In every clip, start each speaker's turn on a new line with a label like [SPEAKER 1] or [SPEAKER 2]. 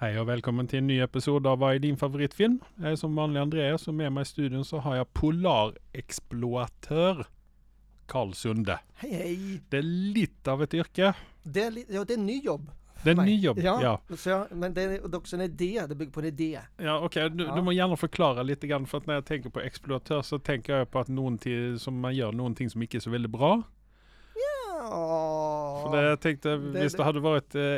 [SPEAKER 1] Hej och välkommen till en ny episod av Vad är din favoritfilm? Jag är som vanlig Andreas och med mig i studion så har jag polarexploatör Karl Sunde.
[SPEAKER 2] Hej hej!
[SPEAKER 1] Det är lite av ett yrke.
[SPEAKER 2] Det är, li- ja, det är nyjobb.
[SPEAKER 1] Det är
[SPEAKER 2] Nej.
[SPEAKER 1] nyjobb. Ja.
[SPEAKER 2] Ja.
[SPEAKER 1] Ja.
[SPEAKER 2] Så jag, men det är också en idé, det bygger på en idé.
[SPEAKER 1] okej, du,
[SPEAKER 2] Ja.
[SPEAKER 1] du må gärna förklara lite grann för att när jag tänker på exploatör så tänker jag på att någonting som man gör någonting som inte är så väldigt bra.
[SPEAKER 2] Ja,
[SPEAKER 1] För det, jag tänkte,
[SPEAKER 2] Det-
[SPEAKER 1] visst det
[SPEAKER 2] det-
[SPEAKER 1] hade varit eh,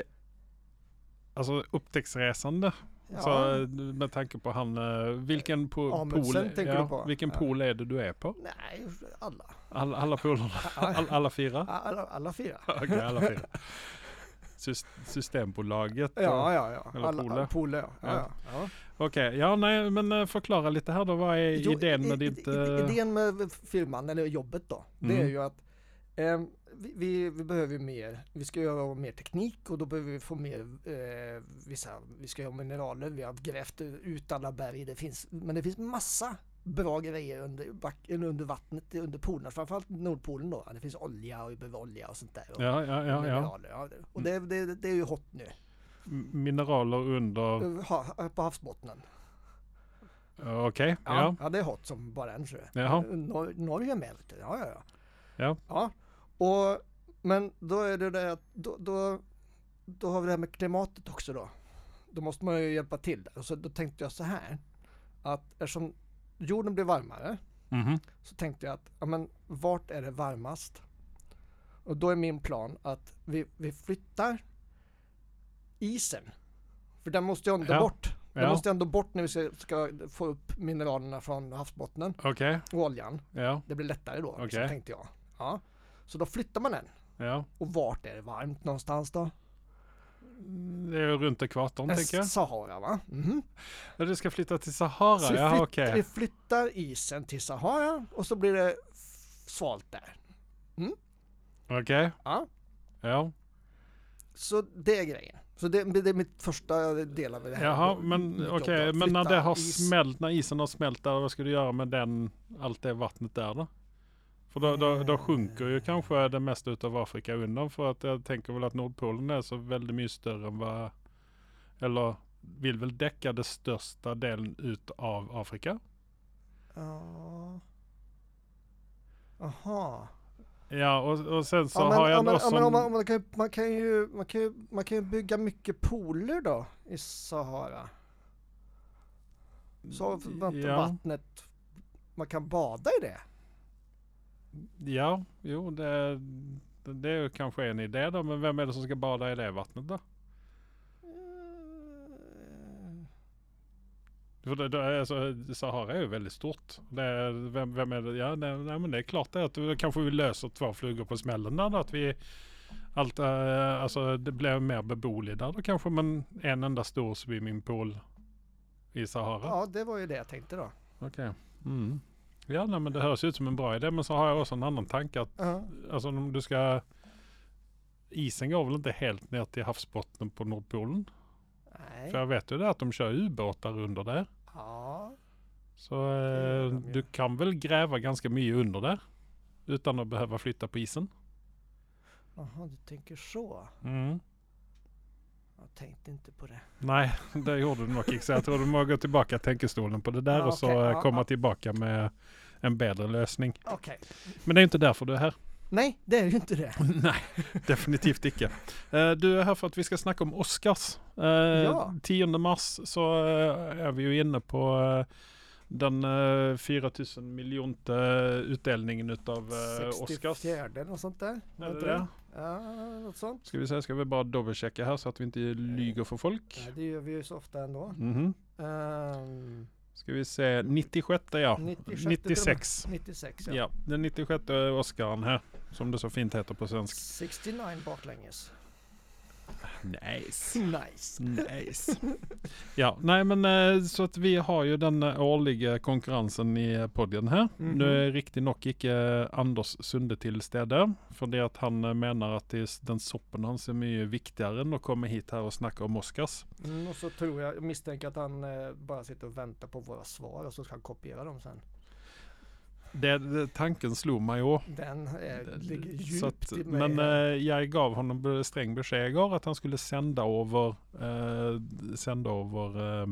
[SPEAKER 1] alltså upptäcktsresande.
[SPEAKER 2] ja.
[SPEAKER 1] Så, eh, med tanke på han, eh, vilken po-
[SPEAKER 2] Amundsen
[SPEAKER 1] pool,
[SPEAKER 2] tänker du på?
[SPEAKER 1] vilken
[SPEAKER 2] Ja.
[SPEAKER 1] pool är det du är på?
[SPEAKER 2] Nej, alla.
[SPEAKER 1] All, alla polerna? All, alla fyra?
[SPEAKER 2] Alla, alla fyra.
[SPEAKER 1] Okej, alla fyra. Sys- Systembolaget? och-
[SPEAKER 2] Ja, ja, ja.
[SPEAKER 1] Eller
[SPEAKER 2] Alla-
[SPEAKER 1] Pole.
[SPEAKER 2] Pole, ja. ja. ja.
[SPEAKER 1] Okej, ja nej men eh, förklara lite här då. Vad är
[SPEAKER 2] Jo,
[SPEAKER 1] Eh, idén med
[SPEAKER 2] i- i-
[SPEAKER 1] ditt...
[SPEAKER 2] i-
[SPEAKER 1] eh,
[SPEAKER 2] Idén med filman, eller jobbet då, det är
[SPEAKER 1] Mm.
[SPEAKER 2] ju att ehm, vi- vi, vi behöver ju mer, vi ska göra mer teknik och då behöver vi få mer eh, vissa, vi ska göra mineraler, vi har grävt ut alla berg, det finns, men det finns massa bra grejer under, back, eller under vattnet, under polerna, framförallt Nordpolen då. Det finns olja och vi behöver olja och sånt där. Och
[SPEAKER 1] Ja, ja, ja, ja.
[SPEAKER 2] mineraler. Ja. Och det, det, det är ju hot nu,
[SPEAKER 1] M- Mineraler under...
[SPEAKER 2] ha, på havsbottnen.
[SPEAKER 1] Okej, ja.
[SPEAKER 2] ja, det är hot som bara en sjö.
[SPEAKER 1] Jaha.
[SPEAKER 2] Nor- Norge mälter, ja ja ja.
[SPEAKER 1] Ja.
[SPEAKER 2] Och, men då är det det att då, då, då har vi det här med klimatet också då. Då måste man ju hjälpa till där. Och så då tänkte jag så här. Att eftersom jorden blir varmare
[SPEAKER 1] Mhm.
[SPEAKER 2] så tänkte jag att ja, men, vart är det varmast? Och då är min plan att vi, vi flyttar isen. För den måste ju ändå
[SPEAKER 1] Ja.
[SPEAKER 2] bort. Den
[SPEAKER 1] Ja.
[SPEAKER 2] måste ju ändå bort när vi ska, ska få upp mineralerna från havsbottnen
[SPEAKER 1] Okej,
[SPEAKER 2] och oljan.
[SPEAKER 1] ja,
[SPEAKER 2] Det blir lättare då,
[SPEAKER 1] Okej.
[SPEAKER 2] så tänkte jag. Ja. Så då flyttar man den.
[SPEAKER 1] ja.
[SPEAKER 2] Och vart är det varmt någonstans då?
[SPEAKER 1] Det är ju runt ekvatorn tänker jag.
[SPEAKER 2] Sahara va? Mhm.
[SPEAKER 1] Ja, Du ska flytta till Sahara,
[SPEAKER 2] Så vi,
[SPEAKER 1] ja
[SPEAKER 2] flytt-
[SPEAKER 1] okej.
[SPEAKER 2] vi flyttar isen till Sahara och så blir det f- svalt där.
[SPEAKER 1] Okej,
[SPEAKER 2] Ja.
[SPEAKER 1] ja.
[SPEAKER 2] Så det är grejen. Så det, det är mitt första del av det här.
[SPEAKER 1] Jaha,
[SPEAKER 2] då,
[SPEAKER 1] men okej,
[SPEAKER 2] mitt jobb då, att
[SPEAKER 1] men när
[SPEAKER 2] flytta
[SPEAKER 1] det har
[SPEAKER 2] is.
[SPEAKER 1] smält, när isen har smält där, vad ska du göra med den, allt det vattnet där då? För då, då,
[SPEAKER 2] Eh.
[SPEAKER 1] då sjunker ju kanske det mesta utav Afrika undan för att jag tänker väl att Nordpolen är så väldigt mycket större än vad, eller vill väl däcka det största delen utav Afrika?
[SPEAKER 2] Ja. Jaha.
[SPEAKER 1] Ja, och, och sen så
[SPEAKER 2] Ja, men,
[SPEAKER 1] har
[SPEAKER 2] ja,
[SPEAKER 1] jag
[SPEAKER 2] men,
[SPEAKER 1] då
[SPEAKER 2] ja,
[SPEAKER 1] som...
[SPEAKER 2] men om man, man, kan, ju- man, kan ju, man, kan ju, man kan ju bygga mycket pooler då i Sahara. Så att vatt-
[SPEAKER 1] ja,
[SPEAKER 2] vattnet, man kan bada i det.
[SPEAKER 1] ja, jo det, det, det är ju kanske en idé då, men vem är det som ska bada i det vattnet då? För det, det, är- alltså, Sahara är ju väldigt stort. Det, är- vem, vem är det? Ja, nej, nej, men det är klart det att då kanske vi löser två flugor på smällen där. då, Att vi allt, eh, alltså det blir mer beboeligt där då kanske. Men en enda stor swimmingpool i Sahara.
[SPEAKER 2] Ja, det var ju det jag tänkte då.
[SPEAKER 1] Okej. Mm. Ja, nej, men det hörs ut som en bra idé. Men så har jag också en annan tanke. Att,
[SPEAKER 2] Ja.
[SPEAKER 1] alltså om du ska... Isen går väl inte helt ner till havsbotten på Nordpolen?
[SPEAKER 2] Nej.
[SPEAKER 1] För jag vet ju det att de kör ubåtar under där.
[SPEAKER 2] Ja.
[SPEAKER 1] Så
[SPEAKER 2] gör
[SPEAKER 1] eh,
[SPEAKER 2] de ju.
[SPEAKER 1] du kan väl gräva ganska mycket under där? Utan att behöva flytta på isen?
[SPEAKER 2] Jaha, du tänker så. Mm. Jag tänkte inte på det.
[SPEAKER 1] Nej, det gjorde du nog inte. Så jag tror du må gå tillbaka till tänkestolen på det där
[SPEAKER 2] Ja,
[SPEAKER 1] och så
[SPEAKER 2] okej.
[SPEAKER 1] eh,
[SPEAKER 2] Ja,
[SPEAKER 1] komma
[SPEAKER 2] ja.
[SPEAKER 1] tillbaka med en bättre lösning.
[SPEAKER 2] Okej.
[SPEAKER 1] Men det är inte därför du är här.
[SPEAKER 2] Nej, det är ju inte det.
[SPEAKER 1] Nej, definitivt icke. Eh, du är här för att vi ska snacka om Oscars. Eh,
[SPEAKER 2] Ja.
[SPEAKER 1] 10 mars så eh, är vi ju inne på eh, den eh, 4000 miljonte eh, utdelningen utav eh, Oscars.
[SPEAKER 2] 64 något sånt där.
[SPEAKER 1] Är
[SPEAKER 2] Var
[SPEAKER 1] det
[SPEAKER 2] inte
[SPEAKER 1] det?
[SPEAKER 2] Ja, något sånt.
[SPEAKER 1] Ska vi säga, ska vi bara dubbelchecka här så att vi inte lyger för folk?
[SPEAKER 2] Nej, det gör vi ju så ofta ändå.
[SPEAKER 1] Mhm.
[SPEAKER 2] Ehm,
[SPEAKER 1] Ska vi se, 96 ja.
[SPEAKER 2] 96
[SPEAKER 1] 96.
[SPEAKER 2] 96 ja.
[SPEAKER 1] Ja, den 96 Oscarn här. Som det så fint heter på svenska.
[SPEAKER 2] 69 baklänges.
[SPEAKER 1] Nice.
[SPEAKER 2] Nice.
[SPEAKER 1] Nice. ja, nej men eh, så att vi har ju den eh, årliga konkurrensen i eh, podden här.
[SPEAKER 2] Mhm.
[SPEAKER 1] Nu är riktigt nog icke eh, Anders Sunde till städe. För det att han eh, menar att det är s- den soppen hans är mycket viktigare än att komma hit här och snacka om Oscars.
[SPEAKER 2] Mm, och så tror jag, jag misstänker att han eh, bara sitter och väntar på våra svar och så ska han kopiera dem sen.
[SPEAKER 1] Det, det, tanken slog mig i år.
[SPEAKER 2] Den är, ligger
[SPEAKER 1] Så
[SPEAKER 2] djupt
[SPEAKER 1] att,
[SPEAKER 2] i mig.
[SPEAKER 1] men eh, jag gav honom be- sträng besked igår att han skulle sända över, eh, sända över eh,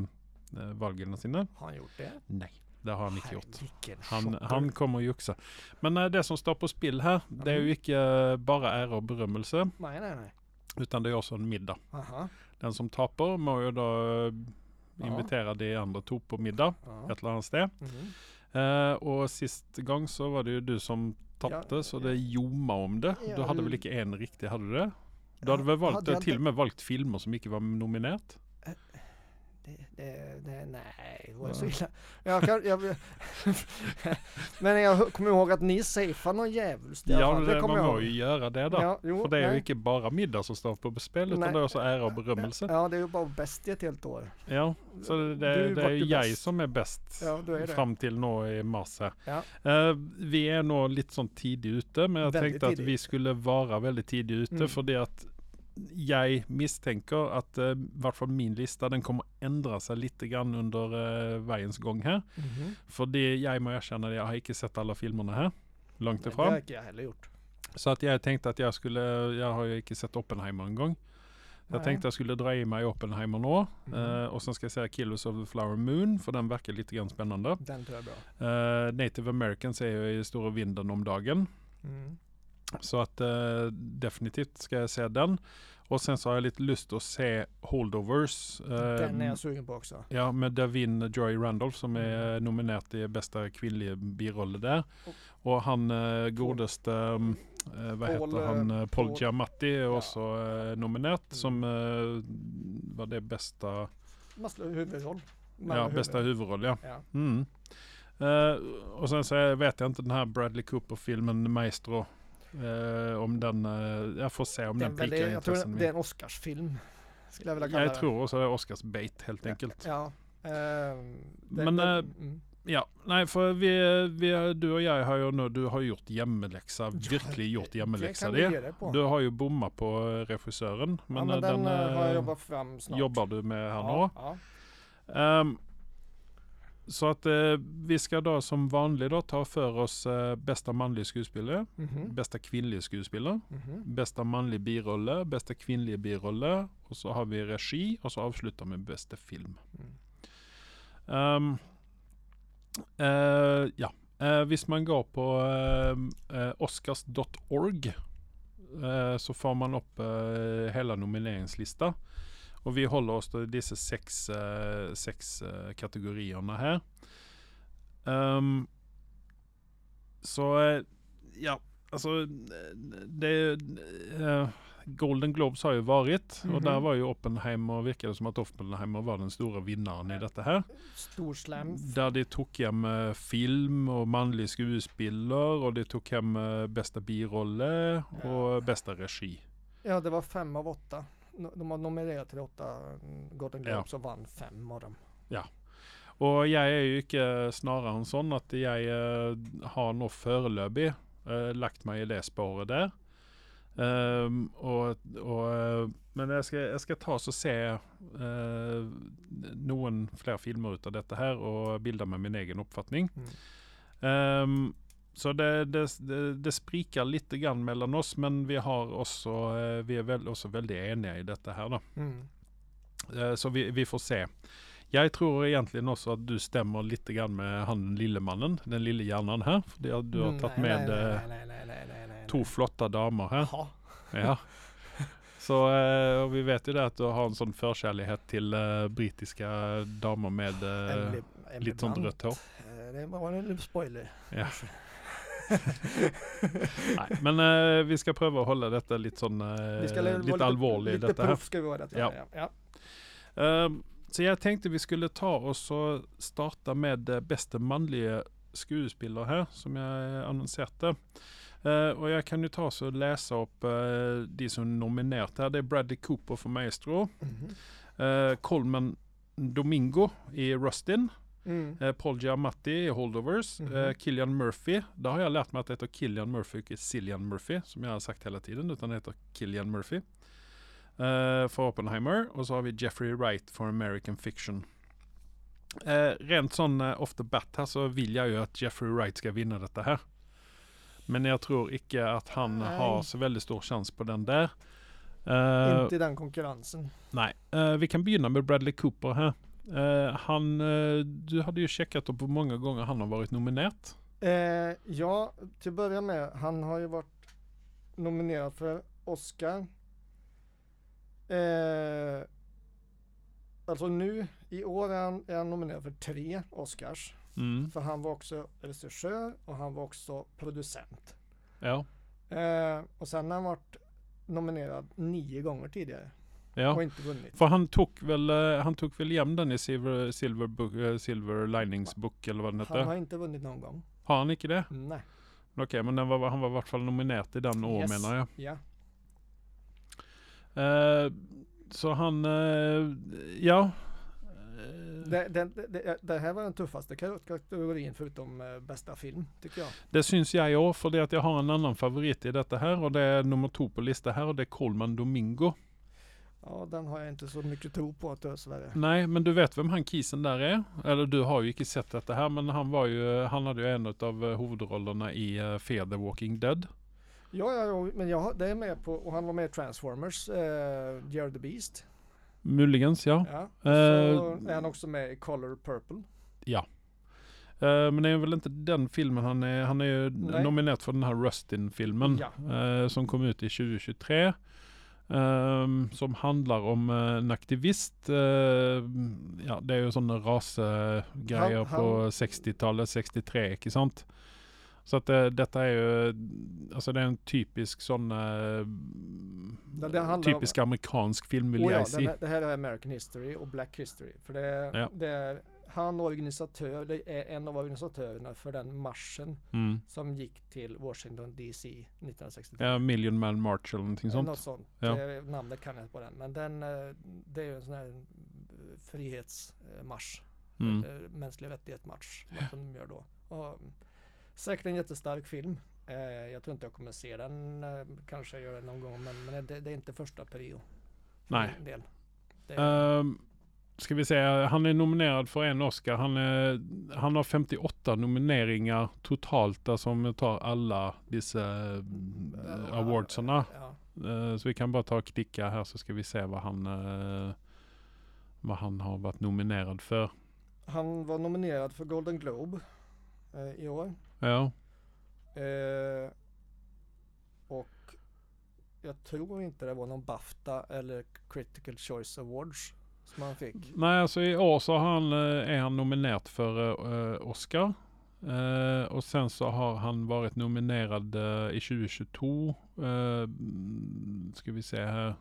[SPEAKER 1] valgränserna.
[SPEAKER 2] har han gjort det?
[SPEAKER 1] Nej. Det har han inte gjort.
[SPEAKER 2] Vilken
[SPEAKER 1] Han,
[SPEAKER 2] shopper.
[SPEAKER 1] han kommer ju också. Men eh, det som står på spill här, det är ju
[SPEAKER 2] Mm.
[SPEAKER 1] inte eh, bara ära och berömmelse,
[SPEAKER 2] Nej, nej, nej.
[SPEAKER 1] utan det är också en middag.
[SPEAKER 2] Aha.
[SPEAKER 1] Den som tappar må ju då eh,
[SPEAKER 2] Ja.
[SPEAKER 1] invitera de andra två på middag,
[SPEAKER 2] Ja.
[SPEAKER 1] ett eller annat sted.
[SPEAKER 2] Mhm.
[SPEAKER 1] Eh, och sist gång så var det ju du som tappade,
[SPEAKER 2] Ja,
[SPEAKER 1] så
[SPEAKER 2] ja.
[SPEAKER 1] det ljoma om det.
[SPEAKER 2] Ja,
[SPEAKER 1] du hade
[SPEAKER 2] du-
[SPEAKER 1] väl inte en riktig, hade du det? Du
[SPEAKER 2] Ja,
[SPEAKER 1] hade väl valt,
[SPEAKER 2] hade jag
[SPEAKER 1] till och
[SPEAKER 2] inte-
[SPEAKER 1] med valt filmer som inte var nominerat?
[SPEAKER 2] Det, det, det, nej, det var ju så
[SPEAKER 1] Ja.
[SPEAKER 2] illa. Jag kan, jag, men jag kommer ihåg att ni safear någon djävulskt i alla
[SPEAKER 1] Ja,
[SPEAKER 2] fall.
[SPEAKER 1] det,
[SPEAKER 2] Det kommer
[SPEAKER 1] man
[SPEAKER 2] jag
[SPEAKER 1] må
[SPEAKER 2] ihåg.
[SPEAKER 1] ju göra det då.
[SPEAKER 2] Ja, jo,
[SPEAKER 1] För det är ju
[SPEAKER 2] nej.
[SPEAKER 1] inte bara middag som står på spel, utan
[SPEAKER 2] Nej.
[SPEAKER 1] det är också ära och berömmelse.
[SPEAKER 2] Ja, det är ju bara bäst i ett helt år.
[SPEAKER 1] Ja, så det, det,
[SPEAKER 2] Du
[SPEAKER 1] det
[SPEAKER 2] vart
[SPEAKER 1] är
[SPEAKER 2] ju
[SPEAKER 1] jag
[SPEAKER 2] bäst.
[SPEAKER 1] som är bäst
[SPEAKER 2] Ja, du är det.
[SPEAKER 1] fram till nu i mars här.
[SPEAKER 2] Ja.
[SPEAKER 1] Eh, vi är nog lite sånt tidigt ute, men jag
[SPEAKER 2] Väldigt
[SPEAKER 1] tänkte att
[SPEAKER 2] tidigt.
[SPEAKER 1] vi skulle vara väldigt tidigt ute
[SPEAKER 2] Mm.
[SPEAKER 1] för det att jag misstänker att eh, i vart fall min lista den kommer ändra sig lite grann under eh, vägens gång här.
[SPEAKER 2] Mhm.
[SPEAKER 1] För det jag må erkänna, jag har inte sett alla filmerna här. Långt
[SPEAKER 2] Det har
[SPEAKER 1] ifrån.
[SPEAKER 2] inte jag heller gjort.
[SPEAKER 1] Så att jag tänkte att jag skulle, jag har ju inte sett Oppenheimer en gång. Jag
[SPEAKER 2] Nej.
[SPEAKER 1] tänkte jag skulle dra i mig Oppenheimer nu.
[SPEAKER 2] Mhm.
[SPEAKER 1] Eh, och sen ska jag säga Killers of the Flower Moon, för den verkar lite grann spännande.
[SPEAKER 2] Den tror jag är bra.
[SPEAKER 1] Eh, Native Americans är ju i stora vinden om dagen.
[SPEAKER 2] Mm.
[SPEAKER 1] Så att eh, definitivt ska jag se den. Och sen så har jag lite lust att se Holdovers. eh,
[SPEAKER 2] Den är jag sugen på också.
[SPEAKER 1] Ja, med Davin Joy Randolph som är
[SPEAKER 2] Mm.
[SPEAKER 1] nominerad till bästa kvinnliga biroll där.
[SPEAKER 2] Och-
[SPEAKER 1] Och han eh, godaste, mm, eh, vad
[SPEAKER 2] Paul,
[SPEAKER 1] heter han,
[SPEAKER 2] eh,
[SPEAKER 1] Eh, Paul
[SPEAKER 2] Paul-
[SPEAKER 1] Giamatti är
[SPEAKER 2] Ja. Mm.
[SPEAKER 1] också eh, nominerad som eh, var det bästa,
[SPEAKER 2] Mest huvudroll. Men
[SPEAKER 1] ja,
[SPEAKER 2] huvud-
[SPEAKER 1] bästa huvudroll. Ja.
[SPEAKER 2] Ja.
[SPEAKER 1] Mm. Eh, och sen så är- vet jag inte den här Bradley Cooper-filmen Maestro. eh, om den, eh, jag får se om den,
[SPEAKER 2] Den väl,
[SPEAKER 1] prickar
[SPEAKER 2] är- jag tror
[SPEAKER 1] intressen.
[SPEAKER 2] det är
[SPEAKER 1] min.
[SPEAKER 2] en Oscarsfilm. Skulle jag vilja kalla
[SPEAKER 1] Jag
[SPEAKER 2] den.
[SPEAKER 1] tror också det är Oscars bait helt enkelt.
[SPEAKER 2] Ja. ehm, det-
[SPEAKER 1] Men,
[SPEAKER 2] det-
[SPEAKER 1] eh,
[SPEAKER 2] mm.
[SPEAKER 1] Ja, nej för vi, vi, du och jag har ju nu, du har gjort jämmeläxa, verkligen gjort jämmeläxa
[SPEAKER 2] kan du
[SPEAKER 1] det.
[SPEAKER 2] ge dig på.
[SPEAKER 1] Du har ju bommat på eh, regissören,
[SPEAKER 2] ja,
[SPEAKER 1] men,
[SPEAKER 2] men
[SPEAKER 1] eh,
[SPEAKER 2] den, eh, har jag
[SPEAKER 1] eh,
[SPEAKER 2] jobbat fram snart.
[SPEAKER 1] jobbar du med här nu.
[SPEAKER 2] ja, ja.
[SPEAKER 1] Ehm, så att eh, vi ska då som vanligt då ta för oss eh, bästa manlig skådespelare,
[SPEAKER 2] Mhm,
[SPEAKER 1] bästa kvinnlig skådespelare,
[SPEAKER 2] mhm.
[SPEAKER 1] bästa manlig birolle, bästa kvinnlig birolle och så har vi regi och så avslutar med bästa film.
[SPEAKER 2] Mm.
[SPEAKER 1] Ehm, eh, ja, uh, visst man går på ehm, eh, oscars.org eh, så får man upp eh, hela nomineringslista. Och vi håller oss till dessa sex, eh, sex eh, kategorierna här. Ehm, så eh, ja, alltså eh, det eh, Golden Globes har ju varit och
[SPEAKER 2] Mhm.
[SPEAKER 1] där var ju Oppenheimer, verkade som att Oppenheimer var den stora vinnaren i detta här.
[SPEAKER 2] Stor slam.
[SPEAKER 1] Där det tog hem eh, film och manlig skådespelare och det tog hem eh, bästa birolle och bästa regi.
[SPEAKER 2] Ja, det var fem av åtta. No- De har nominerat till åtta mm, Golden
[SPEAKER 1] Ja.
[SPEAKER 2] Globes och vann fem av dem.
[SPEAKER 1] Och jag är ju inte snarare en sån att jag eh, har något förelöpig eh, lagt mig i det spåret där. Ehm, och, och, eh, men jag ska, jag ska ta och se eh, någon fler filmer utav detta här och bilda mig min egen uppfattning.
[SPEAKER 2] Mm.
[SPEAKER 1] Ehm, så det, det, det, det sprikar lite grann mellan oss men vi, har också, eh, vi är väl också väldigt eniga i detta här då.
[SPEAKER 2] Mm.
[SPEAKER 1] Eh, Så vi, vi får se. Jag tror egentligen också att du stämmer lite grann med han lille mannen, den lille hjärnan här. För det, du har
[SPEAKER 2] Mm,
[SPEAKER 1] tagit
[SPEAKER 2] nej,
[SPEAKER 1] med
[SPEAKER 2] nej,
[SPEAKER 1] eh,
[SPEAKER 2] nej, nej, nej, nej, nej, nej,
[SPEAKER 1] två
[SPEAKER 2] nej.
[SPEAKER 1] flotta damer här.
[SPEAKER 2] Jaha.
[SPEAKER 1] Ja. Så eh, och vi vet ju det att du har en sån förkärlighet till eh, brittiska damer med eh,
[SPEAKER 2] Emily- Emily
[SPEAKER 1] lite sånt
[SPEAKER 2] Blunt.
[SPEAKER 1] rött hår.
[SPEAKER 2] Eh, Det var en liten spoiler.
[SPEAKER 1] Ja. Nej, men eh, vi ska pröva att hålla detta lite sån, eh,
[SPEAKER 2] Vi ska vara
[SPEAKER 1] lite allvarlig i
[SPEAKER 2] lite
[SPEAKER 1] detta här.
[SPEAKER 2] proff ska vi vara i detta.
[SPEAKER 1] Ja.
[SPEAKER 2] Ja. Ja.
[SPEAKER 1] Ehm, så jag tänkte vi skulle ta och så starta med eh, bästa manliga skådespelare här som jag eh, annonserat det. Eh, och jag kan ju ta så läsa upp eh, de som är nominerat här. Det är Bradley Cooper för Maestro,
[SPEAKER 2] Mhm.
[SPEAKER 1] eh, Colman Domingo i Rustin,
[SPEAKER 2] Mm.
[SPEAKER 1] eh, Paul Giamatti i Holdovers,
[SPEAKER 2] Mhm.
[SPEAKER 1] eh, Killian Murphy. Där har jag lärt mig att det heter Killian Murphy, inte Cillian Murphy som jag har sagt hela tiden, utan det heter Killian Murphy. Eh, för Oppenheimer och så har vi Jeffrey Wright för American Fiction. Eh, rent sån eh, off the bat här så vill jag ju att Jeffrey Wright ska vinna detta här. Men jag tror icke att han
[SPEAKER 2] Nej.
[SPEAKER 1] har så väldigt stor chans på den där. Eh,
[SPEAKER 2] Inte i den konkurrensen.
[SPEAKER 1] Nej, eh, vi kan begynna med Bradley Cooper här. Eh, han, eh, du hade ju checkat upp hur många gånger han har varit nominerat.
[SPEAKER 2] Eh, ja, till att börja med, han har ju varit nominerad för Oscar. Eh, alltså nu, i år är han, är han nominerad för tre Oscars.
[SPEAKER 1] Mm.
[SPEAKER 2] För han var också regissör och han var också producent.
[SPEAKER 1] Ja,
[SPEAKER 2] Eh, och sen har han varit nominerad nio gånger tidigare och
[SPEAKER 1] ja.
[SPEAKER 2] inte vunnit.
[SPEAKER 1] För han tog väl, eh, han tog väl jämn den i Silver, Silver, Book, eh, Silver Linings Book eller vad den
[SPEAKER 2] Han
[SPEAKER 1] hette.
[SPEAKER 2] har inte vunnit någon gång.
[SPEAKER 1] Har han icke det?
[SPEAKER 2] Nej.
[SPEAKER 1] Okej, men den var, han var i vart fall nominerad i den år
[SPEAKER 2] Yes.
[SPEAKER 1] menar jag.
[SPEAKER 2] Ja.
[SPEAKER 1] Eh, så han, eh, ja. Eh,
[SPEAKER 2] Det, det, det, det här var den tuffaste kategorin förutom eh, bästa film tycker jag.
[SPEAKER 1] Det syns jag i år för det att jag har en annan favorit i detta här och det är nummer två på lista här och det är Colman Domingo.
[SPEAKER 2] Ja, den har jag inte så mycket tro på att dessvärre.
[SPEAKER 1] Nej, men du vet vem han kisen där är? Eller du har ju inte sett detta här men han var ju, eh, han hade ju en av eh, huvudrollerna i eh, Fear the Walking Dead.
[SPEAKER 2] Ja, ja, ja men jag, har- det är med på, och han var med i Transformers, eh, Jared the Beast.
[SPEAKER 1] Möjligens ja.
[SPEAKER 2] Ja.
[SPEAKER 1] Eh,
[SPEAKER 2] Så är han också med i Color Purple.
[SPEAKER 1] eh, men det är väl inte den filmen han är, han är ju
[SPEAKER 2] Nej.
[SPEAKER 1] nominerad för den här Rustin-filmen
[SPEAKER 2] Ja.
[SPEAKER 1] eh, som kom ut i 2023. ehm, som handlar om eh, en aktivist, eh, ja det är ju sådana rasgrejer
[SPEAKER 2] Han- han-
[SPEAKER 1] på 60-talet, 63 inte sant? Så att eh, detta är ju, alltså det är en typisk sån eh,
[SPEAKER 2] Ja, det handlar om-
[SPEAKER 1] typisk amerikansk film vill
[SPEAKER 2] Och ja,
[SPEAKER 1] jag
[SPEAKER 2] den
[SPEAKER 1] säga.
[SPEAKER 2] här, det här är American History och Black History. För det är,
[SPEAKER 1] Ja.
[SPEAKER 2] det är han organisatör, det är en av organisatörerna för den marschen
[SPEAKER 1] Mm.
[SPEAKER 2] som gick till Washington DC 1963.
[SPEAKER 1] Ja, Million Man March eller någonting sånt.
[SPEAKER 2] Något sånt.
[SPEAKER 1] Ja.
[SPEAKER 2] Det, namnet kan jag inte på den. Men den, eh, det är ju en sån här eh, frihetsmarsch.
[SPEAKER 1] Mm.
[SPEAKER 2] eh, mänskliga rättighet-match. Som de gör då. Och, mm, säkert en jättestark film. Eh, jag tror inte jag kommer se den. Eh, kanske jag gör det någon gång. Men, men det, det är inte första prio. för
[SPEAKER 1] Nej.
[SPEAKER 2] min Del. Det,
[SPEAKER 1] Ehm, ska vi säga, han är nominerad för en Oscar. Han, är, han har 58 nomineringar totalt där som tar alla dessa
[SPEAKER 2] eh,
[SPEAKER 1] äh, awardsarna.
[SPEAKER 2] ja.
[SPEAKER 1] Eh, så vi kan bara ta och klicka här så ska vi se vad han, eh, vad han har varit nominerad för.
[SPEAKER 2] Han var nominerad för Golden Globe eh, i år.
[SPEAKER 1] Ja,
[SPEAKER 2] Eh, och jag tror inte det var någon Bafta eller Critical Choice Awards som han fick.
[SPEAKER 1] nej alltså i år så har han, eh, är han nominerad för eh, Oscar. Eh, och sen så har han varit nominerad eh, i 2022. eh, mm, ska vi se här.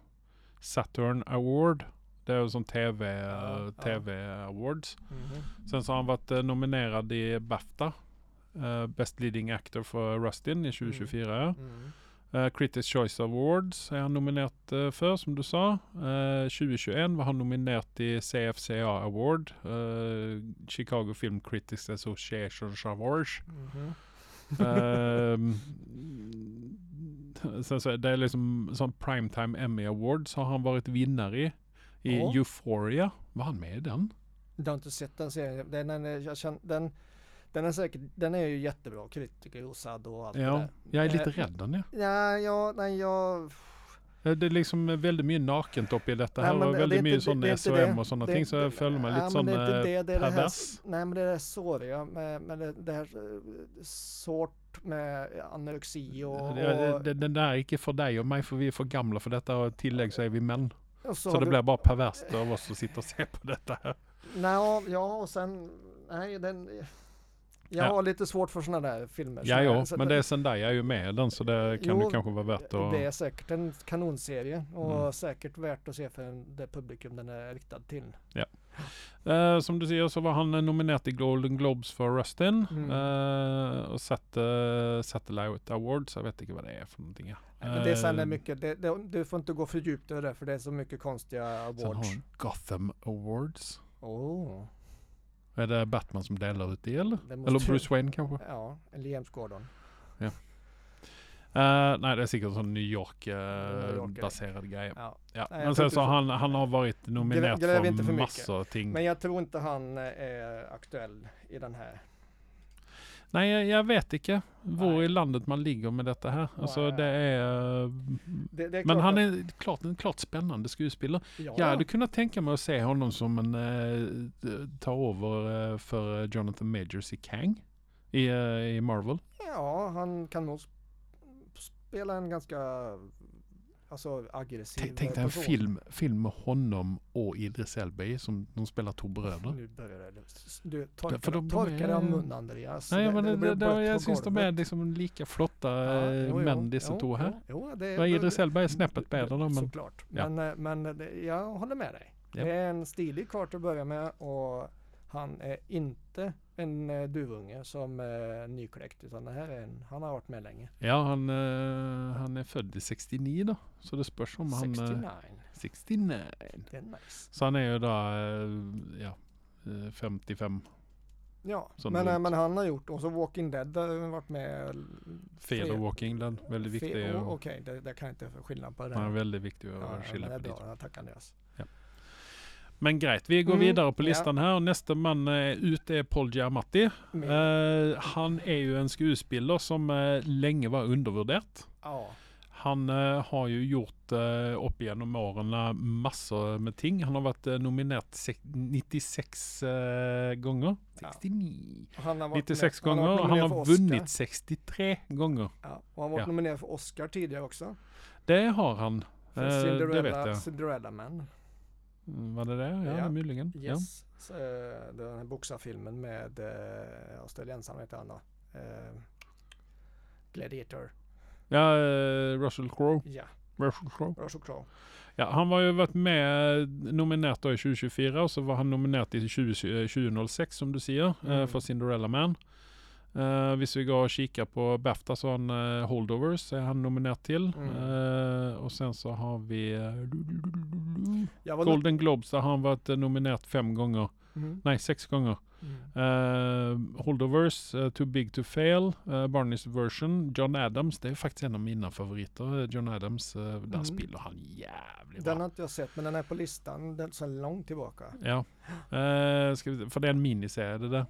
[SPEAKER 1] Saturn Award. Det är som TV,
[SPEAKER 2] Ja, ja.
[SPEAKER 1] TV Awards.
[SPEAKER 2] Mhm.
[SPEAKER 1] Sen så har han varit eh, nominerad i Bafta. eh, Best Leading Actor för Rustin i 2024.
[SPEAKER 2] Mm.
[SPEAKER 1] Eh, Critics Choice Awards är han nominerat eh, för som du sa. Eh, 2021 var han nominerad i CFCA Award, eh, Chicago Film Critics Association Awards.
[SPEAKER 2] Mhm.
[SPEAKER 1] Ehm, sen så, det är liksom som Primetime Emmy Awards har han varit vinnare i. I
[SPEAKER 2] Ja.
[SPEAKER 1] Euphoria, var han med i den?
[SPEAKER 2] Jag har inte sett den serien. Den, den, är- jag känner, den, den, är, säkert, den är ju jättebra. Kritiker, osad och allt det
[SPEAKER 1] Ja,
[SPEAKER 2] där.
[SPEAKER 1] jag är lite
[SPEAKER 2] Eh,
[SPEAKER 1] rädd den ja.
[SPEAKER 2] Ja, ja, nej, jag...
[SPEAKER 1] Eh, Det är liksom eh, väldigt mycket nakent upp i detta
[SPEAKER 2] Nej,
[SPEAKER 1] här
[SPEAKER 2] men
[SPEAKER 1] och
[SPEAKER 2] det- det är
[SPEAKER 1] väldigt
[SPEAKER 2] inte-
[SPEAKER 1] mycket sån
[SPEAKER 2] det är inte det.
[SPEAKER 1] SOM och sådana
[SPEAKER 2] Det-
[SPEAKER 1] ting så jag följer mig
[SPEAKER 2] ja,
[SPEAKER 1] lite
[SPEAKER 2] men
[SPEAKER 1] sån
[SPEAKER 2] det är inte
[SPEAKER 1] eh,
[SPEAKER 2] det, det är det här,
[SPEAKER 1] pervers.
[SPEAKER 2] Nej, men det är såriga med, med det, det här eh, sort med anorexi och... och,
[SPEAKER 1] Det- det- Den där är inte för dig och mig för vi är för gamla för detta och tillägg så är vi män.
[SPEAKER 2] och
[SPEAKER 1] Så
[SPEAKER 2] har
[SPEAKER 1] det
[SPEAKER 2] du-
[SPEAKER 1] blir bara perverst av oss som sitter och ser på detta här.
[SPEAKER 2] Nej, ja, och sen... Nej, den... Jag
[SPEAKER 1] Ja.
[SPEAKER 2] har lite svårt för sådana där filmer.
[SPEAKER 1] Ja,
[SPEAKER 2] Så-
[SPEAKER 1] ja,
[SPEAKER 2] så
[SPEAKER 1] men
[SPEAKER 2] att-
[SPEAKER 1] det är Zendaya är ju med i den så det kan
[SPEAKER 2] Jo,
[SPEAKER 1] ju kanske vara värt att...
[SPEAKER 2] Det är säkert en kanonserie och
[SPEAKER 1] Mm.
[SPEAKER 2] säkert värt att se för en- det publikum den är riktad till.
[SPEAKER 1] Eh, som du ser så var han eh, nominerad i Golden Globes för Rustin.
[SPEAKER 2] Mm.
[SPEAKER 1] Eh, och satte uh, Satellite Awards. Jag vet inte vad det är för någonting. Ja.
[SPEAKER 2] Men det är sen det är
[SPEAKER 1] Eh,
[SPEAKER 2] mycket, det, det, du får inte gå för djupt i det där för det är så mycket konstiga
[SPEAKER 1] sen har
[SPEAKER 2] awards.
[SPEAKER 1] han Gotham Awards.
[SPEAKER 2] Oh,
[SPEAKER 1] Är det Batman som delar ut det eller?
[SPEAKER 2] det måste
[SPEAKER 1] Eller Bruce Wayne kanske?
[SPEAKER 2] Ja, eller James Gordon.
[SPEAKER 1] Eh, nej, det är säkert en sån New
[SPEAKER 2] New Yorker.
[SPEAKER 1] York-baserad grej.
[SPEAKER 2] Ja.
[SPEAKER 1] Ja.
[SPEAKER 2] Nej,
[SPEAKER 1] men
[SPEAKER 2] jag tror
[SPEAKER 1] sen
[SPEAKER 2] inte
[SPEAKER 1] så
[SPEAKER 2] så.
[SPEAKER 1] han, han har varit nominerad
[SPEAKER 2] Gräv inte
[SPEAKER 1] för,
[SPEAKER 2] för mycket.
[SPEAKER 1] massor av ting.
[SPEAKER 2] Men jag tror inte han eh, är aktuell i den här.
[SPEAKER 1] Nej, jag, jag vet inte var
[SPEAKER 2] Nej.
[SPEAKER 1] i landet man ligger med detta här. Alltså
[SPEAKER 2] Nej.
[SPEAKER 1] det är... eh,
[SPEAKER 2] Det, det är
[SPEAKER 1] Men
[SPEAKER 2] klart
[SPEAKER 1] han
[SPEAKER 2] att-
[SPEAKER 1] är klart, en klart spännande skuespelare.
[SPEAKER 2] Ja,
[SPEAKER 1] Jag hade kunnat tänka mig att se honom som en... Eh, ta över eh, för eh, Jonathan Majors i Kang. I, eh, i Marvel.
[SPEAKER 2] ja, han kan nog sp- spela en ganska alltså, aggressiv
[SPEAKER 1] Tänk- Tänk dig en
[SPEAKER 2] person.
[SPEAKER 1] film, film med honom och Idris Elba i, som de spelar två bröder.
[SPEAKER 2] Nu börjar det. Du, torka,
[SPEAKER 1] för de- de
[SPEAKER 2] torka
[SPEAKER 1] är-
[SPEAKER 2] dig av munnen Andreas.
[SPEAKER 1] Nej, men det,
[SPEAKER 2] blir
[SPEAKER 1] det, det,
[SPEAKER 2] blött på
[SPEAKER 1] jag syns de är
[SPEAKER 2] golvet.
[SPEAKER 1] liksom lika flotta
[SPEAKER 2] Ja,
[SPEAKER 1] eh,
[SPEAKER 2] jo, jo,
[SPEAKER 1] män dessa
[SPEAKER 2] jo,
[SPEAKER 1] två här.
[SPEAKER 2] Jo, jo, det
[SPEAKER 1] Ja, Idris Elba är snäppet bättre då, men
[SPEAKER 2] Såklart.
[SPEAKER 1] Ja.
[SPEAKER 2] Men, eh, men det- jag håller med dig.
[SPEAKER 1] Ja.
[SPEAKER 2] Det är en stilig kart att börja med och han är inte en eh, duvunge som är nykläckt utan det här är en, han har varit med länge.
[SPEAKER 1] ja, han, eh, han är född i 69 då. Så det spörs om han...
[SPEAKER 2] 69.
[SPEAKER 1] Eh, 69.
[SPEAKER 2] Det är nice.
[SPEAKER 1] Så han är ju då, eh, ja, eh, 55,
[SPEAKER 2] Ja,
[SPEAKER 1] Som
[SPEAKER 2] men,
[SPEAKER 1] det-
[SPEAKER 2] eh, men han har gjort och så Walking Dead har ju varit med. l-
[SPEAKER 1] Fear
[SPEAKER 2] tre-
[SPEAKER 1] of Walking Dead, väldigt
[SPEAKER 2] fe-
[SPEAKER 1] viktig.
[SPEAKER 2] oh,
[SPEAKER 1] och-
[SPEAKER 2] Okej, det, det kan jag inte skilja på. Det.
[SPEAKER 1] Han är väldigt viktig
[SPEAKER 2] Ja,
[SPEAKER 1] att
[SPEAKER 2] men det
[SPEAKER 1] skilja
[SPEAKER 2] är
[SPEAKER 1] på dit.
[SPEAKER 2] bra. Tack Andreas.
[SPEAKER 1] Men grejt, vi går
[SPEAKER 2] Mm,
[SPEAKER 1] vidare på
[SPEAKER 2] ja.
[SPEAKER 1] listan här. Nästa man eh, ut är Paul Giamatti.
[SPEAKER 2] Men,
[SPEAKER 1] Eh, han är ju en skuespelare som eh, länge var undervärderat.
[SPEAKER 2] ja,
[SPEAKER 1] Han eh, har ju gjort eh, upp genom åren eh, massor med ting. Han har varit eh, nominerad sex- 96 eh, gånger.
[SPEAKER 2] Ja.
[SPEAKER 1] 69.
[SPEAKER 2] han har varit
[SPEAKER 1] 96
[SPEAKER 2] med-
[SPEAKER 1] gånger.
[SPEAKER 2] varit
[SPEAKER 1] Han
[SPEAKER 2] nominerad
[SPEAKER 1] har
[SPEAKER 2] för Oscar.
[SPEAKER 1] vunnit 63 gånger.
[SPEAKER 2] Ja, och han har varit
[SPEAKER 1] Ja.
[SPEAKER 2] nominerad för Oscar tidigare också.
[SPEAKER 1] Det har han.
[SPEAKER 2] För
[SPEAKER 1] Eh, det vet
[SPEAKER 2] Cinderella,
[SPEAKER 1] jag.
[SPEAKER 2] Cinderella Man.
[SPEAKER 1] Mm, Var det det? Ja,
[SPEAKER 2] Ja.
[SPEAKER 1] möjligen. Ja.
[SPEAKER 2] Yes. Så, eh, den här boxarfilmen med eh, australiensaren, vad heter han då? Eh, Gladiator.
[SPEAKER 1] Ja, eh, Russell Crowe.
[SPEAKER 2] Ja,
[SPEAKER 1] Russell Crowe.
[SPEAKER 2] Russell Crowe.
[SPEAKER 1] Ja, han har ju varit med eh, nominerad då i 2024 och så var han nominerad i 20, eh, 2006 som du säger eh,
[SPEAKER 2] Mm.
[SPEAKER 1] för Cinderella Man. Eh, visst vi går och kikar på Bafta så har han eh, Holdovers är han nominerad till.
[SPEAKER 2] Mm.
[SPEAKER 1] Eh, och sen så har vi eh,
[SPEAKER 2] Jag var
[SPEAKER 1] Golden Globes där har han varit eh, nominerad fem gånger.
[SPEAKER 2] Mm.
[SPEAKER 1] Nej, sex gånger.
[SPEAKER 2] Mm.
[SPEAKER 1] Eh, Holdovers, eh, Too Big To Fail, eh, Barneys Version, John Adams. Det är faktiskt en av mina favoriter. eh, John Adams, eh, där
[SPEAKER 2] Mm.
[SPEAKER 1] spelar han jävligt bra.
[SPEAKER 2] Den har inte jag sett, men den är på listan den är så långt tillbaka.
[SPEAKER 1] Ja. Eh, ska vi, för det är en miniserie det där.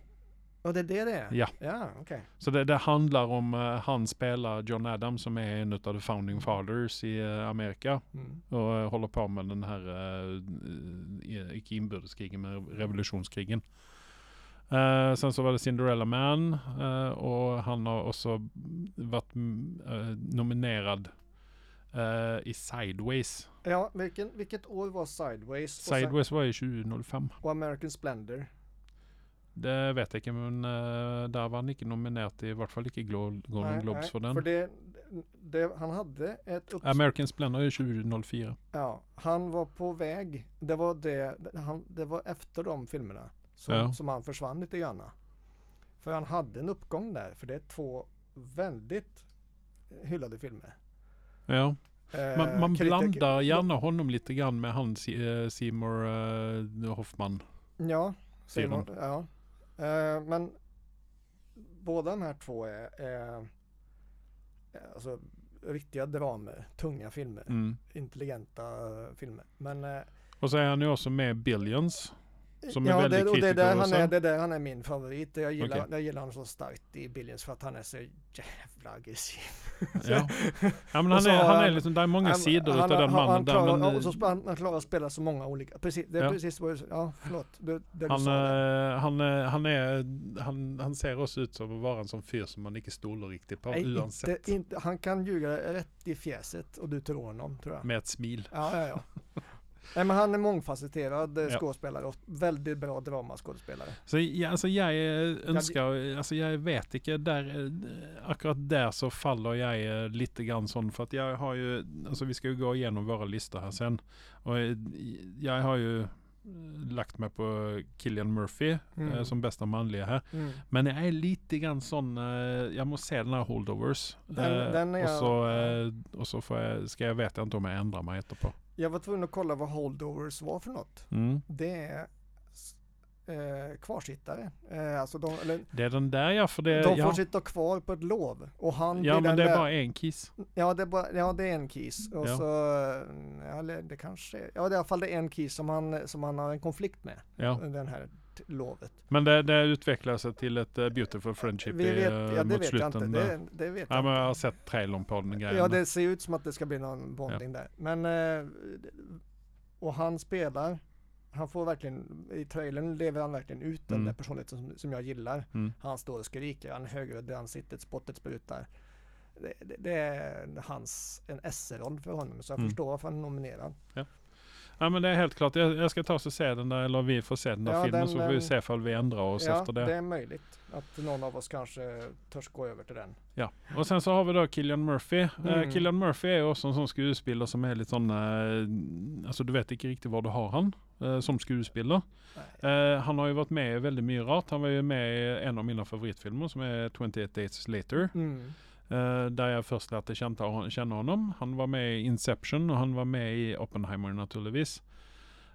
[SPEAKER 2] Och det är det det är?
[SPEAKER 1] Ja.
[SPEAKER 2] Ja, okej.
[SPEAKER 1] Så det, det handlar om, eh, han spelar John Adams som är en av the founding fathers i eh, Amerika
[SPEAKER 2] Mm.
[SPEAKER 1] och eh, håller på med den här, eh, eh, icke inbördeskrigen, men revolutionskrigen. Eh, sen så var det Cinderella Man eh, och han har också varit mm, eh, nominerad eh, i Sideways.
[SPEAKER 2] Ja, vilken, vilket år var Sideways? Och,
[SPEAKER 1] Sideways var ju 2005.
[SPEAKER 2] sen, och American Splendor?
[SPEAKER 1] Det vet jag inte, men eh, där var han inte nominerad i vart fall inte Glo- Golden
[SPEAKER 2] Nej,
[SPEAKER 1] Globes
[SPEAKER 2] nej,
[SPEAKER 1] för den.
[SPEAKER 2] För det, det, han hade ett uppsving.
[SPEAKER 1] American Splendor är 2004.
[SPEAKER 2] Ja, han var på väg. Det var, det, han, det var efter de filmerna som,
[SPEAKER 1] Ja.
[SPEAKER 2] som han försvann lite grann. För han hade en uppgång där, för det är två väldigt hyllade filmer.
[SPEAKER 1] Ja. Man,
[SPEAKER 2] Eh,
[SPEAKER 1] man
[SPEAKER 2] kritik-
[SPEAKER 1] blandar gärna honom lite grann med han Se- eh, Seymour eh, Hoffman.
[SPEAKER 2] Ja,
[SPEAKER 1] Ser
[SPEAKER 2] Simon. Ja. Eh, men båda de här två är, är alltså, riktiga dramer, tunga filmer,
[SPEAKER 1] Mm.
[SPEAKER 2] intelligenta eh, filmer. Men eh,
[SPEAKER 1] Och så är han ju också med i Billions. Som är
[SPEAKER 2] ja,
[SPEAKER 1] väldigt
[SPEAKER 2] det, och det, är där han
[SPEAKER 1] kritikerrösten.
[SPEAKER 2] är, det är där han är min favorit. Jag gillar,
[SPEAKER 1] Okej.
[SPEAKER 2] jag gillar honom så starkt i Billions för att han är så jävla aggressiv.
[SPEAKER 1] Ja. ja men
[SPEAKER 2] Och
[SPEAKER 1] han
[SPEAKER 2] så
[SPEAKER 1] är,
[SPEAKER 2] har
[SPEAKER 1] han är
[SPEAKER 2] han-
[SPEAKER 1] liksom, det är många
[SPEAKER 2] Han-
[SPEAKER 1] sidor
[SPEAKER 2] han-
[SPEAKER 1] utav den
[SPEAKER 2] han- han
[SPEAKER 1] mannen. där,
[SPEAKER 2] klarar,
[SPEAKER 1] men, eh,
[SPEAKER 2] ja, och så sp- han, han klarar att spela så många olika. Precis, det är
[SPEAKER 1] Ja.
[SPEAKER 2] precis vad jag- Ja, förlåt. Det, det du
[SPEAKER 1] han,
[SPEAKER 2] sa. där.
[SPEAKER 1] eh, han, eh, han, är, han, han ser också ut som att vara en sån fyr som man inte stolar riktigt på.
[SPEAKER 2] Nej,
[SPEAKER 1] oavsett.
[SPEAKER 2] inte, inte, han kan ljuga dig rätt i fjäset och du tror honom, tror jag.
[SPEAKER 1] Med ett smil.
[SPEAKER 2] Ja, ja, ja. Nej, men han är mångfacetterad eh,
[SPEAKER 1] Ja.
[SPEAKER 2] skådespelare och väldigt bra dramaskådespelare.
[SPEAKER 1] Så jag, alltså jag eh, önskar, alltså jag vet inte, där, eh, akkurat där så faller jag eh, lite grann sån för att jag har ju, alltså vi ska ju gå igenom våra listor här sen. Och eh, jag har ju eh, lagt mig på Killian Murphy
[SPEAKER 2] Mm.
[SPEAKER 1] eh, som bästa manliga här. Men jag är lite grann sån, eh, jag måste se den här Holdovers.
[SPEAKER 2] Den-
[SPEAKER 1] Eh,
[SPEAKER 2] den är
[SPEAKER 1] och,
[SPEAKER 2] jag-
[SPEAKER 1] så, eh, och så får jag, ska jag veta inte om jag ändrar mig efterpå.
[SPEAKER 2] Jag var tvungen att kolla vad holdovers var för något.
[SPEAKER 1] Mm.
[SPEAKER 2] Det är s- eh, kvarsittare. Eh, alltså de, eller,
[SPEAKER 1] Det är den där ja, för det...
[SPEAKER 2] de får
[SPEAKER 1] Eh, ja,
[SPEAKER 2] sitta kvar på ett lov. Och han
[SPEAKER 1] ja
[SPEAKER 2] blir
[SPEAKER 1] men
[SPEAKER 2] den
[SPEAKER 1] det är
[SPEAKER 2] där-
[SPEAKER 1] bara en kiss.
[SPEAKER 2] Ja det, är bara, ja, det är en kis. Och
[SPEAKER 1] Ja.
[SPEAKER 2] så, mm, ja, eller det kanske, ja det är i alla fall det är en kis som han, som han har en konflikt med.
[SPEAKER 1] Ja.
[SPEAKER 2] Den här t- lovet.
[SPEAKER 1] Men det, det utvecklar sig till ett eh, beautiful friendship
[SPEAKER 2] Vi vet,
[SPEAKER 1] i, eh,
[SPEAKER 2] ja, det
[SPEAKER 1] mot
[SPEAKER 2] vet jag inte.
[SPEAKER 1] slutet. där.
[SPEAKER 2] Det, det vet
[SPEAKER 1] Ja,
[SPEAKER 2] jag
[SPEAKER 1] men
[SPEAKER 2] inte.
[SPEAKER 1] jag har sett trailern på den grejen.
[SPEAKER 2] Ja, det ser ju ut som att det ska bli någon bonding där. Men, eh, och han spelar, han får verkligen, i trailern lever han verkligen ut den
[SPEAKER 1] Mm.
[SPEAKER 2] där personligheten som, som jag gillar.
[SPEAKER 1] Mm.
[SPEAKER 2] Han står och skriker, han är högljudd i ansiktet, spottet sprutar. Det, det, det är hans, en SR-roll för honom, så jag
[SPEAKER 1] Mm.
[SPEAKER 2] förstår varför han är nominerad.
[SPEAKER 1] Ja men det är helt klart. Jag, jag ska ta och se den där, eller vi får se den där
[SPEAKER 2] Ja,
[SPEAKER 1] filmen
[SPEAKER 2] den-
[SPEAKER 1] så får vi
[SPEAKER 2] den-
[SPEAKER 1] se ifall vi ändrar oss
[SPEAKER 2] Ja,
[SPEAKER 1] efter det.
[SPEAKER 2] det är möjligt att någon av oss kanske törs gå över till den.
[SPEAKER 1] Ja. Och sen så har vi då Killian Murphy. Eh,
[SPEAKER 2] Mm.
[SPEAKER 1] Killian Murphy är också en sån skuespelare som är lite sån, eh, alltså du vet inte riktigt var du har han eh, som skuespelare.
[SPEAKER 2] Nej.
[SPEAKER 1] Eh, han har ju varit med i väldigt mycket rart. Han var ju med i en av mina favoritfilmer som är 28 Days Later.
[SPEAKER 2] Mm.
[SPEAKER 1] Eh, där jag först lärde känna känna honom. Han var med i Inception och han var med i Oppenheimer naturligtvis.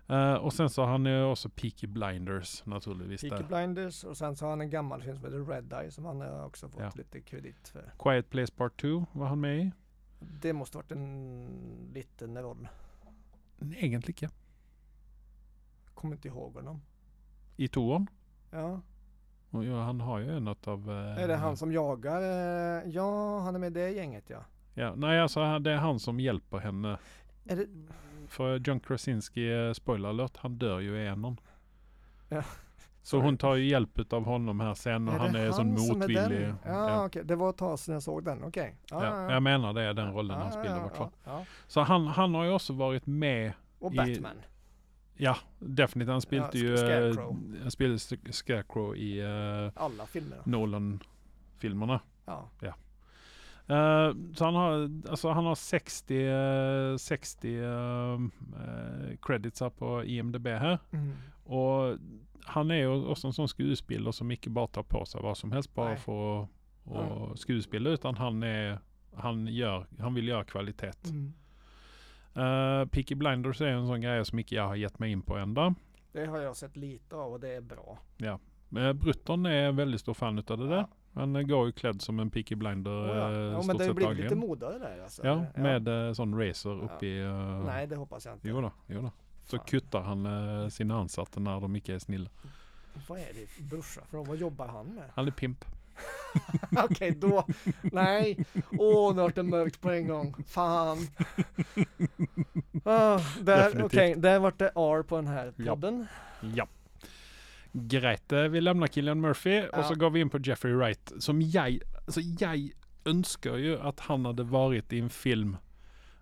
[SPEAKER 1] Eh, och sen så har han ju också Peaky Blinders naturligtvis.
[SPEAKER 2] Peaky
[SPEAKER 1] där.
[SPEAKER 2] Blinders och sen så har han en gammal film som heter Red Eye som han har också fått
[SPEAKER 1] Ja.
[SPEAKER 2] lite kredit för.
[SPEAKER 1] Quiet Place Part 2 var han med i.
[SPEAKER 2] Det måste varit en liten roll.
[SPEAKER 1] Egentligen inte.
[SPEAKER 2] Kommer inte ihåg honom.
[SPEAKER 1] I toan.
[SPEAKER 2] Ja.
[SPEAKER 1] Och ja, han har ju en av... eh,
[SPEAKER 2] Är det han som jagar? eh, Ja, han är med i det gänget ja.
[SPEAKER 1] Ja, nej, alltså han- det är han som hjälper henne.
[SPEAKER 2] Är det...
[SPEAKER 1] För John Krasinski, eh, spoiler alert, han dör ju i enon.
[SPEAKER 2] Ja.
[SPEAKER 1] Så hon tar ju hjälp av honom här sen och
[SPEAKER 2] det
[SPEAKER 1] han är sån
[SPEAKER 2] som är
[SPEAKER 1] motvillig.
[SPEAKER 2] den? Ja,
[SPEAKER 1] Ja.
[SPEAKER 2] okej. Det var ett tag sedan jag såg den. Okej. Ja,
[SPEAKER 1] Ja, jag menar det är den rollen han spelar i vart fall.
[SPEAKER 2] ja, ja.
[SPEAKER 1] Så han, han har ju också varit med,
[SPEAKER 2] Och
[SPEAKER 1] I-
[SPEAKER 2] Batman.
[SPEAKER 1] ja definitivt, han spelade
[SPEAKER 2] Ja,
[SPEAKER 1] ju,
[SPEAKER 2] Sc-
[SPEAKER 1] eh,
[SPEAKER 2] Scarecrow.
[SPEAKER 1] han spelade Sc- Scarecrow i eh,
[SPEAKER 2] Alla filmer.
[SPEAKER 1] Nolan-filmerna.
[SPEAKER 2] Ja.
[SPEAKER 1] Eh, så han har, alltså han har 60, eh, 60 eh, eh, credits här på IMDB här.
[SPEAKER 2] Mm.
[SPEAKER 1] Och han är ju också en sån skuespelare som inte bara tar på sig vad som helst bara
[SPEAKER 2] Nej.
[SPEAKER 1] för att
[SPEAKER 2] Ja.
[SPEAKER 1] och skuespela utan han, är, han, gör, han vill göra kvalitet.
[SPEAKER 2] Mm.
[SPEAKER 1] Uh, Peaky Blinders är en sån grej som inte jag har gett mig in på ända.
[SPEAKER 2] Det har jag sett lite av och det är bra.
[SPEAKER 1] Uh, Brutton är en väldigt stor fan utav det där.
[SPEAKER 2] Ja.
[SPEAKER 1] Han eh, går ju klädd som en Peaky Blinder
[SPEAKER 2] Oh,
[SPEAKER 1] oh,
[SPEAKER 2] ja. ja, men
[SPEAKER 1] stort
[SPEAKER 2] det har
[SPEAKER 1] sett
[SPEAKER 2] blivit lite
[SPEAKER 1] dagligen.
[SPEAKER 2] modare där alltså.
[SPEAKER 1] Ja, med eh, sån racer
[SPEAKER 2] Ja.
[SPEAKER 1] uppe i... eh,
[SPEAKER 2] Nej, det hoppas jag inte.
[SPEAKER 1] Jo då, jo då. Så
[SPEAKER 2] Fan.
[SPEAKER 1] kuttar han eh, sina ansatta när de inte är snälla.
[SPEAKER 2] Vad är det för brorsa för dem? Vad jobbar han med?
[SPEAKER 1] Han är pimp.
[SPEAKER 2] Okej, då. Nej. Åh, nu vart det mörkt på en gång. Fan. Ah, där,
[SPEAKER 1] Definitivt.
[SPEAKER 2] okay, där vart det R på den här
[SPEAKER 1] Ja.
[SPEAKER 2] podden.
[SPEAKER 1] Ja. Grete, vi lämnar Killian Murphy och så
[SPEAKER 2] Ja.
[SPEAKER 1] går vi in på Jeffrey Wright som jag, alltså jag önskar ju att han hade varit i en film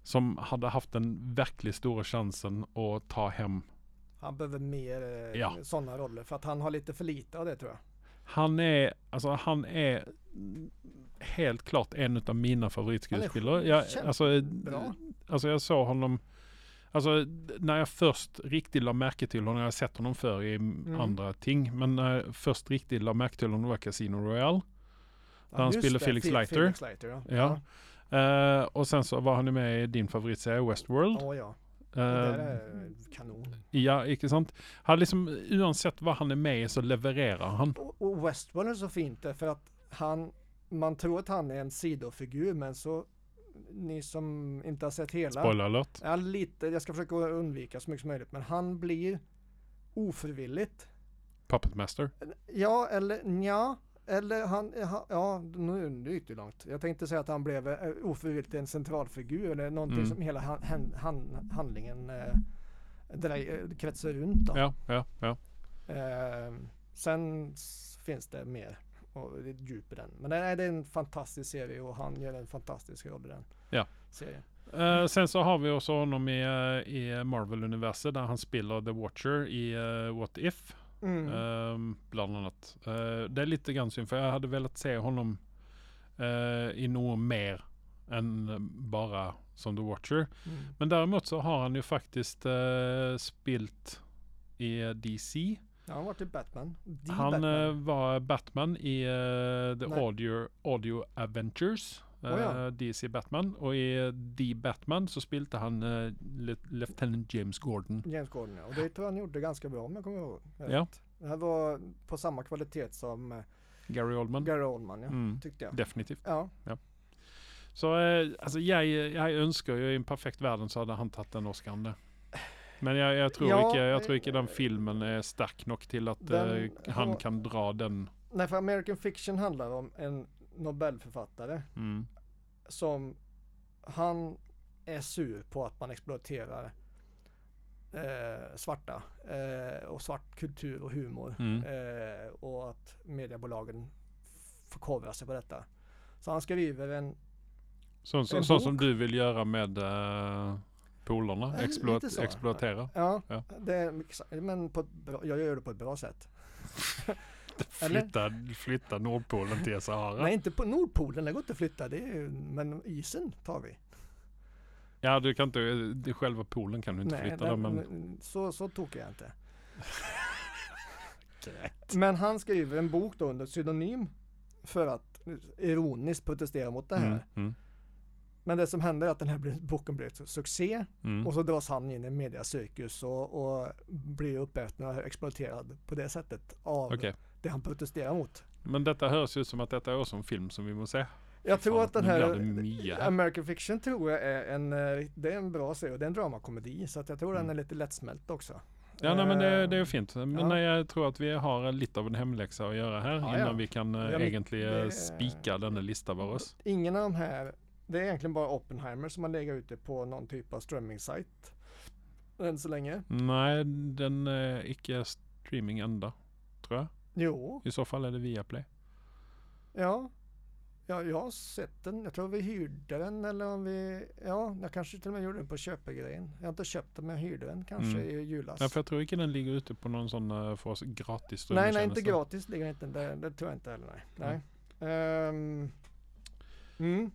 [SPEAKER 1] som hade haft den verkligt stora chansen att ta hem.
[SPEAKER 2] Han behöver mer eh,
[SPEAKER 1] Ja.
[SPEAKER 2] sådana roller för att han har lite för lite av det tror jag.
[SPEAKER 1] Han är, alltså han är mm, helt klart en av mina favoritskuespelare. Jag,
[SPEAKER 2] kämpe-
[SPEAKER 1] alltså,
[SPEAKER 2] Bra.
[SPEAKER 1] Alltså jag såg honom, alltså d- när jag först riktigt la märke till honom, jag har sett honom förr i m-
[SPEAKER 2] Mm.
[SPEAKER 1] andra ting, men när jag först riktigt la märke till honom var Casino Royale.
[SPEAKER 2] Ja,
[SPEAKER 1] han
[SPEAKER 2] just
[SPEAKER 1] spelar
[SPEAKER 2] det,
[SPEAKER 1] Felix
[SPEAKER 2] Fe-
[SPEAKER 1] Leiter.
[SPEAKER 2] Felix Leiter ja.
[SPEAKER 1] Ja. Eh, och sen så var han ju med i din favoritserie Westworld.
[SPEAKER 2] Åh ja.
[SPEAKER 1] Eh,
[SPEAKER 2] Det där är kanon.
[SPEAKER 1] ja, icke sant? Han liksom, oavsett vad han är med i så levererar han.
[SPEAKER 2] Och, och Westworld är så fint där för att han, man tror att han är en sidofigur men så ni som inte har sett hela
[SPEAKER 1] Spoiler alert.
[SPEAKER 2] Ja, lite. Jag ska försöka undvika så mycket som möjligt. Men han blir ofrivilligt.
[SPEAKER 1] Puppet Master.
[SPEAKER 2] Ja, eller nja. Eller han, ha- ja, nu, nu gick det långt. Jag tänkte säga att han blev eh, ofrivilligt en centralfigur. Eller någonting
[SPEAKER 1] Mm.
[SPEAKER 2] som hela han, han, han, handlingen eh, drej- eh, kretsar runt. Då.
[SPEAKER 1] Ja, ja, ja.
[SPEAKER 2] Eh, sen s- finns det mer och det är ett djup i den. Men nej, det är en fantastisk serie och han gör en fantastisk roll i den
[SPEAKER 1] Ja.
[SPEAKER 2] serien.
[SPEAKER 1] Eh, sen så har vi också honom i, eh, i Marvel-universet där han spelar The Watcher i eh, What If.
[SPEAKER 2] Mm.
[SPEAKER 1] Ehm, bland annat. Eh, det är lite grann synd för jag hade velat se honom eh, i något mer än eh, bara som The Watcher.
[SPEAKER 2] Mm.
[SPEAKER 1] Men däremot så har han ju faktiskt uh, spilt i eh, DC.
[SPEAKER 2] Ja, han var till Batman. The
[SPEAKER 1] han
[SPEAKER 2] Batman.
[SPEAKER 1] eh, var Batman i eh, The
[SPEAKER 2] Nej.
[SPEAKER 1] Audio, Audio Adventures. eh,
[SPEAKER 2] Oh ja.
[SPEAKER 1] DC Batman och i eh, The Batman så spelade han uh, Lieutenant James Gordon.
[SPEAKER 2] James Gordon ja. Och det tror jag han gjorde ganska bra om jag kommer ihåg rätt.
[SPEAKER 1] Ja.
[SPEAKER 2] Det här var på samma kvalitet som eh,
[SPEAKER 1] Gary Oldman.
[SPEAKER 2] Gary Oldman, ja,
[SPEAKER 1] Mm.
[SPEAKER 2] tyckte jag.
[SPEAKER 1] Definitivt.
[SPEAKER 2] Ja,
[SPEAKER 1] Så eh, alltså, jag, jag önskar ju i en perfekt värld så hade han tagit den Oscarn där. Men jag, jag tror
[SPEAKER 2] Ja,
[SPEAKER 1] inte jag tror
[SPEAKER 2] eh,
[SPEAKER 1] inte den filmen är stark nog till att
[SPEAKER 2] den alltså-
[SPEAKER 1] eh, han
[SPEAKER 2] har-
[SPEAKER 1] kan dra den.
[SPEAKER 2] nej för American Fiction handlar om en Nobelförfattare
[SPEAKER 1] Mm.
[SPEAKER 2] som han är sur på att man exploaterar eh, svarta eh, och svart kultur och humor.
[SPEAKER 1] Mm.
[SPEAKER 2] Eh, och att mediebolagen förkovrar sig på detta. Så han skriver en,
[SPEAKER 1] Så, så,
[SPEAKER 2] En
[SPEAKER 1] så
[SPEAKER 2] bok?
[SPEAKER 1] som du vill göra med eh, polarna,
[SPEAKER 2] Ja,
[SPEAKER 1] exploat,
[SPEAKER 2] lite så.
[SPEAKER 1] exploatera.
[SPEAKER 2] ja,
[SPEAKER 1] Ja.
[SPEAKER 2] Det är, exa- men på ett bra, jag gör det på ett bra sätt. Eller?
[SPEAKER 1] Flytta, flytta Nordpolen till Sahara.
[SPEAKER 2] Nej, inte på Nordpolen, det går inte att flytta, det är, ju- men isen tar vi.
[SPEAKER 1] Ja, du kan inte, det, själva poolen kan du inte
[SPEAKER 2] Nej,
[SPEAKER 1] flytta
[SPEAKER 2] den-
[SPEAKER 1] där, men...
[SPEAKER 2] så, så tokig är jag inte. Men han skriver en bok då under pseudonym för att ironiskt protestera mot det här.
[SPEAKER 1] Mm, mm,
[SPEAKER 2] Men det som händer är att den här bli- boken blir ett succé
[SPEAKER 1] mm.
[SPEAKER 2] och så dras han in i mediacirkus och, och blir uppäten och exploaterad på det sättet av
[SPEAKER 1] Okej.
[SPEAKER 2] det han protesterar mot.
[SPEAKER 1] Men detta hörs ju ut som att detta är också en film som vi måste se.
[SPEAKER 2] Jag tror
[SPEAKER 1] Fan,
[SPEAKER 2] att den
[SPEAKER 1] nu
[SPEAKER 2] här
[SPEAKER 1] blir det Mia här.
[SPEAKER 2] American Fiction tror jag är en, eh, det är en bra serie och det är en dramakomedi så att jag tror den är lite lättsmält också.
[SPEAKER 1] Mm. Ja, nej, men det,
[SPEAKER 2] Eh,
[SPEAKER 1] det är fint. Men
[SPEAKER 2] ja.
[SPEAKER 1] nej, jag tror att vi har lite av en hemläxa att göra här
[SPEAKER 2] Ja, ja.
[SPEAKER 1] innan vi kan eh,
[SPEAKER 2] Ja, men
[SPEAKER 1] egentligen
[SPEAKER 2] det-
[SPEAKER 1] spika denna lista var oss.
[SPEAKER 2] Ingen av de här, det är egentligen bara Oppenheimer som har legat ute på någon typ av strömmingsajt än så länge.
[SPEAKER 1] Nej, den är icke streaming ända, tror jag.
[SPEAKER 2] Jo,
[SPEAKER 1] I så fall är det Viaplay.
[SPEAKER 2] ja. ja. Jag har sett den, jag tror vi hyrde den eller om vi, ja, jag kanske till och med gjorde den på köpegrejen. Jag har inte köpt den men jag hyrde den kanske
[SPEAKER 1] Mm.
[SPEAKER 2] i julas.
[SPEAKER 1] Nej, för jag tror inte den ligger ute på någon sån eh, för oss gratis
[SPEAKER 2] nej, nej, inte
[SPEAKER 1] strömningstjänst.
[SPEAKER 2] gratis ligger den inte, det, det tror jag inte heller nej. nej.
[SPEAKER 1] Nej.
[SPEAKER 2] Ehm, mm.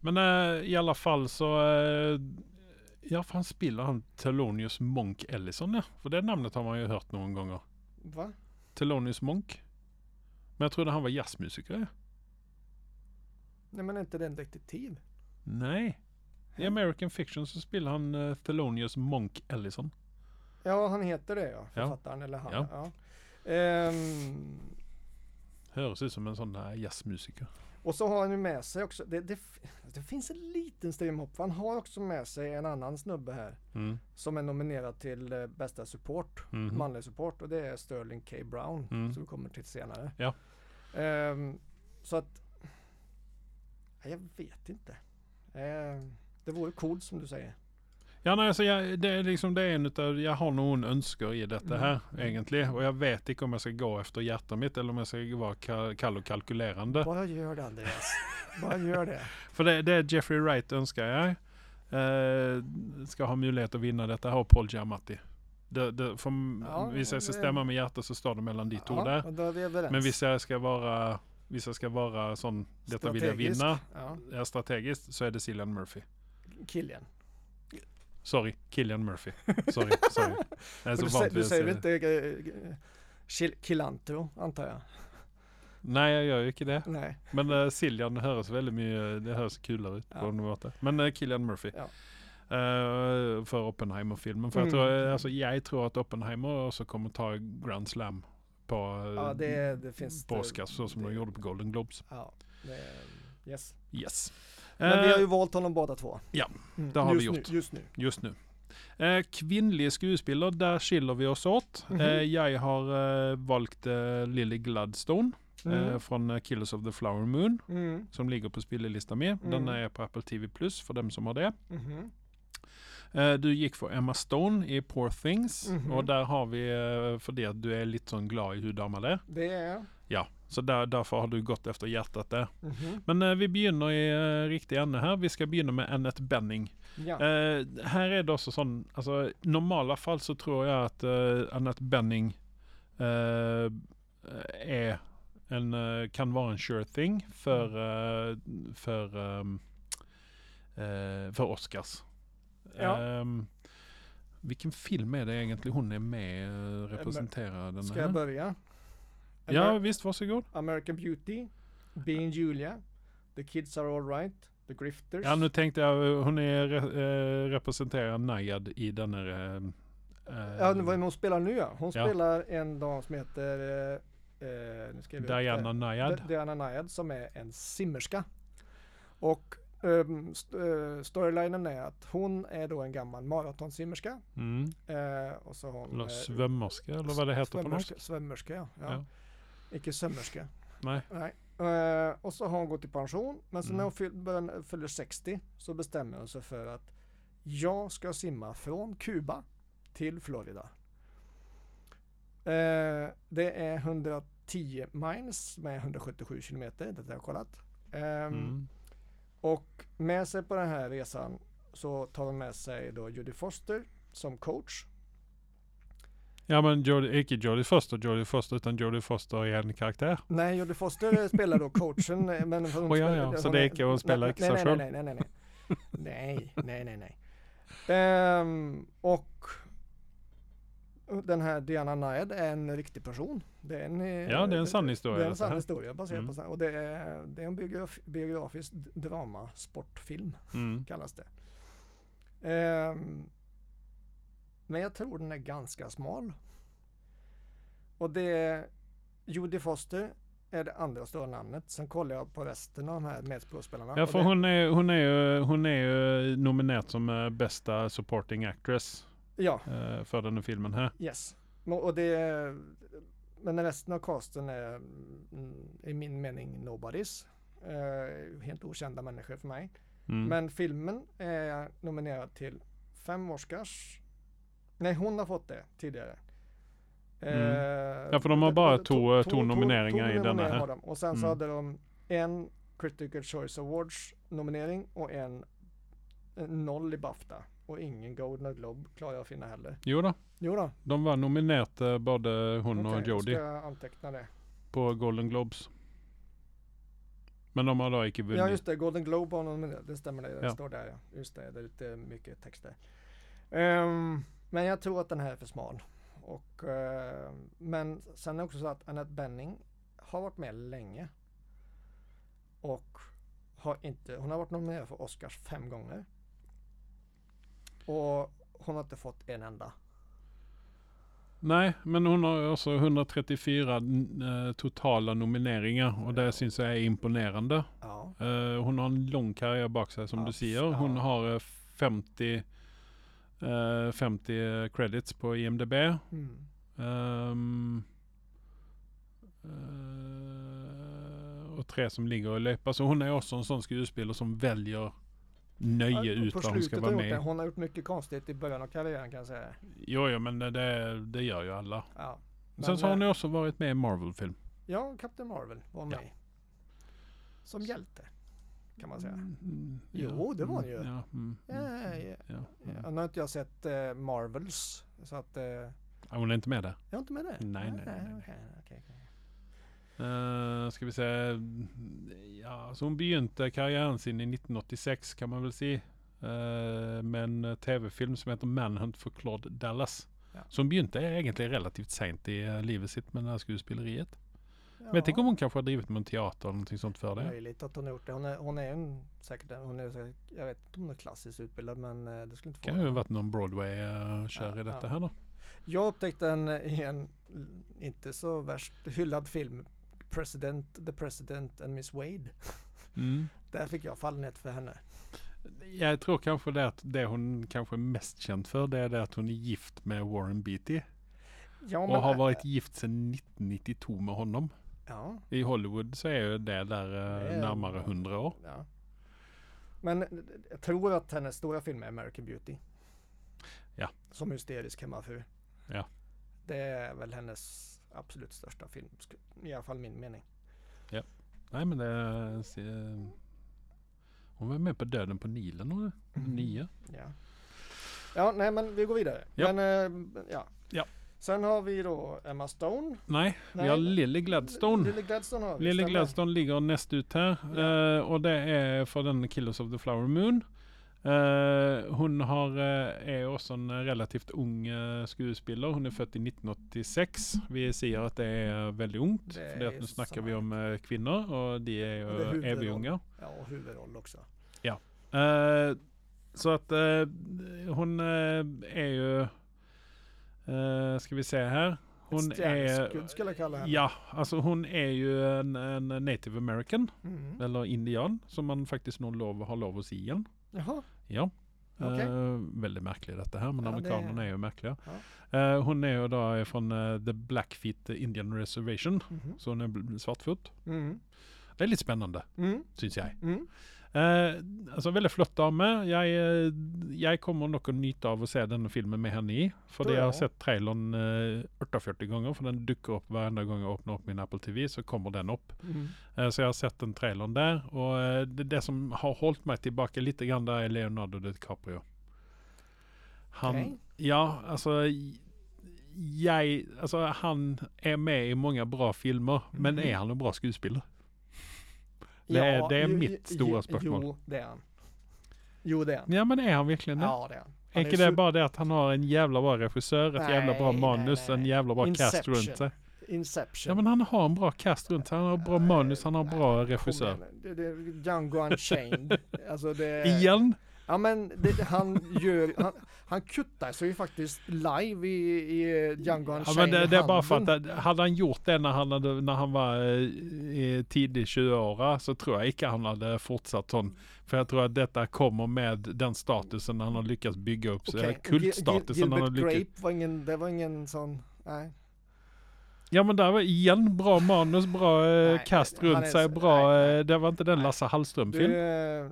[SPEAKER 1] Men eh, i alla fall så... eh, ja, fan spelar han Thelonious Monk Ellison, ja. För det namnet har man ju hört någon gånger.
[SPEAKER 2] Va?
[SPEAKER 1] Thelonious Monk. Men jag trodde han var jazzmusiker, ja.
[SPEAKER 2] Nej men är inte den detektiv?
[SPEAKER 1] Nej. I American Fiction så spelar han eh, Thelonious Monk Ellison.
[SPEAKER 2] Ja, han heter det ja, författaren eller han. Ja.
[SPEAKER 1] Ja.
[SPEAKER 2] Ehm,
[SPEAKER 1] Hörs ut som en sån där jazzmusiker.
[SPEAKER 2] och så har han ju med sig också, det, det, det finns en liten strimhopp, för han har också med sig en annan snubbe här
[SPEAKER 1] Mm.
[SPEAKER 2] som är nominerad till eh, bästa support,
[SPEAKER 1] Mhm.
[SPEAKER 2] manlig support och det är Sterling K. Brown
[SPEAKER 1] Mm.
[SPEAKER 2] som vi kommer till senare.
[SPEAKER 1] Ja.
[SPEAKER 2] Ehm, så att, nej, jag vet inte. Ehm, det vore coolt som du säger.
[SPEAKER 1] Ja, nej, så jag, det är liksom det är en utav, jag har någon önskar i detta
[SPEAKER 2] Mm.
[SPEAKER 1] här egentligen. Och jag vet inte om jag ska gå efter hjärtat mitt eller om jag ska vara ka- kall och kalkylerande.
[SPEAKER 2] Bara gör det Andreas, bara gör det.
[SPEAKER 1] För det, det är Jeffrey Wright önskar jag. Eh, ska ha möjlighet att vinna detta har Paul Giamatti. Det, det, för,
[SPEAKER 2] Ja,
[SPEAKER 1] vissa ska
[SPEAKER 2] det-
[SPEAKER 1] stämma med hjärtat så står det mellan ditt ord där.
[SPEAKER 2] och då är vi överens.
[SPEAKER 1] Men vissa ska vara, vissa ska vara sån, detta vill jag
[SPEAKER 2] Strategisk.
[SPEAKER 1] vinna.
[SPEAKER 2] Ja.
[SPEAKER 1] Ja, strategiskt så är det Cillian Murphy.
[SPEAKER 2] Killen.
[SPEAKER 1] Sorry, Killian Murphy. Sorry, sorry. Jag är
[SPEAKER 2] Och
[SPEAKER 1] så
[SPEAKER 2] du,
[SPEAKER 1] vant
[SPEAKER 2] sä-
[SPEAKER 1] vid
[SPEAKER 2] du
[SPEAKER 1] att
[SPEAKER 2] säger
[SPEAKER 1] säga
[SPEAKER 2] väl
[SPEAKER 1] det.
[SPEAKER 2] inte eh, Kil- Kilantro antar jag?
[SPEAKER 1] Nej, jag gör ju inte det.
[SPEAKER 2] Nej.
[SPEAKER 1] Men uh, Cillian hörs väldigt mycket, det hörs kulare ut
[SPEAKER 2] Ja.
[SPEAKER 1] på något sätt. Men eh, Cillian Murphy.
[SPEAKER 2] Ja.
[SPEAKER 1] Eh, för Oppenheimer-filmen. För
[SPEAKER 2] Mm.
[SPEAKER 1] jag, tror, alltså, jag tror att Oppenheimer också kommer ta Grand Slam på, eh,
[SPEAKER 2] Ja, det, det finns...
[SPEAKER 1] på Oscars, så som
[SPEAKER 2] det-
[SPEAKER 1] de gjorde på Golden Globes.
[SPEAKER 2] Ja, det, yes.
[SPEAKER 1] Yes.
[SPEAKER 2] Men vi har
[SPEAKER 1] Eh,
[SPEAKER 2] ju valt honom båda två.
[SPEAKER 1] ja,
[SPEAKER 2] Mm,
[SPEAKER 1] det har vi
[SPEAKER 2] just
[SPEAKER 1] gjort.
[SPEAKER 2] Nu, just nu.
[SPEAKER 1] just nu. Eh, kvinnlig skuespiller, där skiljer vi oss åt.
[SPEAKER 2] Mhm.
[SPEAKER 1] Eh, jag har eh, valt eh, Lily Gladstone eh,
[SPEAKER 2] Mm.
[SPEAKER 1] från eh, Killers of the Flower Moon
[SPEAKER 2] Mm.
[SPEAKER 1] som ligger på spelelista med. Den
[SPEAKER 2] Mm.
[SPEAKER 1] är på Apple TV Plus för dem som har det.
[SPEAKER 2] mhm.
[SPEAKER 1] Eh, du gick för Emma Stone i Poor Things
[SPEAKER 2] Mhm.
[SPEAKER 1] och där har vi, eh, för det att du är lite sån glad i hur damer är.
[SPEAKER 2] Det är jag.
[SPEAKER 1] Ja, så där, därför har du gått efter hjärtat där.
[SPEAKER 2] Mhm.
[SPEAKER 1] Men eh, vi begynner i eh, riktig ände här. Vi ska begynna med Annette Benning.
[SPEAKER 2] Ja.
[SPEAKER 1] Eh, här är det också sån, alltså i normala fall så tror jag att eh, Annette Benning eh, är en, eh, kan vara en sure thing för,
[SPEAKER 2] Mm.
[SPEAKER 1] eh, för, ehm, eh, för Oscars.
[SPEAKER 2] Ja.
[SPEAKER 1] Ehm, vilken film är det egentligen hon är med eh, representerar den
[SPEAKER 2] Ska jag
[SPEAKER 1] här?
[SPEAKER 2] börja?
[SPEAKER 1] Ja
[SPEAKER 2] Amer-
[SPEAKER 1] visst, varsågod.
[SPEAKER 2] American Beauty, Being Julia, The Kids Are Alright, The Grifters.
[SPEAKER 1] Ja nu tänkte jag, eh, hon är, re, eh, representerar Nayad i den här eh, Eh,
[SPEAKER 2] Ja, vad är det hon spelar nu ja. Hon
[SPEAKER 1] Ja.
[SPEAKER 2] spelar en dam som heter eh, eh, nu ska jag leta.
[SPEAKER 1] Diana Nyad.
[SPEAKER 2] D- Diana Nyad som är en simmerska. Och ehm, st- eh, storylinen är att hon är då en gammal maratonsimmerska.
[SPEAKER 1] Mm.
[SPEAKER 2] Eh, och så har hon...
[SPEAKER 1] Eller
[SPEAKER 2] eh,
[SPEAKER 1] svömmerska eller vad det heter på norska.
[SPEAKER 2] Svämmerska, svämmerska ja. ja.
[SPEAKER 1] Ja.
[SPEAKER 2] Icke sömmerska.
[SPEAKER 1] Nej.
[SPEAKER 2] Nej. Eh, och så har hon gått i pension. Men så
[SPEAKER 1] Mm.
[SPEAKER 2] när hon fyll, börjar, fyller 60 så bestämmer hon sig för att jag ska simma från Kuba till Florida. Eh, det är 110 miles med 177 kilometer. Det har jag kollat. Ehm,
[SPEAKER 1] Mm.
[SPEAKER 2] och med sig på den här resan så tar hon med sig då Judy Foster som coach.
[SPEAKER 1] Ja men Jodie, icke Jodie Foster, Jodie Foster utan Jodie Foster är en karaktär.
[SPEAKER 2] Nej, Jodie Foster eh, spelar då coachen. eh, Men hon
[SPEAKER 1] Åh, ja,
[SPEAKER 2] spelar-
[SPEAKER 1] ja, så
[SPEAKER 2] hon
[SPEAKER 1] det
[SPEAKER 2] är-
[SPEAKER 1] är icke- hon spelar
[SPEAKER 2] nej,
[SPEAKER 1] icke sig
[SPEAKER 2] nej,
[SPEAKER 1] själv.
[SPEAKER 2] nej, nej, nej, nej, nej, nej, nej, nej. Ehm, och den här Diana Naed är en riktig person. Det är en, eh,
[SPEAKER 1] Ja det är en sann
[SPEAKER 2] Det
[SPEAKER 1] historia.
[SPEAKER 2] är en
[SPEAKER 1] så här.
[SPEAKER 2] sann historia baserad
[SPEAKER 1] Mm.
[SPEAKER 2] på sann. Och det är, det är en biograf, biografisk d- drama, sportfilm
[SPEAKER 1] Mm.
[SPEAKER 2] kallas det. Ehm, men jag tror den är ganska smal. Och det är Jodie Foster är det andra stora namnet. Sen kollar jag på resten av de här medskådespelarna.
[SPEAKER 1] Ja
[SPEAKER 2] och
[SPEAKER 1] för
[SPEAKER 2] det-
[SPEAKER 1] hon är, hon, är ju, hon är ju nominerad som eh, bästa supporting actress
[SPEAKER 2] Ja,
[SPEAKER 1] eh, för den här filmen här.
[SPEAKER 2] yes. Nå- Och det är, men resten av casten är mm, i min mening nobodies. Eh, helt okända människor för mig.
[SPEAKER 1] Mm.
[SPEAKER 2] Men filmen är nominerad till fem Oscars. Nej, hon har fått det tidigare.
[SPEAKER 1] Mm.
[SPEAKER 2] Eh,
[SPEAKER 1] Ja, för de har
[SPEAKER 2] d-
[SPEAKER 1] bara
[SPEAKER 2] d-
[SPEAKER 1] två- eh, två nomineringar i denna
[SPEAKER 2] nomineringar
[SPEAKER 1] här.
[SPEAKER 2] har de. Och sen så
[SPEAKER 1] Mm.
[SPEAKER 2] hade de en Critical Choice Awards nominering och en eh, noll i Bafta. Och ingen Golden Globe klarar jag att finna heller.
[SPEAKER 1] Jo då,
[SPEAKER 2] Jo då,
[SPEAKER 1] de var nominerade eh, både hon
[SPEAKER 2] okej,
[SPEAKER 1] och
[SPEAKER 2] då ska
[SPEAKER 1] Jodie
[SPEAKER 2] jag anteckna det.
[SPEAKER 1] på Golden Globes. Men de har då icke vunnit.
[SPEAKER 2] Ja just det, Golden Globe har någon minut. Det stämmer, det, det
[SPEAKER 1] Ja.
[SPEAKER 2] står där ja. Just det, det är lite mycket text där. Ehm, men jag tror att den här är för smal. Och, ehm, men sen är det också så att Annette Bening har varit med länge. Och har inte, hon har varit nominerad för Oscars fem gånger. Och hon har inte fått en enda.
[SPEAKER 1] Nej, men hon har också 134 n- eh, totala nomineringar och det syns jag är imponerande.
[SPEAKER 2] Ja,
[SPEAKER 1] Eh, hon har en lång karriär bak sig som
[SPEAKER 2] Ja,
[SPEAKER 1] du
[SPEAKER 2] f-
[SPEAKER 1] säger. Hon
[SPEAKER 2] ja.
[SPEAKER 1] har eh, 50, eh, 50 credits på IMDB.
[SPEAKER 2] mm.
[SPEAKER 1] Ehm, eh, och tre som ligger i löpa. Så hon är också en sån skuespelare som väljer
[SPEAKER 2] Ja,
[SPEAKER 1] nöje
[SPEAKER 2] på
[SPEAKER 1] ut vad hon ska
[SPEAKER 2] slutet har
[SPEAKER 1] vara
[SPEAKER 2] hon gjort
[SPEAKER 1] med
[SPEAKER 2] det.
[SPEAKER 1] i.
[SPEAKER 2] Hon har gjort mycket konstigt i början av karriären kan jag säga.
[SPEAKER 1] Jo, jo, men det, det gör ju alla.
[SPEAKER 2] Ja,
[SPEAKER 1] Sen
[SPEAKER 2] Men,
[SPEAKER 1] så har
[SPEAKER 2] eh,
[SPEAKER 1] hon ju också varit med i Marvel-film.
[SPEAKER 2] Ja, Captain Marvel var
[SPEAKER 1] Ja.
[SPEAKER 2] med. Som hjälte, kan man säga.
[SPEAKER 1] Mm,
[SPEAKER 2] Jo, det var
[SPEAKER 1] mm,
[SPEAKER 2] han ju.
[SPEAKER 1] Ja, mm, mm,
[SPEAKER 2] Ja, ja,
[SPEAKER 1] ja,
[SPEAKER 2] ja.
[SPEAKER 1] mm.
[SPEAKER 2] Nu har inte jag sett eh, Marvels, så att... Eh, jag
[SPEAKER 1] Ja, Hon är inte med där.
[SPEAKER 2] är inte med det.
[SPEAKER 1] Nej, nej, nej, nej.
[SPEAKER 2] okej, okej, okej.
[SPEAKER 1] Uh, ska vi säga... mm, Ja, så hon begynte karriären sin i 1986 kan man väl se. eh, med en tv-film som heter Manhunt for Claude Dallas.
[SPEAKER 2] Ja.
[SPEAKER 1] Så hon begynte egentligen relativt sent i eh, livet sitt med det här skuespilleriet. Men
[SPEAKER 2] Ja,
[SPEAKER 1] jag tänker om hon kanske har drivit med en teater eller någonting sånt för det.
[SPEAKER 2] Möjligt att hon har gjort det. Hon är, hon är en, säkert, hon är, säkert- jag vet inte om hon är klassiskt utbildad, men eh, det skulle inte
[SPEAKER 1] Kan ju ha
[SPEAKER 2] vara.
[SPEAKER 1] varit någon Broadway-kär
[SPEAKER 2] Ja,
[SPEAKER 1] i detta
[SPEAKER 2] ja.
[SPEAKER 1] här då.
[SPEAKER 2] Jag upptäckte en, i en l- inte så värst hyllad film, President, The President and Miss Wade.
[SPEAKER 1] Mm.
[SPEAKER 2] Där fick jag fallenhet för henne.
[SPEAKER 1] Jag tror kanske det att det hon kanske är mest känd för det är det att hon är gift med Warren Beatty.
[SPEAKER 2] Ja,
[SPEAKER 1] Och har varit gift sedan 1992 med honom.
[SPEAKER 2] Ja,
[SPEAKER 1] I Hollywood så är ju det där
[SPEAKER 2] Det
[SPEAKER 1] eh,
[SPEAKER 2] är-
[SPEAKER 1] närmare 100 år.
[SPEAKER 2] Ja. Men eh, jag tror att hennes stora film är American Beauty.
[SPEAKER 1] Ja.
[SPEAKER 2] Som hysterisk hemmafru.
[SPEAKER 1] Ja.
[SPEAKER 2] Det är väl hennes absolut största film, sk- i alla fall min mening.
[SPEAKER 1] Nej men det är... se- Hon var med på Döden på Nilen och
[SPEAKER 2] Mhm.
[SPEAKER 1] nio.
[SPEAKER 2] Ja. ja, nej men vi går vidare.
[SPEAKER 1] Ja.
[SPEAKER 2] Men, eh, ja.
[SPEAKER 1] Ja.
[SPEAKER 2] Sen har vi då Emma Stone.
[SPEAKER 1] Nej, vi
[SPEAKER 2] Nej,
[SPEAKER 1] har Lily Gladstone.
[SPEAKER 2] Lily Gladstone har vi.
[SPEAKER 1] Lily
[SPEAKER 2] stämmer.
[SPEAKER 1] Gladstone ligger näst ut här. eh, och det är för den Killers of the Flower Moon. Eh, hon har, eh, är också en relativt ung eh, skuespelare.
[SPEAKER 2] Mm.
[SPEAKER 1] Hon är född i 1986. Vi ser att det är väldigt ungt.
[SPEAKER 2] Det
[SPEAKER 1] för det
[SPEAKER 2] är
[SPEAKER 1] att nu
[SPEAKER 2] ju
[SPEAKER 1] snackar
[SPEAKER 2] samma
[SPEAKER 1] vi om eh, kvinnor och de är
[SPEAKER 2] Och
[SPEAKER 1] ju
[SPEAKER 2] det är huvudroll.
[SPEAKER 1] evig
[SPEAKER 2] Ja, och huvudroll också.
[SPEAKER 1] Eh, så att eh, hon eh, är ju Eh, ska vi se här. Hon är...
[SPEAKER 2] stjärnskudd skulle jag kalla henne.
[SPEAKER 1] Ja, alltså hon är ju en, en native american.
[SPEAKER 2] Mm.
[SPEAKER 1] Eller indian. Som man faktiskt nog lov, har lov att se en.
[SPEAKER 2] Jaha.
[SPEAKER 1] Ja.
[SPEAKER 2] Okej.
[SPEAKER 1] Eh, väldigt märklig detta här, men
[SPEAKER 2] Ja, det-
[SPEAKER 1] amerikanerna är ju märkliga. Eh, hon är ju då från eh, The Blackfeet Indian Reservation,
[SPEAKER 2] Mhm.
[SPEAKER 1] så hon är bl- svartfot.
[SPEAKER 2] Mm.
[SPEAKER 1] Det är lite spännande,
[SPEAKER 2] Mm.
[SPEAKER 1] syns jeg.
[SPEAKER 2] Mm.
[SPEAKER 1] Eh, altså, veldig flott dame. Jeg, eh, jeg kommer nok å nyte av å se denne filmen med henne i, fordi
[SPEAKER 2] Ja.
[SPEAKER 1] jeg har sett traileren eh, 48 ganger, for den dukker opp hver enda gang jeg åpner opp min Apple TV, så kommer den opp.
[SPEAKER 2] Mm.
[SPEAKER 1] Eh, så jeg har sett den traileren der, og eh, det, det som har holdt meg tilbake litt, grann, det er Leonardo DiCaprio. Han,
[SPEAKER 2] Okej.
[SPEAKER 1] Ja, alltså j- jag, alltså han är med i många bra filmer, men
[SPEAKER 2] Mhm.
[SPEAKER 1] är han en bra skådespelare? Det är- det är
[SPEAKER 2] ju-
[SPEAKER 1] mitt
[SPEAKER 2] ju-
[SPEAKER 1] stora
[SPEAKER 2] ju-
[SPEAKER 1] spörsmål.
[SPEAKER 2] Jo, det är han. Jo, det är han.
[SPEAKER 1] Ja, men är han verkligen det?
[SPEAKER 2] Ja, det är han.
[SPEAKER 1] är
[SPEAKER 2] han
[SPEAKER 1] inte
[SPEAKER 2] su-
[SPEAKER 1] det bara det att han har en jävla bra regissör, ett jävla bra
[SPEAKER 2] Nej,
[SPEAKER 1] manus,
[SPEAKER 2] nej, nej,
[SPEAKER 1] en
[SPEAKER 2] nej.
[SPEAKER 1] jävla bra cast
[SPEAKER 2] Inception.
[SPEAKER 1] runt sig?
[SPEAKER 2] Inception. Eh,
[SPEAKER 1] Ja, men han har en bra cast runt sig, han har bra manus, han har
[SPEAKER 2] Nej,
[SPEAKER 1] bra
[SPEAKER 2] men kom
[SPEAKER 1] regissör.
[SPEAKER 2] igen. Det, det är Django Unchained. alltså det,
[SPEAKER 1] Igen?
[SPEAKER 2] Ja men det, han gör, han, han kuttar sig ju faktiskt live i, i eh, Django Unchained.
[SPEAKER 1] Ja, men det,
[SPEAKER 2] i
[SPEAKER 1] det är bara för
[SPEAKER 2] handen.
[SPEAKER 1] att eh, hade han gjort det när han, hade, när han var eh, i tidig 20-åra så tror jag inte han hade fortsatt sån. För jag tror att detta kommer med den statusen han har lyckats bygga upp, okay.
[SPEAKER 2] Okej, och Gil- Gil-
[SPEAKER 1] kultstatusen han har
[SPEAKER 2] Gilbert
[SPEAKER 1] lyckats.
[SPEAKER 2] Grape var ingen, det var ingen sån, nej.
[SPEAKER 1] Ja men där var igen bra manus, bra eh,
[SPEAKER 2] Nej,
[SPEAKER 1] kast
[SPEAKER 2] han
[SPEAKER 1] runt
[SPEAKER 2] är-
[SPEAKER 1] sig, bra,
[SPEAKER 2] nej, nej.
[SPEAKER 1] eh, det var inte den
[SPEAKER 2] Nej.
[SPEAKER 1] Lasse
[SPEAKER 2] Du,
[SPEAKER 1] Hallström-film.
[SPEAKER 2] eh,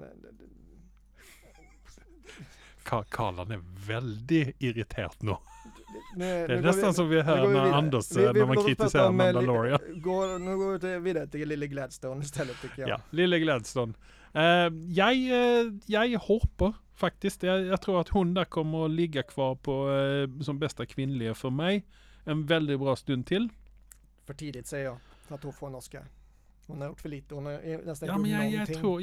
[SPEAKER 1] Ka- Karl han är väldigt irriterad nu.
[SPEAKER 2] nu,
[SPEAKER 1] Det är
[SPEAKER 2] nu går vi-
[SPEAKER 1] nästan som vi
[SPEAKER 2] nu går
[SPEAKER 1] hör
[SPEAKER 2] vi
[SPEAKER 1] när
[SPEAKER 2] vidare.
[SPEAKER 1] Anders,
[SPEAKER 2] Vi-
[SPEAKER 1] eh,
[SPEAKER 2] vi
[SPEAKER 1] när man
[SPEAKER 2] låter oss prata
[SPEAKER 1] kritiserar
[SPEAKER 2] om, eh, li-
[SPEAKER 1] Mandalorian.
[SPEAKER 2] Går, nu går vi vidare till Lille Gladstone istället tycker jag.
[SPEAKER 1] Ja, lille Gladstone. Eh, jag, eh, jag hoppar faktiskt. Jag, jag tror att hon där kommer att ligga kvar på, eh, som bästa kvinnliga för mig en väldigt bra stund till.
[SPEAKER 2] För tidigt säger jag, för att hon får en Oscar. Hon har gjort för lite, hon har eh, nästan
[SPEAKER 1] Ja,
[SPEAKER 2] inte
[SPEAKER 1] men
[SPEAKER 2] gjort
[SPEAKER 1] jag, jag,
[SPEAKER 2] någonting.
[SPEAKER 1] tror,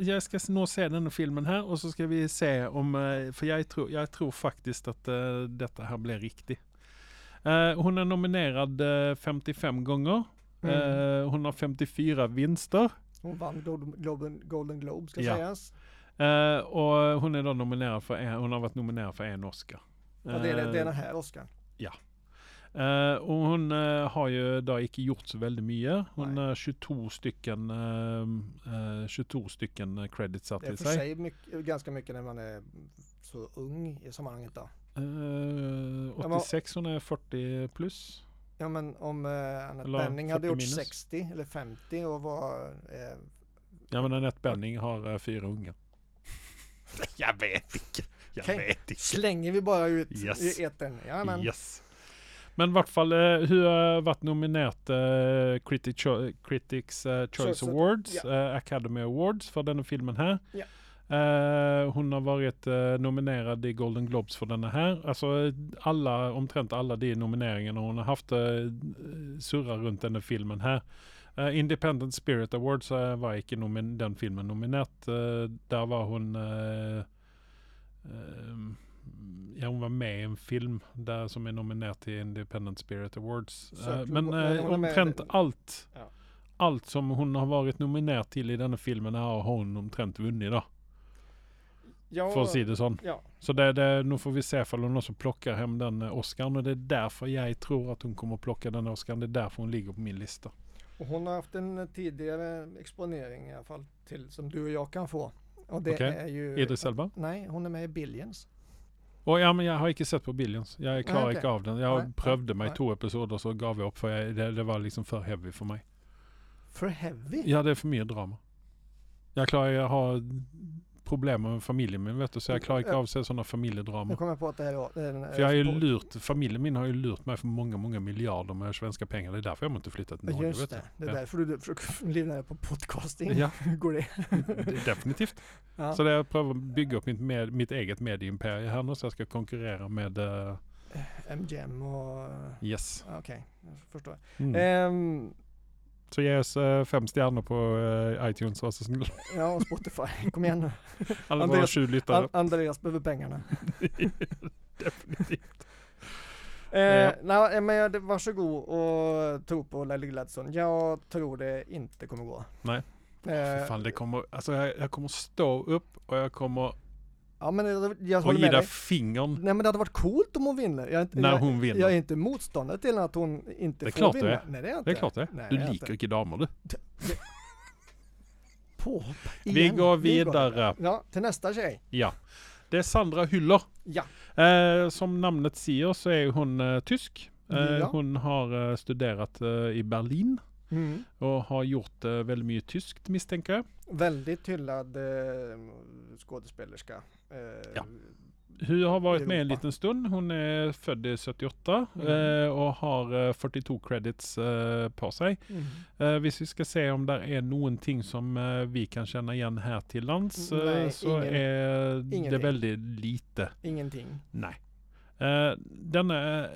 [SPEAKER 1] jag, jag ska nog se den här filmen här och så ska vi se om, eh, för jag tror, jag tror faktiskt att eh, detta här blir riktigt. Eh, hon är nominerad eh, 55 gånger.
[SPEAKER 2] Mm.
[SPEAKER 1] Eh, hon har 54 vinster.
[SPEAKER 2] Hon vann Glo- Globen, Golden Globe ska
[SPEAKER 1] Ja.
[SPEAKER 2] sägas.
[SPEAKER 1] Eh, och hon är då nominerad för en, hon har varit nominerad för en Oscar.
[SPEAKER 2] Ja, det, är, det är den här Oscar.
[SPEAKER 1] Eh, och hon eh, har ju då inte gjort så väldigt mycket. Hon
[SPEAKER 2] Nej.
[SPEAKER 1] har 22 stycken, eh, eh, 22 stycken eh, credits satt
[SPEAKER 2] Det är
[SPEAKER 1] till
[SPEAKER 2] för
[SPEAKER 1] sig.
[SPEAKER 2] sig mycket, ganska mycket när man är så ung i sammanhanget då.
[SPEAKER 1] Eh,
[SPEAKER 2] men-
[SPEAKER 1] 86, hon är 40 plus.
[SPEAKER 2] Ja men om eh, Annette
[SPEAKER 1] Eller
[SPEAKER 2] Bening hade
[SPEAKER 1] 40
[SPEAKER 2] gjort
[SPEAKER 1] minus.
[SPEAKER 2] 60 eller 50 och var... Eh,
[SPEAKER 1] Ja men Anette Bening har eh, fyra unga. Jag vet inte. Jag
[SPEAKER 2] Okej.
[SPEAKER 1] vet inte.
[SPEAKER 2] slänger vi bara ut
[SPEAKER 1] Yes.
[SPEAKER 2] i etern. Ja, men,
[SPEAKER 1] Yes. Men i vart fall, eh, hur har varit nominerat eh, Critic Cho- Critics eh, Choice
[SPEAKER 2] Choice-
[SPEAKER 1] Awards,
[SPEAKER 2] ja.
[SPEAKER 1] eh, Academy Awards för denna filmen här.
[SPEAKER 2] Ja.
[SPEAKER 1] Eh, hon har varit eh, nominerad i Golden Globes för denna här. Alltså eh, alla, omtrent alla de nomineringarna hon har haft eh, surrar runt denna filmen här. Eh, Independent Spirit Awards eh, var icke nomin- den filmen nominerat. Eh, där var hon eh, Ehm, ja, hon var med i en film där som är nominerad till Independent Spirit Awards.
[SPEAKER 2] Så
[SPEAKER 1] Eh,
[SPEAKER 2] att
[SPEAKER 1] men
[SPEAKER 2] hon- men
[SPEAKER 1] eh,
[SPEAKER 2] hon är med-
[SPEAKER 1] omtrent allt,
[SPEAKER 2] Ja.
[SPEAKER 1] allt som hon har varit nominerad till i denna filmen har hon omtrent vunnit då.
[SPEAKER 2] ja,
[SPEAKER 1] För att säga det sån.
[SPEAKER 2] ja.
[SPEAKER 1] Så det, det, nu får vi se ifall hon också plockar hem den eh, Oscarn och det är därför jag tror att hon kommer att plocka den Oscarn. Det är därför hon ligger på min lista.
[SPEAKER 2] Och hon har haft en tidigare exponering i alla fall till som du och jag kan få. Och det
[SPEAKER 1] Okej.
[SPEAKER 2] är ju...
[SPEAKER 1] Idris Elba?
[SPEAKER 2] Nej, hon är med i Billions.
[SPEAKER 1] Och ja, men jag har inte sett på Billions. Jag klarar
[SPEAKER 2] okej.
[SPEAKER 1] inte av den. Jag
[SPEAKER 2] Nej,
[SPEAKER 1] prövde mig
[SPEAKER 2] nej.
[SPEAKER 1] två episoder så gav jag upp för jag, det, det var liksom för heavy för mig.
[SPEAKER 2] För Heavy?
[SPEAKER 1] Ja, det är för mer drama. Jag klarar, jag har problem med familjen min vet du, så jag klarar inte av att se sådana familjedramer.
[SPEAKER 2] Nu kommer jag på att det här är... en- eh,
[SPEAKER 1] För jag har ju
[SPEAKER 2] på-
[SPEAKER 1] lurt, familjen min har ju lurt mig för många, många miljarder med svenska pengar. Det är därför jag inte flyttat till
[SPEAKER 2] Ja,
[SPEAKER 1] Norge
[SPEAKER 2] Just
[SPEAKER 1] vet
[SPEAKER 2] det,
[SPEAKER 1] du.
[SPEAKER 2] det är därför du försöker livna dig på podcasting.
[SPEAKER 1] Ja,
[SPEAKER 2] Hur går det?
[SPEAKER 1] det- definitivt.
[SPEAKER 2] Ja.
[SPEAKER 1] Så det är jag prövar att bygga upp mitt, med, mitt eget medieimperium här nu så jag ska konkurrera med eh,
[SPEAKER 2] MGM och...
[SPEAKER 1] Yes.
[SPEAKER 2] ja, Okej, jag förstår.
[SPEAKER 1] Mm.
[SPEAKER 2] Ehm,
[SPEAKER 1] Så ge oss eh, fem stjärnor på eh, iTunes var så snäll.
[SPEAKER 2] ja, och Spotify. Kom igen nu.
[SPEAKER 1] Alla våra
[SPEAKER 2] Andreas-
[SPEAKER 1] 20 lyttare.
[SPEAKER 2] An- Andreas behöver pengarna.
[SPEAKER 1] Definitivt.
[SPEAKER 2] Eh,
[SPEAKER 1] Ja.
[SPEAKER 2] Nej, men jag, varsågod och tro på Lally Gladstone. Jag tror det inte kommer gå.
[SPEAKER 1] Nej.
[SPEAKER 2] Eh,
[SPEAKER 1] Fy Fan, det kommer, alltså jag, jag kommer stå upp och jag kommer
[SPEAKER 2] Ja men jag, jag
[SPEAKER 1] Och
[SPEAKER 2] håller med
[SPEAKER 1] Ida
[SPEAKER 2] dig.
[SPEAKER 1] fingern
[SPEAKER 2] Nej men det hade varit coolt om hon vinner. Jag är inte,
[SPEAKER 1] när
[SPEAKER 2] jag,
[SPEAKER 1] hon vinner.
[SPEAKER 2] jag är inte motståndare till att hon inte
[SPEAKER 1] Det är
[SPEAKER 2] får
[SPEAKER 1] klart du
[SPEAKER 2] vinna.
[SPEAKER 1] är.
[SPEAKER 2] Nej det är jag inte.
[SPEAKER 1] det är klart det
[SPEAKER 2] Nej,
[SPEAKER 1] Du
[SPEAKER 2] jag är
[SPEAKER 1] liker
[SPEAKER 2] inte.
[SPEAKER 1] inte damer du.
[SPEAKER 2] Påhopp
[SPEAKER 1] Vi
[SPEAKER 2] igen.
[SPEAKER 1] går vidare.
[SPEAKER 2] Ja, till nästa tjej.
[SPEAKER 1] Ja. Det är Sandra Hyller.
[SPEAKER 2] Ja.
[SPEAKER 1] Eh, som namnet säger så är hon eh, tysk. Eh,
[SPEAKER 2] Ja.
[SPEAKER 1] Hon har eh, studerat eh, i Berlin
[SPEAKER 2] Mm.
[SPEAKER 1] och har gjort eh, väldigt mycket tyskt misstänker jag.
[SPEAKER 2] Väldigt hyllad eh, skådespelerska. Eh,
[SPEAKER 1] Ja. Hon har varit med en
[SPEAKER 2] Europa.
[SPEAKER 1] liten stund. Hon är född i 78
[SPEAKER 2] Mm.
[SPEAKER 1] eh, och har eh, 42 credits eh, på sig.
[SPEAKER 2] Mm.
[SPEAKER 1] Eh, vi ska se om där är någonting som eh, vi kan känna igen här till lands. Eh,
[SPEAKER 2] Nej,
[SPEAKER 1] så
[SPEAKER 2] ingen-
[SPEAKER 1] är det
[SPEAKER 2] ingenting.
[SPEAKER 1] väldigt lite.
[SPEAKER 2] Ingenting.
[SPEAKER 1] Nej. Eh, denna eh,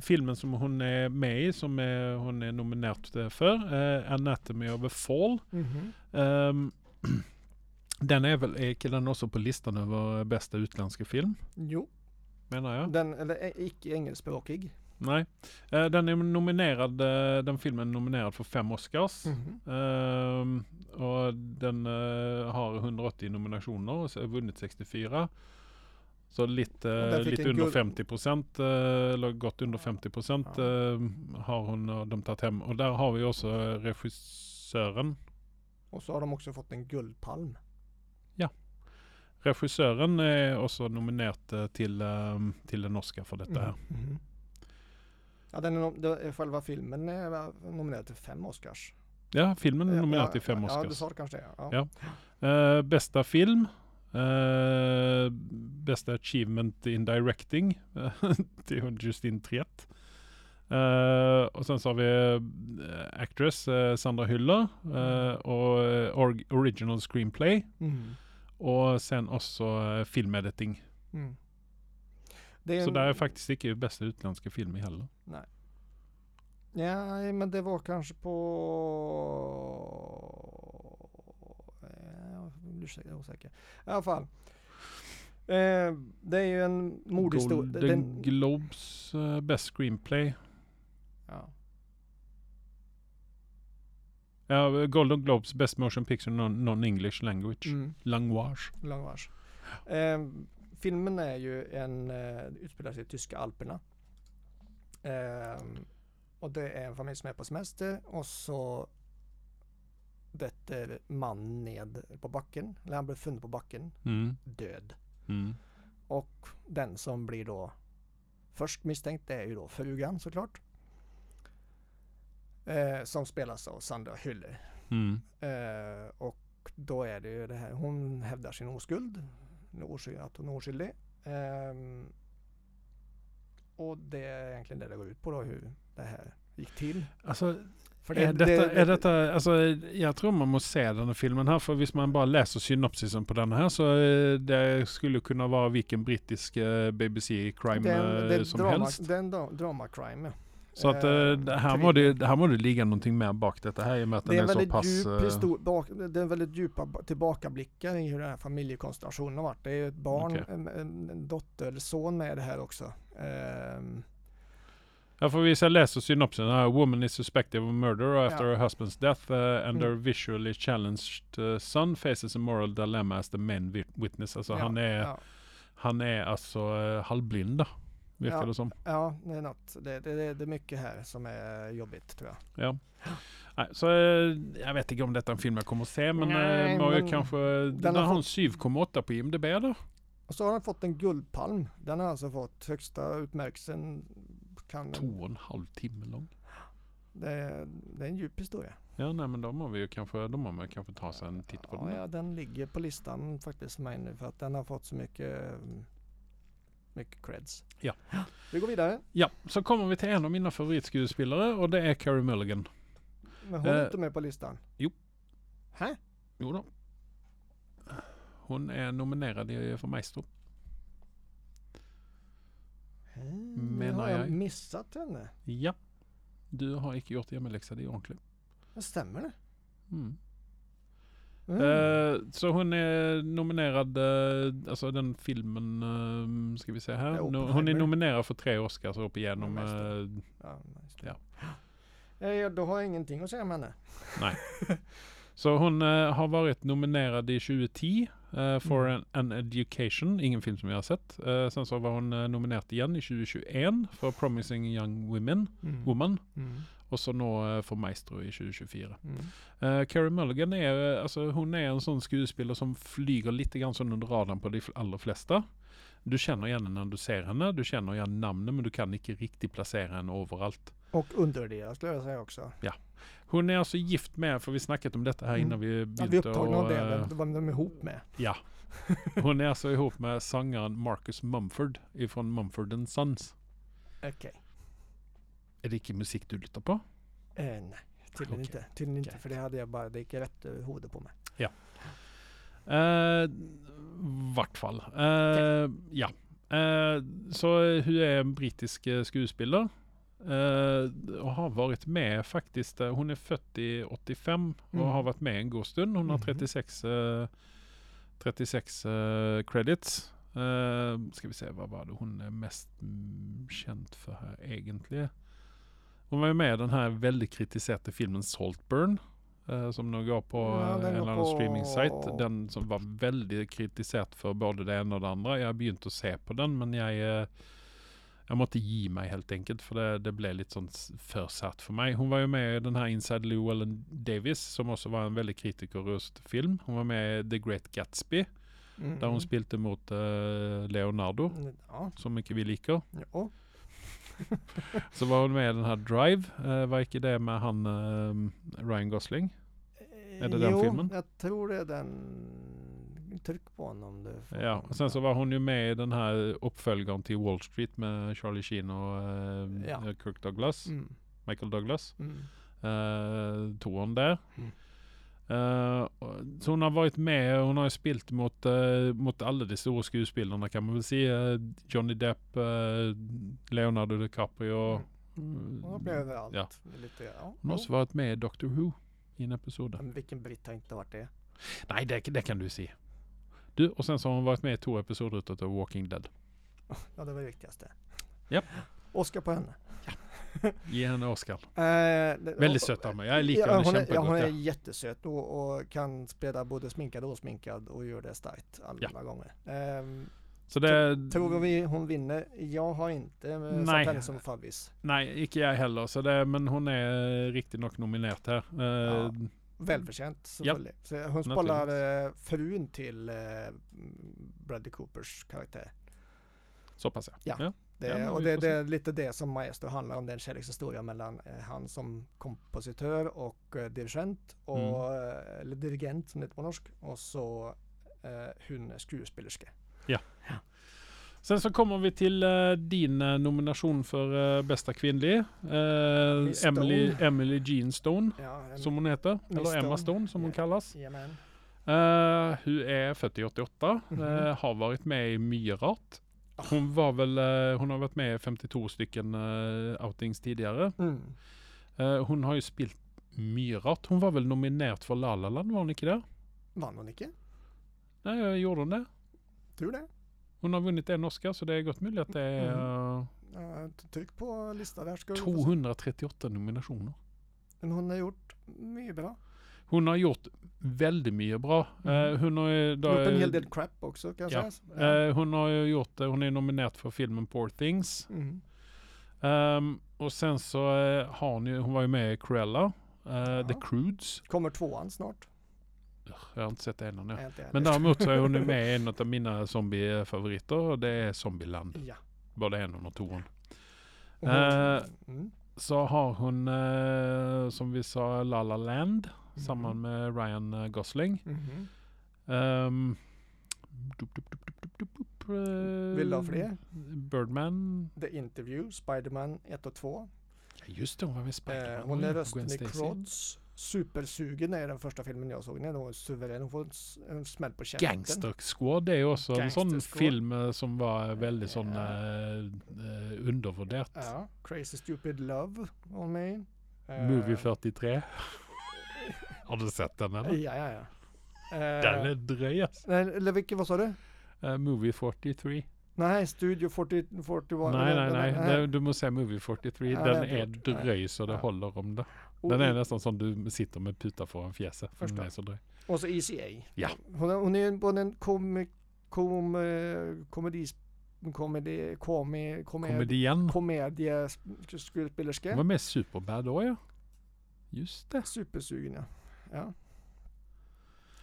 [SPEAKER 1] filmen som hon är med i, som eh, hon är nominerad eh, för, eh, Anatomy of a Fall.
[SPEAKER 2] Mhm.
[SPEAKER 1] ehm, den är väl, är killen också på listan över eh, bästa utländska film?
[SPEAKER 2] Jo,
[SPEAKER 1] Menar jag.
[SPEAKER 2] den, eller ä- icke engelskspråkig.
[SPEAKER 1] Nej. Eh, den är nominerad, eh, den filmen är nominerad för fem Oscars.
[SPEAKER 2] Mhm.
[SPEAKER 1] Ehm, och den eh, har 180 nominationer och så har vunnit 64. Så
[SPEAKER 2] Och
[SPEAKER 1] lite,
[SPEAKER 2] den fick
[SPEAKER 1] lite
[SPEAKER 2] en
[SPEAKER 1] under
[SPEAKER 2] guld-
[SPEAKER 1] 50 procent, eh, eller gott under 50 procent eh,
[SPEAKER 2] Ja.
[SPEAKER 1] har hon och de tagit hem. Och där har vi också eh, regissören.
[SPEAKER 2] Och så har de också fått en guldpalm.
[SPEAKER 1] Regissören är också nominerad eh, till, eh, till en Oscar för detta. här.
[SPEAKER 2] Mm. Mhm. Ja, den är, nom- det är- själva filmen är nominerad till fem Oscars.
[SPEAKER 1] Ja, filmen är
[SPEAKER 2] Eh,
[SPEAKER 1] nominerad
[SPEAKER 2] ja,
[SPEAKER 1] till fem
[SPEAKER 2] Ja, du
[SPEAKER 1] Oscars.
[SPEAKER 2] sa det kanske det. Ja.
[SPEAKER 1] Ja. Eh, bästa film. Eh, bästa achievement in directing. till hon Justine Triet. Eh, och sen så har vi eh, actress eh, Sandra Hyller eh, och eh, org- original screenplay
[SPEAKER 2] Mm.
[SPEAKER 1] och sen också eh, filmediting.
[SPEAKER 2] Mm. Det är
[SPEAKER 1] Så
[SPEAKER 2] en-
[SPEAKER 1] där är faktiskt inte bästa utländska film i heller.
[SPEAKER 2] Nej, men det var kanske på... Eh, jag blir Ursäkta, jag är osäker. I alla fall. Eh, det är ju en mordhistoria.
[SPEAKER 1] Golden
[SPEAKER 2] Den...
[SPEAKER 1] Globes eh, bäst screenplay.
[SPEAKER 2] Ja.
[SPEAKER 1] Ja, Golden Globes best motion picture non- non-English language.
[SPEAKER 2] Mm,
[SPEAKER 1] Language.
[SPEAKER 2] lång vars. Eh, filmen är ju en... Eh, utspelar sig i tyska alperna. Eh, och det är en familj som är på semester och så vetter man ned på backen. Eller han blir funnen på backen,
[SPEAKER 1] Mm.
[SPEAKER 2] död.
[SPEAKER 1] Mm.
[SPEAKER 2] Och den som blir då först misstänkt det är ju då frugan såklart. Eh, som spelas av Sandra Hyller.
[SPEAKER 1] Mm.
[SPEAKER 2] Eh, och då är det ju det här, hon hävdar sin oskuld. Oskyld, att hon är oskyldig. Ehm, och det är egentligen det det går ut på då, hur det här gick till.
[SPEAKER 1] Alltså,
[SPEAKER 2] För
[SPEAKER 1] är detta, är detta, alltså, jag tror man måste se den här filmen här, för visst man bara läser synopsisen på den här så eh, det skulle kunna vara vilken brittisk eh, BBC crime
[SPEAKER 2] det är en- det är
[SPEAKER 1] eh, som
[SPEAKER 2] drama,
[SPEAKER 1] helst.
[SPEAKER 2] Det är en dra- drama crime.
[SPEAKER 1] Så att eh,
[SPEAKER 2] eh,
[SPEAKER 1] det här må det, här må det ligga någonting mer bak detta här i och med att
[SPEAKER 2] Det är,
[SPEAKER 1] den
[SPEAKER 2] en
[SPEAKER 1] är, så
[SPEAKER 2] väldigt
[SPEAKER 1] pass...
[SPEAKER 2] djup
[SPEAKER 1] eh,
[SPEAKER 2] histor- bak, det är en väldigt djupa ba- tillbakablickar i hur den här familjekonstellationen har varit. Det är ju ett barn,
[SPEAKER 1] Okej.
[SPEAKER 2] en, en, en dotter eller son med i det här också. Ehm,
[SPEAKER 1] Här får vi se, läser synopsen. här. woman is suspected of murder after
[SPEAKER 2] Ja.
[SPEAKER 1] her husband's death eh, and
[SPEAKER 2] Mm.
[SPEAKER 1] her visually challenged eh, son faces a moral dilemma as the main wit- witness. Alltså
[SPEAKER 2] ja,
[SPEAKER 1] han, är,
[SPEAKER 2] ja,
[SPEAKER 1] han är alltså eh, halvblind då, verkar
[SPEAKER 2] Ja.
[SPEAKER 1] det som.
[SPEAKER 2] ja, det är något. Det, det, det, det är mycket här som är jobbigt tror jag.
[SPEAKER 1] Ja. Nej, så eh, jag vet inte om detta är en film jag kommer att se men
[SPEAKER 2] Nej,
[SPEAKER 1] Nej, må ju
[SPEAKER 2] men
[SPEAKER 1] kanske... Den
[SPEAKER 2] har
[SPEAKER 1] har en
[SPEAKER 2] fått-
[SPEAKER 1] 7,8 på IMDB då.
[SPEAKER 2] Och så har den fått en guldpalm. Den har alltså fått högsta utmärkelsen. Kan,
[SPEAKER 1] Två och en halv timme lång.
[SPEAKER 2] det, det är en djup historia.
[SPEAKER 1] Ja, nej men de har vi ju kanske, de har man kanske ta sig en titt på
[SPEAKER 2] ja,
[SPEAKER 1] den.
[SPEAKER 2] ja, den ligger på listan faktiskt för mig nu för att den har fått så mycket, mm, mycket creds.
[SPEAKER 1] Ja.
[SPEAKER 2] Vi går vidare.
[SPEAKER 1] Ja, så kommer vi till en av mina favoritskuespelare och det är Carey Mulligan.
[SPEAKER 2] Men hon är
[SPEAKER 1] Eh,
[SPEAKER 2] inte med på listan?
[SPEAKER 1] jo.
[SPEAKER 2] Hä?
[SPEAKER 1] Jo då. Hon är nominerad i- för Maestro. Menar
[SPEAKER 2] har jag,
[SPEAKER 1] jag.
[SPEAKER 2] missat henne?
[SPEAKER 1] Ja. Du har icke gjort hemläxa, det är ordentligt.
[SPEAKER 2] Det stämmer det?
[SPEAKER 1] Mm.
[SPEAKER 2] Mm.
[SPEAKER 1] Eh, så hon är nominerad, eh, alltså den filmen, eh, ska vi se här.
[SPEAKER 2] Ja,
[SPEAKER 1] No, hon är
[SPEAKER 2] Oppenheimer.
[SPEAKER 1] nominerad för tre Oscars upp igenom.
[SPEAKER 2] Ja,
[SPEAKER 1] Eh,
[SPEAKER 2] ja, nice.
[SPEAKER 1] ja.
[SPEAKER 2] Eh, då har jag ingenting att säga om henne.
[SPEAKER 1] Nej. Så hon eh, har varit nominerad i 2010 eh, for
[SPEAKER 2] Mm.
[SPEAKER 1] an, an Education, ingen film som jag har sett. Eh, sen så var hon eh, nominerad igen i 2021 för Promising Young Women,
[SPEAKER 2] Mm.
[SPEAKER 1] Woman
[SPEAKER 2] Mm.
[SPEAKER 1] och så nå eh, för Maestro i 2024.
[SPEAKER 2] Mm.
[SPEAKER 1] Eh, Carey Mulligan är, eh, alltså, hon är en sån skuespelare som flyger lite grann som under radarn på de fl- allra flesta. Du känner igen henne när du ser henne, du känner igen namnen men du kan inte riktigt placera henne överallt.
[SPEAKER 2] Och undervärderad skulle jag säga också.
[SPEAKER 1] Hon är alltså gift med, för vi snackat om detta här
[SPEAKER 2] Mm.
[SPEAKER 1] innan vi
[SPEAKER 2] Ja, vi är
[SPEAKER 1] bytte.
[SPEAKER 2] upptagna av
[SPEAKER 1] och,
[SPEAKER 2] det,
[SPEAKER 1] eh,
[SPEAKER 2] vem- vem de är ihop med.
[SPEAKER 1] ja. Hon är alltså ihop med sångaren Marcus Mumford ifrån Mumford and Sons.
[SPEAKER 2] Okej.
[SPEAKER 1] Är det inte musik du lyssnar på?
[SPEAKER 2] Eh, nej, tydligen
[SPEAKER 1] Okej.
[SPEAKER 2] inte. Tydligen inte,
[SPEAKER 1] Okej.
[SPEAKER 2] för det hade jag bara, det gick rätt över huvudet på mig.
[SPEAKER 1] Uh, vart fall. Eh, Ja. Eh, så eh, hur är en brittisk eh, skuespelare? Eh, och har varit med faktiskt. eh, Hon är född i 85 och
[SPEAKER 2] Mm.
[SPEAKER 1] har varit med en god stund. Hon har
[SPEAKER 2] Mhm.
[SPEAKER 1] 36, eh, 36 eh, credits. Eh, ska vi se, vad var det hon är mest mm, känd för här egentligen? Hon var ju med i den här väldigt kritiserade filmen Saltburn. eh, som nog går på
[SPEAKER 2] Ja,
[SPEAKER 1] eh,
[SPEAKER 2] den
[SPEAKER 1] en
[SPEAKER 2] går
[SPEAKER 1] eller annan
[SPEAKER 2] på-
[SPEAKER 1] streaming-sajt. Den som var väldigt kritiserad för både det ena och det andra. Jag har begynt att se på den men jag är jag måste ge mig helt enkelt för det, det blev lite sånt s- försatt för mig. Hon var ju med i den här Inside Llewellyn Davis som också var en väldigt kritikerröst film. Hon var med i The Great Gatsby där hon spelade mot eh, Leonardo
[SPEAKER 2] Mm, Ja,
[SPEAKER 1] som mycket vi liker.
[SPEAKER 2] ja.
[SPEAKER 1] Så var hon med i den här Drive. Uh, vad gick det med han eh, Ryan Gosling? Är det den
[SPEAKER 2] Eh, jo,
[SPEAKER 1] filmen?
[SPEAKER 2] jag tror det är den. Tryck på honom du. får-
[SPEAKER 1] Ja, och sen så var hon ju med i den här uppföljaren till Wall Street med Charlie Sheen och eh,
[SPEAKER 2] Ja.
[SPEAKER 1] Kirk Douglas,
[SPEAKER 2] Mm,
[SPEAKER 1] Michael Douglas.
[SPEAKER 2] mm.
[SPEAKER 1] eh, Torn där.
[SPEAKER 2] Mm.
[SPEAKER 1] Eh, och- så hon har varit med, hon har ju spelat mot, eh, mot alla de stora skuespelarna kan man väl säga. Eh, Johnny Depp, eh, Leonardo DiCaprio. Mm.
[SPEAKER 2] Hon har blivit överallt.
[SPEAKER 1] Ja.
[SPEAKER 2] Lite, ja.
[SPEAKER 1] Hon har också varit med i Doctor Who i en episod. där.
[SPEAKER 2] Men vilken britt har inte varit det?
[SPEAKER 1] Nej, det, det kan du se. Du, och sen så har hon varit med i två episoder utav The Walking Dead.
[SPEAKER 2] Ja, det var det viktigaste.
[SPEAKER 1] Japp.
[SPEAKER 2] Oscar på henne.
[SPEAKER 1] Ge henne Oscar.
[SPEAKER 2] Eh, det-
[SPEAKER 1] Väldigt
[SPEAKER 2] och-
[SPEAKER 1] söt av mig. Jag liknar henne
[SPEAKER 2] hon är, ja,
[SPEAKER 1] kämpegott.
[SPEAKER 2] hon är
[SPEAKER 1] ja.
[SPEAKER 2] jättesöt och, och kan spela både sminkad och osminkad och gör det starkt alla
[SPEAKER 1] Ja.
[SPEAKER 2] gånger. Ehm,
[SPEAKER 1] Så det...
[SPEAKER 2] tror vi hon vinner? Jag har inte eh,
[SPEAKER 1] Nej.
[SPEAKER 2] satt henne som favvis.
[SPEAKER 1] Nej, inte jag heller. Så det, men hon är eh, riktigt nog nominerad här. Eh,
[SPEAKER 2] Ja. Välförtjänt såklart. Så Hon spelar eh, frun till eh, Bradley Coopers karaktär.
[SPEAKER 1] Så pass
[SPEAKER 2] Ja.
[SPEAKER 1] ja.
[SPEAKER 2] Det,
[SPEAKER 1] Ja, men
[SPEAKER 2] och
[SPEAKER 1] vi
[SPEAKER 2] det,
[SPEAKER 1] får
[SPEAKER 2] det är lite det som Maestro handlar om, den kärlekshistoria mellan eh, han som kompositör och eh, dirigent, och,
[SPEAKER 1] Mm.
[SPEAKER 2] eh, eller dirigent som det heter på norsk, och så eh, hon är skådespelerska.
[SPEAKER 1] Sen så kommer vi till eh, din eh, nomination för eh, bästa kvinnlig. Eh,
[SPEAKER 2] Stone.
[SPEAKER 1] Emily, Emily Jean Stone,
[SPEAKER 2] Ja, en-
[SPEAKER 1] som hon heter.
[SPEAKER 2] Miss
[SPEAKER 1] Eller Emma
[SPEAKER 2] Stone.
[SPEAKER 1] Stone som hon
[SPEAKER 2] Ja.
[SPEAKER 1] kallas.
[SPEAKER 2] Jajamän.
[SPEAKER 1] Eh, hon är 4088,
[SPEAKER 2] Mhm.
[SPEAKER 1] har varit med i Myrat. Hon, var väl, eh, hon har varit med i 52 stycken eh, outings tidigare.
[SPEAKER 2] Mm.
[SPEAKER 1] Eh, hon har ju spilt Myrat. Hon var väl nominerad för La La Land, var hon inte det?
[SPEAKER 2] Vann hon icke?
[SPEAKER 1] Nej, jag gjorde hon det?
[SPEAKER 2] Tror det.
[SPEAKER 1] Hon har vunnit en Oscar så det är gott möjligt att det är
[SPEAKER 2] Mm.
[SPEAKER 1] eh,
[SPEAKER 2] Ja, t- tryck på listan där. Ska vi få se.
[SPEAKER 1] 238 nominationer.
[SPEAKER 2] Men hon har gjort mycket bra.
[SPEAKER 1] Hon har gjort väldigt mycket bra.
[SPEAKER 2] Mm.
[SPEAKER 1] Eh, hon, har, ju- då,
[SPEAKER 2] Gjort en hel del crap också kan jag
[SPEAKER 1] ja.
[SPEAKER 2] säga. Ja.
[SPEAKER 1] eh, hon har ju gjort, eh, hon är nominerad för filmen Poor Things.
[SPEAKER 2] Mm.
[SPEAKER 1] Ehm, och sen så eh, har hon ju, hon var ju med i Cruella, eh, The Crudes.
[SPEAKER 2] Kommer tvåan snart.
[SPEAKER 1] Ugh, Jag har inte sett det än ännu.
[SPEAKER 2] Nej, inte jag
[SPEAKER 1] Men
[SPEAKER 2] heller.
[SPEAKER 1] däremot så är hon ju med i en av mina zombieffavoriter och det är Zombieland.
[SPEAKER 2] Ja.
[SPEAKER 1] Både en och tvåan.
[SPEAKER 2] Och
[SPEAKER 1] Eh,
[SPEAKER 2] hon- mm.
[SPEAKER 1] Så har hon, eh, som vi sa, La La Land. Samman
[SPEAKER 2] Mhm.
[SPEAKER 1] med Ryan eh, Gosling.
[SPEAKER 2] Mhm.
[SPEAKER 1] Ehm, dup, dup, dup, dup, dup, dup, dup, eh,
[SPEAKER 2] Vill du ha fler?
[SPEAKER 1] Birdman.
[SPEAKER 2] The Interview, Spiderman 1 och 2.
[SPEAKER 1] Ja, just det, hon var med i Spiderman.
[SPEAKER 2] Eh, hon
[SPEAKER 1] var
[SPEAKER 2] är
[SPEAKER 1] ju
[SPEAKER 2] rösten
[SPEAKER 1] Gwen
[SPEAKER 2] i
[SPEAKER 1] Stacy.
[SPEAKER 2] Crods. Supersugen är den första filmen jag såg. Den är nog suverän. Hon får en, s- en smäll på käften.
[SPEAKER 1] Gangster Squad det är också en sån
[SPEAKER 2] Gangster Squad.
[SPEAKER 1] film eh, som var väldigt sån
[SPEAKER 2] Ja.
[SPEAKER 1] eh, eh, undervärderat.
[SPEAKER 2] Ja. Crazy Stupid Love var hon med i. Eh,
[SPEAKER 1] Movie 43. Har du sett den eller?
[SPEAKER 2] Ja, ja, ja. Eh,
[SPEAKER 1] Den är dröj alltså.
[SPEAKER 2] Nej, eller vilken, vad sa du?
[SPEAKER 1] Eh, movie 43.
[SPEAKER 2] Nej, Studio 40, 41.
[SPEAKER 1] nej, nej, nej.
[SPEAKER 2] den-
[SPEAKER 1] Det- Du måste säga Movie 43.
[SPEAKER 2] Ja,
[SPEAKER 1] den
[SPEAKER 2] den är
[SPEAKER 1] är
[SPEAKER 2] gjort. Nej.
[SPEAKER 1] dröj så det
[SPEAKER 2] Ja.
[SPEAKER 1] håller om det.
[SPEAKER 2] Och,
[SPEAKER 1] Den är nästan som du sitter med puta föran fjäset. För den
[SPEAKER 2] Förstår.
[SPEAKER 1] är så dryg.
[SPEAKER 2] och så ECA.
[SPEAKER 1] Ja.
[SPEAKER 2] Hon, är- hon är ju både en kom, kom, eh, komedis, komedi, komi, komed,
[SPEAKER 1] Komedian.
[SPEAKER 2] komedieskuespillerska.
[SPEAKER 1] Hon var med i Superbad då ja. Just det.
[SPEAKER 2] Supersugen ja. ja.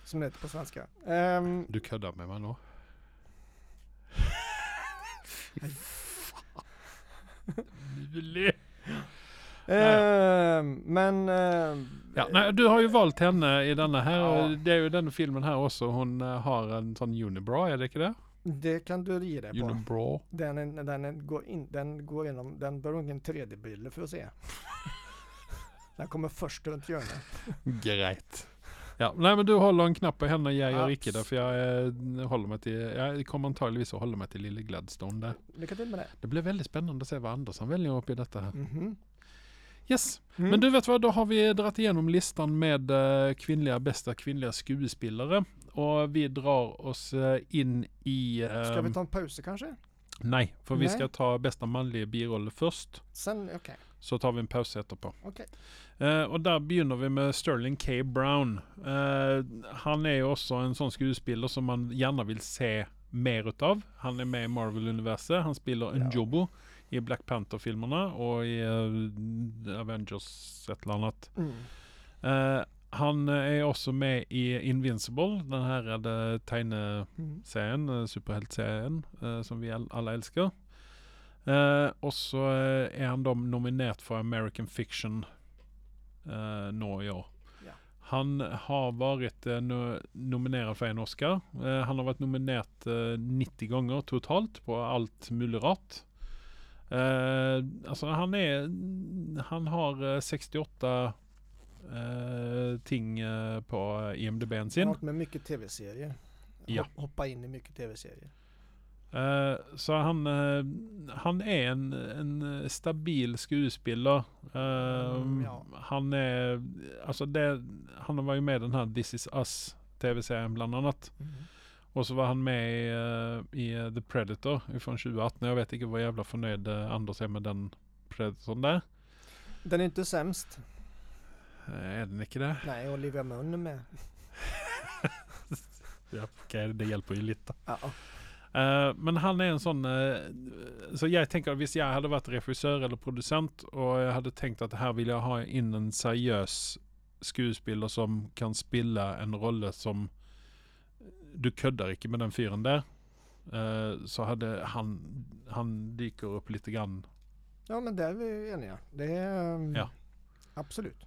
[SPEAKER 2] Som det heter på svenska. Ehm,
[SPEAKER 1] Du kuddar med mig då. Ljuvlig.
[SPEAKER 2] ehm, men... ehm,
[SPEAKER 1] Ja, nej, du har ju valt henne i denna här.
[SPEAKER 2] Ja.
[SPEAKER 1] Det är ju den filmen här också. Hon eh, har en sån unibra, är det inte det?
[SPEAKER 2] Det kan du ge dig på.
[SPEAKER 1] Unibra.
[SPEAKER 2] Den, är- den, är- går in, den går igenom, den behöver ingen 3D-briller för att se. den kommer först runt hjörnet.
[SPEAKER 1] Grejt. Ja, nej men du håller en knapp på henne, jag gör
[SPEAKER 2] Abs-
[SPEAKER 1] icke det. För jag eh, håller mig till, jag kommer antagligen att hålla mig till Lille Gladstone där.
[SPEAKER 2] Lycka till med det.
[SPEAKER 1] Det blir väldigt spännande att se vad Andersson väljer upp i detta här.
[SPEAKER 2] Mhm.
[SPEAKER 1] Yes,
[SPEAKER 2] Mm.
[SPEAKER 1] men du vet vad, då har vi dragit igenom listan med eh, kvinnliga, bästa kvinnliga skuespelare. Och vi drar oss eh, in i... eh,
[SPEAKER 2] Ska vi ta en paus kanske?
[SPEAKER 1] Nej, för vi
[SPEAKER 2] Nej.
[SPEAKER 1] ska ta bästa manliga biroll först.
[SPEAKER 2] Sen, okej.
[SPEAKER 1] Så tar vi en paus efterpå.
[SPEAKER 2] Okej.
[SPEAKER 1] Eh, och där begynner vi med Sterling K. Brown. Eh, han är ju också en sån skuespelare som man gärna vill se mer utav. Han är med i Marvel-universet. Han spelar
[SPEAKER 2] Ja.
[SPEAKER 1] Njobo i Black Panther-filmerna och i eh, Avengers ett eller annat.
[SPEAKER 2] Mm.
[SPEAKER 1] Eh, han är också med i Invincible, den här eh, tegne
[SPEAKER 2] Mm.
[SPEAKER 1] serien, eh, superhjälteserien eh, som vi all- alla älskar. Eh, och så eh, är han då nominerad för American Fiction eh, några år.
[SPEAKER 2] Ja.
[SPEAKER 1] Han har varit eh, no- nominerad för en Oscar. Eh, han har varit nominerad eh, 90 gånger totalt på allt mullerat. Eh, alltså han är, han har eh, 68 eh, ting eh, på IMDB n sin.
[SPEAKER 2] Jag har varit med mycket tv-serier.
[SPEAKER 1] Ja.
[SPEAKER 2] Hop- Hoppa in i mycket tv-serier.
[SPEAKER 1] Eh, Så han, eh, han är en, en eh, stabil skuespelare. Eh,
[SPEAKER 2] Mm, ja.
[SPEAKER 1] Han är, alltså det, han var ju med i den här This is Us tv-serien bland annat. Och så var han med i, eh, i The Predator från 2018. Jag vet inte vad jävla förnöjd eh, Anders är med den Predatorn där.
[SPEAKER 2] Den är inte sämst.
[SPEAKER 1] Eh, Är den inte det?
[SPEAKER 2] Nej, Olivia Munn är med.
[SPEAKER 1] Ja, okej, det hjälper ju lite.
[SPEAKER 2] Ja.
[SPEAKER 1] Eh, men han är en sån, eh, så jag tänker att visst jag hade varit regissör eller producent och jag hade tänkt att här vill jag ha in en seriös skuespelare som kan spilla en roll som du kuddar icke med den fyren där. Eh, så hade han, han dyker upp lite grann.
[SPEAKER 2] ja, men där är vi eniga. Det är... ehm,
[SPEAKER 1] Ja.
[SPEAKER 2] Absolut.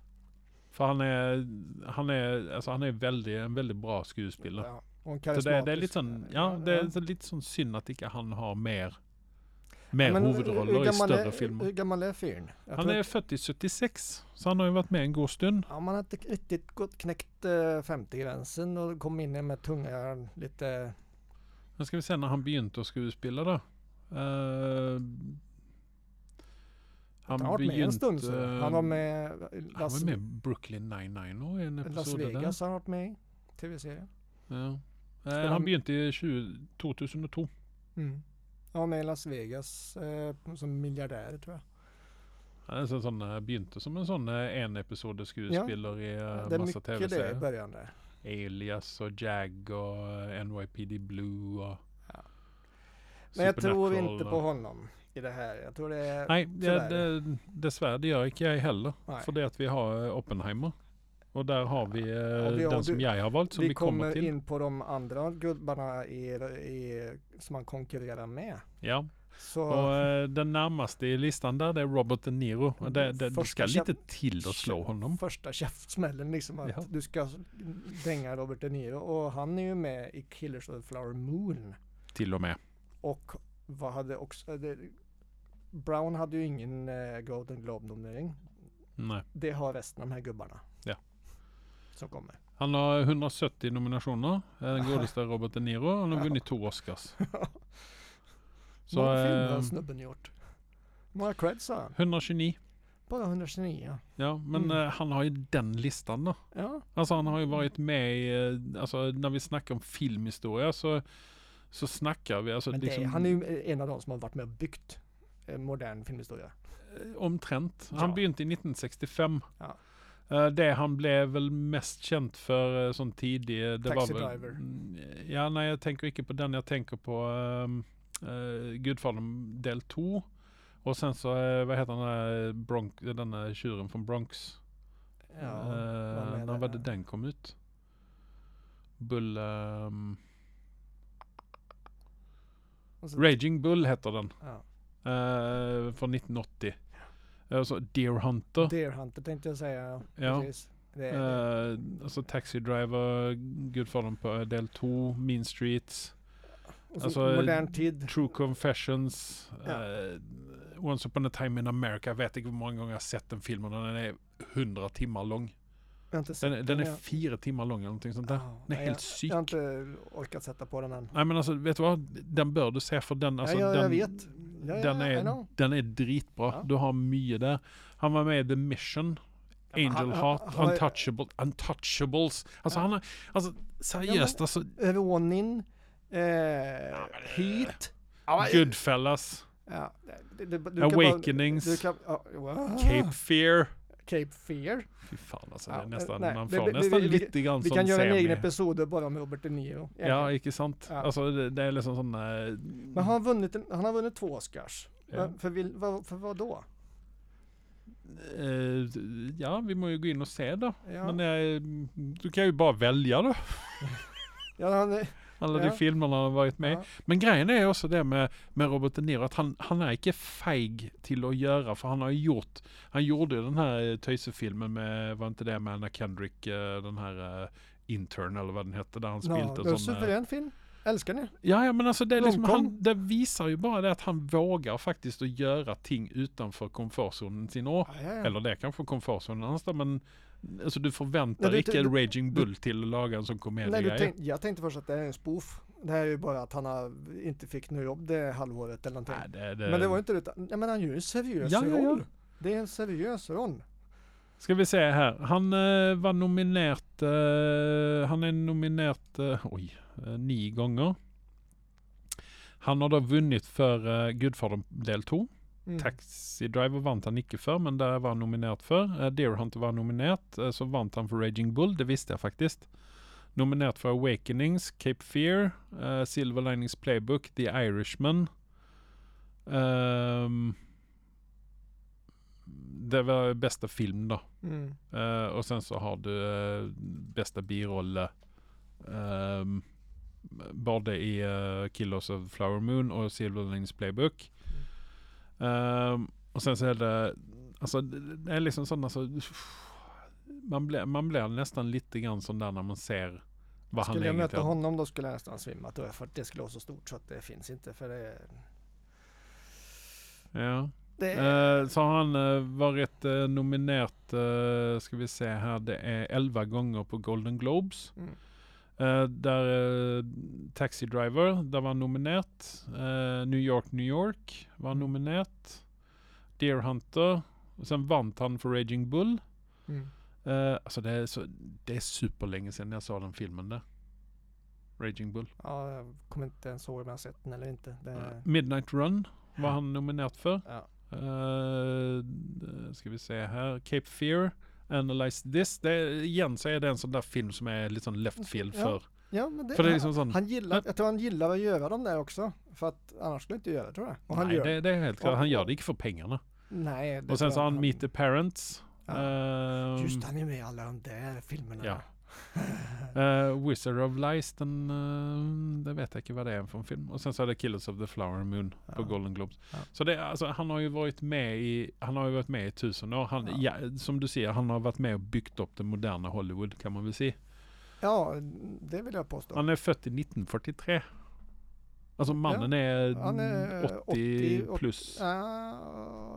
[SPEAKER 1] För han är, han är, alltså han är väldigt, en väldigt bra skuespelare.
[SPEAKER 2] Ja, och en
[SPEAKER 1] Så det, det är
[SPEAKER 2] karismatisk-
[SPEAKER 1] lite sån, ja, det är så lite sån synd att inte han har mer, mer
[SPEAKER 2] Men hur- hur
[SPEAKER 1] huvudroller i
[SPEAKER 2] gammal
[SPEAKER 1] större
[SPEAKER 2] är,
[SPEAKER 1] filmer.
[SPEAKER 2] Hur gammal är fyren? Jag
[SPEAKER 1] Han
[SPEAKER 2] tror
[SPEAKER 1] är
[SPEAKER 2] att-
[SPEAKER 1] född i 76, så han har ju varit med en god stund.
[SPEAKER 2] Ja, man har inte riktigt gått, knäckt eh, 50-gränsen och kom in med tunga lite...
[SPEAKER 1] Nu ska vi se när han begynte att skuespela då. Eh, han
[SPEAKER 2] Han har varit med en stund. Så. Han var med...
[SPEAKER 1] Han
[SPEAKER 2] Las,
[SPEAKER 1] var med i Brooklyn 99 och en
[SPEAKER 2] Las
[SPEAKER 1] episod där.
[SPEAKER 2] Vegas har han varit med i. Tv-serien.
[SPEAKER 1] Ja.
[SPEAKER 2] Spelar
[SPEAKER 1] Eh, han
[SPEAKER 2] han-
[SPEAKER 1] begynte i 20, 2002.
[SPEAKER 2] Mm. Han var med i Las Vegas eh, som miljardär tror jag.
[SPEAKER 1] Han är så en sån, eh, begynte som en sån eh, en episod skuespelare i eh,
[SPEAKER 2] det är
[SPEAKER 1] massa
[SPEAKER 2] mycket det i
[SPEAKER 1] tv-serier.
[SPEAKER 2] början där.
[SPEAKER 1] Alias och Jag och eh, NYPD Blue och
[SPEAKER 2] Ja. Men jag tror
[SPEAKER 1] Supernatural
[SPEAKER 2] inte
[SPEAKER 1] och-
[SPEAKER 2] på honom i det här. Jag tror det är...
[SPEAKER 1] Nej, det,
[SPEAKER 2] Tyvärr.
[SPEAKER 1] det, dessvärre det gör inte jag heller.
[SPEAKER 2] Nej.
[SPEAKER 1] För det att vi har eh, Oppenheimer. Och där har vi eh,
[SPEAKER 2] och vi har-
[SPEAKER 1] den som
[SPEAKER 2] du-
[SPEAKER 1] jag har valt som vi,
[SPEAKER 2] vi
[SPEAKER 1] kommer,
[SPEAKER 2] kommer
[SPEAKER 1] till.
[SPEAKER 2] in på de andra gubbarna i, i, som han konkurrerar med.
[SPEAKER 1] Ja.
[SPEAKER 2] Så,
[SPEAKER 1] Och eh, den närmaste i listan där det är Robert De Niro. Och Det, det, det
[SPEAKER 2] Första
[SPEAKER 1] ska
[SPEAKER 2] käpp-
[SPEAKER 1] lite till att slå honom.
[SPEAKER 2] Första käftsmällen liksom att
[SPEAKER 1] Ja.
[SPEAKER 2] du ska dänga Robert De Niro och han är ju med i Killers of the Flower Moon
[SPEAKER 1] Till och med.
[SPEAKER 2] och vad hade också eh, det, Brown hade ju ingen eh, Golden Globe-nominering.
[SPEAKER 1] Nej.
[SPEAKER 2] Det har resten av de här gubbarna.
[SPEAKER 1] Ja.
[SPEAKER 2] Som kommer.
[SPEAKER 1] Han har 170 nominationer. Eh, Den godaste är Robert De Niro. Han har
[SPEAKER 2] Ja.
[SPEAKER 1] vunnit två Oscars.
[SPEAKER 2] Så,
[SPEAKER 1] Så
[SPEAKER 2] Många filmer har
[SPEAKER 1] eh,
[SPEAKER 2] snubben gjort. Många creds har han.
[SPEAKER 1] 129.
[SPEAKER 2] Bara 129.
[SPEAKER 1] Ja, men
[SPEAKER 2] Mm.
[SPEAKER 1] eh, han har ju den listan då.
[SPEAKER 2] Ja.
[SPEAKER 1] Alltså han har ju varit med i, eh, alltså när vi snackar om filmhistoria så, så snackar vi alltså
[SPEAKER 2] Men
[SPEAKER 1] liksom,
[SPEAKER 2] det, han är ju en av de som har varit med och byggt eh, modern filmhistoria.
[SPEAKER 1] eh, omtrent. Han
[SPEAKER 2] Ja.
[SPEAKER 1] begynte i 1965.
[SPEAKER 2] Ja.
[SPEAKER 1] Eh, Det han blev väl mest känd för eh, som tidig, eh, det
[SPEAKER 2] Taxi
[SPEAKER 1] var väl...
[SPEAKER 2] Driver.
[SPEAKER 1] Mm, Ja, nej jag tänker inte på den. Jag tänker på um, Gudfadern del 2. Och sen så, eh, vad heter den där, Bronx, den där tjuren från Bronx?
[SPEAKER 2] Ja,
[SPEAKER 1] Eh,
[SPEAKER 2] vad med
[SPEAKER 1] när
[SPEAKER 2] det?
[SPEAKER 1] var det den kom ut? Bull... ehm,
[SPEAKER 2] Och så-
[SPEAKER 1] Raging Bull heter den.
[SPEAKER 2] Ja.
[SPEAKER 1] eh, från 1980. Eh, så Deer Hunter.
[SPEAKER 2] Deer Hunter tänkte jag säga.
[SPEAKER 1] Ja.
[SPEAKER 2] Precis. Det är det.
[SPEAKER 1] Eh, alltså Taxi Driver, Gudfadern på eh, Del 2, Mean Streets,
[SPEAKER 2] Och så
[SPEAKER 1] alltså,
[SPEAKER 2] modern tid.
[SPEAKER 1] True Confessions,
[SPEAKER 2] Ja.
[SPEAKER 1] eh, Once upon a time in America. Jag vet inte hur många gånger jag har sett den filmen och den är 100 timmar lång.
[SPEAKER 2] Jag har inte sett
[SPEAKER 1] Den, är- den är
[SPEAKER 2] ja.
[SPEAKER 1] fyra timmar lång eller någonting sånt där.
[SPEAKER 2] Ja,
[SPEAKER 1] Den är
[SPEAKER 2] nej,
[SPEAKER 1] helt
[SPEAKER 2] jag, jag har
[SPEAKER 1] psyk.
[SPEAKER 2] inte orkat sätta på den än.
[SPEAKER 1] Nej men alltså vet du vad? Den bör du se för den, alltså,
[SPEAKER 2] ja, jag,
[SPEAKER 1] den,
[SPEAKER 2] jag vet. Ja, ja,
[SPEAKER 1] den,
[SPEAKER 2] ja, I
[SPEAKER 1] är,
[SPEAKER 2] know.
[SPEAKER 1] den är dritbra.
[SPEAKER 2] Ja.
[SPEAKER 1] Du har mycket där. Han var med i The Mission.
[SPEAKER 2] men
[SPEAKER 1] Angel
[SPEAKER 2] han-
[SPEAKER 1] Heart,
[SPEAKER 2] han- han var-
[SPEAKER 1] Untouchable, Untouchables. Alltså
[SPEAKER 2] Ja.
[SPEAKER 1] han har, alltså seriöst alltså.
[SPEAKER 2] Övervåning. Eh, Heat. Ja, men-
[SPEAKER 1] Goodfellas,
[SPEAKER 2] Ja, det- det- du kan
[SPEAKER 1] Awakenings,
[SPEAKER 2] Bara, du kan, ja, wow.
[SPEAKER 1] Cape Fear.
[SPEAKER 2] Cape Fear.
[SPEAKER 1] Fy fan alltså,
[SPEAKER 2] Ja,
[SPEAKER 1] det är nästan,
[SPEAKER 2] nej,
[SPEAKER 1] man
[SPEAKER 2] det-
[SPEAKER 1] får
[SPEAKER 2] vi- vi-
[SPEAKER 1] nästan
[SPEAKER 2] vi-
[SPEAKER 1] lite grann
[SPEAKER 2] Vi
[SPEAKER 1] som
[SPEAKER 2] kan göra en
[SPEAKER 1] semi.
[SPEAKER 2] egen episode bara om Robert De Niro.
[SPEAKER 1] Ja, icke sant?
[SPEAKER 2] Ja.
[SPEAKER 1] Alltså det, det är liksom sån... eh,
[SPEAKER 2] Men han har vunnit, en, han har vunnit två Oscars.
[SPEAKER 1] Ja.
[SPEAKER 2] Men För, vil- vad, för vad då?
[SPEAKER 1] eh, ja, vi må ju gå in och se då.
[SPEAKER 2] Ja,
[SPEAKER 1] Men eh, du kan ju bara välja då.
[SPEAKER 2] ja, han, är-
[SPEAKER 1] Alla
[SPEAKER 2] Ja.
[SPEAKER 1] de filmerna han har varit med i.
[SPEAKER 2] ja,
[SPEAKER 1] Men grejen är också det med, med Robert De Niro, att han, han är inte feig till att göra, för han har ju gjort, han gjorde ju den här eh, töjsefilmen med, var inte det med Anna Kendrick, eh, den här eh, Intern eller vad den hette, där han
[SPEAKER 2] ja,
[SPEAKER 1] spelte
[SPEAKER 2] det är
[SPEAKER 1] en
[SPEAKER 2] en
[SPEAKER 1] sån... eh,
[SPEAKER 2] suverän film. Älskar ni?
[SPEAKER 1] Ja, ja, men alltså det, är liksom,
[SPEAKER 2] Romcom.
[SPEAKER 1] han, det visar ju bara det att han vågar faktiskt att göra ting utanför komfortzonen sin. Och,
[SPEAKER 2] Ja, ja, ja.
[SPEAKER 1] Eller det är kanske komfortzonen annars där, men alltså du förväntar
[SPEAKER 2] Nej, du-
[SPEAKER 1] icke
[SPEAKER 2] du-
[SPEAKER 1] Raging Bull till att laga en sån
[SPEAKER 2] Nej, du
[SPEAKER 1] komediegrej.
[SPEAKER 2] tänk, jag tänkte först att det är en spoof. Det här är ju bara att han har, inte fick något jobb det halvåret eller någonting.
[SPEAKER 1] Nej, det,
[SPEAKER 2] Men det var ju inte utan, nej men han gör ju en seriös
[SPEAKER 1] Ja, ja, ja.
[SPEAKER 2] roll. Det är en seriös roll.
[SPEAKER 1] Ska vi se här. Han eh, var nominerat... eh, han är nominerat... eh, oj. eh, nio gånger. Han har då vunnit för eh, Gudfadern del 2.
[SPEAKER 2] Mm.
[SPEAKER 1] Taxi Driver vann han icke för, men där var han nominerat för. Eh, Deer Hunter var nominerat, eh, så vann han för Raging Bull, det visste jag faktiskt. Nominerat för Awakenings, Cape Fear, eh, Silver Linings Playbook, The Irishman. Ehm, det var bästa film då.
[SPEAKER 2] Mm.
[SPEAKER 1] Eh, och sen så har du eh, bästa biroll. Um, både i eh, Killers of Flower Moon och Silver Linings Playbook. Ehm, och sen så är det, alltså det det är liksom sådana så, man blir, man blir nästan lite grann sån där när man ser vad han
[SPEAKER 2] Skulle jag möta
[SPEAKER 1] egentligen...
[SPEAKER 2] honom då skulle jag nästan svimma tror jag, för att det skulle vara så stort så att det finns inte för det,
[SPEAKER 1] Ja.
[SPEAKER 2] det är
[SPEAKER 1] Eh, så har han eh, varit eh, nominerat, eh, ska vi se här, det är 11 gånger på Golden Globes.
[SPEAKER 2] Mm.
[SPEAKER 1] Eh, där eh, Taxi Driver, där var han nominerat. Eh, New York, New York var han
[SPEAKER 2] Mm.
[SPEAKER 1] nominerat. Deer Hunter. Och sen vann han för Raging Bull.
[SPEAKER 2] mm.
[SPEAKER 1] Eh, alltså det är, så, det är superlänge sedan jag såg den filmen där. Raging Bull.
[SPEAKER 2] Ja, jag kommer inte ens ihåg om jag har sett den eller inte. Det,
[SPEAKER 1] Eh, Midnight Run var han nominerat för.
[SPEAKER 2] ja.
[SPEAKER 1] Eh, d- ska vi se här. Cape Fear, Analyze This. Det, är- igen så är det en sån där film som är lite sån left field
[SPEAKER 2] Ja,
[SPEAKER 1] för.
[SPEAKER 2] ja, men det,
[SPEAKER 1] för det är
[SPEAKER 2] han-
[SPEAKER 1] liksom sån...
[SPEAKER 2] han gillar, jag tror han gillar att göra de där också. För att annars skulle han inte göra det tror jag. Och han
[SPEAKER 1] nej,
[SPEAKER 2] gör
[SPEAKER 1] det, det är helt klart.
[SPEAKER 2] och-
[SPEAKER 1] Han gör det inte för pengarna.
[SPEAKER 2] Nej. det
[SPEAKER 1] Och sen
[SPEAKER 2] tror
[SPEAKER 1] så har
[SPEAKER 2] jag
[SPEAKER 1] han Meet the Parents.
[SPEAKER 2] Ja.
[SPEAKER 1] ehm,
[SPEAKER 2] Just han är med i alla de där filmerna.
[SPEAKER 1] Ja. eh, Wizard of Lies, den, eh, det vet jag inte vad det är för en film. Och sen så är det Killers of the Flower Moon på
[SPEAKER 2] Ja.
[SPEAKER 1] Golden Globes.
[SPEAKER 2] Ja.
[SPEAKER 1] Så det, är- alltså, han har ju varit med i, han har ju varit med i tusen år. Han, ja. som du ser, han har varit med och byggt upp den moderna Hollywood kan man väl säga.
[SPEAKER 2] ja, det vill jag påstå.
[SPEAKER 1] Han är född i 1943. Alltså mannen är,
[SPEAKER 2] han är, eh,
[SPEAKER 1] 80,
[SPEAKER 2] 80,
[SPEAKER 1] plus.
[SPEAKER 2] Eh,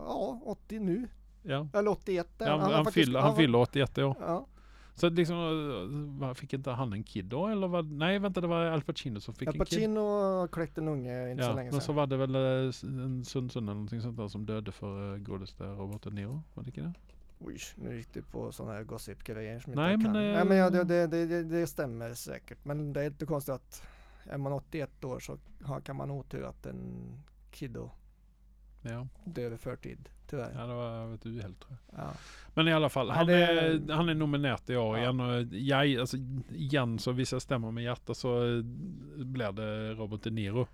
[SPEAKER 2] ja, 80 nu.
[SPEAKER 1] Ja.
[SPEAKER 2] Eller 81.
[SPEAKER 1] Ja, han,
[SPEAKER 2] har
[SPEAKER 1] han,
[SPEAKER 2] faktiskt-
[SPEAKER 1] fyller, han fyller 81 år.
[SPEAKER 2] Ja,
[SPEAKER 1] Så att liksom, eh, vad, fick inte han en kid då? Eller vad? Nej, vänta, det var Al Pacino som fick
[SPEAKER 2] Al
[SPEAKER 1] en kid.
[SPEAKER 2] Pacino kläckte en unge inte så
[SPEAKER 1] Ja,
[SPEAKER 2] länge
[SPEAKER 1] men
[SPEAKER 2] sedan.
[SPEAKER 1] så var det väl eh, s- en Sundsund eller någonting sånt där som dödde för uh, godaste Robert De Niro? Var det inte det?
[SPEAKER 2] Oj, nu gick du på sådana här gossip-grejer som
[SPEAKER 1] Nej,
[SPEAKER 2] inte
[SPEAKER 1] men,
[SPEAKER 2] jag kan.
[SPEAKER 1] eh,
[SPEAKER 2] Nej, men ja, det, det, det, det- det stämmer säkert. Men det är inte konstigt att är man 81 år så har, kan man otur att en kiddo
[SPEAKER 1] Ja,
[SPEAKER 2] dör i förtid, tyvärr.
[SPEAKER 1] ja det var ett uheld tror jag.
[SPEAKER 2] Ja.
[SPEAKER 1] Men i alla fall,
[SPEAKER 2] Ja,
[SPEAKER 1] han,
[SPEAKER 2] det-
[SPEAKER 1] är, han är nominerad i år
[SPEAKER 2] Ja.
[SPEAKER 1] igen. Och jag, alltså, igen, så vissa stämmer med hjärta så eh, blir det Robert De Niro.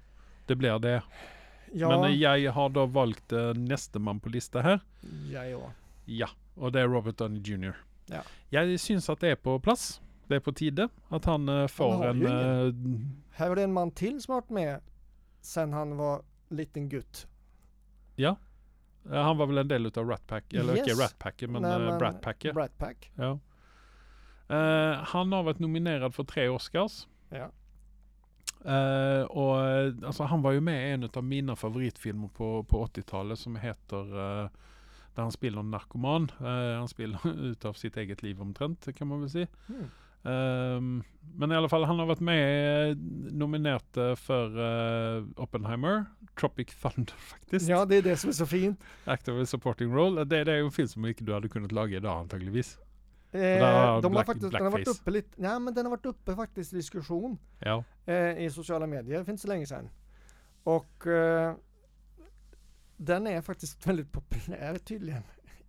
[SPEAKER 1] Det blir det.
[SPEAKER 2] Ja,
[SPEAKER 1] Men eh, jag har då valt eh, nästa man på lista här.
[SPEAKER 2] ja, ja.
[SPEAKER 1] Ja, och det är Robert Downey Jr.
[SPEAKER 2] Ja.
[SPEAKER 1] Jag syns att det är på plats. Det är på tide att han eh, får
[SPEAKER 2] har
[SPEAKER 1] en...
[SPEAKER 2] ju
[SPEAKER 1] eh,
[SPEAKER 2] Här var det en man till som har varit med sen han var liten gutt.
[SPEAKER 1] eh, han var väl en del utav Rat Pack, eller
[SPEAKER 2] Yes.
[SPEAKER 1] icke Rat Pack, men Nej,
[SPEAKER 2] Nej, men-
[SPEAKER 1] Brat Pack. ja.
[SPEAKER 2] Brat Pack.
[SPEAKER 1] Ja. Eh, han har varit nominerad för tre Oscars.
[SPEAKER 2] Ja.
[SPEAKER 1] Eh, och eh, alltså, han var ju med i en av mina favoritfilmer på, på 80-talet som heter eh, där han spelar en narkoman. Eh, han spelar utav sitt eget liv omtrent det kan man väl säga.
[SPEAKER 2] Mm.
[SPEAKER 1] Ehm, men i alla fall, han har varit med eh, nominerat eh, för eh, Oppenheimer, Tropic Thunder faktiskt.
[SPEAKER 2] Ja, det är det som är så fint.
[SPEAKER 1] Actor with supporting role. Eh, Det, det är ju en film som mycket du hade kunnat laga idag antagligenvis.
[SPEAKER 2] Eh,
[SPEAKER 1] där har
[SPEAKER 2] de har
[SPEAKER 1] black-
[SPEAKER 2] faktiskt, den har varit
[SPEAKER 1] blackface.
[SPEAKER 2] uppe lite, nej men den har varit uppe faktiskt i diskussion.
[SPEAKER 1] Ja.
[SPEAKER 2] eh, i sociala medier för inte så länge sedan. Och eh, den är faktiskt väldigt populär tydligen.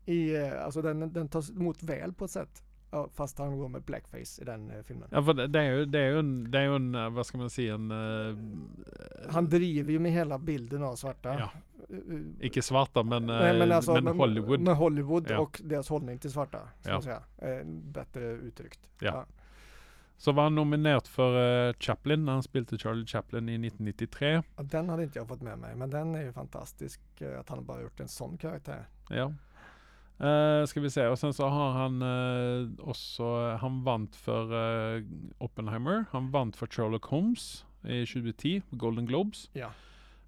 [SPEAKER 2] I, eh, alltså den, den tas emot väl på ett sätt. Ja, fast han går med blackface i den eh, filmen.
[SPEAKER 1] ja för det, det är ju, det är ju en, det är ju en, eh, vad ska man säga, en eh,
[SPEAKER 2] Han driver ju med hela bilden av svarta.
[SPEAKER 1] Ja.
[SPEAKER 2] Eh, eh,
[SPEAKER 1] icke svarta men,
[SPEAKER 2] nej,
[SPEAKER 1] eh,
[SPEAKER 2] alltså,
[SPEAKER 1] men
[SPEAKER 2] med-
[SPEAKER 1] Hollywood.
[SPEAKER 2] Med Hollywood
[SPEAKER 1] Ja.
[SPEAKER 2] och deras hållning till svarta. Ska
[SPEAKER 1] Ja.
[SPEAKER 2] man säga. Eh, bättre uttryckt.
[SPEAKER 1] Ja. Så var han nominerad för eh, Chaplin när han spelade Charlie Chaplin i 1993.
[SPEAKER 2] Ja, Den hade inte jag fått med mig, men den är ju fantastisk. eh, Att han bara gjort en sån karaktär.
[SPEAKER 1] Ja. Eh, ska vi se, och sen så har han eh, också, han vann för eh, Oppenheimer, han vann för Sherlock Holmes i 2010 på Golden Globes.
[SPEAKER 2] Ja.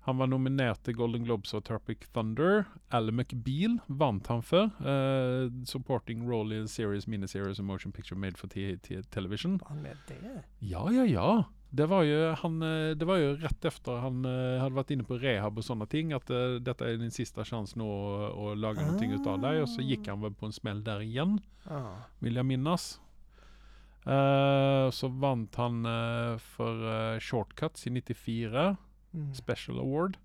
[SPEAKER 1] Han var nominerad till Golden Globes och Tropic Thunder. Al McBeal vann han för. eh, supporting role in series, miniseries and motion picture made for t- t- television.
[SPEAKER 2] Var han med det?
[SPEAKER 1] Ja, ja, ja. Det var ju, han, eh, det var ju rätt efter han eh, hade varit inne på rehab och sådana ting. Att eh, detta är din sista chans nu att att laga någonting utav dig. Och så gick han väl på en smäll där igen,
[SPEAKER 2] Ja.
[SPEAKER 1] vill jag minnas. Eh, så vann han eh, för eh, Shortcuts i 94,
[SPEAKER 2] Mm.
[SPEAKER 1] Special Award.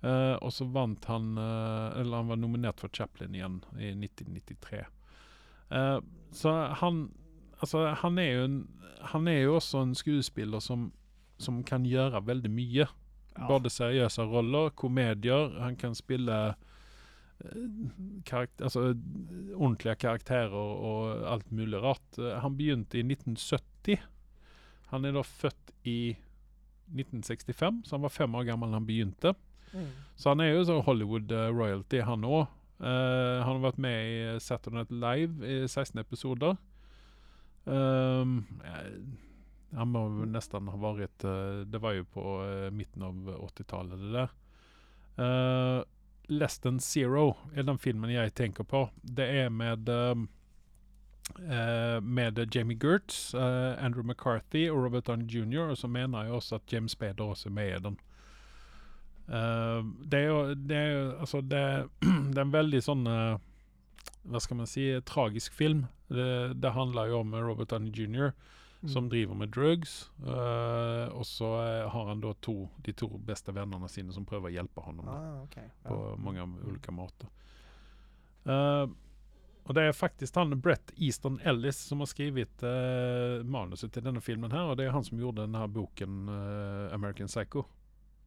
[SPEAKER 1] Eh, och så vann han, eh, eller han var nominerad för Chaplin igen i 1993. Eh, så han, alltså han är ju en, han är ju också en skådespelare som, som kan göra väldigt mycket.
[SPEAKER 2] Ja.
[SPEAKER 1] Både seriösa roller, komedier, han kan spela eh, Karakt alltså, eh, ordentliga karaktärer och allt möjligt rart. Eh, Han begynte i 1970. Han är då född i 1965, så han var fem år gammal när han begynte.
[SPEAKER 2] Mm.
[SPEAKER 1] Så han är ju så Hollywood eh, royalty han också. Eh, han har varit med i eh, Saturday Night Live i 16 episoder. Ehm, eh, han har väl nästan ha varit, eh, det var ju på eh, mitten av 80-talet det där. Eh, Less than Zero är den filmen jag tänker på. Det är med ehm, eh, med Jamie Gertz, eh, Andrew McCarthy och Robert Downey Jr. Och så menar jag också att James Spader också är med i den. Eh, det är, det är, alltså det, det är en väldigt sån, eh, vad ska man säga, tragisk film. Det, det handlar ju om eh, Robert Downey Jr.
[SPEAKER 2] Mm.
[SPEAKER 1] som driver med drugs. eh, och så eh, har han då to, de två bästa vännerna sina som prövar hjälpa honom. då
[SPEAKER 2] Ah, okej.
[SPEAKER 1] på många olika måter. Eh, och det är faktiskt han Brett Easton Ellis som har skrivit eh, manuset till denna filmen här och det är han som gjorde den här boken eh, American Psycho.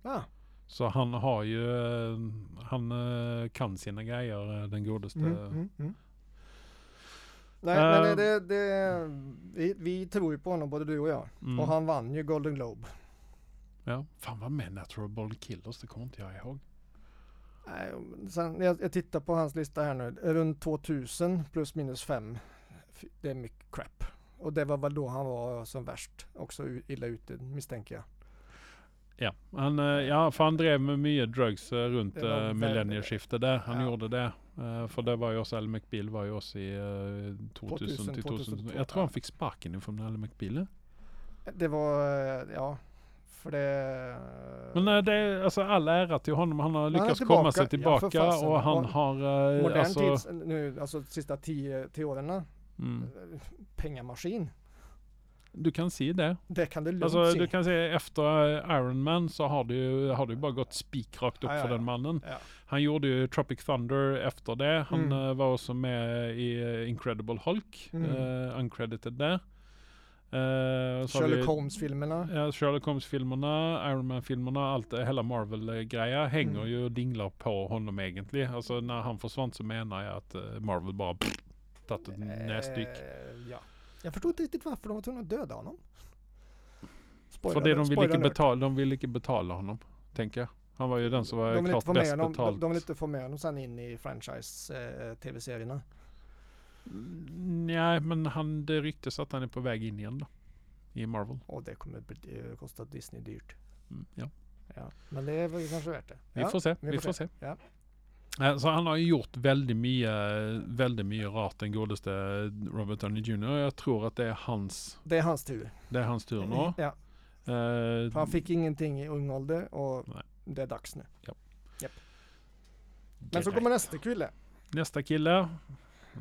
[SPEAKER 2] Ja. Ah,
[SPEAKER 1] Så han har ju, eh, han eh, kan sina grejer, eh, den godaste.
[SPEAKER 2] mm, mm, mm. Nej,
[SPEAKER 1] Ehm.
[SPEAKER 2] men det, det, vi, vi tror ju på honom, både du och jag.
[SPEAKER 1] Mm.
[SPEAKER 2] Och han vann ju Golden Globe.
[SPEAKER 1] ja. Fan vad med Natural Born Killers, det kommer inte jag ihåg.
[SPEAKER 2] Nej, men Sen, jag, jag tittar på hans lista här nu. Runt 2000 plus minus 5. Det är mycket crap. Och det var väl då han var som värst. Också u- illa ute misstänker jag.
[SPEAKER 1] Ja, han, eh, ja, för han drev med mycket drugs eh, runt
[SPEAKER 2] Det var
[SPEAKER 1] eh,
[SPEAKER 2] väl-
[SPEAKER 1] millennieskiftet där. Han
[SPEAKER 2] Ja.
[SPEAKER 1] gjorde det. Eh, för det var ju också, Al McBeal var ju också i eh, 2000 till
[SPEAKER 2] 2000,
[SPEAKER 1] 2002. Jag tror han fick sparken ifrån Al McBeal.
[SPEAKER 2] Det var, eh, ja. För det...
[SPEAKER 1] Men eh, det är alltså all ära till honom. Han har lyckats komma
[SPEAKER 2] tillbaka.
[SPEAKER 1] sig
[SPEAKER 2] Ja, för
[SPEAKER 1] tillbaka
[SPEAKER 2] fasen.
[SPEAKER 1] och han
[SPEAKER 2] Och
[SPEAKER 1] har... Eh,
[SPEAKER 2] Modern
[SPEAKER 1] alltså,
[SPEAKER 2] tids, eh, nu, alltså sista tio, tio åren.
[SPEAKER 1] mm,
[SPEAKER 2] pengamaskin.
[SPEAKER 1] Du kan se det.
[SPEAKER 2] Det kan det lugnt
[SPEAKER 1] Alltså,
[SPEAKER 2] se.
[SPEAKER 1] du kan se efter eh, Iron Man så har det ju, har det ju bara gått spikrakt upp
[SPEAKER 2] Ja, ja,
[SPEAKER 1] för
[SPEAKER 2] ja.
[SPEAKER 1] den mannen.
[SPEAKER 2] Ja.
[SPEAKER 1] Han gjorde ju Tropic Thunder efter det. Han
[SPEAKER 2] Mm.
[SPEAKER 1] eh, var också med i eh, Incredible Hulk,
[SPEAKER 2] Mm.
[SPEAKER 1] eh, uncredited där. Eh, så har vi-
[SPEAKER 2] Sherlock Holmes-filmerna.
[SPEAKER 1] Ja, Sherlock Holmes-filmerna, Iron Man-filmerna, allt det, hela Marvel-greja hänger
[SPEAKER 2] Mm.
[SPEAKER 1] ju och dinglar på honom egentligen. Alltså när han försvann så menar jag att eh, Marvel bara pff, tagit ett näsdyk.
[SPEAKER 2] Eh, ja. Jag förstod inte riktigt varför de var tvungna att döda honom. Spoiler,
[SPEAKER 1] För det de vill
[SPEAKER 2] spoiler
[SPEAKER 1] inte
[SPEAKER 2] alert.
[SPEAKER 1] betala, de vill inte betala honom, tänker jag. Han var ju den som var
[SPEAKER 2] de vill, inte
[SPEAKER 1] klart
[SPEAKER 2] få med
[SPEAKER 1] bäst
[SPEAKER 2] honom, de,
[SPEAKER 1] betalt.
[SPEAKER 2] de vill inte få med honom sen in i eh, franchise-tv-serierna.
[SPEAKER 1] Mm, Nej, men han, det ryktas att han är på väg in igen då. I Marvel.
[SPEAKER 2] och det kommer bli- eh, kosta Disney dyrt.
[SPEAKER 1] Mm, ja.
[SPEAKER 2] Ja. Men det var ju kanske värt det.
[SPEAKER 1] Vi
[SPEAKER 2] ja.
[SPEAKER 1] får se. Vi, får se.
[SPEAKER 2] Ja.
[SPEAKER 1] Eh, Så han har ju gjort väldigt mycket, väldigt mycket rart, den godaste Robert Downey Jr. Jag tror att det är hans,
[SPEAKER 2] Det är hans tur.
[SPEAKER 1] det är hans tur nu.
[SPEAKER 2] Ja,
[SPEAKER 1] Eh,
[SPEAKER 2] för han fick ingenting i ung ålder och
[SPEAKER 1] Nej.
[SPEAKER 2] det är dags nu.
[SPEAKER 1] det
[SPEAKER 2] Men så
[SPEAKER 1] är-
[SPEAKER 2] kommer nästa kille.
[SPEAKER 1] Nästa kille.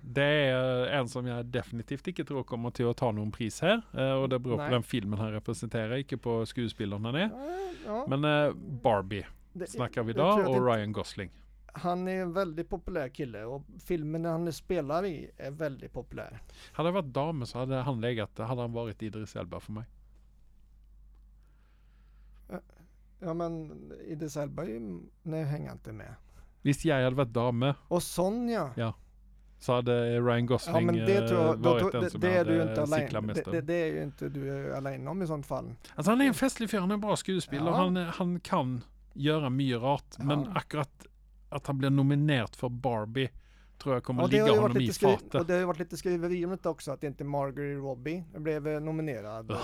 [SPEAKER 1] Det är en som jag definitivt inte tror kommer till att ta någon pris här. eh, Och det beror på
[SPEAKER 2] Nej.
[SPEAKER 1] den filmen han representerar, inte på skådespelaren han är.
[SPEAKER 2] Ja, ja,
[SPEAKER 1] Men eh, Barbie
[SPEAKER 2] det-
[SPEAKER 1] snackar vi
[SPEAKER 2] jag tror
[SPEAKER 1] idag
[SPEAKER 2] att
[SPEAKER 1] och
[SPEAKER 2] det-
[SPEAKER 1] Ryan Gosling.
[SPEAKER 2] Han är en väldigt populär kille och filmen han spelar i är väldigt populär.
[SPEAKER 1] Hade det varit damer så hade han legat, hade han varit Idris Elba för mig.
[SPEAKER 2] Ja men Idris Elba är ju- nej, hänger jag inte med.
[SPEAKER 1] Visst, jag hade varit dame
[SPEAKER 2] Och Sonja.
[SPEAKER 1] så hade Ryan Gosling
[SPEAKER 2] Ja men det tror jag,
[SPEAKER 1] eh,
[SPEAKER 2] då,
[SPEAKER 1] varit
[SPEAKER 2] då,
[SPEAKER 1] den
[SPEAKER 2] det,
[SPEAKER 1] som
[SPEAKER 2] det är
[SPEAKER 1] jag
[SPEAKER 2] du ju
[SPEAKER 1] hade
[SPEAKER 2] inte
[SPEAKER 1] cyklat
[SPEAKER 2] alene,
[SPEAKER 1] mest
[SPEAKER 2] det,
[SPEAKER 1] om.
[SPEAKER 2] det, det är ju inte du alene om i sånt fall.
[SPEAKER 1] Alltså han är en festlig fyr, han är en bra skådespelare
[SPEAKER 2] Ja.
[SPEAKER 1] och han, han kan göra mycket rart. Men
[SPEAKER 2] Ja.
[SPEAKER 1] akkurat att han blir nominerad för Barbie tror jag kommer
[SPEAKER 2] Ja, det har
[SPEAKER 1] ligga
[SPEAKER 2] ju varit
[SPEAKER 1] honom i
[SPEAKER 2] lite skri-
[SPEAKER 1] fatet.
[SPEAKER 2] Och det har ju varit lite skriveri om det också, att inte Margaret Robbie blev eh, nominerad.
[SPEAKER 1] Ugh.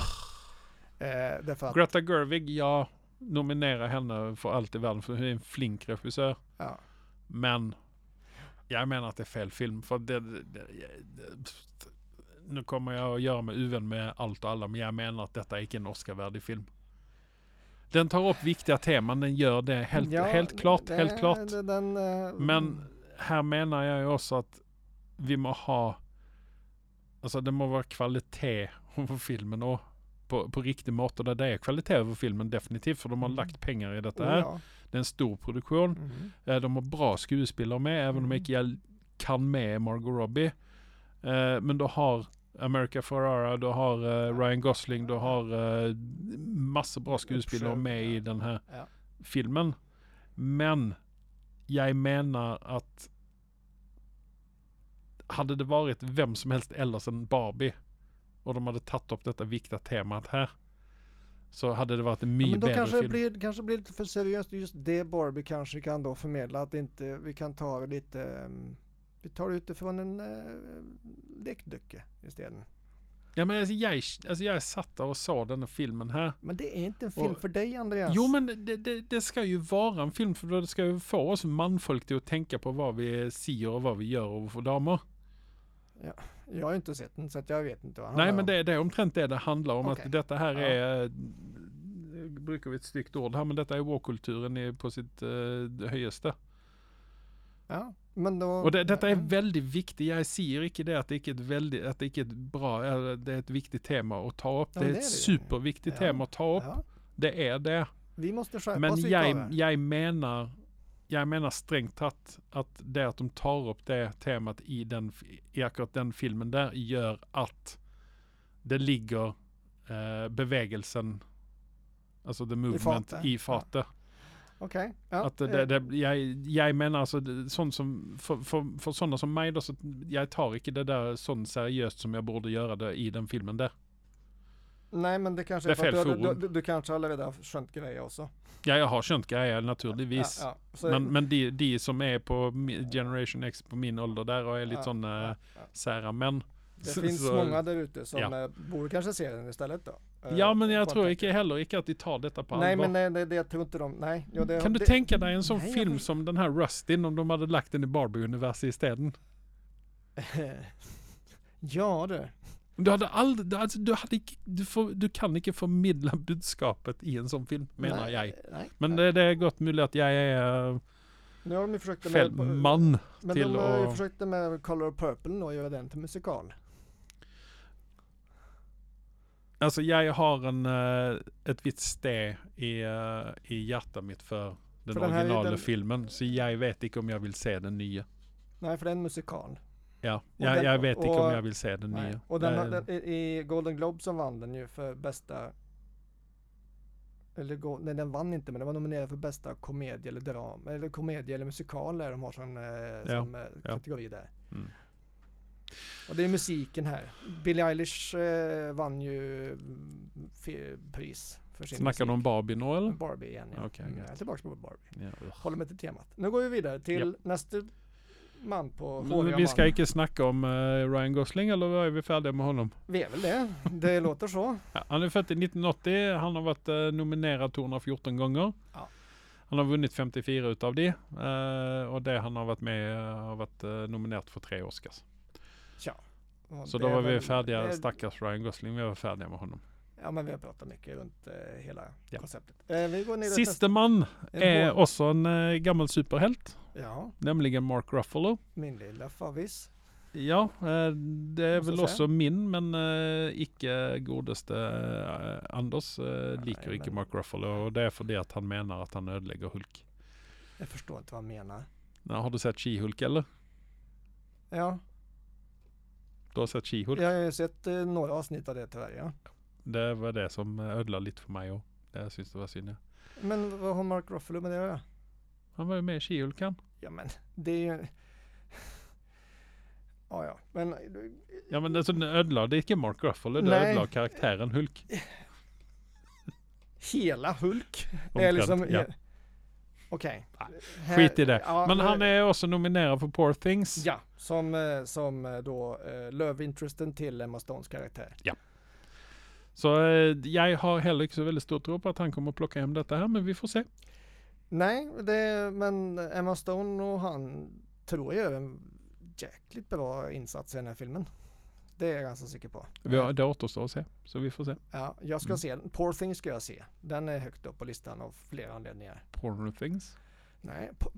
[SPEAKER 2] Eh, därför att,
[SPEAKER 1] Greta Gerwig, jag nominerar henne för allt i världen för hon är en flink regissör.
[SPEAKER 2] ja.
[SPEAKER 1] Men jag menar att det är fel film. För det, det, det, det, nu kommer jag att göra mig uvän med allt och alla, men jag menar att detta är icke en Oscarvärdig film. Den tar upp viktiga teman, den gör det helt,
[SPEAKER 2] Ja,
[SPEAKER 1] helt klart,
[SPEAKER 2] det-
[SPEAKER 1] helt klart.
[SPEAKER 2] det- Den, eh,
[SPEAKER 1] Men här menar jag ju också att vi må ha, alltså det må vara kvalitet över filmen och på, på riktig mått och där det är kvalitet över filmen definitivt för de har
[SPEAKER 2] Mm.
[SPEAKER 1] lagt pengar i detta
[SPEAKER 2] oh,
[SPEAKER 1] här.
[SPEAKER 2] ja.
[SPEAKER 1] Det är en stor produktion.
[SPEAKER 2] Mhm.
[SPEAKER 1] Eh, De har bra skådespelare med, även om
[SPEAKER 2] Mm.
[SPEAKER 1] inte jag kan med Margot Robbie. Eh, Men du har America Ferrara, du har eh, Ryan Gosling, du har eh, massor bra skådespelare
[SPEAKER 2] Uppsjö,
[SPEAKER 1] med i
[SPEAKER 2] ja.
[SPEAKER 1] den här
[SPEAKER 2] Ja.
[SPEAKER 1] filmen. Men jag menar att hade det varit vem som helst ellers än Barbie och de hade tagit upp detta viktiga temat här så hade det varit en
[SPEAKER 2] Ja,
[SPEAKER 1] mycket
[SPEAKER 2] men då
[SPEAKER 1] bättre
[SPEAKER 2] kanske
[SPEAKER 1] film.
[SPEAKER 2] det blir, kanske blir lite för seriöst. Just det Barbie kanske kan då förmedla att inte, vi kan ta det lite, mm, vi tar ut det från en eh, lekducka istället.
[SPEAKER 1] Ja, men alltså, jag, alltså, jag satt där och såg den här filmen här
[SPEAKER 2] Men det är inte en film
[SPEAKER 1] Och-
[SPEAKER 2] för dig Andreas.
[SPEAKER 1] Jo men det, det, det ska ju vara en film för det ska ju få oss manfolk till att tänka på vad vi ser och vad vi gör och för damer.
[SPEAKER 2] Jag har ju inte sett den så att jag vet inte vad han
[SPEAKER 1] Nej men det, det är omtrent det det handlar om.
[SPEAKER 2] Ah, Okej.
[SPEAKER 1] Att detta här
[SPEAKER 2] Ja.
[SPEAKER 1] är, eh, brukar vi ett styggt ord här, men detta är vårkulturen i- på sitt eh, högsta.
[SPEAKER 2] Ja, men då...
[SPEAKER 1] Och det, detta är väldigt viktigt. Jag ser icke det att det icke är ett väldigt, att det icke är ett bra, eller det är ett viktigt tema att ta upp.
[SPEAKER 2] Ja,
[SPEAKER 1] det är
[SPEAKER 2] men
[SPEAKER 1] ett
[SPEAKER 2] det är det ju.
[SPEAKER 1] superviktigt
[SPEAKER 2] Ja.
[SPEAKER 1] tema att ta upp.
[SPEAKER 2] Ja,
[SPEAKER 1] Det är det.
[SPEAKER 2] vi måste skärpa
[SPEAKER 1] Men
[SPEAKER 2] oss
[SPEAKER 1] jag,
[SPEAKER 2] jag,
[SPEAKER 1] jag menar jag menar strängt tatt att det att de tar upp det temat i, den, fi- i akkurat den filmen där gör att det ligger eh, bevegelsen, alltså the movement,
[SPEAKER 2] fatet.
[SPEAKER 1] i fatet.
[SPEAKER 2] Okej. Ja,
[SPEAKER 1] Att det,
[SPEAKER 2] eh,
[SPEAKER 1] det, det, jag, jag menar alltså, det- sånt som, för, för, för sådana som mig då, så jag tar inte det där sånt seriöst som jag borde göra det i den filmen där.
[SPEAKER 2] nej, men det kanske
[SPEAKER 1] det är
[SPEAKER 2] för att
[SPEAKER 1] fel
[SPEAKER 2] du, du,
[SPEAKER 1] forum.
[SPEAKER 2] du, du kanske allerede har skönt grejer också.
[SPEAKER 1] Ja, jag har känt grejer naturligtvis.
[SPEAKER 2] Ja, ja. Så,
[SPEAKER 1] Men, men de, de som är på mi- Generation X på min ålder där och är lite eh,
[SPEAKER 2] Ja,
[SPEAKER 1] sådana
[SPEAKER 2] ja, ja.
[SPEAKER 1] sära män.
[SPEAKER 2] det finns många där ute som
[SPEAKER 1] ja.
[SPEAKER 2] eh, borde kanske se den istället då. Eh,
[SPEAKER 1] Ja men jag
[SPEAKER 2] på
[SPEAKER 1] tror
[SPEAKER 2] en-
[SPEAKER 1] inte heller inte att de tar detta på
[SPEAKER 2] Nej,
[SPEAKER 1] allvar.
[SPEAKER 2] men nej, det, det, jag tror inte de... Nej. Jo, det,
[SPEAKER 1] kan du
[SPEAKER 2] det,
[SPEAKER 1] tänka dig en sån
[SPEAKER 2] Nej, jag
[SPEAKER 1] film
[SPEAKER 2] vet-
[SPEAKER 1] som den här Rustin om de hade lagt den i Barbie-universet istället?
[SPEAKER 2] ja du.
[SPEAKER 1] Du hade aldrig, du, alltså, du, hade, icke- du, får, du kan inte förmedla budskapet i en sån film menar
[SPEAKER 2] nej,
[SPEAKER 1] jag.
[SPEAKER 2] Nej.
[SPEAKER 1] Men det, det är gott möjligt att jag är äh,
[SPEAKER 2] Nu har de ju försökt det
[SPEAKER 1] fel man.
[SPEAKER 2] Men
[SPEAKER 1] till
[SPEAKER 2] de har ju
[SPEAKER 1] att-
[SPEAKER 2] försökt det med Color Purple nu och göra den till musikal.
[SPEAKER 1] Alltså jag har en, eh, ett vitt ste i, eh, i hjärtat mitt för den
[SPEAKER 2] För den här är ju
[SPEAKER 1] originala
[SPEAKER 2] den-
[SPEAKER 1] filmen. Så jag vet inte om jag vill se den nya.
[SPEAKER 2] Nej, för det är en musikal.
[SPEAKER 1] Ja, jag,
[SPEAKER 2] den-
[SPEAKER 1] jag vet inte
[SPEAKER 2] och-
[SPEAKER 1] om jag vill se den
[SPEAKER 2] Nej.
[SPEAKER 1] nya.
[SPEAKER 2] Och den, har-
[SPEAKER 1] Eh,
[SPEAKER 2] den, i i Golden Globe som vann den ju för bästa eller go- nej, den vann inte men den var nominerad för bästa komedie eller dram eller komedie eller musikaler de har som, eh, som eh,
[SPEAKER 1] ja.
[SPEAKER 2] kategori där.
[SPEAKER 1] Mm.
[SPEAKER 2] Och det är musiken här. Billie Eilish eh, vann ju mm, fe- pris för sin
[SPEAKER 1] Snackar du om
[SPEAKER 2] musik.
[SPEAKER 1] Barbie nu eller?
[SPEAKER 2] Barbie igen. Ja.
[SPEAKER 1] Okej,
[SPEAKER 2] mm,
[SPEAKER 1] gött.
[SPEAKER 2] jag är tillbaka på Barbie.
[SPEAKER 1] Ja, ugh.
[SPEAKER 2] Håller mig till temat. Nu går vi vidare till nästa man på
[SPEAKER 1] Men
[SPEAKER 2] håriga
[SPEAKER 1] Vi ska
[SPEAKER 2] man.
[SPEAKER 1] inte snacka om eh, Ryan Gosling eller är vi färdiga med honom?
[SPEAKER 2] Vi är väl det. Det låter så.
[SPEAKER 1] Ja, han är född i 1980. Han har varit eh, nominerad till 114 gånger.
[SPEAKER 2] Ja.
[SPEAKER 1] Han har vunnit 54 utav det. Eh, och det han har varit med eh, har varit eh, nominerat för tre Oscars.
[SPEAKER 2] Och
[SPEAKER 1] Så
[SPEAKER 2] det
[SPEAKER 1] då
[SPEAKER 2] är
[SPEAKER 1] var vi
[SPEAKER 2] väl-
[SPEAKER 1] färdiga,
[SPEAKER 2] det är-
[SPEAKER 1] stackars Ryan Gosling, vi var färdiga med honom.
[SPEAKER 2] Ja, men vi har pratat mycket runt eh, hela
[SPEAKER 1] Ja.
[SPEAKER 2] konceptet. Eh, vi går ner till nästa-
[SPEAKER 1] Siste man
[SPEAKER 2] en
[SPEAKER 1] är
[SPEAKER 2] hår-
[SPEAKER 1] också en eh, gammal superhelt,
[SPEAKER 2] Ja,
[SPEAKER 1] nämligen Mark Ruffalo.
[SPEAKER 2] min lilla favvis.
[SPEAKER 1] Ja, eh, det är
[SPEAKER 2] Måste
[SPEAKER 1] väl
[SPEAKER 2] säga.
[SPEAKER 1] också min, men eh, icke godeste eh, Anders eh, liker
[SPEAKER 2] Nej,
[SPEAKER 1] icke
[SPEAKER 2] men-
[SPEAKER 1] Mark Ruffalo och det är för det att han menar att han ödelägger Hulk.
[SPEAKER 2] Jag förstår inte vad han menar.
[SPEAKER 1] Nej, har du sett She-Hulk eller?
[SPEAKER 2] Ja,
[SPEAKER 1] Du har sett She-Hulk?
[SPEAKER 2] jag har ju sett eh, några avsnitt av det tyvärr. Ja.
[SPEAKER 1] Det var det som eh, ödlade lite för mig och jag syns det var synd. ja.
[SPEAKER 2] Men vad har Mark Ruffalo med det att göra?
[SPEAKER 1] Han var ju med i She-Hulk han.
[SPEAKER 2] Ja, men det är ju... Ja, ja, men
[SPEAKER 1] Ja men alltså den ödlade icke Mark Ruffalo, det
[SPEAKER 2] Nej.
[SPEAKER 1] ödlade karaktären Hulk.
[SPEAKER 2] hela Hulk är
[SPEAKER 1] Omtrent,
[SPEAKER 2] liksom...
[SPEAKER 1] ja.
[SPEAKER 2] Okej.
[SPEAKER 1] Nej,
[SPEAKER 2] Här-
[SPEAKER 1] Skit i det.
[SPEAKER 2] Eh, ja,
[SPEAKER 1] Men han
[SPEAKER 2] nu-
[SPEAKER 1] är också nominerad för Poor Things.
[SPEAKER 2] Ja, som, eh, som eh, då eh, lövinteresten till Emma Stones karaktär.
[SPEAKER 1] Så eh, jag har heller inte så väldigt stort tro på att han kommer plocka hem detta här, men vi får se.
[SPEAKER 2] Nej, det, men Emma Stone och han tror jag gör en jäkligt bra insats i den här filmen. Det är jag ganska säker på.
[SPEAKER 1] Vi har, det återstår att se, så vi får se.
[SPEAKER 2] Ja, jag ska
[SPEAKER 1] Mm.
[SPEAKER 2] se den. Poor Things ska jag se. Den är högt upp på listan av flera anledningar.
[SPEAKER 1] Porn Things.
[SPEAKER 2] Nej, po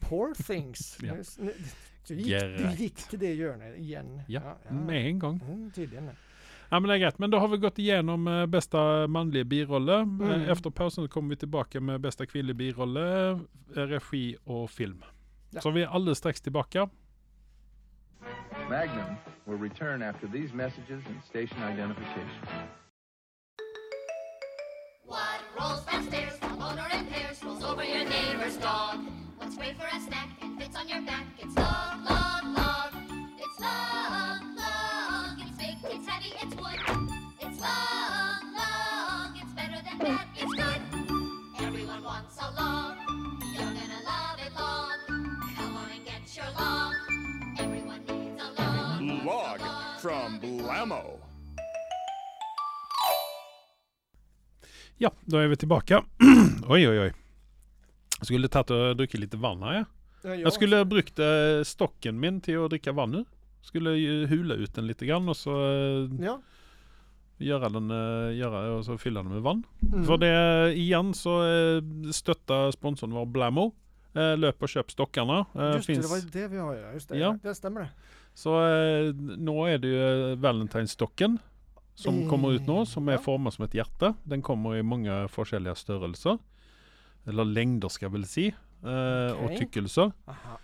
[SPEAKER 2] Poor Things.
[SPEAKER 1] Ja.
[SPEAKER 2] Nu s- nu- Du, gick, du
[SPEAKER 1] Geralt.
[SPEAKER 2] gick till det hörnet igen.
[SPEAKER 1] Ja, Med en gång.
[SPEAKER 2] Mm, tydligen.
[SPEAKER 1] Ja men det är rätt, men då har vi gått igenom eh, bästa manliga birolle. Eh,
[SPEAKER 2] Mm.
[SPEAKER 1] Efter pausen kommer vi tillbaka med bästa kvinnlig birolle, eh, regi och film.
[SPEAKER 2] Ja.
[SPEAKER 1] Så vi är alldeles strax tillbaka.
[SPEAKER 3] Magnum will return after these messages and station identification.
[SPEAKER 4] What rolls downstairs from owner and hairs rolls over your neighbor's dog. What's great for a snack and fits on your back? It's log, log, log. It's log, log. It's big, it's heavy, it's wood. It's log, log. It's better than bad, it's good. Everyone wants a log. You're gonna love it long. Come on and get your log. Everyone needs a log.
[SPEAKER 5] Log from Blamo.
[SPEAKER 1] Ja, då är vi tillbaka. oj, oj, oj. Jag skulle tagit och druckit lite vatten här. Ja. Jag skulle ha brukt eh, stocken min till att dricka vatten nu. Skulle ju hula ut den lite grann och så eh,
[SPEAKER 2] Ja.
[SPEAKER 1] göra den, eh, göra, och så fylla den med vatten.
[SPEAKER 2] Mm.
[SPEAKER 1] För det igen så eh, stöttar sponsorn var Blammo. Eh, Löp och köp stockarna. Eh,
[SPEAKER 2] Just det,
[SPEAKER 1] finns.
[SPEAKER 2] det var ju det vi har att göra. Just det,
[SPEAKER 1] Ja.
[SPEAKER 2] det stämmer det.
[SPEAKER 1] Så eh, nu är det ju eh, Valentinestocken som
[SPEAKER 2] Eh,
[SPEAKER 1] kommer ut nu som är
[SPEAKER 2] ja.
[SPEAKER 1] formad som ett hjärta. Den kommer i många olika störelser. Eller längder ska jag väl se. Eh, Och
[SPEAKER 2] Okej.
[SPEAKER 1] tyckelser.
[SPEAKER 2] Aha.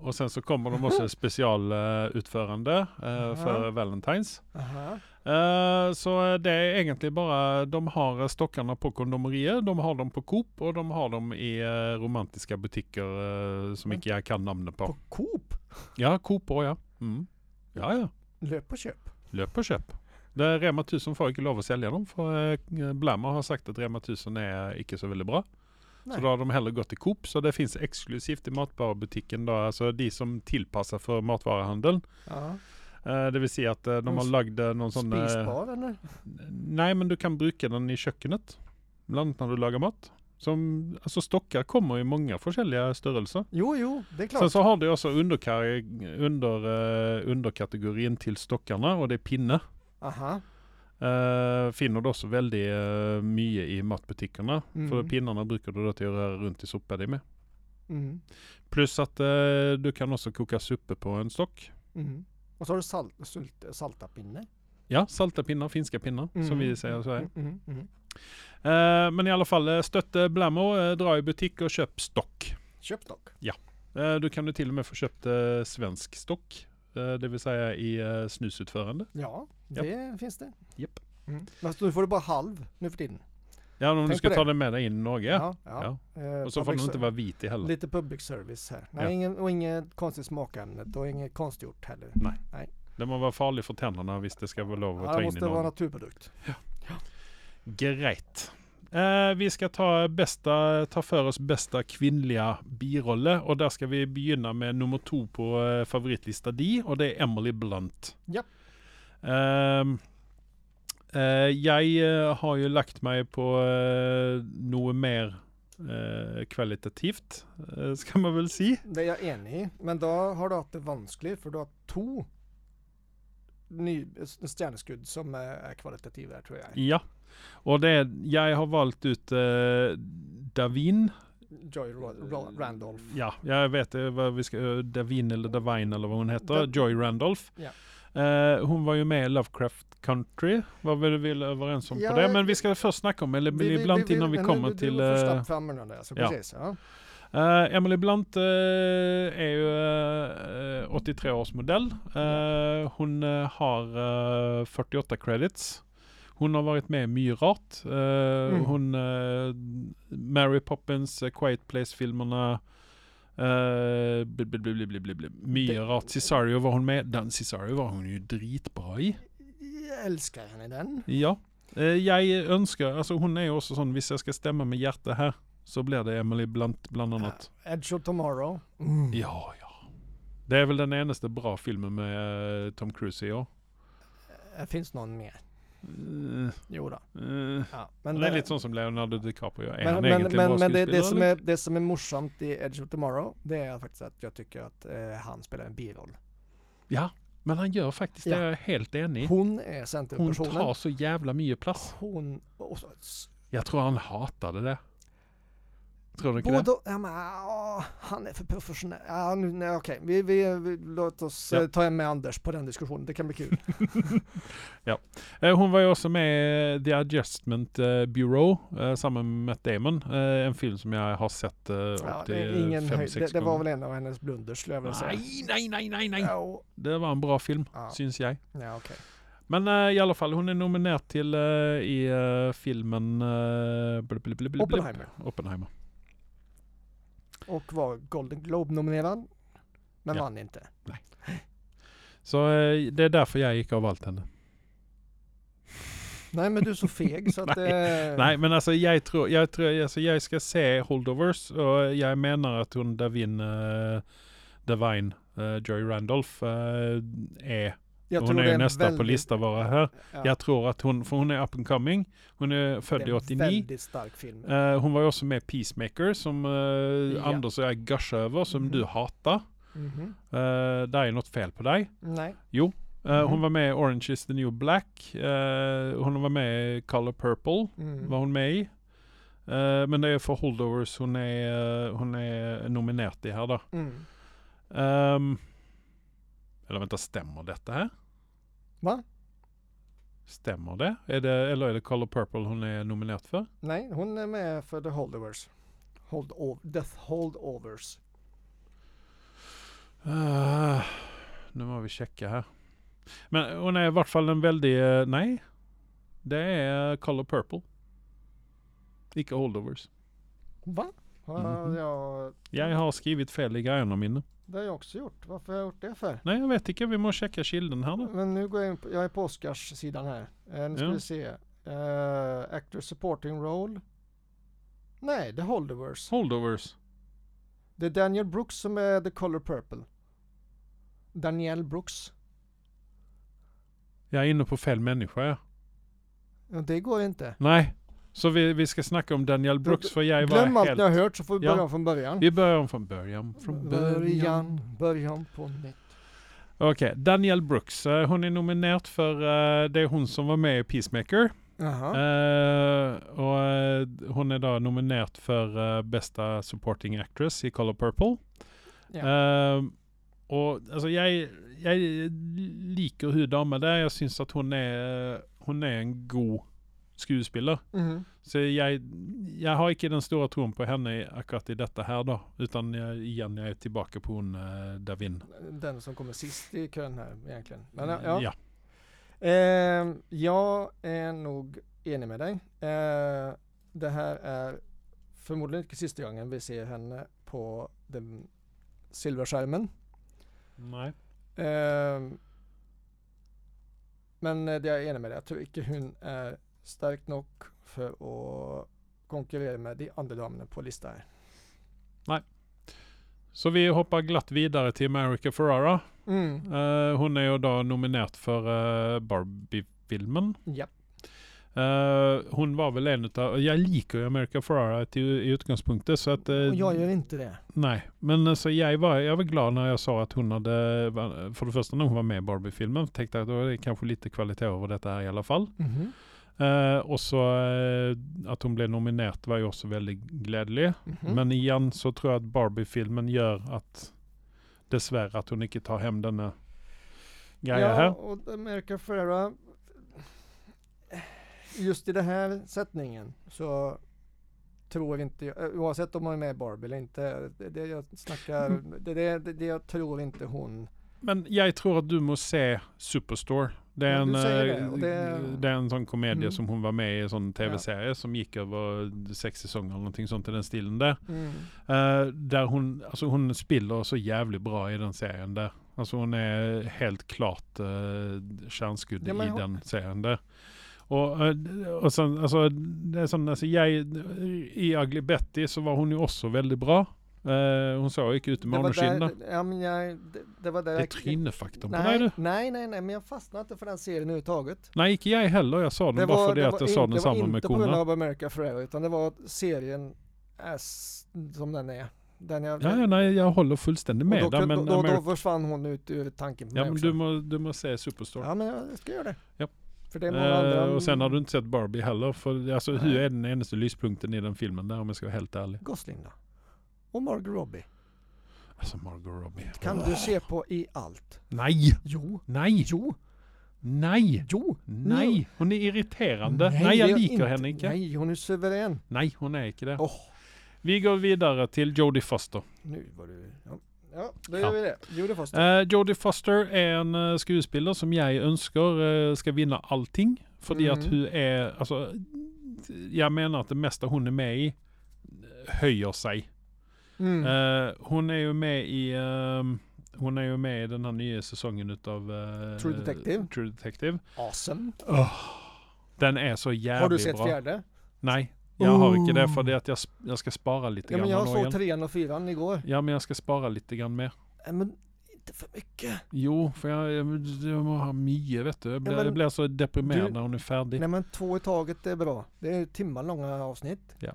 [SPEAKER 1] Och sen så kommer de också i specialutförande eh, för
[SPEAKER 2] Ja.
[SPEAKER 1] Valentines.
[SPEAKER 2] Aha.
[SPEAKER 1] Eh, Så det är egentligen bara, de har stockarna på kondomerier, de har dem på Coop och de har dem i eh, romantiska butiker eh, som inte jag kan namnet på.
[SPEAKER 2] På Coop?
[SPEAKER 1] Ja, Coop och ja. Mm. Ja, ja.
[SPEAKER 2] Löp och köp.
[SPEAKER 1] Löp och köp. Det är Rema 1000 får inte lov att sälja dem för eh, Blammer har sagt att Rema 1000 är icke så väldigt bra.
[SPEAKER 2] Nej.
[SPEAKER 1] Så då har de hellre gått till Coop så det finns exklusivt i matvarubutiken då, alltså de som tillpassar för matvaruhandeln.
[SPEAKER 2] Ja.
[SPEAKER 1] Eh, Det vill säga att eh, de har lagt eh, någon sån... eh,
[SPEAKER 2] Spisbar eller?
[SPEAKER 1] Nej, men du kan bruka den i köket. Bland annat när du lagar mat. Som, alltså stockar kommer i många olika störelser.
[SPEAKER 2] Jo, jo, det är klart.
[SPEAKER 1] Sen så har du också underkar- under, eh, underkategorin till stockarna och det är pinne.
[SPEAKER 2] Aha.
[SPEAKER 1] Eh, finner du också väldigt eh, mycket i matbutikerna.
[SPEAKER 2] Mm.
[SPEAKER 1] För pinnarna brukar du då till att röra runt i soppa det med.
[SPEAKER 2] Mm.
[SPEAKER 1] Plus att eh, du kan också koka suppe på en stock.
[SPEAKER 2] Mm. Och så har du salt, sult, saltapinne.
[SPEAKER 1] Ja, salta pinnar, finska pinnar som vi säger så här.
[SPEAKER 2] Mm, mm, mm.
[SPEAKER 1] Eh, men i alla fall, eh, stötte Blammo, eh, dra i butik och köp stock.
[SPEAKER 2] Köp dock.
[SPEAKER 1] Eh, då kan du till och med få köpt eh, svensk stock, eh, det vill säga i eh, snusutförande.
[SPEAKER 2] Ja,
[SPEAKER 1] Ja.
[SPEAKER 2] det finns det.
[SPEAKER 1] Japp.
[SPEAKER 2] Mm. Fast nu får du bara halv nu för tiden.
[SPEAKER 1] Ja, om du
[SPEAKER 2] Tänk
[SPEAKER 1] ska
[SPEAKER 2] på
[SPEAKER 1] ta
[SPEAKER 2] det.
[SPEAKER 1] den med dig in i Norge.
[SPEAKER 2] ja. Eh,
[SPEAKER 1] Och så får den
[SPEAKER 2] public
[SPEAKER 1] inte
[SPEAKER 2] ser-
[SPEAKER 1] vara vit i heller.
[SPEAKER 2] Lite public service här. Nej,
[SPEAKER 1] Ja.
[SPEAKER 2] ingen, och inget konstigt smakämnet och inget konstgjort heller.
[SPEAKER 1] Nej. Den må vara farlig för tänderna visst det ska vara lov att ta
[SPEAKER 2] Ja, det
[SPEAKER 1] in i
[SPEAKER 2] måste vara
[SPEAKER 1] någon.
[SPEAKER 2] naturprodukt.
[SPEAKER 1] Grejt. Eh, vi ska ta, bästa, ta för oss bästa kvinnliga birolle och där ska vi begynna med nummer två på eh, favoritlista D och det är Emily Blunt.
[SPEAKER 2] Ja.
[SPEAKER 1] Ehm, eh, jag eh, har ju lagt mig på eh, något mer eh, kvalitativt, eh, ska man väl säga.
[SPEAKER 2] Det er jeg enig i, men da har du hatt det vanskelig, for du har hatt to ny, stjerneskudd som eh, er kvalitative her, tror jeg.
[SPEAKER 1] Ja, och det är, jag har valt ut eh, Davin.
[SPEAKER 2] Joy Ro Ro Randolph.
[SPEAKER 1] Ja, jag vet eh, vad vi ska, eh, Davin eller Davine eller vad hon heter,
[SPEAKER 2] Dav-
[SPEAKER 1] Joy Randolph.
[SPEAKER 2] Ja.
[SPEAKER 1] Eh, hon var ju med i Lovecraft Country, vad vi väl överens om
[SPEAKER 2] Ja, eh,
[SPEAKER 1] på det. Men vi ska först snacka om Emily Blunt innan vi
[SPEAKER 2] men
[SPEAKER 1] kommer
[SPEAKER 2] du,
[SPEAKER 1] till...
[SPEAKER 2] Du var
[SPEAKER 1] eh,
[SPEAKER 2] först fram med den där, så
[SPEAKER 1] ja.
[SPEAKER 2] precis. Ja.
[SPEAKER 1] eh, Emily Blunt eh, är ju eh, eh, 83 års modell. Eh, hon eh, har eh, 48 credits. Hon har varit med i Myrart. Eh,
[SPEAKER 2] Mm.
[SPEAKER 1] Hon, eh, Mary Poppins, eh, Quiet Place-filmerna. Uh, Myrart, Cesario var hon med. Den Cesario var hon ju dritbra i.
[SPEAKER 2] Jag älskar henne i den.
[SPEAKER 1] Ja. Eh, jag önskar, alltså hon är ju också sån, visst jag ska stämma med hjärta här så blir det Emily Blunt bland annat.
[SPEAKER 2] Edge of Tomorrow.
[SPEAKER 1] Ja, ja. Det är väl den enaste bra filmen med eh, Tom Cruise i år.
[SPEAKER 2] Det finns någon mer.
[SPEAKER 1] Eh,
[SPEAKER 2] Jo då.
[SPEAKER 1] eh.
[SPEAKER 2] Ja.
[SPEAKER 1] Men
[SPEAKER 2] Men,
[SPEAKER 1] det är lite sånn som Leonardo DiCaprio. Är
[SPEAKER 2] men,
[SPEAKER 1] han
[SPEAKER 2] men,
[SPEAKER 1] egentligen
[SPEAKER 2] men,
[SPEAKER 1] bra
[SPEAKER 2] men det, det,
[SPEAKER 1] skådespelare,
[SPEAKER 2] som
[SPEAKER 1] eller?
[SPEAKER 2] är, det som är morsamt i Edge of Tomorrow, det är faktiskt att jag tycker att eh, han spelar en biroll.
[SPEAKER 1] Ja, men han gör faktiskt
[SPEAKER 2] Ja.
[SPEAKER 1] det. Jag är helt enig.
[SPEAKER 2] Hon är
[SPEAKER 1] Mm. Hon
[SPEAKER 2] centerpersonen.
[SPEAKER 1] tar så jävla mycket plats.
[SPEAKER 2] Hon... Och så,
[SPEAKER 1] Jag tror han hatade det. Tror du inte det?
[SPEAKER 2] Både, ja, men, ja, han är för professionell. Ja, nu, nej, okej, vi, vi, vi, låt oss
[SPEAKER 1] Ja.
[SPEAKER 2] eh, ta med Anders på den diskussionen. Det kan bli kul.
[SPEAKER 1] Eh, Hon var ju också med i The Adjustment eh, Bureau, eh, samman med Matt Damon. Eh, En film som jag har sett eh,
[SPEAKER 2] ja,
[SPEAKER 1] upp
[SPEAKER 2] det,
[SPEAKER 1] till
[SPEAKER 2] är ingen
[SPEAKER 1] fem,
[SPEAKER 2] höjd.
[SPEAKER 1] sex
[SPEAKER 2] Det, det var
[SPEAKER 1] gånger.
[SPEAKER 2] väl en av hennes blunders skulle jag vilja säga.
[SPEAKER 1] Nej, nej, nej, nej, nej.
[SPEAKER 2] Ja, och-
[SPEAKER 1] Det var en bra film,
[SPEAKER 2] Ja.
[SPEAKER 1] syns jag.
[SPEAKER 2] ja, okej.
[SPEAKER 1] Men eh, i alla fall, hon är nominerad till eh, i eh, filmen eh, blub, blub, blub, blub, blub.
[SPEAKER 2] Oppenheimer.
[SPEAKER 1] Oppenheimer.
[SPEAKER 2] Och var Golden Globe-nominerad. Men
[SPEAKER 1] Ja.
[SPEAKER 2] vann inte.
[SPEAKER 1] Så eh, det är därför jag gick av allt henne.
[SPEAKER 2] Nej, men du är så feg så att... eh,
[SPEAKER 1] Nej, men alltså jag tror, jag tror, alltså jag ska se Holdovers och jag menar att hon Davin, uh, Davine, eh, Joy Randolph eh, är,
[SPEAKER 2] jag
[SPEAKER 1] hon
[SPEAKER 2] tror
[SPEAKER 1] är
[SPEAKER 2] det
[SPEAKER 1] ju
[SPEAKER 2] en
[SPEAKER 1] nästa på
[SPEAKER 2] väldigt-
[SPEAKER 1] lista vara här.
[SPEAKER 2] Ja,
[SPEAKER 1] Jag tror att hon, för hon är up and coming, hon är
[SPEAKER 2] det är
[SPEAKER 1] född i
[SPEAKER 2] en
[SPEAKER 1] 89.
[SPEAKER 2] Väldigt stark film.
[SPEAKER 1] Eh, hon var ju också med i Peacemaker som eh, Anders och jag gushar över, som
[SPEAKER 2] Mhm.
[SPEAKER 1] du hatar.
[SPEAKER 2] Mhm.
[SPEAKER 1] Uh, där är något fel på dig.
[SPEAKER 2] Nej.
[SPEAKER 1] Eh, Hon
[SPEAKER 2] Mhm.
[SPEAKER 1] var med i Orange is the new black. Eh, hon var med i Color Purple
[SPEAKER 2] Mm.
[SPEAKER 1] var hon med i. Eh, men det är för Holdovers hon är, eh, hon är nominerad i här då.
[SPEAKER 2] Mm.
[SPEAKER 1] Ehm, eller vänta, stämmer detta här?
[SPEAKER 2] Va?
[SPEAKER 1] Stämmer det? Är det? Eller är det Color Purple hon är nominerad för?
[SPEAKER 2] Nej, hon är med för The Holdovers. Hold Death Holdovers.
[SPEAKER 1] Eh, nu må vi checka här. Men hon är i vart fall en väldig... eh, nej, det är eh, Color Purple. Icke Holdovers.
[SPEAKER 2] Va? Har
[SPEAKER 1] Mhm.
[SPEAKER 2] jag,
[SPEAKER 1] Jag har skrivit fel i grejerna mina.
[SPEAKER 2] det har jag också gjort. Varför har jag gjort det för?
[SPEAKER 1] Nej, jag vet inte. Vi må checka kilden här då.
[SPEAKER 2] Men nu går jag in på, jag är på Oscarssidan här. Eh, nu ska
[SPEAKER 1] Ja.
[SPEAKER 2] vi se. Eh, actor supporting role. Nej, The Holdovers.
[SPEAKER 1] Holdovers.
[SPEAKER 2] Det är Daniel Brooks som är The Color Purple. Daniel Brooks.
[SPEAKER 1] Jag är inne på fel människa. ja.
[SPEAKER 2] Ja, Det går inte.
[SPEAKER 1] Nej, så vi, vi ska snacka om Daniel Brooks för jag var
[SPEAKER 2] Glöm allt
[SPEAKER 1] helt...
[SPEAKER 2] ni har hört så får vi
[SPEAKER 1] Ja.
[SPEAKER 2] börja om från början.
[SPEAKER 1] Vi börjar om från början. Från början.
[SPEAKER 2] början på nytt.
[SPEAKER 1] Okej, Daniel Brooks. eh, hon är nominerad för, eh, det är hon som var med i Peacemaker.
[SPEAKER 2] Jaha.
[SPEAKER 1] Eh, och eh, hon är då nominerad för eh, bästa supporting actress i Color Purple.
[SPEAKER 2] Ja.
[SPEAKER 1] Eh, Og altså, jeg, jeg liker hun dama der. Jeg syns at hun er, hun er en god skuespiller.
[SPEAKER 2] Mhm.
[SPEAKER 1] Så jeg, jeg har ikke den store troen på henne i- akkurat i dette her, da. Utan jeg, igjen, jeg er tilbake på hun eh, Davin.
[SPEAKER 2] Den som kommer sist i kön här egentligen. Men, ja. Ja.
[SPEAKER 1] ja.
[SPEAKER 2] Eh, jag är nog enig med dig. Eh, det här är förmodligen inte sista gången vi ser henne på den silverskärmen.
[SPEAKER 1] Nei.
[SPEAKER 2] Ehm, men eh, det jag är enig med dig. Jag tror inte hon är stark nog för att konkurrera med de andra damerna på listan. här.
[SPEAKER 1] Så vi hopper glatt videre til America Ferrara.
[SPEAKER 2] Mm.
[SPEAKER 1] Eh, hun er jo da nominert for eh, Barbie-filmen.
[SPEAKER 2] Ja.
[SPEAKER 1] Eh, hun var vel en av Jeg liker jo America Ferrara til, i utgangspunktet, så at eh,
[SPEAKER 2] Och jag gör inte det.
[SPEAKER 1] Nej, men alltså jag var, jag var glad när jag sa att hon hade, för det första när hon var med i Barbie-filmen, tänkte jag att då är det kanske lite kvalitet över detta här i alla fall.
[SPEAKER 2] Mhm.
[SPEAKER 1] Eh, och så eh, att hon blev nominerad var ju också väldigt glädjelig.
[SPEAKER 2] Mhm.
[SPEAKER 1] Men igen så tror jag att Barbie-filmen gör att dessvärre att hon inte tar hem denna grejen
[SPEAKER 2] ja,
[SPEAKER 1] här.
[SPEAKER 2] och America Ferrera. Just i den här sättningen så tror inte jag, eh, oavsett om man är med i Barbie eller inte, det, det jag snackar, det, det, det, det jag tror inte hon.
[SPEAKER 1] Men jag tror att du måste se Superstore. Det är,
[SPEAKER 2] Ja,
[SPEAKER 1] en,
[SPEAKER 2] du säger det,
[SPEAKER 1] eh,
[SPEAKER 2] och det-
[SPEAKER 1] det är en sån komedie
[SPEAKER 2] Mm.
[SPEAKER 1] som hon var med i, en sån tv-serie som gick över sex säsonger eller någonting sånt i den stilen där.
[SPEAKER 2] Mm.
[SPEAKER 1] Eh, där hon, alltså hon spiller så jävligt bra i den serien där. Alltså hon är helt klart uh, kärnskudd
[SPEAKER 2] Ja, men
[SPEAKER 1] i
[SPEAKER 2] hon-
[SPEAKER 1] den serien där. Och, eh, och sen, alltså, det är sån, alltså jag, i Ugly Betty så var hon ju också väldigt bra. Eh, hon såg, gick ut i
[SPEAKER 2] Det var
[SPEAKER 1] manuskinn.
[SPEAKER 2] där, ja, men jag, det, det var där
[SPEAKER 1] Det är
[SPEAKER 2] jag-
[SPEAKER 1] trynefaktorn på dig
[SPEAKER 2] nej,
[SPEAKER 1] du.
[SPEAKER 2] nej, nej, nej, men jag fastnade inte för den serien överhuvudtaget.
[SPEAKER 1] Nej, inte jag heller. Jag sa den bara för det, att jag sa
[SPEAKER 2] inte-
[SPEAKER 1] den samma med
[SPEAKER 2] Det var inte på grund
[SPEAKER 1] korna.
[SPEAKER 2] av America Ferrera utan det var att serien är s- som den är. Den jag,
[SPEAKER 1] Ja, ja, nej, jag håller fullständigt med
[SPEAKER 2] och då,
[SPEAKER 1] där,
[SPEAKER 2] kun-
[SPEAKER 1] men,
[SPEAKER 2] då, då,
[SPEAKER 1] Ameri-
[SPEAKER 2] då försvann hon ut ur tanken på
[SPEAKER 1] ja,
[SPEAKER 2] mig
[SPEAKER 1] men
[SPEAKER 2] också.
[SPEAKER 1] du, må, du må se Superstore.
[SPEAKER 2] Ja men jag ska göra det.
[SPEAKER 1] Ja.
[SPEAKER 2] För det är många
[SPEAKER 1] Eh,
[SPEAKER 2] andra.
[SPEAKER 1] och sen har du inte sett Barbie heller. För alltså, hur
[SPEAKER 2] Nej.
[SPEAKER 1] är den endaste lyspunkten i den filmen där om jag ska vara helt ärlig?
[SPEAKER 2] Gosling då? Och Margot Robbie.
[SPEAKER 1] Alltså Margot Robbie.
[SPEAKER 2] Kan du se på i allt?
[SPEAKER 1] Nej!
[SPEAKER 2] Jo.
[SPEAKER 1] Nej!
[SPEAKER 2] Jo.
[SPEAKER 1] Nej!
[SPEAKER 2] Jo.
[SPEAKER 1] Nej! Hon är irriterande. Nej,
[SPEAKER 2] det
[SPEAKER 1] jag
[SPEAKER 2] är
[SPEAKER 1] liker
[SPEAKER 2] inte-
[SPEAKER 1] henne inte. Nej.
[SPEAKER 2] Nej, hon är suverän.
[SPEAKER 1] hon är inte det.
[SPEAKER 2] Åh.
[SPEAKER 1] Vi går vidare till Jodie Foster.
[SPEAKER 2] Nu var du... Ja, ja då
[SPEAKER 1] Ja.
[SPEAKER 2] gör vi det. Gjorde fast.
[SPEAKER 1] Eh, Jodie Foster er en eh, skuespiller som jeg ønsker eh, skal vinne allting. Fordi at
[SPEAKER 2] Mhm.
[SPEAKER 1] hun er Altså, jeg mener at det meste hun er med i, eh, høyer seg.
[SPEAKER 2] Mm.
[SPEAKER 1] Eh, hun er jo med i eh, Hun er jo med i den her nye sesongen ut av eh,
[SPEAKER 2] True Detective.
[SPEAKER 1] True Detective.
[SPEAKER 2] awesome.
[SPEAKER 1] Den er så jævlig bra.
[SPEAKER 2] Har du sett fjärde?
[SPEAKER 1] Nei, jeg har ikke det,
[SPEAKER 2] Oh.
[SPEAKER 1] fordi at jeg, sp- jeg skal spare litt.
[SPEAKER 2] Ja, men
[SPEAKER 1] grann
[SPEAKER 2] jag
[SPEAKER 1] nå
[SPEAKER 2] såg
[SPEAKER 1] igjen.
[SPEAKER 2] trean och fyran igår.
[SPEAKER 1] Ja, men jeg skal spare litt grann mer.
[SPEAKER 2] Nej, men inte för mycket.
[SPEAKER 1] Jo, for jeg, jeg, jeg må ha mye, vet du. Jeg blir,
[SPEAKER 2] men
[SPEAKER 1] jeg blir så deprimert
[SPEAKER 2] du-
[SPEAKER 1] når hun er ferdig.
[SPEAKER 2] Nej men två i taget är bra. Det är timmar långa avsnitt.
[SPEAKER 1] Ja.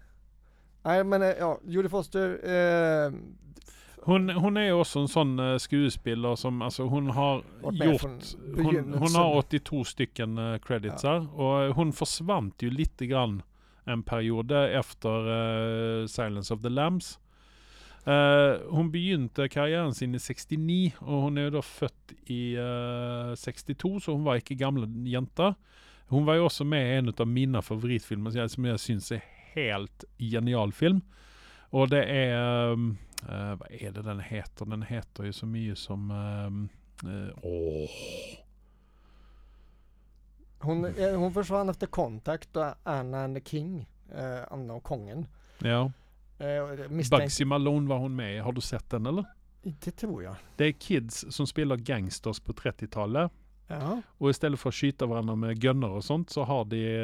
[SPEAKER 2] Nej men eh, ja, Judy Foster. Eh,
[SPEAKER 1] Hon, hon är också en sån eh, skuespelare som, alltså hon har
[SPEAKER 2] Varit med
[SPEAKER 1] gjort,
[SPEAKER 2] från
[SPEAKER 1] hon, hon
[SPEAKER 2] begynnelsen.
[SPEAKER 1] har 82 stycken eh, credits här och eh, hon försvann ju lite grann en period efter eh, Silence of the Lambs. Eh, hon begynte karriären sin i 69 och hon är ju då född i eh, 62 så hon var inte gammal jänta. Hon var ju också med i en av mina favoritfilmer som jag- som jag syns är helt genial film. Och det är, ehm, eh, vad är det den heter? Den heter ju så mycket som, ehm, eh, åh,
[SPEAKER 2] hon, eh, hon försvann efter Contact och Anna and the King. Eh, Anna och Kongen.
[SPEAKER 1] ja.
[SPEAKER 2] Eh, och det misstänkt-
[SPEAKER 1] Bugsy Malone var hon med i. Har du sett den eller?
[SPEAKER 2] Det tror jag.
[SPEAKER 1] Det är kids som spelar gangsters på 30-talet.
[SPEAKER 2] Ja.
[SPEAKER 1] Och istället för att skjuta varandra med gönner och sånt så har de,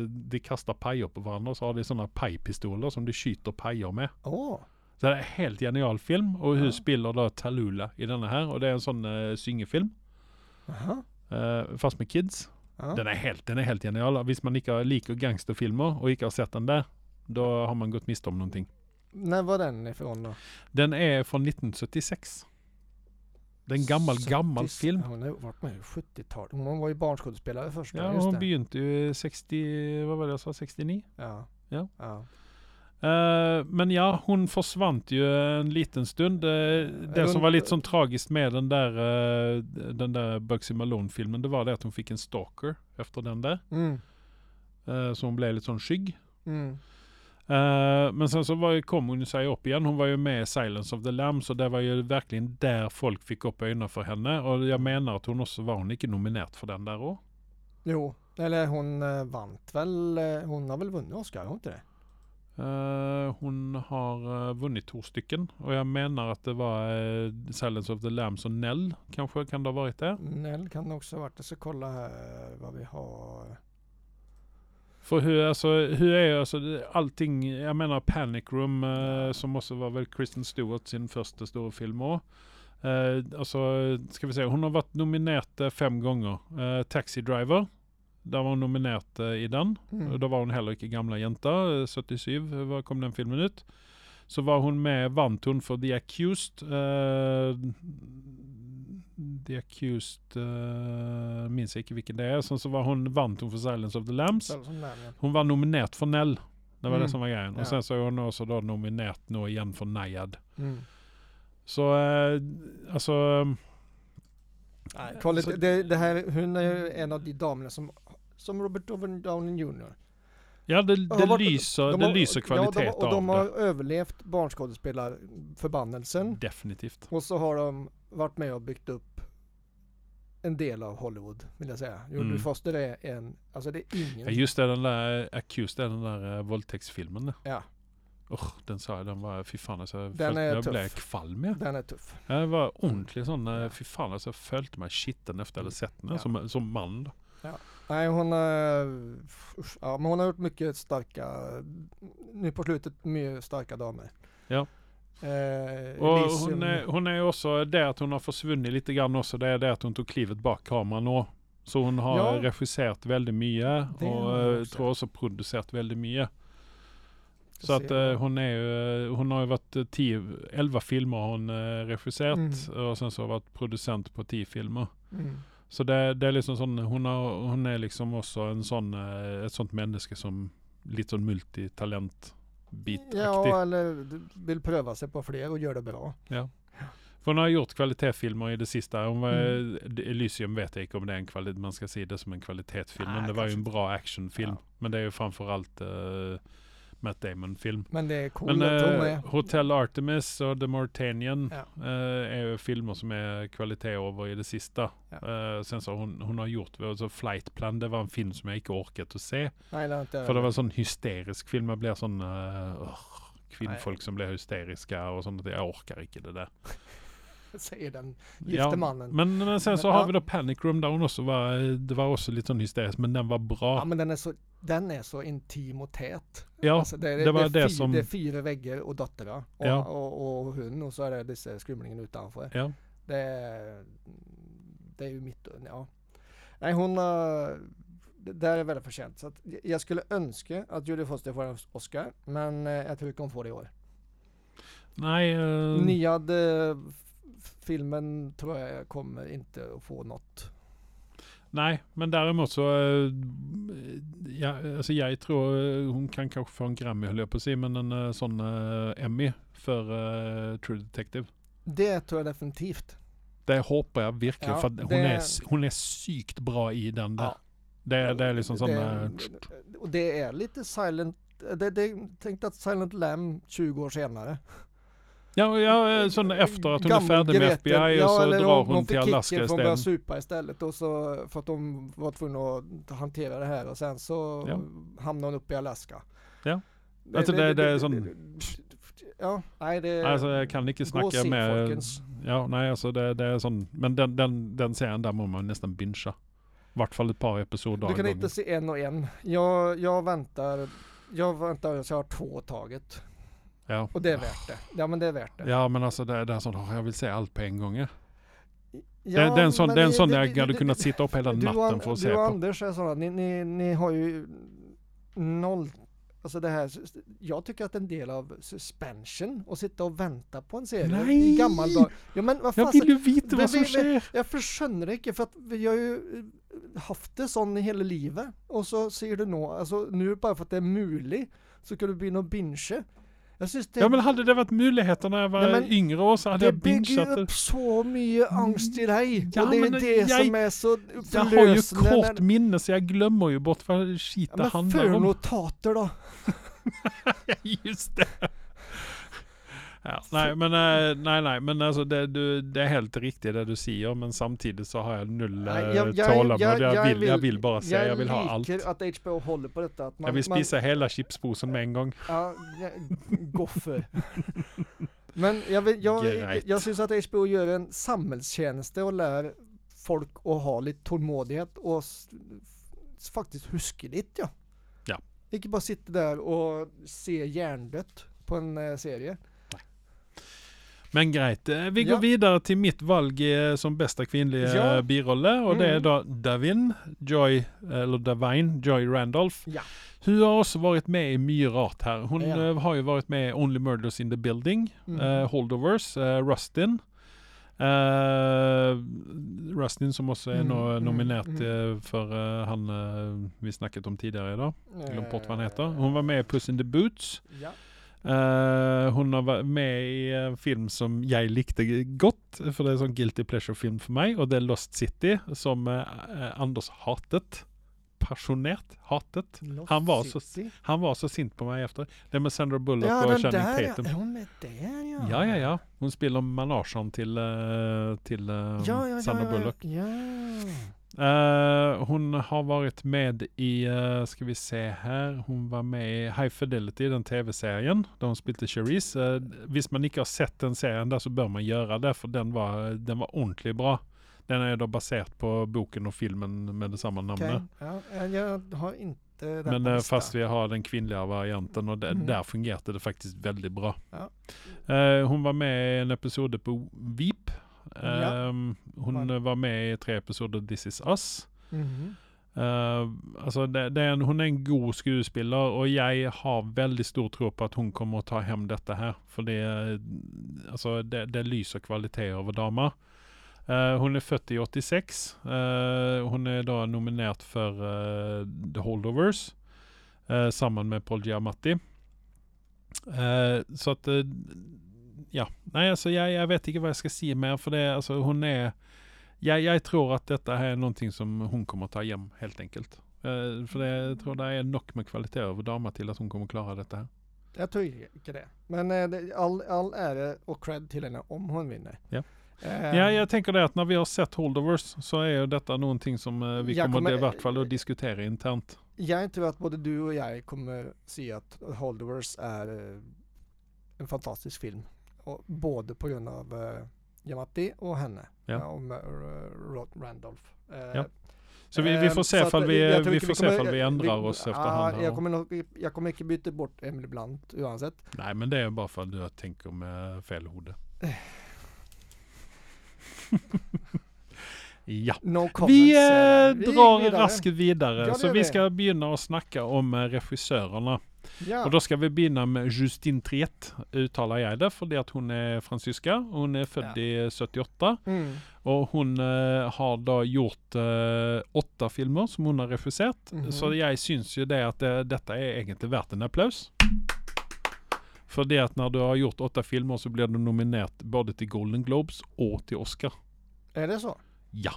[SPEAKER 1] eh, de kastar pajer på varandra och så har de sådana pajpistoler som de skjuter pajer med.
[SPEAKER 2] Åh.
[SPEAKER 1] Så det är en helt genial film och hur
[SPEAKER 2] Ja.
[SPEAKER 1] spelar då Talula i denna här och det är en sån uh, syngefilm
[SPEAKER 2] Jaha.
[SPEAKER 1] eh, fast med kids.
[SPEAKER 2] Ja.
[SPEAKER 1] Den är helt, den är helt genial. Hvis man inte liker gangsterfilmer och inte har sett den där, då har man gått miste om någonting.
[SPEAKER 2] När var den ifrån då?
[SPEAKER 1] Den är från 1976. Det är en gammal, gammal
[SPEAKER 2] 70s.
[SPEAKER 1] film.
[SPEAKER 2] Ja, Hon har varit med i 70-talet. Hon var ju barnskådespelare först.
[SPEAKER 1] Ja,
[SPEAKER 2] just
[SPEAKER 1] hon
[SPEAKER 2] det.
[SPEAKER 1] begynte ju 60, vad var det jag sa, 69?
[SPEAKER 2] Ja.
[SPEAKER 1] Ja.
[SPEAKER 2] ja.
[SPEAKER 1] Eh, Eh, men ja, hon försvann ju en liten stund. Eh, det
[SPEAKER 2] Runt-
[SPEAKER 1] som var lite som tragiskt med den där, eh, den där Bugsy Malone-filmen, det var det att hon fick en stalker efter den där.
[SPEAKER 2] Mm.
[SPEAKER 1] Eh, så hon blev lite sån skygg.
[SPEAKER 2] Mm.
[SPEAKER 1] Eh, men sen så var ju, kom hon ju sig upp igen. Hon var ju med i Silence of the Lambs och det var ju verkligen där folk fick upp ögonen för henne. Och jag menar att hon också var hon icke nominerad för den där år.
[SPEAKER 2] Jo, eller hon eh, vann väl, eh, hon har väl vunnit Oscar, har hon inte det?
[SPEAKER 1] Eh, hon har eh, vunnit två stycken och jag menar att det var eh, Silence of the Lambs och Nell kanske kan det ha varit det.
[SPEAKER 2] Nell kan också ha varit, jag ska kolla här vad vi har.
[SPEAKER 1] För hur, alltså, hur är alltså, det- allting, jag menar Panic Room eh, som måste vara väl Kristen Stewart sin första stora film också. Eh, alltså, ska vi se, hon har varit nominerad eh, fem gånger. Eh, Taxi Driver, där var hon nominerad eh, i den. Och
[SPEAKER 2] Mm.
[SPEAKER 1] Då var hon heller icke gamla jänta, eh, 77 eh, var- kom den filmen ut. Så var hon med, vann hon för The Accused. eh, The Accused, uh, minns jag icke vilken det är. Sen så var hon, vann hon för Silence of the Lambs.
[SPEAKER 2] Så- som där, ja.
[SPEAKER 1] Hon var nominerad för Nell. Det var
[SPEAKER 2] Mm.
[SPEAKER 1] det som var grejen.
[SPEAKER 2] Ja.
[SPEAKER 1] Och sen så är hon också då nominerad nu igen för Nayad.
[SPEAKER 2] Mm.
[SPEAKER 1] Så eh, alltså... eh,
[SPEAKER 2] Nej, kolla,
[SPEAKER 1] så-
[SPEAKER 2] det, det här, hon är ju en av de damerna som, som Robert Downey Jr.
[SPEAKER 1] Ja det, det,
[SPEAKER 2] De har varit-
[SPEAKER 1] lyser,
[SPEAKER 2] de
[SPEAKER 1] det
[SPEAKER 2] har-
[SPEAKER 1] lyser kvalitet
[SPEAKER 2] ja, de, Och de
[SPEAKER 1] av
[SPEAKER 2] har överlevt barnskådespelarförbannelsen.
[SPEAKER 1] det. Definitivt.
[SPEAKER 2] Och så har de varit med och byggt upp en del av Hollywood, vill jag säga. Jodie
[SPEAKER 1] Mm.
[SPEAKER 2] Foster är en, alltså det är ingen.
[SPEAKER 1] Ja, just det, den där eh, Accused, den där uh, våldtäktsfilmen.
[SPEAKER 2] Ja.
[SPEAKER 1] Usch, den sa jag, den var, fy fan alltså. Den
[SPEAKER 2] är
[SPEAKER 1] jag
[SPEAKER 2] tuff.
[SPEAKER 1] blev kvalm jag.
[SPEAKER 2] Den är tuff.
[SPEAKER 1] Jag var ordentlig sån, eh,
[SPEAKER 2] Ja. Mm.
[SPEAKER 1] fy fan alltså. Jag följde mig kitteln efter jag hade sett den
[SPEAKER 2] Ja.
[SPEAKER 1] som, som man.
[SPEAKER 2] Nej, hon har, usch, ja, men hon har gjort mycket starka, nu på slutet, mycket starka damer.
[SPEAKER 1] Ja.
[SPEAKER 2] Eh,
[SPEAKER 1] Och
[SPEAKER 2] Elysium-
[SPEAKER 1] hon är, hon är också, det att hon har försvunnit lite grann också, det är det att hon tog klivet bak kameran och så hon har
[SPEAKER 2] Ja.
[SPEAKER 1] regisserat väldigt mycket
[SPEAKER 2] Det har
[SPEAKER 1] och
[SPEAKER 2] hon
[SPEAKER 1] eh,
[SPEAKER 2] också.
[SPEAKER 1] tror också producerat väldigt mycket.
[SPEAKER 2] Ska
[SPEAKER 1] Så att
[SPEAKER 2] se.
[SPEAKER 1] eh, hon är ju, eh, hon har ju varit eh, tio, elva filmer har hon eh, regisserat och sen så har hon varit producent på tio filmer.
[SPEAKER 2] Mm.
[SPEAKER 1] Så det, det är liksom sån, hon, har, hon är liksom också en sån, eh, ett sånt människa som lite sån multitalent bitaktig.
[SPEAKER 2] Ja, eller du vill pröva sig på fler och gör det bra.
[SPEAKER 1] För hon har gjort kvalitetsfilmer i det sista. Hon var,
[SPEAKER 2] Mm.
[SPEAKER 1] eh, Elysium vet jag inte om det är en kvalitet, man ska se det som en kvalitetsfilm.
[SPEAKER 2] Nej,
[SPEAKER 1] men det var ju
[SPEAKER 2] kanske
[SPEAKER 1] en
[SPEAKER 2] inte.
[SPEAKER 1] bra actionfilm.
[SPEAKER 2] Ja.
[SPEAKER 1] Men det är ju framförallt uh, Matt Damon-film.
[SPEAKER 2] Men det är coolt
[SPEAKER 1] Men
[SPEAKER 2] att hon
[SPEAKER 1] eh,
[SPEAKER 2] är.
[SPEAKER 1] Hotel Artemis och The Mauritanian
[SPEAKER 2] Ja.
[SPEAKER 1] eh, är ju filmer som är kvalitet över i det sista.
[SPEAKER 2] Ja.
[SPEAKER 1] Eh, sen så har hon, hon har gjort, alltså Flight Plan, det var en film som jag inte orkat att se.
[SPEAKER 2] Nej, det är inte.
[SPEAKER 1] För det var en sån hysterisk film, jag blev sån... eh, ugh, kvinnfolk som blev hysteriska och sånt. Jag orkar inte det där.
[SPEAKER 2] Säger den gifte mannen.
[SPEAKER 1] Men, men sen så
[SPEAKER 2] Men,
[SPEAKER 1] har
[SPEAKER 2] ja.
[SPEAKER 1] vi då Panic Room där hon också var, det var också lite sån hysterisk men den var bra.
[SPEAKER 2] Ja, men den är så, den är så intim och tät.
[SPEAKER 1] Ja,
[SPEAKER 2] Alltså, det,
[SPEAKER 1] det var
[SPEAKER 2] är
[SPEAKER 1] det
[SPEAKER 2] fy-
[SPEAKER 1] som-
[SPEAKER 2] Det är fyra väggar och döttrar. Och,
[SPEAKER 1] Ja.
[SPEAKER 2] och, och hon och så är det dessa skrymlingen utanför.
[SPEAKER 1] ja.
[SPEAKER 2] Det är, det är ju mitt, ja. Nej, hon har, det där är väldigt förtjänt. Så att jag skulle önska att Julie Foster får en Oscar, men eh, jag tror inte hon får det i år.
[SPEAKER 1] Nej, eh,
[SPEAKER 2] Nya hade, filmen tror jag kommer inte att få något.
[SPEAKER 1] nej, men däremot så, eh, ja, alltså jag tror eh, hon kan kanske få en Grammy höll jag på att säga, men en eh, sån eh, Emmy för eh, True Detective.
[SPEAKER 2] Det tror jag definitivt.
[SPEAKER 1] Det hoppar jag verkligen
[SPEAKER 2] Ja,
[SPEAKER 1] för att hon,
[SPEAKER 2] det-
[SPEAKER 1] är, s- hon är psykt bra i den där.
[SPEAKER 2] Ja.
[SPEAKER 1] Det, det är liksom sån, eh,
[SPEAKER 2] det, och det är lite silent, det, det, tänkte att Silent Lamb 20 år senare.
[SPEAKER 1] ja, ja, eh, sån efter att hon är
[SPEAKER 2] Gammal
[SPEAKER 1] färdig med
[SPEAKER 2] Grete.
[SPEAKER 1] FBI och så
[SPEAKER 2] eller
[SPEAKER 1] drar hon
[SPEAKER 2] fick
[SPEAKER 1] till
[SPEAKER 2] kicken
[SPEAKER 1] Alaska
[SPEAKER 2] för Hon började
[SPEAKER 1] istället.
[SPEAKER 2] supa istället och så för att de var tvungna att hantera det här och sen så
[SPEAKER 1] Ja.
[SPEAKER 2] hamnade hon uppe i Alaska.
[SPEAKER 1] Ja. Alltså, det- det är sån-
[SPEAKER 2] Ja, nej det...
[SPEAKER 1] Alltså jag kan inte
[SPEAKER 2] gå
[SPEAKER 1] snacka
[SPEAKER 2] se,
[SPEAKER 1] med...
[SPEAKER 2] folkens.
[SPEAKER 1] Ja, nej alltså det, det är sån... Men den, den, den serien där må man nästan bincha. I vart fall ett par episoder
[SPEAKER 2] Du
[SPEAKER 1] av
[SPEAKER 2] kan
[SPEAKER 1] gången.
[SPEAKER 2] inte se en och en. Jag, jag väntar, jag väntar så jag har två taget.
[SPEAKER 1] Ja.
[SPEAKER 2] Och det är värt det. Ja men det är värt det.
[SPEAKER 1] ja men alltså det, det är sån, åh, jag vill se allt på en gång. Ja. det, det är en sån,
[SPEAKER 2] men
[SPEAKER 1] det är en
[SPEAKER 2] det-
[SPEAKER 1] sån
[SPEAKER 2] det-
[SPEAKER 1] jag
[SPEAKER 2] det-
[SPEAKER 1] hade
[SPEAKER 2] det-
[SPEAKER 1] kunnat sitta upp hela
[SPEAKER 2] Du och,
[SPEAKER 1] natten
[SPEAKER 2] An-
[SPEAKER 1] för att
[SPEAKER 2] du
[SPEAKER 1] se
[SPEAKER 2] och
[SPEAKER 1] på.
[SPEAKER 2] Anders är sådana, ni, ni, ni har ju noll, alltså det här, jag tycker att en del av suspension, att sitta och vänta på en serie
[SPEAKER 1] Nej!
[SPEAKER 2] i gammal dag. Ja men vad
[SPEAKER 1] Jag
[SPEAKER 2] fan,
[SPEAKER 1] vill ju veta
[SPEAKER 2] det-
[SPEAKER 1] vad som
[SPEAKER 2] det- det-
[SPEAKER 1] sker!
[SPEAKER 2] jag förstår inte för att vi har ju eh, haft det sån i hela livet och så ser du nå, alltså nu bara för att det är möjligt så kan du bli någon binge. Jag syns det,
[SPEAKER 1] Ja men hade det varit möjligheten när jag var
[SPEAKER 2] Nej, men
[SPEAKER 1] yngre år så hade
[SPEAKER 2] det
[SPEAKER 1] jag
[SPEAKER 2] bygger
[SPEAKER 1] bingeat
[SPEAKER 2] ju
[SPEAKER 1] det.
[SPEAKER 2] upp så mycket angst i dig.
[SPEAKER 1] Ja,
[SPEAKER 2] och det är
[SPEAKER 1] men
[SPEAKER 2] det
[SPEAKER 1] jag-
[SPEAKER 2] som är så
[SPEAKER 1] Jag har ju
[SPEAKER 2] förlösande när-
[SPEAKER 1] kort minne så jag glömmer ju bort vad shit det
[SPEAKER 2] Ja, men
[SPEAKER 1] handlar om.
[SPEAKER 2] förnotater då?
[SPEAKER 1] Ja, Just det. Ja, nej, men, eh, nej, nej, men alltså det, du, det är helt riktigt det du säger, men samtidigt så har jag noll eh,
[SPEAKER 2] Nej,
[SPEAKER 1] tålamod. Jag, vill, jag vill bara säga, jag vill ha allt.
[SPEAKER 2] liker att HBO håller på detta. Att man,
[SPEAKER 1] jag vill
[SPEAKER 2] man,
[SPEAKER 1] spisa hela chipspåsen med en gång.
[SPEAKER 2] Ja, ja, goffer. Men jag, vill, jag, jag,
[SPEAKER 1] Geralt.
[SPEAKER 2] jag syns att HBO gör en samhällstjänst och lär folk att ha lite tålmodighet och s- s- faktiskt huska lite ja.
[SPEAKER 1] Ja.
[SPEAKER 2] Inte bara sitta där och se hjärndött på en eh, serie.
[SPEAKER 1] Men grejt, eh, vi
[SPEAKER 2] Ja.
[SPEAKER 1] går vidare till mitt valg eh, som bästa kvinnliga
[SPEAKER 2] Ja.
[SPEAKER 1] ja. birolle och det är
[SPEAKER 2] Mm.
[SPEAKER 1] då Davin, Joy, eller Davine, Joy Randolph.
[SPEAKER 2] Ja.
[SPEAKER 1] Hon har också varit med i mycket rart här. Hon
[SPEAKER 2] Ja.
[SPEAKER 1] eh, har ju varit med i Only Murders in the Building,
[SPEAKER 2] Mm.
[SPEAKER 1] eh, Holdovers, eh, Rustin. Eh, Rustin som också är
[SPEAKER 2] Mm,
[SPEAKER 1] nå-
[SPEAKER 2] mm,
[SPEAKER 1] nominerat eh, för eh, han eh, vi snackat om tidigare idag. Glömt bort vad han heter. Hon var med i Puss in the Boots.
[SPEAKER 2] Eh, Ja.
[SPEAKER 1] Eh, hon har varit med i en film som jag likte gott, för det är en sån guilty pleasure-film för mig, och det är Lost City, som eh, eh, Anders hatet. Passionerat hatet. Han var så-
[SPEAKER 2] City.
[SPEAKER 1] Han var så sint på mig efter. Det är med Sandra Bullock
[SPEAKER 2] Ja,
[SPEAKER 1] och
[SPEAKER 2] den
[SPEAKER 1] Channing
[SPEAKER 2] där ja.
[SPEAKER 1] Tatum.
[SPEAKER 2] Är hon med där ja?
[SPEAKER 1] Ja, ja, ja. Hon spelar managen till, eh, till eh,
[SPEAKER 2] Ja, ja,
[SPEAKER 1] Sandra
[SPEAKER 2] ja, ja,
[SPEAKER 1] Bullock.
[SPEAKER 2] Ja.
[SPEAKER 1] Eh, hon har varit med i, eh, ska vi se här, hon var med i High Fidelity, den tv-serien, där hon spelade Cherise. Uh, visst man inte har sett den serien där så bör man göra det, för den var, den var ordentligt bra. Den är då baserad på boken och filmen med samma namn. eh.
[SPEAKER 2] Okej. Ja, ja, jag har inte den
[SPEAKER 1] Men
[SPEAKER 2] på
[SPEAKER 1] eh,
[SPEAKER 2] listan.
[SPEAKER 1] fast vi har den kvinnliga varianten och där,
[SPEAKER 2] Mm.
[SPEAKER 1] där fungerade det faktiskt väldigt bra.
[SPEAKER 2] Ja.
[SPEAKER 1] Eh, hon var med i en episod på VIP.
[SPEAKER 2] Ja.
[SPEAKER 1] Ehm, Hon
[SPEAKER 2] Var-
[SPEAKER 1] eh, var med i tre episoder This is us.
[SPEAKER 2] Mhm.
[SPEAKER 1] Eh, alltså det, det är en, hon är en god skådespelare och jag har väldigt stor tro på att hon kommer att ta hem detta här. För det, eh, alltså det, det lyser kvalitet över damer. Eh, hon är född i 86. Eh, hon är då nominerad för eh, The Holdovers. eh, samman med Paul Giamatti. Eh, så att, eh, ja, nej alltså jag, jag vet inte vad jag ska säga mer för det, är- alltså hon är, jag, jag tror att detta här är någonting som hon kommer ta hem helt enkelt. Eh, för det, jag tror det är nog med kvalitet över damer till att hon kommer klara detta här.
[SPEAKER 2] Jag tror inte det. Men eh, det- all, all ära och cred till henne om hon vinner.
[SPEAKER 1] Ja.
[SPEAKER 2] Ehm,
[SPEAKER 1] Ja, jag tänker det att när vi har sett Holdovers så är ju detta någonting som eh, vi
[SPEAKER 2] Jag
[SPEAKER 1] kommer,
[SPEAKER 2] kommer-
[SPEAKER 1] i vart fall att diskutera internt.
[SPEAKER 2] jag tror att både du och jag kommer se att Holdovers är eh, en fantastisk film. Och både på grund av eh, Yamati och henne.
[SPEAKER 1] Ja.
[SPEAKER 2] och med, eh, Rod- Randolph. Eh,
[SPEAKER 1] Ja. Så vi, vi får
[SPEAKER 2] Ehm,
[SPEAKER 1] se
[SPEAKER 2] så att
[SPEAKER 1] ifall vi, eh,
[SPEAKER 2] jag tror
[SPEAKER 1] vi,
[SPEAKER 2] inte
[SPEAKER 1] får se ifall
[SPEAKER 2] kommer- eh,
[SPEAKER 1] vi ändrar oss
[SPEAKER 2] ja,
[SPEAKER 1] efterhand. här.
[SPEAKER 2] Jag kommer, nog, jag kommer inte byta bort Emily Blunt oavsett.
[SPEAKER 1] Nej, men det är bara för att du tänker med eh, fel hode.
[SPEAKER 2] Eh.
[SPEAKER 1] ja.
[SPEAKER 2] No comments.
[SPEAKER 1] Vi
[SPEAKER 2] eller?
[SPEAKER 1] eh, drar
[SPEAKER 2] vidare.
[SPEAKER 1] raskt vidare,
[SPEAKER 2] Ja, det
[SPEAKER 1] så
[SPEAKER 2] gör
[SPEAKER 1] vi
[SPEAKER 2] vi.
[SPEAKER 1] ska begynna att snacka om eh, regissörerna.
[SPEAKER 2] Ja.
[SPEAKER 1] Och då ska vi börja med Justine Triet, uttalar jag det, för det att hon är fransyska. Hon är född
[SPEAKER 2] Ja.
[SPEAKER 1] i 78
[SPEAKER 2] Mm.
[SPEAKER 1] och hon eh, har då gjort eh, åtta filmer som hon har regisserat.
[SPEAKER 2] Mhm.
[SPEAKER 1] Så jag syns ju det att eh, detta är egentligen värt en applåd. För det att när du har gjort åtta filmer så blir du nominerad både till Golden Globes och till Oscar.
[SPEAKER 2] Är det så?
[SPEAKER 1] Ja.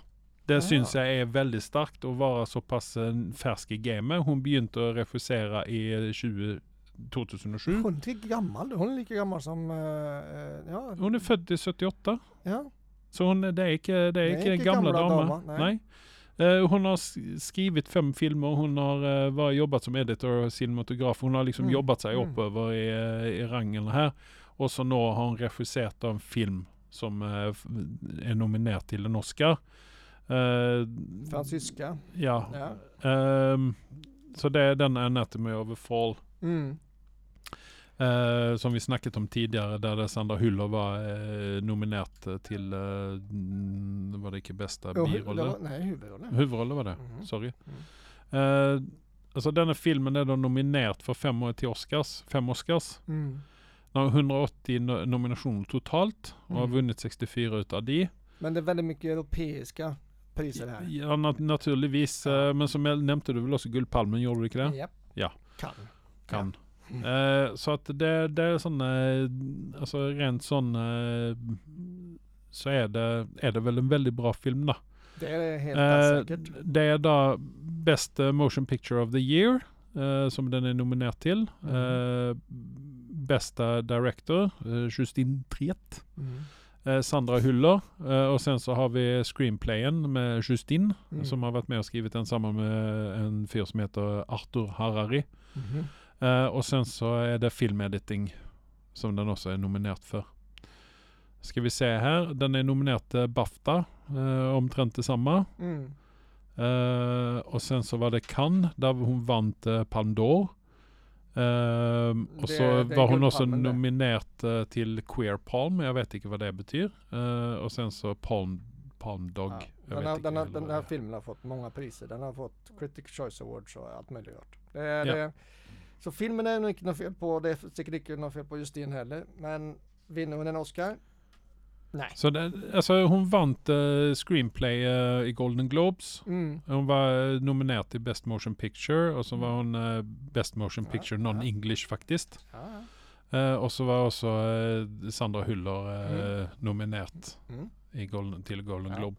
[SPEAKER 1] Det
[SPEAKER 2] Ja.
[SPEAKER 1] syns jag är väldigt starkt att vara så pass eh, färsk i gamet. Hon begynte att regissera i eh, 20, 2007.
[SPEAKER 2] Hon är inte gammal. Hon är lika gammal som... eh, eh, ja.
[SPEAKER 1] Hon är född i 78.
[SPEAKER 2] ja.
[SPEAKER 1] Så hon, eh, det är inte, det är inte gamla, damer. Nej. Eh, hon har s- skrivit fem filmer, hon har eh, varit jobbat som editor och cinematograf. Hon har liksom
[SPEAKER 2] Mm,
[SPEAKER 1] jobbat sig
[SPEAKER 2] mm.
[SPEAKER 1] upp över i, eh, i rangen här. Och så nu har hon regisserat en film som eh, f- är nominerad till en Oscar. Eh,
[SPEAKER 2] Fransyska.
[SPEAKER 1] ja.
[SPEAKER 2] Ja.
[SPEAKER 1] Ehm, så det är den Anatomy of a Fall.
[SPEAKER 2] Mm.
[SPEAKER 1] Eh, som vi snackat om tidigare där det Sandra Hüller var eh, nominerad till, eh, mm, var det inte bästa
[SPEAKER 2] Och hu-
[SPEAKER 1] birolle?
[SPEAKER 2] det var- Nej, huvudrollen.
[SPEAKER 1] Huvudroll var det,
[SPEAKER 2] Mhm.
[SPEAKER 1] sorry. Eh, alltså denna filmen är då nominerad för fem år till Oscars, fem Oscars.
[SPEAKER 2] Mm.
[SPEAKER 1] Den har 180 no- nominationer totalt och har
[SPEAKER 2] Mm.
[SPEAKER 1] vunnit 64 utav de.
[SPEAKER 2] Men det är väldigt mycket europeiska priser här.
[SPEAKER 1] Ja, nat- naturligtvis, eh, men som jag nämnde du väl också Guldpalmen, gjorde du inte det?
[SPEAKER 2] Japp.
[SPEAKER 1] Ja.
[SPEAKER 2] Kan.
[SPEAKER 1] Kan. Eh, så att det, det är sådana, alltså rent sådana, så är det, är det väl en väldigt bra film då.
[SPEAKER 2] Det är helt
[SPEAKER 1] Eh,
[SPEAKER 2] säkert.
[SPEAKER 1] det är då Best eh, Motion Picture of the Year, eh, som den är nominerad till.
[SPEAKER 2] Mm.
[SPEAKER 1] Eh, bästa Director, eh, Justin Triet.
[SPEAKER 2] Mm.
[SPEAKER 1] Eh, Sandra Hyller. Eh, och sen så har vi Screenplayen med Justin,
[SPEAKER 2] Mm.
[SPEAKER 1] som har varit med och skrivit den samman med en fyr som heter Arthur Harari.
[SPEAKER 2] Mhm.
[SPEAKER 1] Eh, och sen så är det filmediting som den också är nominerad för. Ska vi se här, den är nominerad till Bafta, eh, omtrent detsamma.
[SPEAKER 2] Mm.
[SPEAKER 1] Eh, och sen så var det Cannes där hon vann eh, Palme d'Or. Ehm, och
[SPEAKER 2] Det-
[SPEAKER 1] så
[SPEAKER 2] det är
[SPEAKER 1] var hon också
[SPEAKER 2] guldpalmen där.
[SPEAKER 1] nominerad eh, till Queer Palm, jag vet inte vad det betyder. Eh, och sen så Palm, Palm Dog.
[SPEAKER 2] Ja.
[SPEAKER 1] jag
[SPEAKER 2] Den,
[SPEAKER 1] vet
[SPEAKER 2] har,
[SPEAKER 1] inte
[SPEAKER 2] den, har,
[SPEAKER 1] heller vad
[SPEAKER 2] den
[SPEAKER 1] det
[SPEAKER 2] här
[SPEAKER 1] är.
[SPEAKER 2] filmen har fått många priser. Den har fått Critics Choice Awards och allt möjligt. Det,
[SPEAKER 1] Ja.
[SPEAKER 2] det, så filmen är nog inte något fel på. Det är säkert inte något fel på Justin heller. Men vinner hon en Oscar? Nej.
[SPEAKER 1] Så det, alltså hon vann eh, Screenplay eh, i Golden Globes.
[SPEAKER 2] Mm.
[SPEAKER 1] Hon var eh, nominerad till Best Motion Picture och så var hon eh, Best Motion
[SPEAKER 2] Mm. Ja,
[SPEAKER 1] Picture
[SPEAKER 2] ja.
[SPEAKER 1] Non-English faktiskt.
[SPEAKER 2] Ja.
[SPEAKER 1] Eh, och så var också eh, Sandra Hyller eh, nominerad
[SPEAKER 2] Mm.
[SPEAKER 1] i Golden, till Golden
[SPEAKER 2] Ja.
[SPEAKER 1] Globe.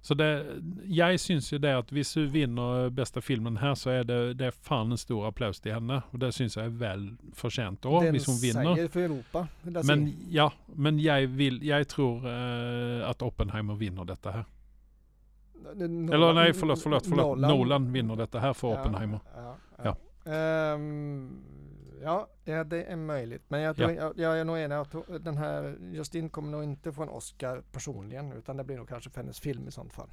[SPEAKER 1] Så det, jag syns ju det att visst hon vinner eh, bästa filmen här så är det, det är fan en stor applåd till henne. Och det syns jag är väl förtjänt då,
[SPEAKER 2] den
[SPEAKER 1] visst hon vinner.
[SPEAKER 2] säger för Europa. vill jag
[SPEAKER 1] Men
[SPEAKER 2] se.
[SPEAKER 1] ja, men jag, vill, jag tror eh, att Oppenheimer vinner detta här.
[SPEAKER 2] Nolan-
[SPEAKER 1] Eller nej, förlåt, förlåt, förlåt. Nolan, vinner detta här för
[SPEAKER 2] Ja,
[SPEAKER 1] Oppenheimer.
[SPEAKER 2] Ja, ja. Ehm, ja, ja, det är möjligt. Men jag, tror, jag, jag är nog enig att den här Justin kommer nog inte få en Oscar personligen. Utan det blir nog kanske för hennes film i sånt fall.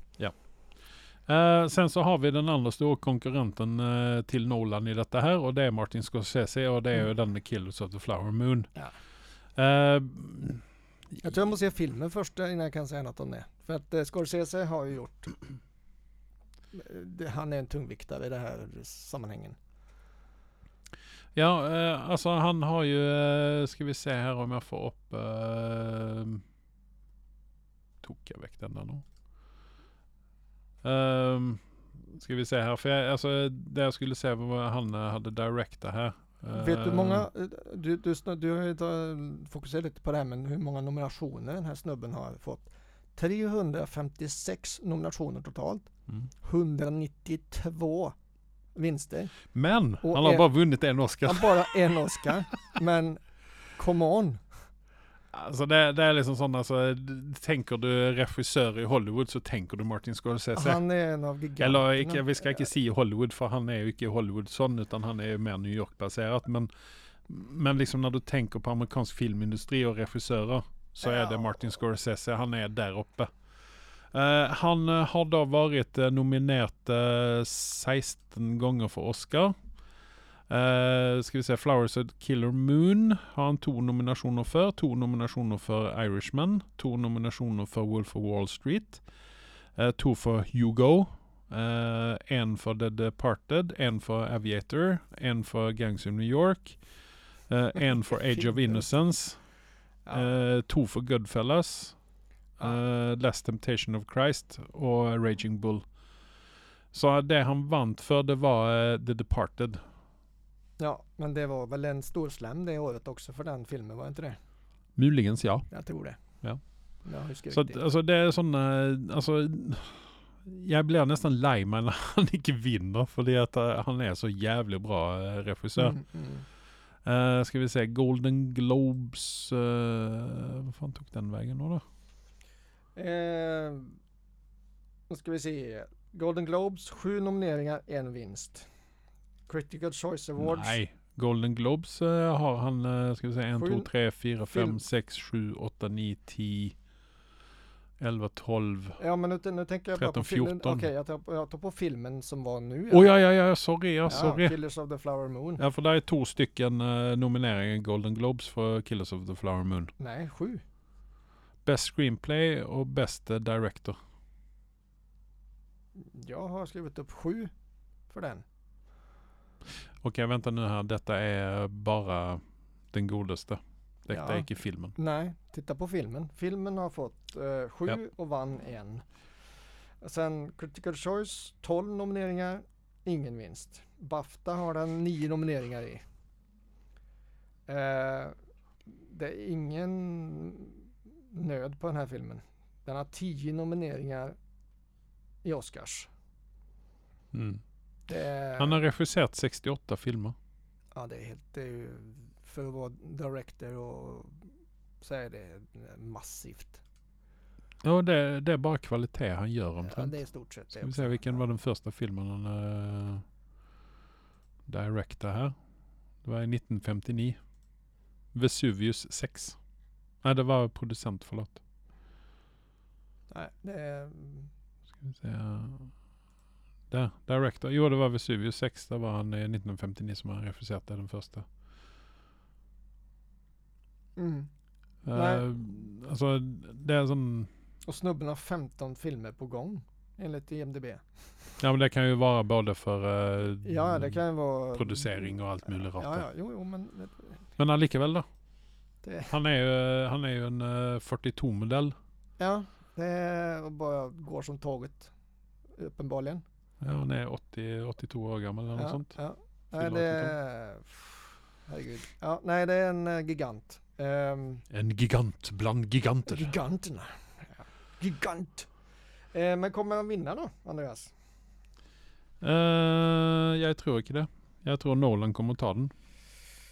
[SPEAKER 1] Eh, sen så har vi den andra stora konkurrenten eh, till Nolan i detta här och det är Martin Scorsese och det är ju den med Killers of the Flower Moon.
[SPEAKER 2] Mm. Ja.
[SPEAKER 1] Eh,
[SPEAKER 2] Jag tror jag måste se filmen först innan jag kan säga något om det. För att eh, Scorsese har ju gjort... Det, han är en tungviktare i det här sammanhangen.
[SPEAKER 1] ja, eh, alltså han har ju, eh, ska vi se här om jag får upp, eh, tog jag väck den där nu? Eh, ska vi se här, för jag, alltså det jag skulle säga var vad han eh, hade directat här.
[SPEAKER 2] Vet du hur
[SPEAKER 1] Eh,
[SPEAKER 2] många... eh, Du, du, snö- du har ju ta- fokuserat lite på det här men hur många nominationer den här snubben har fått. 356 nominationer totalt.
[SPEAKER 1] Mm.
[SPEAKER 2] 192 vinster.
[SPEAKER 1] Men
[SPEAKER 2] Och
[SPEAKER 1] han har
[SPEAKER 2] en-
[SPEAKER 1] bara vunnit en Oscar.
[SPEAKER 2] Han bara en Oscar. Men come on.
[SPEAKER 1] Alltså det, det är liksom sådana, så d- tänker du regissör i Hollywood så tänker du Martin Scorsese.
[SPEAKER 2] Han är en av giganterna.
[SPEAKER 1] Eller icke, vi ska inte säga Hollywood för han är ju icke Hollywoodson utan han är ju mer New York-baserat. Men, men liksom när du tänker på amerikansk filmindustri och regissörer så är det
[SPEAKER 2] Ja.
[SPEAKER 1] Martin Scorsese, han är där uppe. Eh, han eh, har då varit uh, nominerad eh, 16 gånger för Oscar. Uh, ska vi se, Flowers of the Killer Moon har han två nominationer för. Två nominationer för Irishman. Två nominationer för Wolf of Wall Street. eh, två för Hugo. eh, en för The Departed. En för Aviator. En för Gangs of New York. eh, en för Age of
[SPEAKER 2] Filmer.
[SPEAKER 1] Innocence.
[SPEAKER 2] Ja.
[SPEAKER 1] eh, två för Goodfellas. eh, Last Temptation of Christ och Raging Bull. Så det han vann för det var eh, The Departed.
[SPEAKER 2] Ja, men det var väl en stor slam det året också för den filmen, var det inte det?
[SPEAKER 1] Muligens ja.
[SPEAKER 2] Jag tror det.
[SPEAKER 1] Ja.
[SPEAKER 2] Jag har ju skrivit
[SPEAKER 1] Så att,
[SPEAKER 2] det.
[SPEAKER 1] alltså det är sådana, alltså jag blir nästan lajma när han inte vinner för det att eh, han är så jävligt bra eh, regissör.
[SPEAKER 2] Mm, mm.
[SPEAKER 1] Eh, ska vi se, Golden Globes, eh, vad fan tog den vägen då? då?
[SPEAKER 2] Eh, nu ska vi se. Golden Globes, sju nomineringar, en vinst. Critical Choice Awards.
[SPEAKER 1] Nej, Golden Globes eh, har han, eh, ska vi se, 1,
[SPEAKER 2] Sju-
[SPEAKER 1] 2, 3, 4, 5,
[SPEAKER 2] film.
[SPEAKER 1] 6, 7, 8, 9, 10, 11, 12.
[SPEAKER 2] Ja men nu, nu tänker jag bara på
[SPEAKER 1] 13,
[SPEAKER 2] filmen.
[SPEAKER 1] 14.
[SPEAKER 2] Okej, jag, tar, jag tar på filmen som var nu.
[SPEAKER 1] Åh ja, ja, ja, sorry, ja,
[SPEAKER 2] Ja,
[SPEAKER 1] sorry.
[SPEAKER 2] Killers of the Flower Moon.
[SPEAKER 1] Ja, för där är två stycken eh, nomineringar i Golden Globes för Killers of the Flower Moon.
[SPEAKER 2] Nej, sju.
[SPEAKER 1] Best Screenplay och Best eh, Director.
[SPEAKER 2] Jag har skrivit upp sju för den.
[SPEAKER 1] Okej, vänta nu här. Detta är bara den godaste. Detta
[SPEAKER 2] Ja.
[SPEAKER 1] gick i filmen.
[SPEAKER 2] Nej, titta på filmen. Filmen har fått eh, sju
[SPEAKER 1] Ja.
[SPEAKER 2] och vann en. Sen Critical Choice, 12 nomineringar, ingen vinst. Bafta har den nio nomineringar i. Eh, det är ingen nöd på den här filmen. Den har tio nomineringar i Oscars.
[SPEAKER 1] Mm.
[SPEAKER 2] Det är,
[SPEAKER 1] Han har regisserat 68 filmer.
[SPEAKER 2] ja, det är helt, det är ju, för att vara director och så är det massivt.
[SPEAKER 1] Ja, det, det är bara kvalitet han gör
[SPEAKER 2] Ja,
[SPEAKER 1] omtrent.
[SPEAKER 2] det är i stort sett
[SPEAKER 1] Ska vi
[SPEAKER 2] det.
[SPEAKER 1] se vilken var den första filmen han uh, directade här. Det var i 1959. Vesuvius 6. Nej, det var producent, förlåt.
[SPEAKER 2] Nej, det är,
[SPEAKER 1] Ska vi se. Där, director. Jo, det var Vesuvius 6. Där var han eh, 1959 som han regisserade den första.
[SPEAKER 2] mm.
[SPEAKER 1] Eh,
[SPEAKER 2] Nej.
[SPEAKER 1] alltså, det är en sån...
[SPEAKER 2] Och snubben har 15 filmer på gång enligt IMDB.
[SPEAKER 1] Ja, men det kan ju vara både för eh,
[SPEAKER 2] Ja, det kan ju vara...
[SPEAKER 1] producering och allt möjligt
[SPEAKER 2] Ja,
[SPEAKER 1] rart.
[SPEAKER 2] ja, jo, jo, men
[SPEAKER 1] Men allikevel då.
[SPEAKER 2] Det-
[SPEAKER 1] Han, är ju, eh, han är ju en 42-modell.
[SPEAKER 2] ja, det är- och bara går som tåget. Uppenbarligen.
[SPEAKER 1] Ja, han är 80, 82 år gammal eller
[SPEAKER 2] ja,
[SPEAKER 1] något sånt.
[SPEAKER 2] Ja.
[SPEAKER 1] Fyller
[SPEAKER 2] Nej, det är... Herregud. Ja, nej, det är en eh, gigant. Ehm,
[SPEAKER 1] En gigant bland giganter.
[SPEAKER 2] giganterna. Ja. Gigant. Eh, men kommer han vinna då, Andreas?
[SPEAKER 1] Eh, jag tror inte det. Jag tror Nolan kommer ta den.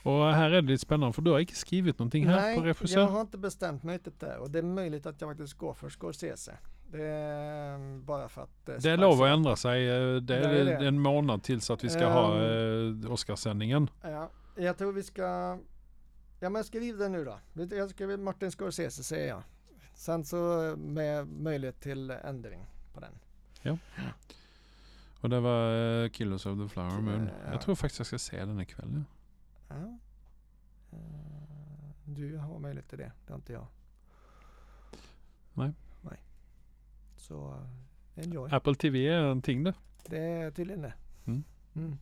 [SPEAKER 1] Och här är det lite spännande för du har inte skrivit någonting här
[SPEAKER 2] nej,
[SPEAKER 1] på regissör.
[SPEAKER 2] jag har inte bestämt mig riktigt där. Och det är möjligt att jag faktiskt går för Scorsese. Det är eh, bara för att... eh,
[SPEAKER 1] Det är
[SPEAKER 2] spicea
[SPEAKER 1] lov att ändra sig. eh, Det är,
[SPEAKER 2] Nej, det Ehm. är det.
[SPEAKER 1] en månad tills att vi ska ha uh, Oscarssändningen.
[SPEAKER 2] Ja, jag tror vi ska... Ja men skriv det nu då. Jag skriver Martin Scorsese säger jag. Sen så eh, med möjlighet till ändring på den.
[SPEAKER 1] Och det var uh, Killers of the Flower Moon.
[SPEAKER 2] Ja.
[SPEAKER 1] Jag tror faktiskt jag ska se den ikväll.
[SPEAKER 2] Ja. Eh, Du har möjlighet till det, det har inte jag.
[SPEAKER 1] Nej.
[SPEAKER 2] Nej. Så eh, enjoy.
[SPEAKER 1] Apple TV är en ting det.
[SPEAKER 2] Det är tydligen det.
[SPEAKER 1] Mm.
[SPEAKER 2] Mm.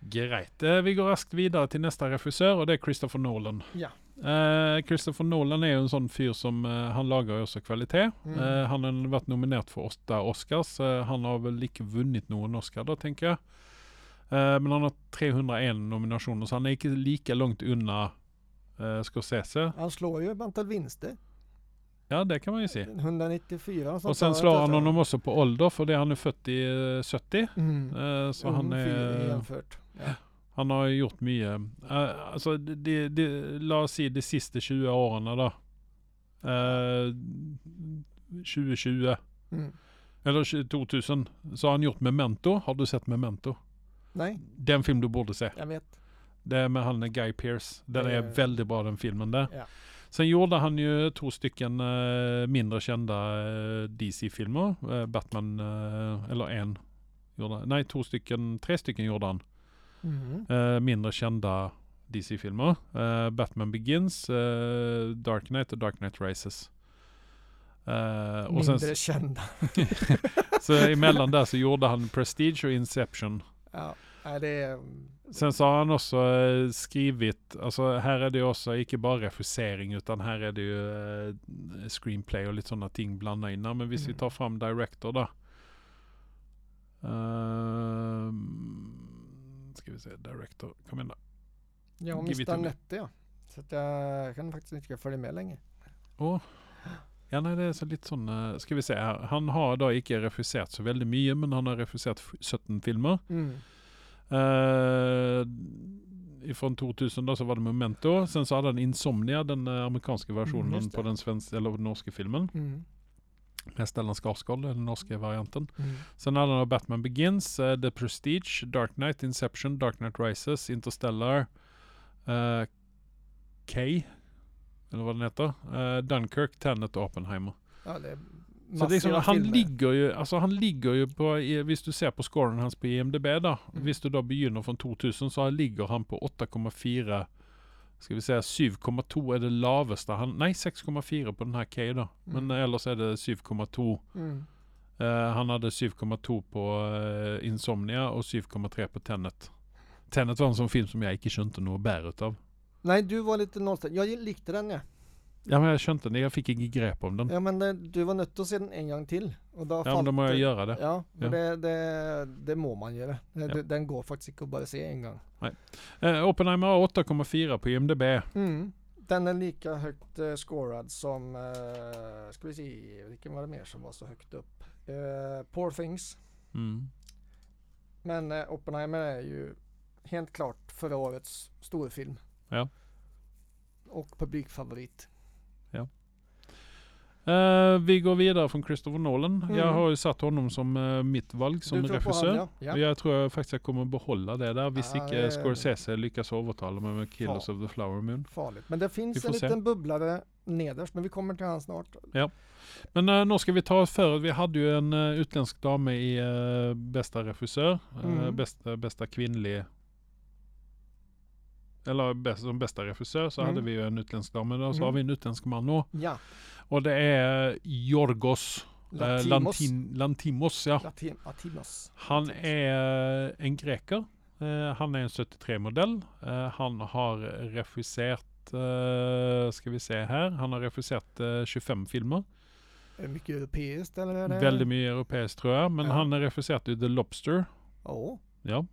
[SPEAKER 1] Greit. Eh, Vi går raskt vidare till nästa regissör och det är Christopher Nolan.
[SPEAKER 2] Ja.
[SPEAKER 1] Eh, Christopher Nolan är ju en sån fyr som eh, han lagar ju också kvalitet.
[SPEAKER 2] Mm.
[SPEAKER 1] Eh, han har varit nominerad för åtta Oscars. Eh, han har väl icke vunnit någon Oscar då tänker jag. Eh, men han har 301 nominationer så han är inte lika långt unna eh, Scorsese.
[SPEAKER 2] Han slår ju ett antal vinster.
[SPEAKER 1] Ja det kan man ju se.
[SPEAKER 2] 194 och sånt.
[SPEAKER 1] Och sen
[SPEAKER 2] där,
[SPEAKER 1] slår
[SPEAKER 2] vet
[SPEAKER 1] han
[SPEAKER 2] jag.
[SPEAKER 1] honom också på ålder för det han är född i eh, 70.
[SPEAKER 2] Mm.
[SPEAKER 1] Eh, så
[SPEAKER 2] Ung
[SPEAKER 1] han
[SPEAKER 2] fyr
[SPEAKER 1] är...
[SPEAKER 2] Jämfört. Ja.
[SPEAKER 1] Han har ju gjort mycket. Eh, alltså, det, det, det, la oss se de sista 20 åren då. Eh, 2020,
[SPEAKER 2] Mm.
[SPEAKER 1] eller 20 2000, så har han gjort Memento. Har du sett Memento?
[SPEAKER 2] Nej,
[SPEAKER 1] Den film du borde se.
[SPEAKER 2] jag vet.
[SPEAKER 1] Det är med han eh, Guy Pearce. Den är
[SPEAKER 2] Eh.
[SPEAKER 1] väldigt bra den filmen där.
[SPEAKER 2] Ja.
[SPEAKER 1] Sen gjorde han ju två stycken eh, mindre kända eh, DC-filmer. Eh, Batman, eh, eller en. Gjorde, nej, två stycken, tre stycken gjorde han.
[SPEAKER 2] Mm.
[SPEAKER 1] Eh, mindre kända DC-filmer. Eh, Batman Begins, eh, Dark Knight och Dark Knight Rises. Eh, och sen,
[SPEAKER 2] Mindre kända.
[SPEAKER 1] så emellan där så gjorde han Prestige och Inception.
[SPEAKER 2] Ja, nej, det är... mm,
[SPEAKER 1] Sen så har han också eh, skrivit, alltså här är det ju också icke bara regissering utan här är det ju eh, screenplay och lite sådana ting blandat in. Ja, Men visst vi
[SPEAKER 2] Mm.
[SPEAKER 1] tar fram director där. Uh, ska vi se, director, kom igen då.
[SPEAKER 2] Jag
[SPEAKER 1] Give it to
[SPEAKER 2] missade
[SPEAKER 1] me.
[SPEAKER 2] Anette ja. Så att jag kan faktiskt inte följa med längre.
[SPEAKER 1] Åh. Ja, nej, det är så lite sån, eh, ska vi se här. Han har då icke regisserat så väldigt mycket, men han har regisserat f- 17 filmer.
[SPEAKER 2] Mm.
[SPEAKER 1] Eh, ifrån 2000 då så var det Memento, sen så hade han Insomnia, den eh, amerikanska versionen
[SPEAKER 2] Mm, just
[SPEAKER 1] på
[SPEAKER 2] det.
[SPEAKER 1] den svenska, eller den norska filmen.
[SPEAKER 2] Mm.
[SPEAKER 1] Med Stellan Skarsgård, den norska varianten.
[SPEAKER 2] Mm.
[SPEAKER 1] Sen hade han då Batman Begins, eh, The Prestige, Dark Knight, Inception, Dark Knight Rises, Interstellar, eh, K, eller vad den heter, eh, Dunkirk, Tenet och Oppenheimer.
[SPEAKER 2] Ja, det är
[SPEAKER 1] Så
[SPEAKER 2] massor
[SPEAKER 1] det är som,
[SPEAKER 2] av
[SPEAKER 1] han,
[SPEAKER 2] filmer.
[SPEAKER 1] ligger ju, alltså han ligger ju på, i- visst du ser på scoren hans på IMDB då,
[SPEAKER 2] Mm.
[SPEAKER 1] visst du då begynner från 2000 så ligger han på 8,4, ska vi säga 7,2 är det lavesta, han, nej 6,4 på den här K då, men eh, eller så är det 7,2.
[SPEAKER 2] Mm.
[SPEAKER 1] Eh, han hade 7,2 på eh, Insomnia och 7,3 på Tenet. Tenet var en sån film som jag gick i inte och bär utav.
[SPEAKER 2] Nej, du var lite nollställd. Jag likte den ja.
[SPEAKER 1] Ja men jag kör inte den. Jag fick inget grepp om den.
[SPEAKER 2] Ja men eh, du var nött att se den en gång till. Och då
[SPEAKER 1] Ja men då må jag göra det.
[SPEAKER 2] Ja, men
[SPEAKER 1] Ja.
[SPEAKER 2] Det, det, det må man göra. Det-
[SPEAKER 1] Ja.
[SPEAKER 2] det- Den går faktiskt inte att bara se en gång.
[SPEAKER 1] Eh, Oppenheimer har 8,4 på IMDB.
[SPEAKER 2] Mm. Den är lika högt eh, scorad som, eh, ska vi se, vilken var det mer som var så högt upp? Eh, Poor Things.
[SPEAKER 1] Mm.
[SPEAKER 2] Men eh, Oppenheimer är ju helt klart förra årets storfilm.
[SPEAKER 1] Ja.
[SPEAKER 2] Och publikfavorit.
[SPEAKER 1] Eh, vi går vidare från Christopher Nolan.
[SPEAKER 2] Mm.
[SPEAKER 1] Jag har ju satt honom som eh, mitt val som
[SPEAKER 2] tror på
[SPEAKER 1] regissör.
[SPEAKER 2] han, ja.
[SPEAKER 1] Och
[SPEAKER 2] ja.
[SPEAKER 1] Jag tror jag faktiskt jag kommer behålla det där. Visst
[SPEAKER 2] Ja,
[SPEAKER 1] icke
[SPEAKER 2] det-
[SPEAKER 1] Scorsese lyckas övertala mig med Killers
[SPEAKER 2] Ja.
[SPEAKER 1] of the Flower Moon.
[SPEAKER 2] Farligt. Men det
[SPEAKER 1] Vi
[SPEAKER 2] finns
[SPEAKER 1] får
[SPEAKER 2] en
[SPEAKER 1] se.
[SPEAKER 2] liten bubblare nederst, men vi kommer till han snart.
[SPEAKER 1] Men eh, nu ska vi ta oss för. Vi hade ju en eh, utländsk dam med i eh, bästa regissör. eh,
[SPEAKER 2] Mm.
[SPEAKER 1] bästa, bästa kvinnlig. Eller bäst, som bästa regissör så
[SPEAKER 2] Mm.
[SPEAKER 1] hade vi ju en utländsk dam. Men då så
[SPEAKER 2] Mm.
[SPEAKER 1] har vi en utländsk man också.
[SPEAKER 2] Ja,
[SPEAKER 1] Och det är Jorgos eh,
[SPEAKER 2] Latimos.
[SPEAKER 1] Lantin, Lantimos. Ja.
[SPEAKER 2] Latim, Latinos.
[SPEAKER 1] Han är en greker. Eh, han är en 73-modell. Eh, han har regisserat, eh, ska vi se här, han har regisserat eh, 25 filmer.
[SPEAKER 2] Är det mycket europeiskt eller? Är det...
[SPEAKER 1] Väldigt mycket europeiskt tror jag, men
[SPEAKER 2] Ja.
[SPEAKER 1] han har regisserat ju The Lobster.
[SPEAKER 2] Ja,
[SPEAKER 1] Ja.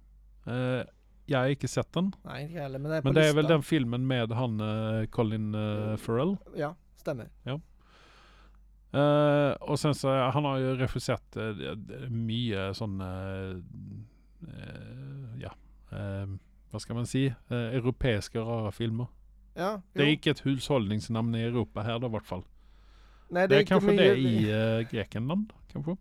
[SPEAKER 1] Eh, jag har inte sett den,
[SPEAKER 2] nej inte heller. Men, den är
[SPEAKER 1] men
[SPEAKER 2] på
[SPEAKER 1] det är väl
[SPEAKER 2] listan.
[SPEAKER 1] den filmen med han eh, Colin eh, Farrell.
[SPEAKER 2] Ja, stämmer.
[SPEAKER 1] Eh, och sen så, han har ju regisserat eh, d- d- mycket sån, eh, eh, ja, eh, vad ska man säga, eh, europeiska rara filmer.
[SPEAKER 2] Ja,
[SPEAKER 1] Det är
[SPEAKER 2] jo.
[SPEAKER 1] icke ett hushållningsnamn i Europa här då i vart fall.
[SPEAKER 2] nej,
[SPEAKER 1] Det är
[SPEAKER 2] inte
[SPEAKER 1] kanske
[SPEAKER 2] mycket-
[SPEAKER 1] det i eh, Grekland kanske.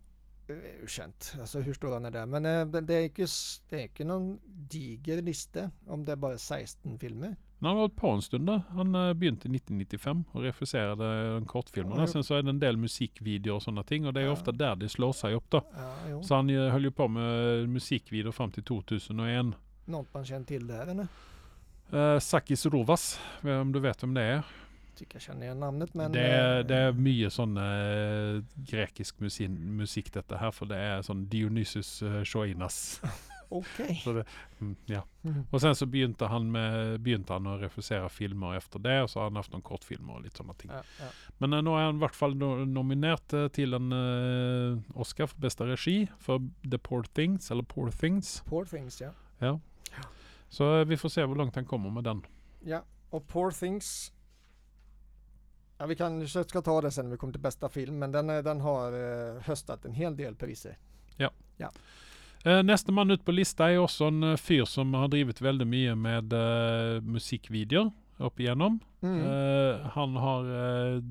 [SPEAKER 2] Eh, Känt, alltså hur stor han är där. Men eh, det- det är ju inte s- det är inte någon diger lista om det är bara 16 filmer.
[SPEAKER 1] Men Han har hållit på en stund där. Han eh, begynte 1995 och regisserade de kortfilmerna.
[SPEAKER 2] Ja, jo.
[SPEAKER 1] Sen så är det en del musikvideor och sådana ting och det är
[SPEAKER 2] Ja.
[SPEAKER 1] ofta där det slår sig upp då.
[SPEAKER 2] Ja, jo.
[SPEAKER 1] Så han eh, höll ju på med musikvideor fram till 2001.
[SPEAKER 2] Något man känner till där eller?
[SPEAKER 1] Eh, Sakis Rovas, eh, om du vet vem det är.
[SPEAKER 2] Tycker jag känner igen namnet men...
[SPEAKER 1] det, är
[SPEAKER 2] eh,
[SPEAKER 1] det är mycket sån eh, grekisk musik, musik detta här för det är sån Dionysus eh, Choinas.
[SPEAKER 2] Okej.
[SPEAKER 1] Så det, mm, ja.
[SPEAKER 2] Mm.
[SPEAKER 1] Och sen så begynte han, med, begynte han att regissera filmer efter det och så har han haft någon kortfilmer och lite sådana ting.
[SPEAKER 2] Ja, ja.
[SPEAKER 1] Men eh, nu är han i vart fall no- nominerad eh, till en eh, Oscar för bästa regi för The Poor Things, eller Poor Things.
[SPEAKER 2] Poor Things ja.
[SPEAKER 1] Så eh, vi får se hur långt han kommer med den.
[SPEAKER 2] Ja, och Poor Things. Ja, vi kanske ska ta det sen när vi kommer till bästa film, men den, är- den har eh, höstat en hel del priser.
[SPEAKER 1] Eh, Nästa man ut på lista är också en eh, fyr som har drivit väldigt mycket med eh, musikvideor upp igenom.
[SPEAKER 2] Mm.
[SPEAKER 1] Eh, han har eh,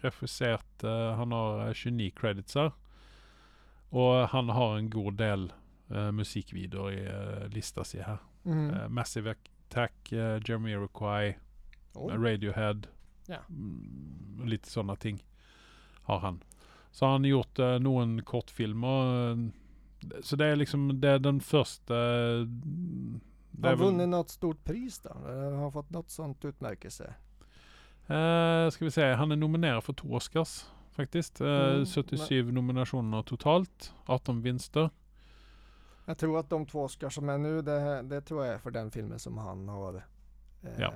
[SPEAKER 1] regisserat, eh, han har eh, 29 creditsar. Och han har en god del eh, musikvideor i eh, lista sig här.
[SPEAKER 2] Mm.
[SPEAKER 1] Eh, Massive Attack, eh, Jeremy Iroquois,
[SPEAKER 2] Oj.
[SPEAKER 1] Radiohead.
[SPEAKER 2] Ja.
[SPEAKER 1] Mm, och lite sådana ting har han. Så har han gjort eh, någon kortfilm och, eh, så det är liksom det är den första. eh, det
[SPEAKER 2] Har
[SPEAKER 1] är väl-
[SPEAKER 2] vunnit något stort pris då? Eller har fått något sånt utmärkelse?
[SPEAKER 1] Eh, ska vi säga, han är nominerad för två Oscars faktiskt. Eh,
[SPEAKER 2] Mm,
[SPEAKER 1] 77 nominationer totalt, 18 vinster.
[SPEAKER 2] Jag tror att de två Oscar som är nu, det, det tror jag är för den filmen som han har. eh,
[SPEAKER 1] Ja.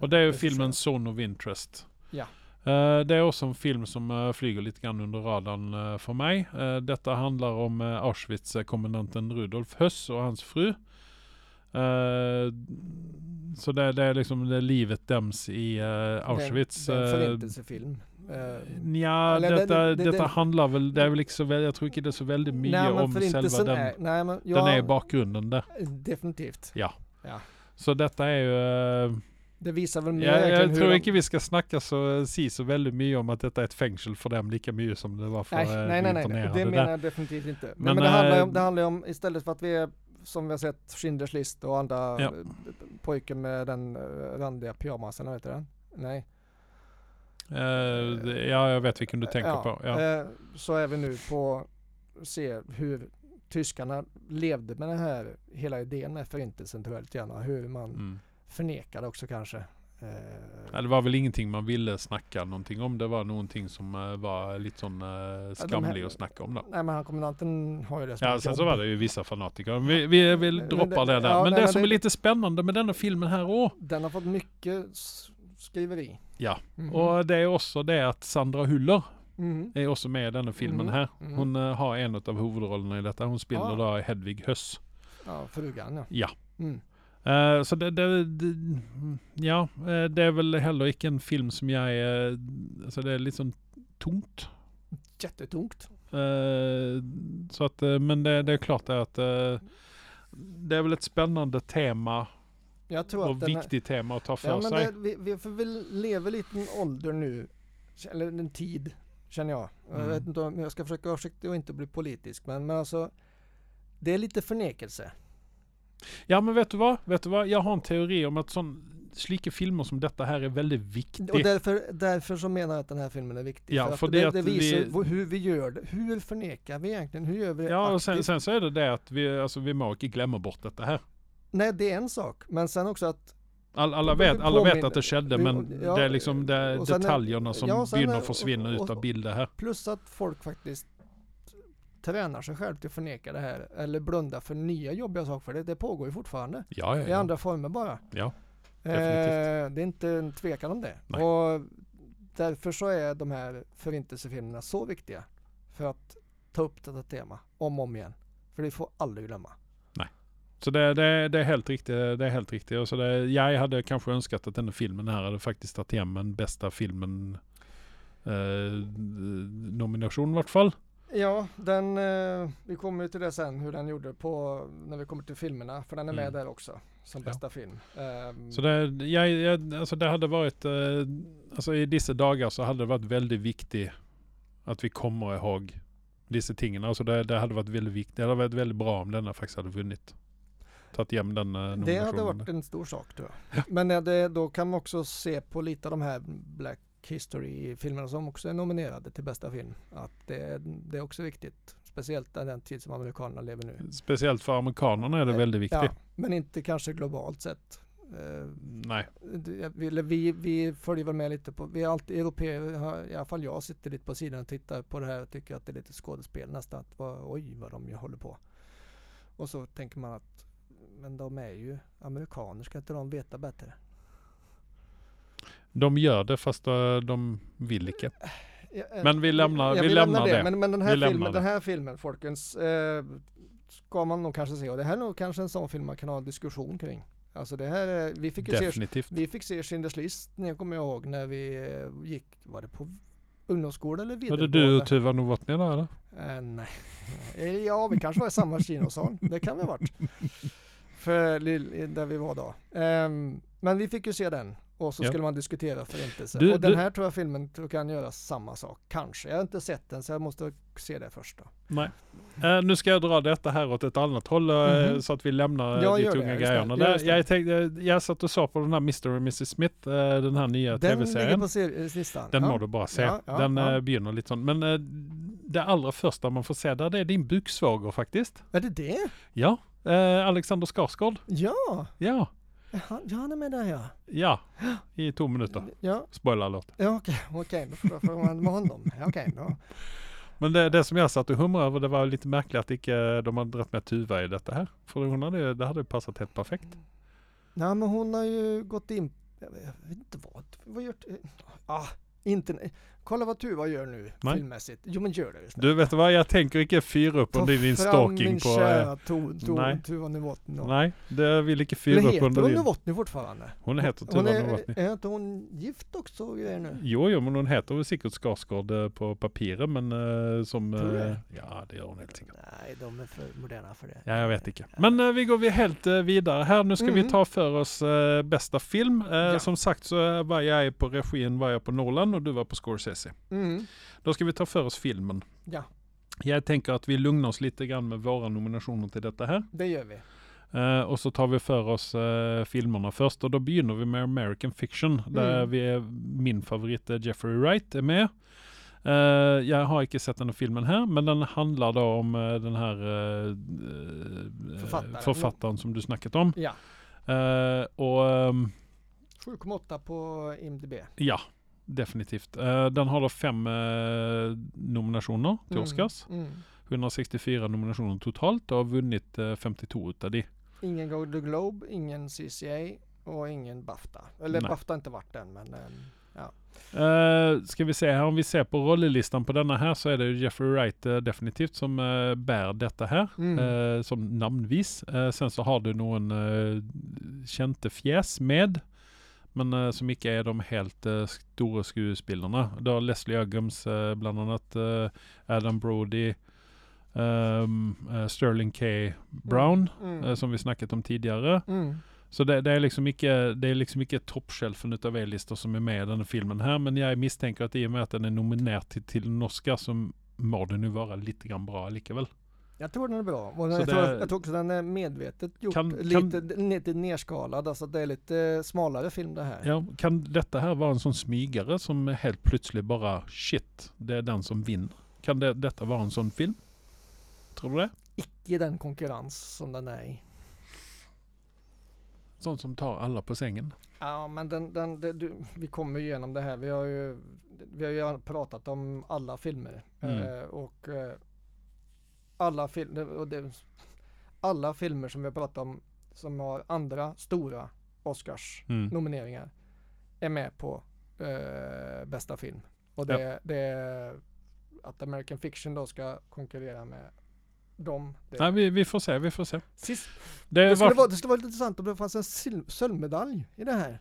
[SPEAKER 1] Och det är ju
[SPEAKER 2] regisserat.
[SPEAKER 1] filmen Zone of Interest.
[SPEAKER 2] Ja.
[SPEAKER 1] Eh, det är också en film som eh, flyger lite grann under radarn eh, för mig. Eh, detta handlar om eh, Auschwitz-kommandanten Rudolf Höss och hans fru. Eh, så det, det är liksom det livet döms i eh, Auschwits.
[SPEAKER 2] Det är en
[SPEAKER 1] eh,
[SPEAKER 2] förintelsefilm. Eh,
[SPEAKER 1] Nja,
[SPEAKER 2] Eller
[SPEAKER 1] detta,
[SPEAKER 2] den- den-
[SPEAKER 1] detta
[SPEAKER 2] den-
[SPEAKER 1] handlar väl, det är väl inte så väl, jag tror inte det är så väldigt mycket om själva den.
[SPEAKER 2] är... Nej, men, ja,
[SPEAKER 1] Den är i bakgrunden där.
[SPEAKER 2] Definitivt.
[SPEAKER 1] Så detta är ju... eh,
[SPEAKER 2] Det visar väl mer
[SPEAKER 1] jag
[SPEAKER 2] egentligen
[SPEAKER 1] jag
[SPEAKER 2] hur
[SPEAKER 1] tror
[SPEAKER 2] de-
[SPEAKER 1] inte vi ska snacka så, eh, si så väldigt mycket om att detta är ett fängelse för dem lika mycket som det var för
[SPEAKER 2] Nej,
[SPEAKER 1] nej,
[SPEAKER 2] nej, nej, nej, nej. det
[SPEAKER 1] eh, där.
[SPEAKER 2] menar jag definitivt inte. Men,
[SPEAKER 1] Men,
[SPEAKER 2] men, det, handlar ju
[SPEAKER 1] eh,
[SPEAKER 2] om, det handlar ju om, istället för att vi är, som vi har sett, Schindler's list och andra
[SPEAKER 1] Ja.
[SPEAKER 2] ja. pojken med den eh, randiga pyjamasen, vad heter den? Nej.
[SPEAKER 1] Eh, det- ja, jag vet vilken du tänker
[SPEAKER 2] ja,
[SPEAKER 1] på. Ja.
[SPEAKER 2] eh, Så är vi nu på att se hur tyskarna levde med den här hela idén med förintelsen tror jag lite grann. Hur man
[SPEAKER 1] Mm.
[SPEAKER 2] förnekade också kanske. Eh,
[SPEAKER 1] Ja, det var väl ingenting man ville snacka någonting om. Det var någonting som eh, var lite sån uh, skamlig
[SPEAKER 2] här-
[SPEAKER 1] att snacka om. Då.
[SPEAKER 2] Nej men han kommandanten har ju det som
[SPEAKER 1] Ja,
[SPEAKER 2] ett
[SPEAKER 1] sen
[SPEAKER 2] jobb.
[SPEAKER 1] så var det ju vissa fanatiker. Vi, vi, vi
[SPEAKER 2] Men
[SPEAKER 1] droppar
[SPEAKER 2] det-
[SPEAKER 1] det där.
[SPEAKER 2] ja,
[SPEAKER 1] men
[SPEAKER 2] nej,
[SPEAKER 1] det
[SPEAKER 2] men
[SPEAKER 1] som
[SPEAKER 2] det-
[SPEAKER 1] är lite spännande med denna filmen här, åh,
[SPEAKER 2] Den har fått mycket s- skriveri.
[SPEAKER 1] Ja.
[SPEAKER 2] Mhm.
[SPEAKER 1] Och det är också det att Sandra Hüller
[SPEAKER 2] Mhm.
[SPEAKER 1] är också med i denna filmen
[SPEAKER 2] Mhm,
[SPEAKER 1] här.
[SPEAKER 2] mhm.
[SPEAKER 1] Hon eh, har en av huvudrollerna i detta. Hon spelar
[SPEAKER 2] Ah.
[SPEAKER 1] då Hedvig Höss.
[SPEAKER 2] Ja, frugan ja.
[SPEAKER 1] Ja.
[SPEAKER 2] Mm.
[SPEAKER 1] Eh, så det, det, det, ja, eh, det är väl heller inte en film som jag är, alltså det är liksom tomt.
[SPEAKER 2] Jättetungt.
[SPEAKER 1] Eh, så att, eh, men det, det är klart att eh, det är väl ett spännande tema
[SPEAKER 2] Jag tror att
[SPEAKER 1] och
[SPEAKER 2] den är-
[SPEAKER 1] viktigt tema att ta för
[SPEAKER 2] Ja, men
[SPEAKER 1] sig.
[SPEAKER 2] det, vi, vi, för vi lever lite i en ålder nu, eller en tid, känner jag. Jag
[SPEAKER 1] Mm.
[SPEAKER 2] vet inte om jag ska försöka vara försiktig och inte bli politisk, men, men alltså det är lite förnekelse.
[SPEAKER 1] Ja men vet du vad? Vet du vad? Jag har en teori om att sån slika filmer som detta här är väldigt
[SPEAKER 2] Och
[SPEAKER 1] viktigt.
[SPEAKER 2] därför, därför så menar jag att den här filmen är viktig.
[SPEAKER 1] Ja,
[SPEAKER 2] att
[SPEAKER 1] för det
[SPEAKER 2] det,
[SPEAKER 1] att
[SPEAKER 2] det visar
[SPEAKER 1] vi-
[SPEAKER 2] vå- hur vi gör det. Hur förnekar vi egentligen? Hur gör vi det
[SPEAKER 1] Ja och sen,
[SPEAKER 2] aktivt?
[SPEAKER 1] sen så är det det att vi, alltså, vi må inte glömma bort detta här.
[SPEAKER 2] Nej, det är en sak. Men sen också att...
[SPEAKER 1] All, alla
[SPEAKER 2] Men
[SPEAKER 1] vet,
[SPEAKER 2] vi
[SPEAKER 1] alla vet
[SPEAKER 2] påminner-
[SPEAKER 1] att det skedde
[SPEAKER 2] vi-
[SPEAKER 1] men
[SPEAKER 2] ja,
[SPEAKER 1] det är liksom det är
[SPEAKER 2] och sen är-
[SPEAKER 1] detaljerna som
[SPEAKER 2] ja, och sen är-
[SPEAKER 1] begynner
[SPEAKER 2] och-
[SPEAKER 1] försvinna
[SPEAKER 2] och-
[SPEAKER 1] ut av bilden här.
[SPEAKER 2] Plus att folk faktiskt tränar sig själv till att förneka det här. Eller blunda för nya jobbiga saker. För det, det pågår ju fortfarande.
[SPEAKER 1] Ja, ja,
[SPEAKER 2] I
[SPEAKER 1] ja.
[SPEAKER 2] andra former bara.
[SPEAKER 1] ja.
[SPEAKER 2] Eh,
[SPEAKER 1] Definitivt.
[SPEAKER 2] det är inte en tvekan om det.
[SPEAKER 1] Nej.
[SPEAKER 2] Och därför så är de här förintelsefilmerna så viktiga. För att ta upp detta tema om och om igen. För det får aldrig glömma.
[SPEAKER 1] Så det, det, det är helt riktigt. Det är helt riktigt. Och så det, jag hade kanske önskat att den här filmen här hade faktiskt tagit hem en bästa filmen eh, nomination i vart fall.
[SPEAKER 2] Ja, den, eh, vi kommer ju till det sen hur den gjorde på, när vi kommer till filmerna. För den är med
[SPEAKER 1] Mm.
[SPEAKER 2] där också som
[SPEAKER 1] Ja.
[SPEAKER 2] bästa film. Ehm,
[SPEAKER 1] Så det, jag, jag, alltså det hade varit, eh, alltså i dessa dagar så hade det varit väldigt viktigt att vi kommer ihåg dessa tingen. Alltså det, det hade varit väldigt viktigt, det hade varit väldigt bra om denna faktiskt hade vunnit. Tagit hem den eh, nominationen.
[SPEAKER 2] det hade varit en stor sak tror jag. Men är det, då kan man också se på lite av de här Black History-filmerna som också är nominerade till bästa film. Att det, det är också viktigt. Speciellt i den tid som amerikanerna lever nu.
[SPEAKER 1] Speciellt för amerikanerna är det väldigt viktigt.
[SPEAKER 2] Eh, Ja, men inte kanske globalt sett. Eh,
[SPEAKER 1] Nej.
[SPEAKER 2] det- vi, eller vi, vi följer väl med lite på, vi är alltid europeer, har- i alla fall jag sitter lite på sidan och tittar på det här och tycker att det är lite skådespel nästan. Att, vad, oj vad de ju håller på. Och så tänker man att men de är ju amerikaner, ska inte de veta bättre?
[SPEAKER 1] De gör det fast eh, de vill inte.
[SPEAKER 2] Ja, eh,
[SPEAKER 1] Men vi lämnar- vi lämnar det.
[SPEAKER 2] Men, men den,
[SPEAKER 1] Vi
[SPEAKER 2] här
[SPEAKER 1] lämnar
[SPEAKER 2] filmen,
[SPEAKER 1] det.
[SPEAKER 2] den här filmen, Folkens, eh, ska man nog kanske se. Och det här är nog kanske en sån film man kan ha en diskussion kring. Alltså det här är, vi fick ju se
[SPEAKER 1] Definitivt.
[SPEAKER 2] Vi fick se Schindler's list, när jag kommer ihåg, när vi eh, gick, var det på ungdomsgården eller
[SPEAKER 1] Var det
[SPEAKER 2] vidaregående?
[SPEAKER 1] du och Tuva Novotny där eller?
[SPEAKER 2] Eh, nej. Eh, Ja, vi kanske var i samma kinosal. Det kan vi ha varit. För lill- där vi var då. Ehm, men vi fick ju se den. Och så
[SPEAKER 1] Ja.
[SPEAKER 2] skulle man diskutera förintelse.
[SPEAKER 1] Du-
[SPEAKER 2] och den
[SPEAKER 1] du-
[SPEAKER 2] här tror jag filmen tror kan göra samma sak. Kanske. Jag har inte sett den så jag måste se det först då.
[SPEAKER 1] Nej. Eh, nu ska jag dra detta här åt ett annat håll eh,
[SPEAKER 2] Mhm.
[SPEAKER 1] så att vi lämnar eh,
[SPEAKER 2] Ja,
[SPEAKER 1] de
[SPEAKER 2] gör det.
[SPEAKER 1] tunga
[SPEAKER 2] Just det.
[SPEAKER 1] grejerna.
[SPEAKER 2] Ja,
[SPEAKER 1] Där,
[SPEAKER 2] just det.
[SPEAKER 1] jag, tänkte, eh, jag satt och såg på den här Mr och Mrs Smith, eh, den här nya
[SPEAKER 2] den ligger
[SPEAKER 1] tv-serien.
[SPEAKER 2] på ser- listan.
[SPEAKER 1] Den
[SPEAKER 2] ja.
[SPEAKER 1] må du bara se.
[SPEAKER 2] Ja, ja,
[SPEAKER 1] den
[SPEAKER 2] ja.
[SPEAKER 1] eh, begynner lite sånt. Men eh, det allra första man får se där det är din buksvåger faktiskt.
[SPEAKER 2] Är det det?
[SPEAKER 1] Ja, eh, Alexander Skarsgård.
[SPEAKER 2] Ja!
[SPEAKER 1] Ja,
[SPEAKER 2] Han, ja, han är med där ja.
[SPEAKER 1] ja, i två minuter.
[SPEAKER 2] Ja,
[SPEAKER 1] Spoiler alert.
[SPEAKER 2] ja okej. Okej, då får- då får man med honom. Ja, Okej, då.
[SPEAKER 1] Men det, det som jag satt och humrade över det var lite märkligt att icke, de hade dragit med Tuva i detta här. För hon hade, det hade ju passat helt perfekt.
[SPEAKER 2] Nej men hon har ju gått in, jag vet jag vet inte vad, vad gör, ah, inte, kolla vad Tuva gör nu
[SPEAKER 1] Nej.
[SPEAKER 2] filmmässigt. Jo men gör det just nu.
[SPEAKER 1] Du vet du vad, jag tänker icke fyra upp under din stalking
[SPEAKER 2] min
[SPEAKER 1] på... eh,
[SPEAKER 2] kära to, to,
[SPEAKER 1] nej.
[SPEAKER 2] Tuva Novotny. då.
[SPEAKER 1] Nej, det vill icke fyra
[SPEAKER 2] Eller
[SPEAKER 1] upp
[SPEAKER 2] heter
[SPEAKER 1] under
[SPEAKER 2] hon
[SPEAKER 1] din...
[SPEAKER 2] Novotny fortfarande?
[SPEAKER 1] Hon heter Tuva
[SPEAKER 2] Hon är,
[SPEAKER 1] Novotny.
[SPEAKER 2] är inte hon gift också och grejer nu?
[SPEAKER 1] Jo, jo, men hon heter väl säkert Skarsgård eh, på papperet, men eh, som...
[SPEAKER 2] Tror du
[SPEAKER 1] eh,
[SPEAKER 2] det?
[SPEAKER 1] ja, det gör hon helt säkert.
[SPEAKER 2] Nej, de är för moderna för det.
[SPEAKER 1] Ja, jag vet inte. Men eh, vi går vi helt eh, vidare här. Nu ska vi
[SPEAKER 2] Mm.
[SPEAKER 1] ta för oss eh, bästa film. Eh,
[SPEAKER 2] Ja.
[SPEAKER 1] Som sagt så var jag på regin, var jag på Nolan och du var på Scorsese.
[SPEAKER 2] Mm.
[SPEAKER 1] Då ska vi ta för oss filmen.
[SPEAKER 2] Ja,
[SPEAKER 1] Jag tänker att vi lugnar oss lite grann med våra nominationer till detta här.
[SPEAKER 2] det gör vi.
[SPEAKER 1] Eh, och så tar vi för oss eh, filmerna först och då begynner vi med American Fiction där
[SPEAKER 2] Mm.
[SPEAKER 1] vi är, min favorit eh, Jeffrey Wright är med. Eh, jag har inte sett den här filmen här men den handlar då om eh, den här eh, eh,
[SPEAKER 2] Författaren.
[SPEAKER 1] författaren som du snackat om.
[SPEAKER 2] Ja,
[SPEAKER 1] Eh, och ehm,
[SPEAKER 2] 7,8 på IMDB.
[SPEAKER 1] ja, definitivt. Eh, den har då fem eh, nominationer till
[SPEAKER 2] Mm,
[SPEAKER 1] Oscars.
[SPEAKER 2] Mm.
[SPEAKER 1] 164 nominationer totalt och har vunnit eh, 52 utav de.
[SPEAKER 2] Ingen Golden Globe, ingen CCA, Och ingen Bafta. Eller
[SPEAKER 1] Nej.
[SPEAKER 2] Bafta har inte varit än men eh,
[SPEAKER 1] Eh, ska vi se här, om vi ser på rolllistan på denna här så är det ju Jeffrey Wright eh, definitivt som eh, bär detta här.
[SPEAKER 2] Mm.
[SPEAKER 1] Eh, som namnvis. Eh, sen så har du någon eh, käntefjäs med. Men eh, som icke är de helt eh, stora skuespillarna. Du har Leslie Uggams eh, bland annat. Eh, Adam Brody. ehm, eh, Sterling K. Brown.
[SPEAKER 2] mm,
[SPEAKER 1] Eh, som vi snackat om tidigare.
[SPEAKER 2] mm.
[SPEAKER 1] Så det, det är liksom icke, det är liksom icke toppshelfen utav A-listor som är med i den här filmen här. Men jag misstänker att i och med att den är nominerad till, till en Oscar så må den nu vara lite grann bra likeväl.
[SPEAKER 2] Jag tror den är bra. Och
[SPEAKER 1] Så
[SPEAKER 2] jag,
[SPEAKER 1] det-
[SPEAKER 2] tror, jag tror också den är medvetet gjort
[SPEAKER 1] Kan-
[SPEAKER 2] lite, lite nerskalad. Alltså det är lite smalare film det här.
[SPEAKER 1] Ja, kan detta här vara en sån smygare som helt plötsligt bara shit, det är den som vinner? Kan det, detta vara en sån film? Tror du det?
[SPEAKER 2] Icke den konkurrens som den är i.
[SPEAKER 1] Sån som tar alla på sängen.
[SPEAKER 2] Ja men den, den, det- du, vi kommer ju igenom det här. Vi har ju, vi har ju pratat om alla filmer.
[SPEAKER 1] Mm.
[SPEAKER 2] Eh, och eh, alla, fil, och det, alla filmer som vi har pratat om som har andra stora Oscars
[SPEAKER 1] Mm.
[SPEAKER 2] nomineringar är med på eh, bästa film. Och det, det är att American Fiction då ska konkurrera med dem. Det,
[SPEAKER 1] Nej, vi, vi får se, vi får se.
[SPEAKER 2] Sist,
[SPEAKER 1] Det,
[SPEAKER 2] det, skulle
[SPEAKER 1] var
[SPEAKER 2] vara, det skulle vara lite intressant om det fanns en sil- sölvmedalj i det här.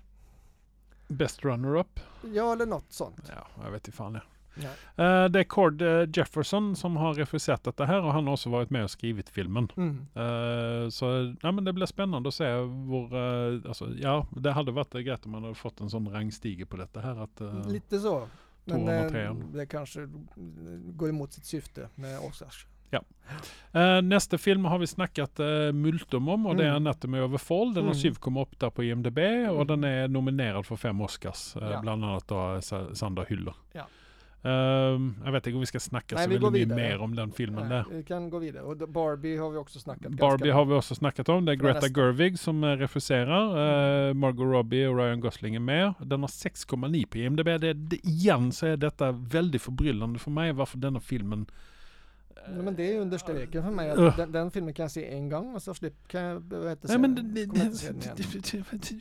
[SPEAKER 1] Best Runner-Up.
[SPEAKER 2] Ja, eller något sånt.
[SPEAKER 1] Ja, jag vet inte fan det.
[SPEAKER 2] Nej.
[SPEAKER 1] Eh, det är Cord eh, Jefferson som har regisserat detta här och han har också varit med och skrivit filmen.
[SPEAKER 2] Mm.
[SPEAKER 1] Eh, så nej, men det blir spännande att se vår, eh, alltså, ja det hade varit gött om man hade fått en sån rangstige på detta här. Att, eh,
[SPEAKER 2] Lite så. Men
[SPEAKER 1] Tvåan och
[SPEAKER 2] eh,
[SPEAKER 1] trean.
[SPEAKER 2] det kanske går emot sitt syfte med Oscars.
[SPEAKER 1] Eh, nästa film har vi snackat eh, multum om och det är
[SPEAKER 2] Mm.
[SPEAKER 1] Anatomy of a Fall. Den har
[SPEAKER 2] Mm.
[SPEAKER 1] SYV kommit upp där på IMDB och
[SPEAKER 2] Mm.
[SPEAKER 1] den är nominerad för fem Oscars. Eh,
[SPEAKER 2] Ja.
[SPEAKER 1] Bland annat då eh, Sa- Sandra Hüller.
[SPEAKER 2] Ja.
[SPEAKER 1] Ehm, jag vet inte om vi ska snacka
[SPEAKER 2] Nej,
[SPEAKER 1] så
[SPEAKER 2] vi går
[SPEAKER 1] väldigt mycket
[SPEAKER 2] vidare.
[SPEAKER 1] mer om den filmen
[SPEAKER 2] Nej,
[SPEAKER 1] där.
[SPEAKER 2] Vi kan gå vidare. Och Barbie har vi också snackat ganska
[SPEAKER 1] Barbie har vi också snackat om. Det är
[SPEAKER 2] Det var
[SPEAKER 1] Greta
[SPEAKER 2] nästa.
[SPEAKER 1] Gerwig som eh, regisserar.
[SPEAKER 2] Mm.
[SPEAKER 1] Eh, Margot Robbie och Ryan Gosling är med. Den har 6,9 på IMDB. Det, det, igen så är detta väldigt förbryllande för mig varför denna filmen... eh,
[SPEAKER 2] Ja, men det är ju under streken för mig. Att
[SPEAKER 1] Ugh.
[SPEAKER 2] den, den filmen kan jag se en gång och så slipp, kan jag behöver inte se
[SPEAKER 1] Nej, men
[SPEAKER 2] den.
[SPEAKER 1] det, det,
[SPEAKER 2] Kommer jag inte se den igen.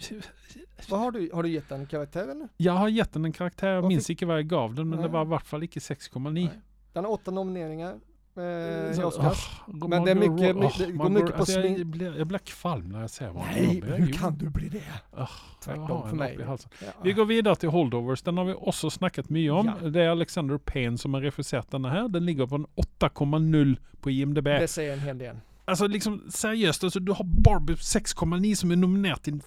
[SPEAKER 2] Vad har du, har du gett den karaktär eller?
[SPEAKER 1] Jag har gett den en karaktär, jag
[SPEAKER 2] Vad
[SPEAKER 1] minns
[SPEAKER 2] fick-
[SPEAKER 1] icke vad jag gav den, men det
[SPEAKER 2] Nej.
[SPEAKER 1] var i vart fall icke 6,9.
[SPEAKER 2] Nej. Den har åtta nomineringar eh, i
[SPEAKER 1] Så-
[SPEAKER 2] Oscars.
[SPEAKER 1] åh,
[SPEAKER 2] Men det är
[SPEAKER 1] Margot
[SPEAKER 2] mycket-
[SPEAKER 1] Robbie, åh,
[SPEAKER 2] det går
[SPEAKER 1] Margot-
[SPEAKER 2] mycket på
[SPEAKER 1] alltså, jag,
[SPEAKER 2] smink.
[SPEAKER 1] blir, jag blir kvalm när jag ser Margot Robbie.
[SPEAKER 2] Nej,
[SPEAKER 1] Jag-
[SPEAKER 2] hur kan du bli det?
[SPEAKER 1] Åh, jag har
[SPEAKER 2] Tvärtom för
[SPEAKER 1] en upp i
[SPEAKER 2] mig.
[SPEAKER 1] halsen.
[SPEAKER 2] Ja.
[SPEAKER 1] Vi går vidare till Holdovers. Den har vi också snackat mycket om.
[SPEAKER 2] Ja.
[SPEAKER 1] Det är Alexander Payne som har regisserat den här. Den ligger på en 8,0 på IMDB.
[SPEAKER 2] Det säger en hel del.
[SPEAKER 1] Alltså liksom seriöst, alltså, du har Barbie 6,9 som är nominerad till en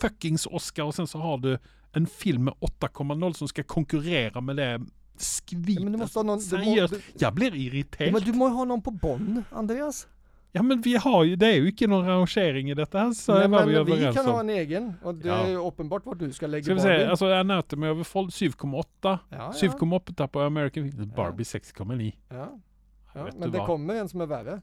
[SPEAKER 1] fuckings Oscar och sen så har du en film med 8,0 som ska konkurrera med det
[SPEAKER 2] Ja,
[SPEAKER 1] skvitet.
[SPEAKER 2] men du måste ha någon... Du må,
[SPEAKER 1] Seriöst,
[SPEAKER 2] du,
[SPEAKER 1] jag blir
[SPEAKER 2] ja,
[SPEAKER 1] irriterad.
[SPEAKER 2] men du må ju ha någon på Bonn, Andreas.
[SPEAKER 1] Ja men vi har ju, det är ju icke någon rangering i detta här så
[SPEAKER 2] Nej,
[SPEAKER 1] är vad
[SPEAKER 2] men
[SPEAKER 1] vi
[SPEAKER 2] vi
[SPEAKER 1] överens
[SPEAKER 2] kan
[SPEAKER 1] om.
[SPEAKER 2] ha en egen. Och det
[SPEAKER 1] Ja.
[SPEAKER 2] är ju uppenbart vart du ska lägga
[SPEAKER 1] Ska vi
[SPEAKER 2] Barbie.
[SPEAKER 1] säga, alltså Anatomy of a Fall 7,8.
[SPEAKER 2] ja, ja,
[SPEAKER 1] 7,8 på American Barbie 6,9.
[SPEAKER 2] ja,
[SPEAKER 1] Jag
[SPEAKER 2] ja.
[SPEAKER 1] vet
[SPEAKER 2] Men
[SPEAKER 1] du
[SPEAKER 2] det
[SPEAKER 1] vad.
[SPEAKER 2] kommer en som är värre.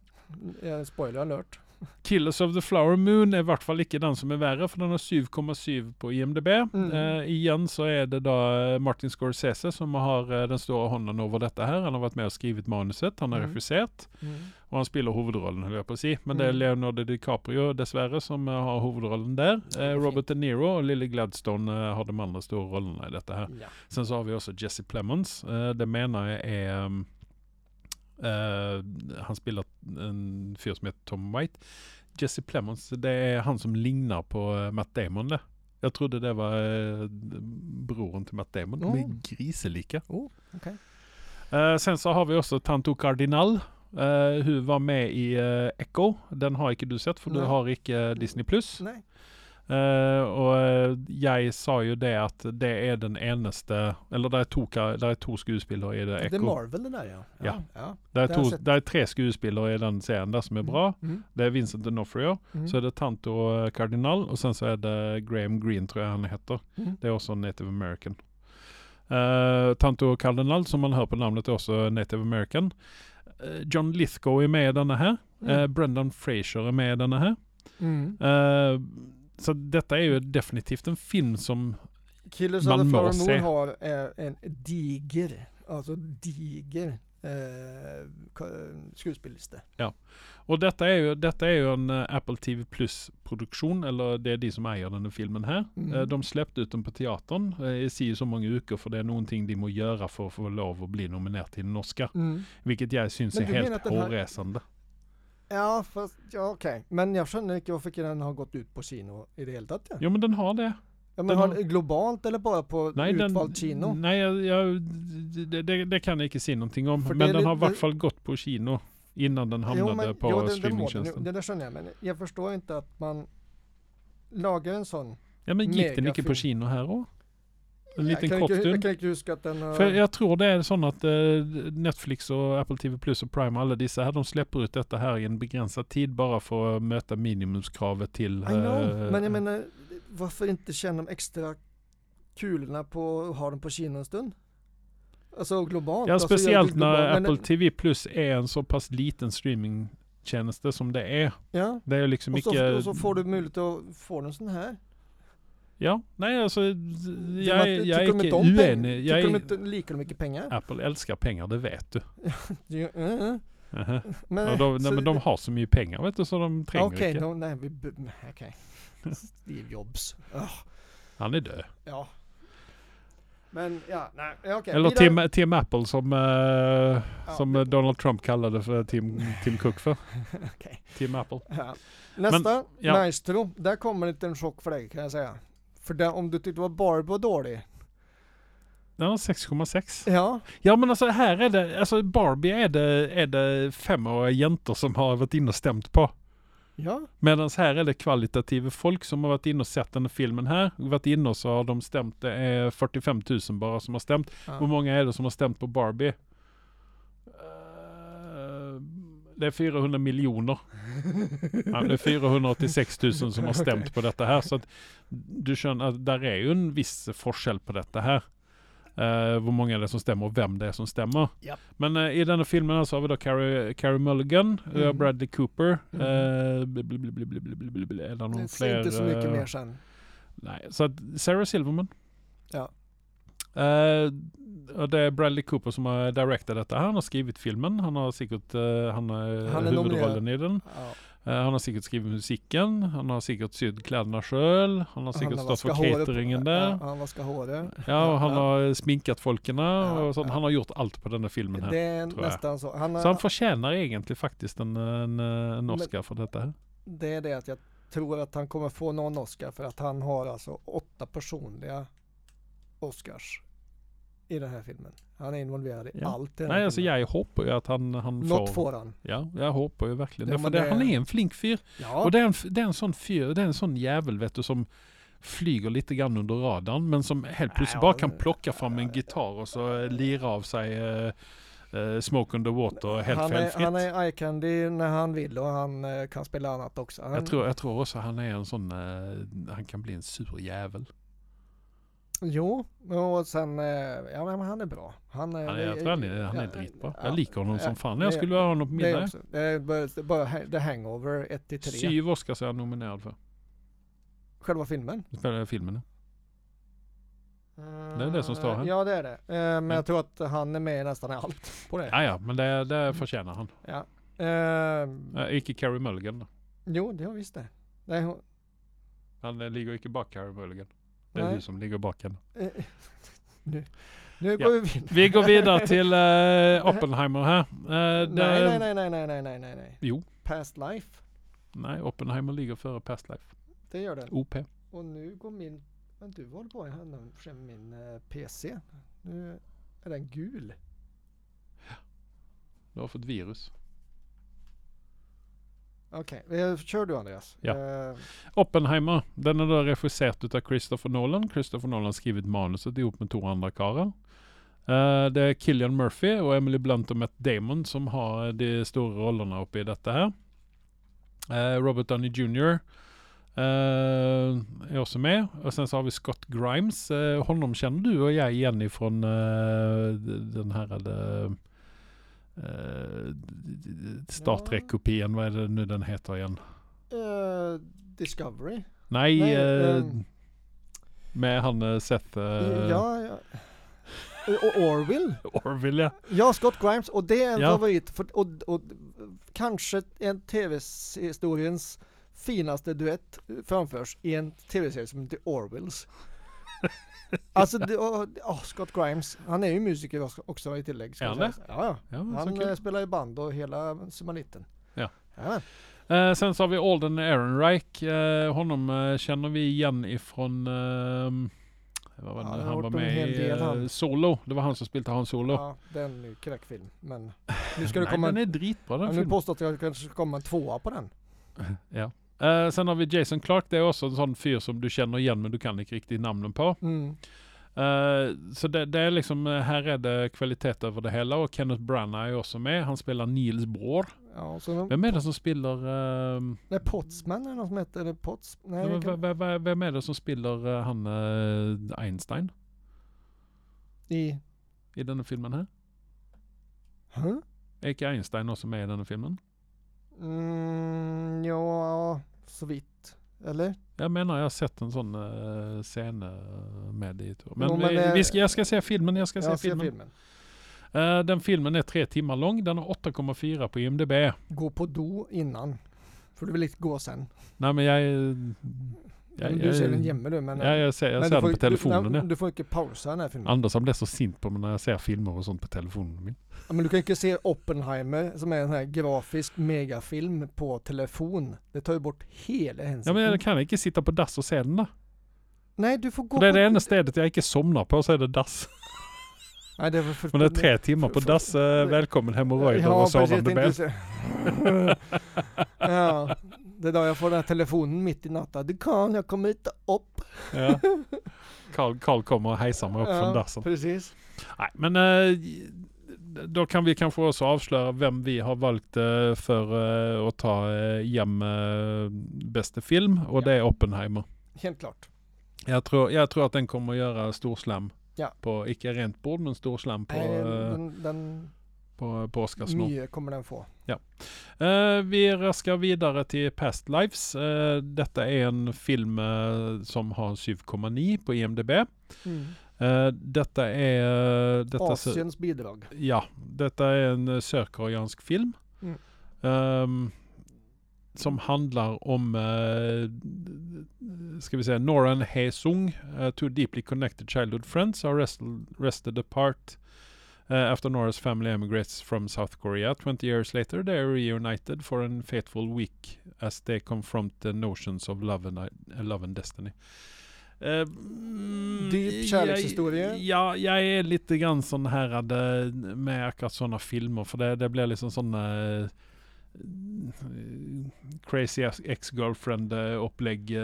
[SPEAKER 2] Eh, Spoiler alert.
[SPEAKER 1] Killers of the Flower Moon är i vart fall icke den som är värre för den har 7,7 på IMDB.
[SPEAKER 2] Mm.
[SPEAKER 1] Eh, igen så är det då eh, Martin Scorsese som har eh, den stora honan över detta här. Han har varit med och skrivit manuset, han har
[SPEAKER 2] Mm.
[SPEAKER 1] regisserat
[SPEAKER 2] Mm.
[SPEAKER 1] och han spelar huvudrollen höll jag på att säga. Men det är
[SPEAKER 2] Mm.
[SPEAKER 1] Leonardo DiCaprio dessvärre som eh, har huvudrollen där. Eh, Robert De Niro och Lily Gladstone eh, har de andra stora rollerna i detta här.
[SPEAKER 2] Ja.
[SPEAKER 1] Sen så har vi också Jesse Plemons. Eh, det menar jag är... ehm, eh, han spelar en fyr som heter Tom White. Jesse Plemons, det är han som lignar på eh, Matt Damon det. Jag trodde det var eh, broren till Matt Damon. De
[SPEAKER 2] Mm.
[SPEAKER 1] är griselika.
[SPEAKER 2] Oh, okej.
[SPEAKER 1] Eh, sen så har vi också Tanto Cardinal. Uh, hur var med i eh, Echo. Den har icke du sett för du
[SPEAKER 2] Nej.
[SPEAKER 1] har icke eh, Disney+. Plus.
[SPEAKER 2] Nej.
[SPEAKER 1] Eh, och eh, jag sa ju det att det är den enaste, eller där är, toka, där är två skuespelare i det
[SPEAKER 2] Det är
[SPEAKER 1] Echo.
[SPEAKER 2] Marvel det där ja.
[SPEAKER 1] Ja.
[SPEAKER 2] ja.
[SPEAKER 1] Där är,
[SPEAKER 2] det har jag
[SPEAKER 1] to,
[SPEAKER 2] sett.
[SPEAKER 1] där är tre skuespelare i den serien där som är bra.
[SPEAKER 2] Mm.
[SPEAKER 1] Det är Vincent D'Onofrio,
[SPEAKER 2] Mm.
[SPEAKER 1] så är det Tanto eh, Cardinal och sen så är det Graham Greene tror jag han heter.
[SPEAKER 2] Mm.
[SPEAKER 1] Det är också en native american. Eh, Tanto Cardinal som man hör på namnet är också native american. Eh, John Lithgow är med i denna här.
[SPEAKER 2] Mm.
[SPEAKER 1] Eh, Brendan Fraser är med i denna här.
[SPEAKER 2] Mm.
[SPEAKER 1] Eh, så detta är ju definitivt en film som
[SPEAKER 2] Killers
[SPEAKER 1] Man
[SPEAKER 2] of the
[SPEAKER 1] må
[SPEAKER 2] Flower
[SPEAKER 1] se.
[SPEAKER 2] Moon har eh, en diger, alltså diger eh, ko- skuespellista.
[SPEAKER 1] Och detta är ju, detta är ju en eh, Apple TV Plus-produktion, eller det är de som äger den här filmen här.
[SPEAKER 2] Mm.
[SPEAKER 1] Eh, De släppte ut den på teatern eh, i si så många veckor för det är någonting de må göra för att få lov att bli nominerad till en Oscar.
[SPEAKER 2] Mm.
[SPEAKER 1] Vilket jag syns
[SPEAKER 2] Men
[SPEAKER 1] är
[SPEAKER 2] du menar att
[SPEAKER 1] helt
[SPEAKER 2] den här-
[SPEAKER 1] hårresande.
[SPEAKER 2] Ja, fast, ja okej. Men jag känner inte varför den har gått ut på kino i det hela taget. Ja.
[SPEAKER 1] Jo men den har det.
[SPEAKER 2] Ja, men
[SPEAKER 1] den
[SPEAKER 2] har,
[SPEAKER 1] har-
[SPEAKER 2] globalt eller bara på
[SPEAKER 1] Nej,
[SPEAKER 2] utvald
[SPEAKER 1] den,
[SPEAKER 2] kino?
[SPEAKER 1] Nej, jag, jag, det, det, det kan jag inte säga någonting om.
[SPEAKER 2] För det
[SPEAKER 1] men
[SPEAKER 2] är
[SPEAKER 1] den
[SPEAKER 2] li-
[SPEAKER 1] har i vart
[SPEAKER 2] det-
[SPEAKER 1] fall gått på kino innan den hamnade på
[SPEAKER 2] jo, det- det må den.
[SPEAKER 1] streamingtjänsten.
[SPEAKER 2] Det, det känner jag, men jag förstår inte att man lagar en sån.
[SPEAKER 1] ja men gick den inte på
[SPEAKER 2] megafilm.
[SPEAKER 1] kino här då? En
[SPEAKER 2] jag,
[SPEAKER 1] liten
[SPEAKER 2] kan
[SPEAKER 1] kort
[SPEAKER 2] inte, jag
[SPEAKER 1] stund?
[SPEAKER 2] kan inte huska att den har...
[SPEAKER 1] För jag tror det är så att eh, Netflix och Apple TV Plus och Prime och alla dessa här, de släpper ut detta här i en begränsad tid bara för att möta minimumskravet till...
[SPEAKER 2] I know,
[SPEAKER 1] eh,
[SPEAKER 2] men jag menar varför inte känna de extra kulorna på att ha dem på kino en stund? Alltså globalt.
[SPEAKER 1] Ja,
[SPEAKER 2] alltså, jag-
[SPEAKER 1] speciellt när
[SPEAKER 2] globalt, men-
[SPEAKER 1] Apple TV Plus är en så pass liten streamingtjänste som det är.
[SPEAKER 2] Ja,
[SPEAKER 1] Det är liksom
[SPEAKER 2] och
[SPEAKER 1] mycket...
[SPEAKER 2] så, och så får du möjlighet att få en sån här.
[SPEAKER 1] Ja, nej alltså jag,
[SPEAKER 2] att-
[SPEAKER 1] jag, jag
[SPEAKER 2] tycker de
[SPEAKER 1] är
[SPEAKER 2] inte
[SPEAKER 1] inte
[SPEAKER 2] om pengar?
[SPEAKER 1] oenig. Jag
[SPEAKER 2] Tycker de
[SPEAKER 1] är,
[SPEAKER 2] inte lika mycket pengar?
[SPEAKER 1] Apple älskar pengar, det vet du.
[SPEAKER 2] Ja, eh,
[SPEAKER 1] Aha.
[SPEAKER 2] Men,
[SPEAKER 1] Ja, de, nej,
[SPEAKER 2] så-
[SPEAKER 1] men de har så mycket pengar vet du så de tränger
[SPEAKER 2] Okej,
[SPEAKER 1] inte.
[SPEAKER 2] no, nej, vi... bu- nej, Okej. Steve Jobs. Ah,
[SPEAKER 1] Han är död.
[SPEAKER 2] ja. Men ja, nej, okej.
[SPEAKER 1] Eller Tim,
[SPEAKER 2] vidare.
[SPEAKER 1] Tim Apple som, eh,
[SPEAKER 2] Ja,
[SPEAKER 1] som eh, Donald Trump kallade för Tim, Tim Cook för.
[SPEAKER 2] Okej.
[SPEAKER 1] Tim Apple.
[SPEAKER 2] Ja. Nästa,
[SPEAKER 1] ja.
[SPEAKER 2] Maestro. Där kommer en liten chock för dig kan jag säga. För där, om du tyckte var Barbie var dålig.
[SPEAKER 1] Den har 6,6.
[SPEAKER 2] Ja,
[SPEAKER 1] Ja men alltså här är det, alltså Barbie är det, är det femåriga jäntor som har varit inne och stämt på.
[SPEAKER 2] ja,
[SPEAKER 1] Medan här är det kvalitativa folk som har varit inne och sett den här filmen här. Varit inne och så har de stämt, det är 45 000 bara som har stämt.
[SPEAKER 2] Ja.
[SPEAKER 1] Hur många är det som har stämt på Barbie? Eh, Det är 400 miljoner. Ja, det är 486 000 som har stämt på detta här. Så att du känner att där är ju en viss forskel på detta här. Eh, hur många det är som stämmer och vem det är som stämmer.
[SPEAKER 2] Japp.
[SPEAKER 1] Men eh, i den här filmen här så har vi då Carrie, Carrie Mulligan, eh,
[SPEAKER 2] Mm.
[SPEAKER 1] Bradley Cooper.
[SPEAKER 2] Mm.
[SPEAKER 1] eh, bli- bli- bli- bli- bli- bli- bli- bli- bli- Är det någon
[SPEAKER 2] det
[SPEAKER 1] fler?
[SPEAKER 2] ser inte så mycket
[SPEAKER 1] eh,
[SPEAKER 2] mer sen.
[SPEAKER 1] Nej, så att Sarah Silverman.
[SPEAKER 2] Ja.
[SPEAKER 1] Eh, och det är Bradley Cooper som har directat detta. Han har skrivit filmen. Han har säkert eh, han har
[SPEAKER 2] Han är
[SPEAKER 1] huvudrollen i den.
[SPEAKER 2] Ja.
[SPEAKER 1] Eh, han har säkert skrivit musiken. Han har säkert sytt kläderna själv. Han har säkert stått för cateringen där.
[SPEAKER 2] Ja, han vaskar håret.
[SPEAKER 1] Ja, och han
[SPEAKER 2] Ja.
[SPEAKER 1] har sminkat folkerna
[SPEAKER 2] Ja,
[SPEAKER 1] och sånt.
[SPEAKER 2] ja.
[SPEAKER 1] Han har gjort allt på den här filmen här.
[SPEAKER 2] Det är
[SPEAKER 1] tror jag.
[SPEAKER 2] nästan så. Han,
[SPEAKER 1] Så han förtjänar egentligen faktiskt en, en, en Oscar för detta här.
[SPEAKER 2] Det är det att jag tror att han kommer få någon Oscar för att han har alltså åtta personliga Oscars i den här filmen. Han är involverad i
[SPEAKER 1] Ja.
[SPEAKER 2] allt i den här
[SPEAKER 1] Nej, alltså
[SPEAKER 2] filmen.
[SPEAKER 1] jag hoppas ju att han, han får.
[SPEAKER 2] Något får han.
[SPEAKER 1] Ja, jag hoppas ju verkligen
[SPEAKER 2] Ja,
[SPEAKER 1] det. För
[SPEAKER 2] men
[SPEAKER 1] det,
[SPEAKER 2] det-
[SPEAKER 1] han är en flink fyr.
[SPEAKER 2] Ja.
[SPEAKER 1] Och det är, en, f- det är en sån fyr, det är en sån jävel vet du som flyger lite grann under radarn men som helt plötsligt
[SPEAKER 2] Ja,
[SPEAKER 1] bara kan
[SPEAKER 2] det-
[SPEAKER 1] plocka fram en gitarr och så eh, lira av sig eh, eh, Smoke on the Water helt
[SPEAKER 2] han, är,
[SPEAKER 1] felfritt.
[SPEAKER 2] han är eye candy när han vill och han eh, kan spela annat också. Han,
[SPEAKER 1] jag, tror, jag tror också han är en sån, eh, han kan bli en sur jävel.
[SPEAKER 2] Jo, och sen, eh, ja men han är bra. Han är,
[SPEAKER 1] Han är, jag tror han är, han är dritbra.
[SPEAKER 2] ja,
[SPEAKER 1] jag liker honom
[SPEAKER 2] ja,
[SPEAKER 1] som fan. Jag
[SPEAKER 2] det-
[SPEAKER 1] skulle vilja ha honom på
[SPEAKER 2] Det är
[SPEAKER 1] middag.
[SPEAKER 2] också. Det är bara, det är bara ha- The Hangover 1 till 3.
[SPEAKER 1] Syv Oscars är han nominerad för.
[SPEAKER 2] Själva filmen.
[SPEAKER 1] För den här filmen. är det som står här.
[SPEAKER 2] Ja, det är det. Eh, Men
[SPEAKER 1] Mm.
[SPEAKER 2] jag tror att han är med i nästan allt på det.
[SPEAKER 1] Ja, ja, men det, det förtjänar han.
[SPEAKER 2] Ja. Eh,
[SPEAKER 1] Äh, icke Carrie Mulligan. då.
[SPEAKER 2] jo, det har visst det. Nej, hon,
[SPEAKER 1] Han eh, ligger icke bak Carrie Mulligan. Det är
[SPEAKER 2] Nej.
[SPEAKER 1] du som ligger bak henne.
[SPEAKER 2] eh, nu nu
[SPEAKER 1] Ja.
[SPEAKER 2] går vi vidare.
[SPEAKER 1] Vi går vidare till eh, Oppenheimer här. Eh, det,
[SPEAKER 2] Nej, nej, nej, nej, nej, nej, nej, nej, nej.
[SPEAKER 1] Jo.
[SPEAKER 2] Past Life,
[SPEAKER 1] Nej, Oppenheimer ligger före Past Life.
[SPEAKER 2] det gör den.
[SPEAKER 1] OP.
[SPEAKER 2] Och nu går min, men du håller på med min eh, PC. Nu är den gul.
[SPEAKER 1] Du har fått virus.
[SPEAKER 2] Okej, eh, kör du Andreas.
[SPEAKER 1] Ja.
[SPEAKER 2] Eh,
[SPEAKER 1] Oppenheimer, den är då regisserad utav Christopher Nolan. Christopher Nolan har skrivit manuset ihop med två andra karlar. Eh, det är Killian Murphy och Emily Blunt och Matt Damon som har eh, de stora rollerna uppe i detta här. Eh, Robert Downey Jr. eh, är också med. Och sen så har vi Scott Grimes. Eh, honom känner du och jag igen ifrån eh, den här eh, eh, Star Trek-kopian. Vad är det nu den heter igen?
[SPEAKER 2] eh, Discovery.
[SPEAKER 1] Nej,
[SPEAKER 2] Nej,
[SPEAKER 1] eh,
[SPEAKER 2] ehm.
[SPEAKER 1] med han eh, Seth... eh,
[SPEAKER 2] Ja, ja. Eh, Och Orville.
[SPEAKER 1] Orville ja.
[SPEAKER 2] Ja, Scott Grimes. Och det är en
[SPEAKER 1] Ja.
[SPEAKER 2] favorit. För, och, och, kanske en tv-historiens finaste duett framförs i en tv-serie som heter Orwells. Alltså, det, och, åh, Scott Grimes, han är ju musiker också- också i tillägg. ska
[SPEAKER 1] Är
[SPEAKER 2] jag
[SPEAKER 1] han
[SPEAKER 2] säga. Ja,
[SPEAKER 1] ja
[SPEAKER 2] ja.
[SPEAKER 1] men
[SPEAKER 2] Han
[SPEAKER 1] Mm. så kul.
[SPEAKER 2] eh, spelar i band och hela sumalitten.
[SPEAKER 1] Ja.
[SPEAKER 2] Jajamän.
[SPEAKER 1] Eh, sen så har vi Alden Ehrenreich. Eh, honom eh, känner vi igen ifrån... ehm, vad var
[SPEAKER 2] Ja,
[SPEAKER 1] det
[SPEAKER 2] han
[SPEAKER 1] nu
[SPEAKER 2] har
[SPEAKER 1] han var
[SPEAKER 2] gjort en
[SPEAKER 1] med
[SPEAKER 2] hel
[SPEAKER 1] i
[SPEAKER 2] del,
[SPEAKER 1] eh,
[SPEAKER 2] han.
[SPEAKER 1] Solo. Det var han som spelade Han Solo.
[SPEAKER 2] Ja, det är en kräkfilm. Men nu ska det
[SPEAKER 1] Nej,
[SPEAKER 2] komma...
[SPEAKER 1] den
[SPEAKER 2] en-
[SPEAKER 1] är dritbra den
[SPEAKER 2] Jag vill
[SPEAKER 1] filmen.
[SPEAKER 2] påstå att jag kanske ska komma en tvåa på den.
[SPEAKER 1] Eh, sen har vi Jason Clark. Det är också en sån fyr som du känner igen men du kan inte riktigt namnen på.
[SPEAKER 2] Mm.
[SPEAKER 1] Eh, så det, det är liksom, eh, här är det kvalitet över det hela och Kenneth Branagh är också med. Han spelar Niels bror.
[SPEAKER 2] Ja, och så
[SPEAKER 1] Vem är det som spelar... ehm,
[SPEAKER 2] Nej, Potsman är någon som heter, eller Pots... Nej,
[SPEAKER 1] vem,
[SPEAKER 2] det kan,
[SPEAKER 1] vem- vem- vem är det som spelar eh, han eh, Einstein
[SPEAKER 2] i...
[SPEAKER 1] i den här filmen här?
[SPEAKER 2] Huh?
[SPEAKER 1] Eke Einstein också med i den här filmen.
[SPEAKER 2] Mm, ja, så vitt. Eller?
[SPEAKER 1] Jag menar jag har sett en sån eh, scen eh, med i tror jag. Men,
[SPEAKER 2] Jo, men,
[SPEAKER 1] vi,
[SPEAKER 2] eh,
[SPEAKER 1] vi ska, jag ska se filmen, jag ska se
[SPEAKER 2] jag ser
[SPEAKER 1] filmen.
[SPEAKER 2] filmen.
[SPEAKER 1] Eh, den filmen är tre timmar lång, den har 8,4 på IMDB.
[SPEAKER 2] Gå på do innan. För du vill inte gå sen.
[SPEAKER 1] Nej men jag... jag,
[SPEAKER 2] Ja, men du ser den jämme du. Men,
[SPEAKER 1] Ja, jag ser, jag
[SPEAKER 2] men
[SPEAKER 1] ser
[SPEAKER 2] du får-
[SPEAKER 1] den på telefonen.
[SPEAKER 2] Du,
[SPEAKER 1] ja.
[SPEAKER 2] nej, du får inte pausa den här filmen.
[SPEAKER 1] Anders han blir så sint på mig när jag ser filmer och sånt på telefonen min.
[SPEAKER 2] Ja, men du kan ju inte se Oppenheimer som är en sån här grafisk megafilm på telefon. Det tar ju bort hela hennes...
[SPEAKER 1] Ja men jag kan inte sitta på dass och se den där.
[SPEAKER 2] Nej, du får gå
[SPEAKER 1] För Det är
[SPEAKER 2] på...
[SPEAKER 1] det enda stället jag inte somnar på så är det dass.
[SPEAKER 2] Nej, det är för...
[SPEAKER 1] Men det är tre timmar på
[SPEAKER 2] för-
[SPEAKER 1] dass. eh, Välkommen hemorrojder och sovande ben.
[SPEAKER 2] precis, inte så- ja, det är då jag får den här telefonen mitt i natten. Du kan, jag kommer inte upp.
[SPEAKER 1] Ja. Carl, Carl kommer och hejsar mig upp från dassen.
[SPEAKER 2] precis.
[SPEAKER 1] Nej, men eh, då kan vi kanske också avslöja vem vi har valt eh, för eh, att ta eh, hem eh, bästa film och det är Oppenheimer.
[SPEAKER 2] Helt klart.
[SPEAKER 1] Jag tror, jag tror att den kommer att göra storslam.
[SPEAKER 2] Ja.
[SPEAKER 1] På, icke rent bord, men storslam på,
[SPEAKER 2] Nej,
[SPEAKER 1] eh,
[SPEAKER 2] den, den
[SPEAKER 1] på, på Oscarsnorm.
[SPEAKER 2] mye kommer den få.
[SPEAKER 1] Eh, vi raskar vidare till Past Lives. Eh, detta är en film eh, som har en 7,9 på IMDB. Eh, detta är... eh, Detta ser-
[SPEAKER 2] Asiens bidrag.
[SPEAKER 1] Ja, detta är en eh, sydkoreansk film.
[SPEAKER 2] Mm.
[SPEAKER 1] Ehm, som handlar om, eh, ska vi säga, Noran Hesung, uh, two deeply connected childhood friends are wrestled, wrested apart eh, after Nora's family emigrates from South Korea. 20 years later they are reunited for a fateful week as they confront the notions of love and, eh, love and destiny. Eh, mm,
[SPEAKER 2] Deep
[SPEAKER 1] jag-
[SPEAKER 2] kärlekshistoria.
[SPEAKER 1] Ja, jag är lite grann sån här eh, med akkurat sådana filmer för det, det blir liksom sådana eh, crazy as- ex-girlfriend eh, upplägg. eh,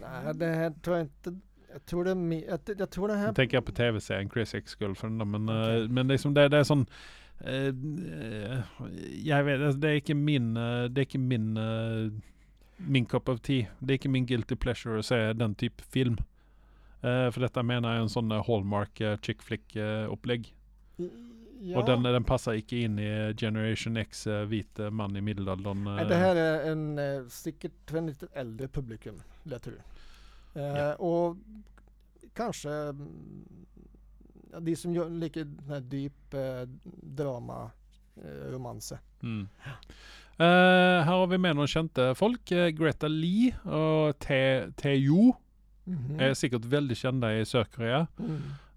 [SPEAKER 2] Nej, det här tror jag inte. Jag tror det är mer, jag, jag tror det
[SPEAKER 1] Nu
[SPEAKER 2] här.
[SPEAKER 1] tänker jag på tv-serien Crazy Ex-Girlfriend då, men, eh,
[SPEAKER 2] Okej.
[SPEAKER 1] men liksom det, det är sån eh, eh, jag vet, alltså, det är inte min, eh, det är inte min, eh, min cup of tea. Det är inte min guilty pleasure att se den typ film. Eh, för detta menar jag en sån där Hallmark eh, chick flick eh, upplägg.
[SPEAKER 2] Ja.
[SPEAKER 1] Och den, eh, den passar inte in i Generation X eh, vit eh, man i medelåldern.
[SPEAKER 2] Nej,
[SPEAKER 1] eh,
[SPEAKER 2] det här är en eh, säkert för en lite äldre publikum, vill jag tro. Eh,
[SPEAKER 1] Ja.
[SPEAKER 2] Och kanske mm, ja, de som gör lika den här djup eh, drama eh, romanser.
[SPEAKER 1] Mm. Eh, här har vi med några kända folk. Eh, Greta Lee och Tae Tae Jo är säkert väldigt kända i Sydkorea.
[SPEAKER 2] Mhm.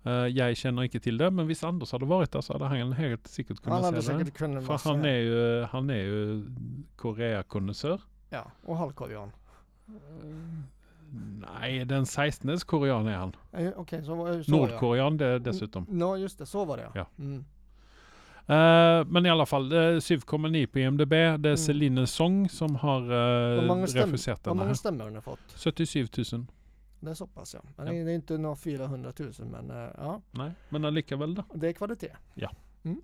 [SPEAKER 2] Mm.
[SPEAKER 1] Eh, jag känner inte till det, men visst Anders hade varit där så hade han helt säkert
[SPEAKER 2] Han hade
[SPEAKER 1] kunnat se det.
[SPEAKER 2] säkert kunnat vara
[SPEAKER 1] För
[SPEAKER 2] så
[SPEAKER 1] han är
[SPEAKER 2] här.
[SPEAKER 1] ju, han är ju Koreakonnässör.
[SPEAKER 2] Ja, och halvkorean.
[SPEAKER 1] Nej, den 16 korean är han.
[SPEAKER 2] Eh, Okej, så var det så ja. Mm.
[SPEAKER 1] Nordkorean det dessutom.
[SPEAKER 2] Ja, just det, så var det
[SPEAKER 1] Ja.
[SPEAKER 2] Mm.
[SPEAKER 1] Eh, men i alla fall, uh, 7,9 på IMDB. Det är
[SPEAKER 2] Mm.
[SPEAKER 1] Celine Song som har
[SPEAKER 2] Hur
[SPEAKER 1] uh,
[SPEAKER 2] många stäm-
[SPEAKER 1] regisserat
[SPEAKER 2] Hur
[SPEAKER 1] den här.
[SPEAKER 2] många stämmor har ni fått?
[SPEAKER 1] 77 000.
[SPEAKER 2] Det är så pass ja. Men
[SPEAKER 1] Ja.
[SPEAKER 2] Det är inte några 400 000 men eh, ja,
[SPEAKER 1] Nej, men allikevel då.
[SPEAKER 2] det är kvalitet.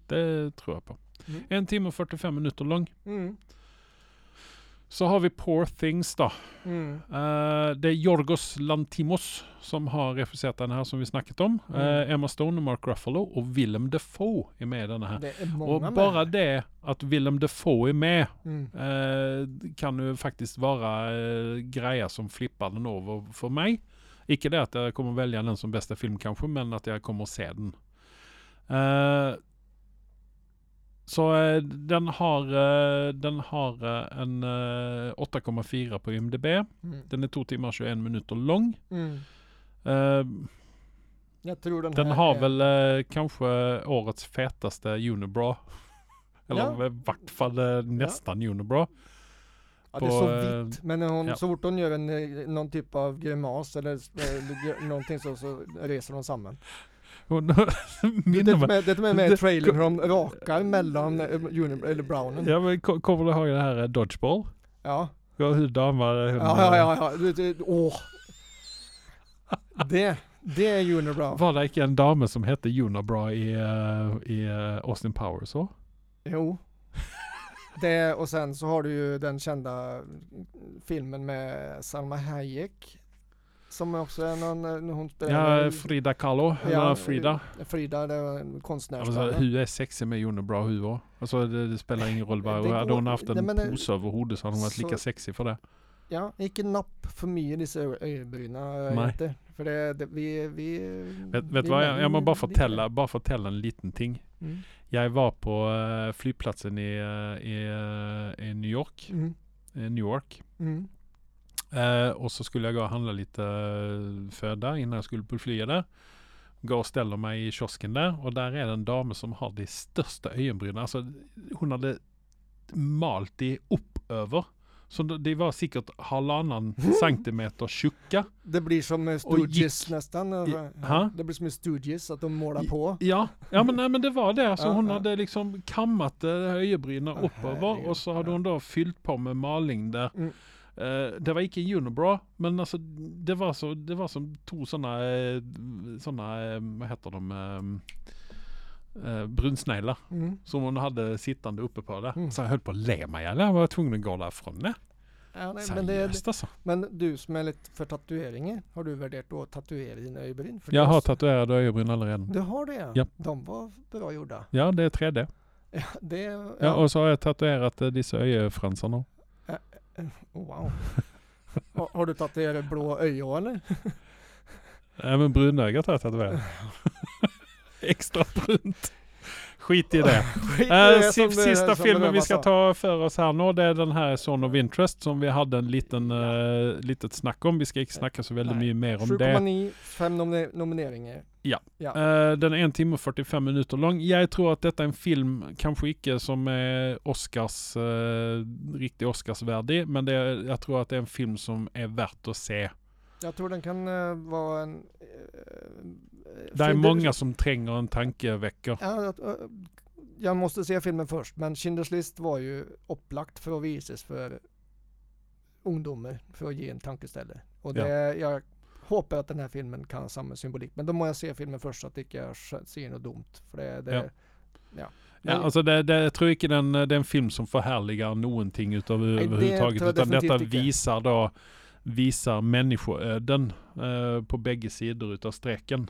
[SPEAKER 1] Det tror jag på.
[SPEAKER 2] Mm.
[SPEAKER 1] En timme och 45 minuter lång.
[SPEAKER 2] Mm.
[SPEAKER 1] Så har vi Poor Things då.
[SPEAKER 2] Mm.
[SPEAKER 1] Eh, det är Jorgos Lantimos som har regisserat den här som vi snackat om. Eh,
[SPEAKER 2] Mm.
[SPEAKER 1] Emma Stone och Mark Ruffalo och Willem Dafoe är med i den här.
[SPEAKER 2] Det är många
[SPEAKER 1] Och
[SPEAKER 2] med.
[SPEAKER 1] bara det att Willem Dafoe är med
[SPEAKER 2] Mm.
[SPEAKER 1] eh, kan ju faktiskt vara eh, grejer som flippar den över för mig. Icke det att jag kommer välja den som bästa film kanske, men att jag kommer att se den. Eh, så eh, den har, eh, den har eh, en eh, 8,4 på IMDB.
[SPEAKER 2] Mm.
[SPEAKER 1] Den är 2 timmar och 21 minuter lång.
[SPEAKER 2] Mm.
[SPEAKER 1] Eh,
[SPEAKER 2] Jag tror den,
[SPEAKER 1] den
[SPEAKER 2] här
[SPEAKER 1] har
[SPEAKER 2] är-
[SPEAKER 1] väl eh, kanske årets fetaste unibra. Eller
[SPEAKER 2] Ja.
[SPEAKER 1] i vart fall eh, nästan unibra.
[SPEAKER 2] Ja, det är så
[SPEAKER 1] på, eh,
[SPEAKER 2] vitt, men när hon,
[SPEAKER 1] ja.
[SPEAKER 2] så fort hon gör en, eh, någon typ av grimas eller eh, gör någonting så, så reser hon samman.
[SPEAKER 1] Hon
[SPEAKER 2] Det,
[SPEAKER 1] minner
[SPEAKER 2] det,
[SPEAKER 1] mig.
[SPEAKER 2] med, det med med
[SPEAKER 1] det-
[SPEAKER 2] trailern hur de rakar mellan eh, Juni- eller brownen. Ja.
[SPEAKER 1] Ja, men ko- kommer du ihåg det här eh, Dodgeball?
[SPEAKER 2] Ja.
[SPEAKER 1] Ja, Hur damar hon?
[SPEAKER 2] ja, ja,
[SPEAKER 1] eh,
[SPEAKER 2] ja, Du- du- Åh. Det, det är Unibrow.
[SPEAKER 1] Var det inte en dame som hette Unibra i, eh, i eh, Austin Powers? Så?
[SPEAKER 2] Jo. Det, och sen så har du ju den kända filmen med Salma Hayek. Som också är någon, eh, hon spelar
[SPEAKER 1] Ja, Frida Kahlo.
[SPEAKER 2] Ja,
[SPEAKER 1] Eller Frida.
[SPEAKER 2] Frida, det var en
[SPEAKER 1] Alltså,
[SPEAKER 2] konstnärsstjärna.
[SPEAKER 1] hur är sexig med Jonne bra huvud? Alltså det, det spelar ingen roll. Bara,
[SPEAKER 2] Det
[SPEAKER 1] hade
[SPEAKER 2] går-
[SPEAKER 1] hon haft
[SPEAKER 2] nej,
[SPEAKER 1] en
[SPEAKER 2] men det-
[SPEAKER 1] pose över hodet så hade hon varit
[SPEAKER 2] så-
[SPEAKER 1] lika sexig för det.
[SPEAKER 2] Ja, gick en napp för mycket i dessa ö- ögonbryna. jag
[SPEAKER 1] Nej.
[SPEAKER 2] vet inte. För det, det, vi, vi...
[SPEAKER 1] Vet,
[SPEAKER 2] vi
[SPEAKER 1] vet vad, jag,
[SPEAKER 2] män
[SPEAKER 1] jag må bara
[SPEAKER 2] lite.
[SPEAKER 1] fortälla, bara fortälla en liten ting.
[SPEAKER 2] Mm.
[SPEAKER 1] Jag var på eh, flygplatsen i, eh, i, eh, i New York.
[SPEAKER 2] Mm.
[SPEAKER 1] i New York.
[SPEAKER 2] Mm.
[SPEAKER 1] Eh, och så skulle jag gå och handla lite eh, föda innan jag skulle på flyga där. Går och ställer mig i kiosken där och där är det en dam som har de största ögonbrynen. Alltså hon hade malt det upp över. Så det det var säkert halvannan centimeter tjocka.
[SPEAKER 2] Det blir som eh,
[SPEAKER 1] Och gick-
[SPEAKER 2] Stooges nästan. eller?
[SPEAKER 1] ha?
[SPEAKER 2] Det blir som i Stooges, att de målar
[SPEAKER 1] I-
[SPEAKER 2] på.
[SPEAKER 1] Ja, ja men, nej, men det var det. Alltså,
[SPEAKER 2] Ja,
[SPEAKER 1] hon
[SPEAKER 2] ja.
[SPEAKER 1] hade liksom kammat eh, det här ögonbrynen
[SPEAKER 2] Åh,
[SPEAKER 1] uppöver
[SPEAKER 2] herregud.
[SPEAKER 1] och så hade
[SPEAKER 2] Ja.
[SPEAKER 1] hon då fyllt på med maling där.
[SPEAKER 2] Mm.
[SPEAKER 1] Eh, det var icke Unibra, men alltså det var, så, det var som två sådana, såna, eh, vad heter de, eh, eh, brunsneglar
[SPEAKER 2] Mm.
[SPEAKER 1] som hon hade sittande uppe på där.
[SPEAKER 2] Mm.
[SPEAKER 1] Så jag höll på att le mig ihjäl. jag var tvungen att gå därifrån. Nej,
[SPEAKER 2] Ja, nej, men, det,
[SPEAKER 1] Seriöst alltså.
[SPEAKER 2] men du som är lite för tatueringar, har du värderat att tatuera dina ögonbryn? För
[SPEAKER 1] Jag
[SPEAKER 2] det Mm. är
[SPEAKER 1] har
[SPEAKER 2] så-
[SPEAKER 1] tatuerade ögonbryn redan.
[SPEAKER 2] Du har det?
[SPEAKER 1] Ja.
[SPEAKER 2] De var bra gjorda.
[SPEAKER 1] Ja, det är 3D.
[SPEAKER 2] Ja, det... Ja.
[SPEAKER 1] Ja, och så har jag tatuerat eh, dessa ögonfransarna.
[SPEAKER 2] Oh, Wow. har, har du tatuerat blå ögon eller?
[SPEAKER 1] Nej men brunögat har jag tatuerat. Extra brunt. Skit i det.
[SPEAKER 2] Skit i
[SPEAKER 1] Eh,
[SPEAKER 2] det som
[SPEAKER 1] si-
[SPEAKER 2] det- alltså.
[SPEAKER 1] sista
[SPEAKER 2] som
[SPEAKER 1] filmen vi
[SPEAKER 2] Röva
[SPEAKER 1] ska
[SPEAKER 2] sa.
[SPEAKER 1] ta för oss här nu det är den här Son of Interest som vi hade en liten eh, litet snack om. Vi ska inte snacka så väldigt
[SPEAKER 2] Nej.
[SPEAKER 1] mycket mer om det.
[SPEAKER 2] 7,9, fem nomine- nomineringar.
[SPEAKER 1] Eh, den är en timme och 45 minuter lång. Jag tror att detta är en film, kanske icke som är Oscars, eh, riktig Oscarsvärdig, men det är, jag tror att det är en film som är värt att se.
[SPEAKER 2] Jag tror den kan eh, vara en... eh,
[SPEAKER 1] Det är
[SPEAKER 2] Schindler-
[SPEAKER 1] många som tränger en tankeväcker.
[SPEAKER 2] Ja, jag, eh, jag måste se filmen först, men Schindler's list var ju upplagt för att visas för ungdomar, för att ge en tankeställare. Och det, jag hoppas att den här filmen kan ha samma symbolik, men då må jag se filmen först så att jag inte jag ser något dumt. För det, det,
[SPEAKER 1] Ja.
[SPEAKER 2] ja.
[SPEAKER 1] Ja,
[SPEAKER 2] Men-
[SPEAKER 1] alltså det, det, jag tror inte den, det är en film som förhärligar någonting utav
[SPEAKER 2] det
[SPEAKER 1] överhuvudtaget.
[SPEAKER 2] tror jag
[SPEAKER 1] Utan detta
[SPEAKER 2] definitivt inte.
[SPEAKER 1] visar då, visar människoöden eh, på bägge sidor utav streken.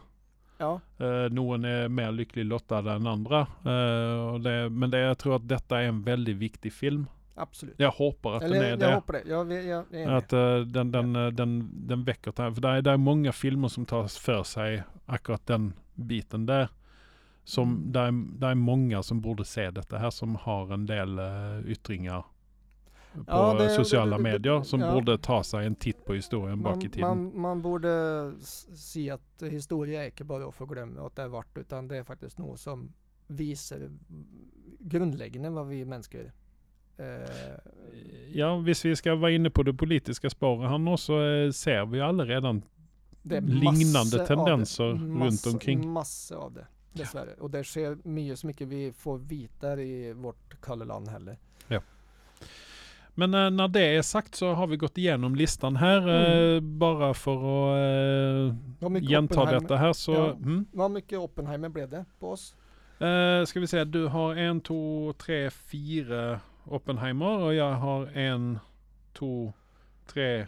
[SPEAKER 2] ja.
[SPEAKER 1] Eh, någon är mer lycklig lottad än andra. Eh, och det, men det, jag tror att detta är en väldigt viktig film.
[SPEAKER 2] absolut.
[SPEAKER 1] Jag hoppas att
[SPEAKER 2] Eller
[SPEAKER 1] den är
[SPEAKER 2] jag
[SPEAKER 1] det.
[SPEAKER 2] hoppas det. Jag, jag, jag är enig.
[SPEAKER 1] Att eh, den, den, eh, den, den väcker tanken. För det är, det är många filmer som tar för sig akkurat den biten där.
[SPEAKER 2] Mm.
[SPEAKER 1] Som, där, är, där är många som borde se detta här som har en del eh, yttringar på
[SPEAKER 2] Ja, det-
[SPEAKER 1] eh, sociala
[SPEAKER 2] det- det-
[SPEAKER 1] medier som
[SPEAKER 2] ja.
[SPEAKER 1] borde ta sig en titt på historien bak i
[SPEAKER 2] Man,
[SPEAKER 1] tiden.
[SPEAKER 2] man, man borde s- se att historia är inte bara att förglömma att det har varit, utan det är faktiskt något som visar grundläggande vad vi människor är. Eh,
[SPEAKER 1] Ja, visst vi ska vara inne på det politiska spåret här nu så eh, ser vi alla redan
[SPEAKER 2] det är
[SPEAKER 1] Lignande
[SPEAKER 2] massor av
[SPEAKER 1] tendenser runt
[SPEAKER 2] massor-
[SPEAKER 1] omkring.
[SPEAKER 2] Massor av det, dessvärre. Och det sker mycket så mycket vi får vita i vårt kalleland heller.
[SPEAKER 1] Men eh, när det är sagt så har vi gått igenom listan här.
[SPEAKER 2] Mm.
[SPEAKER 1] Eh, bara för att eh,
[SPEAKER 2] Vad mycket
[SPEAKER 1] genta
[SPEAKER 2] Oppenheimer-
[SPEAKER 1] detta här så...
[SPEAKER 2] Ja.
[SPEAKER 1] Mm.
[SPEAKER 2] Vad mycket Oppenheimer blev det på oss?
[SPEAKER 1] Eh, ska vi säga, du har en, två, tre, fyra Oppenheimer och jag har en, två, tre,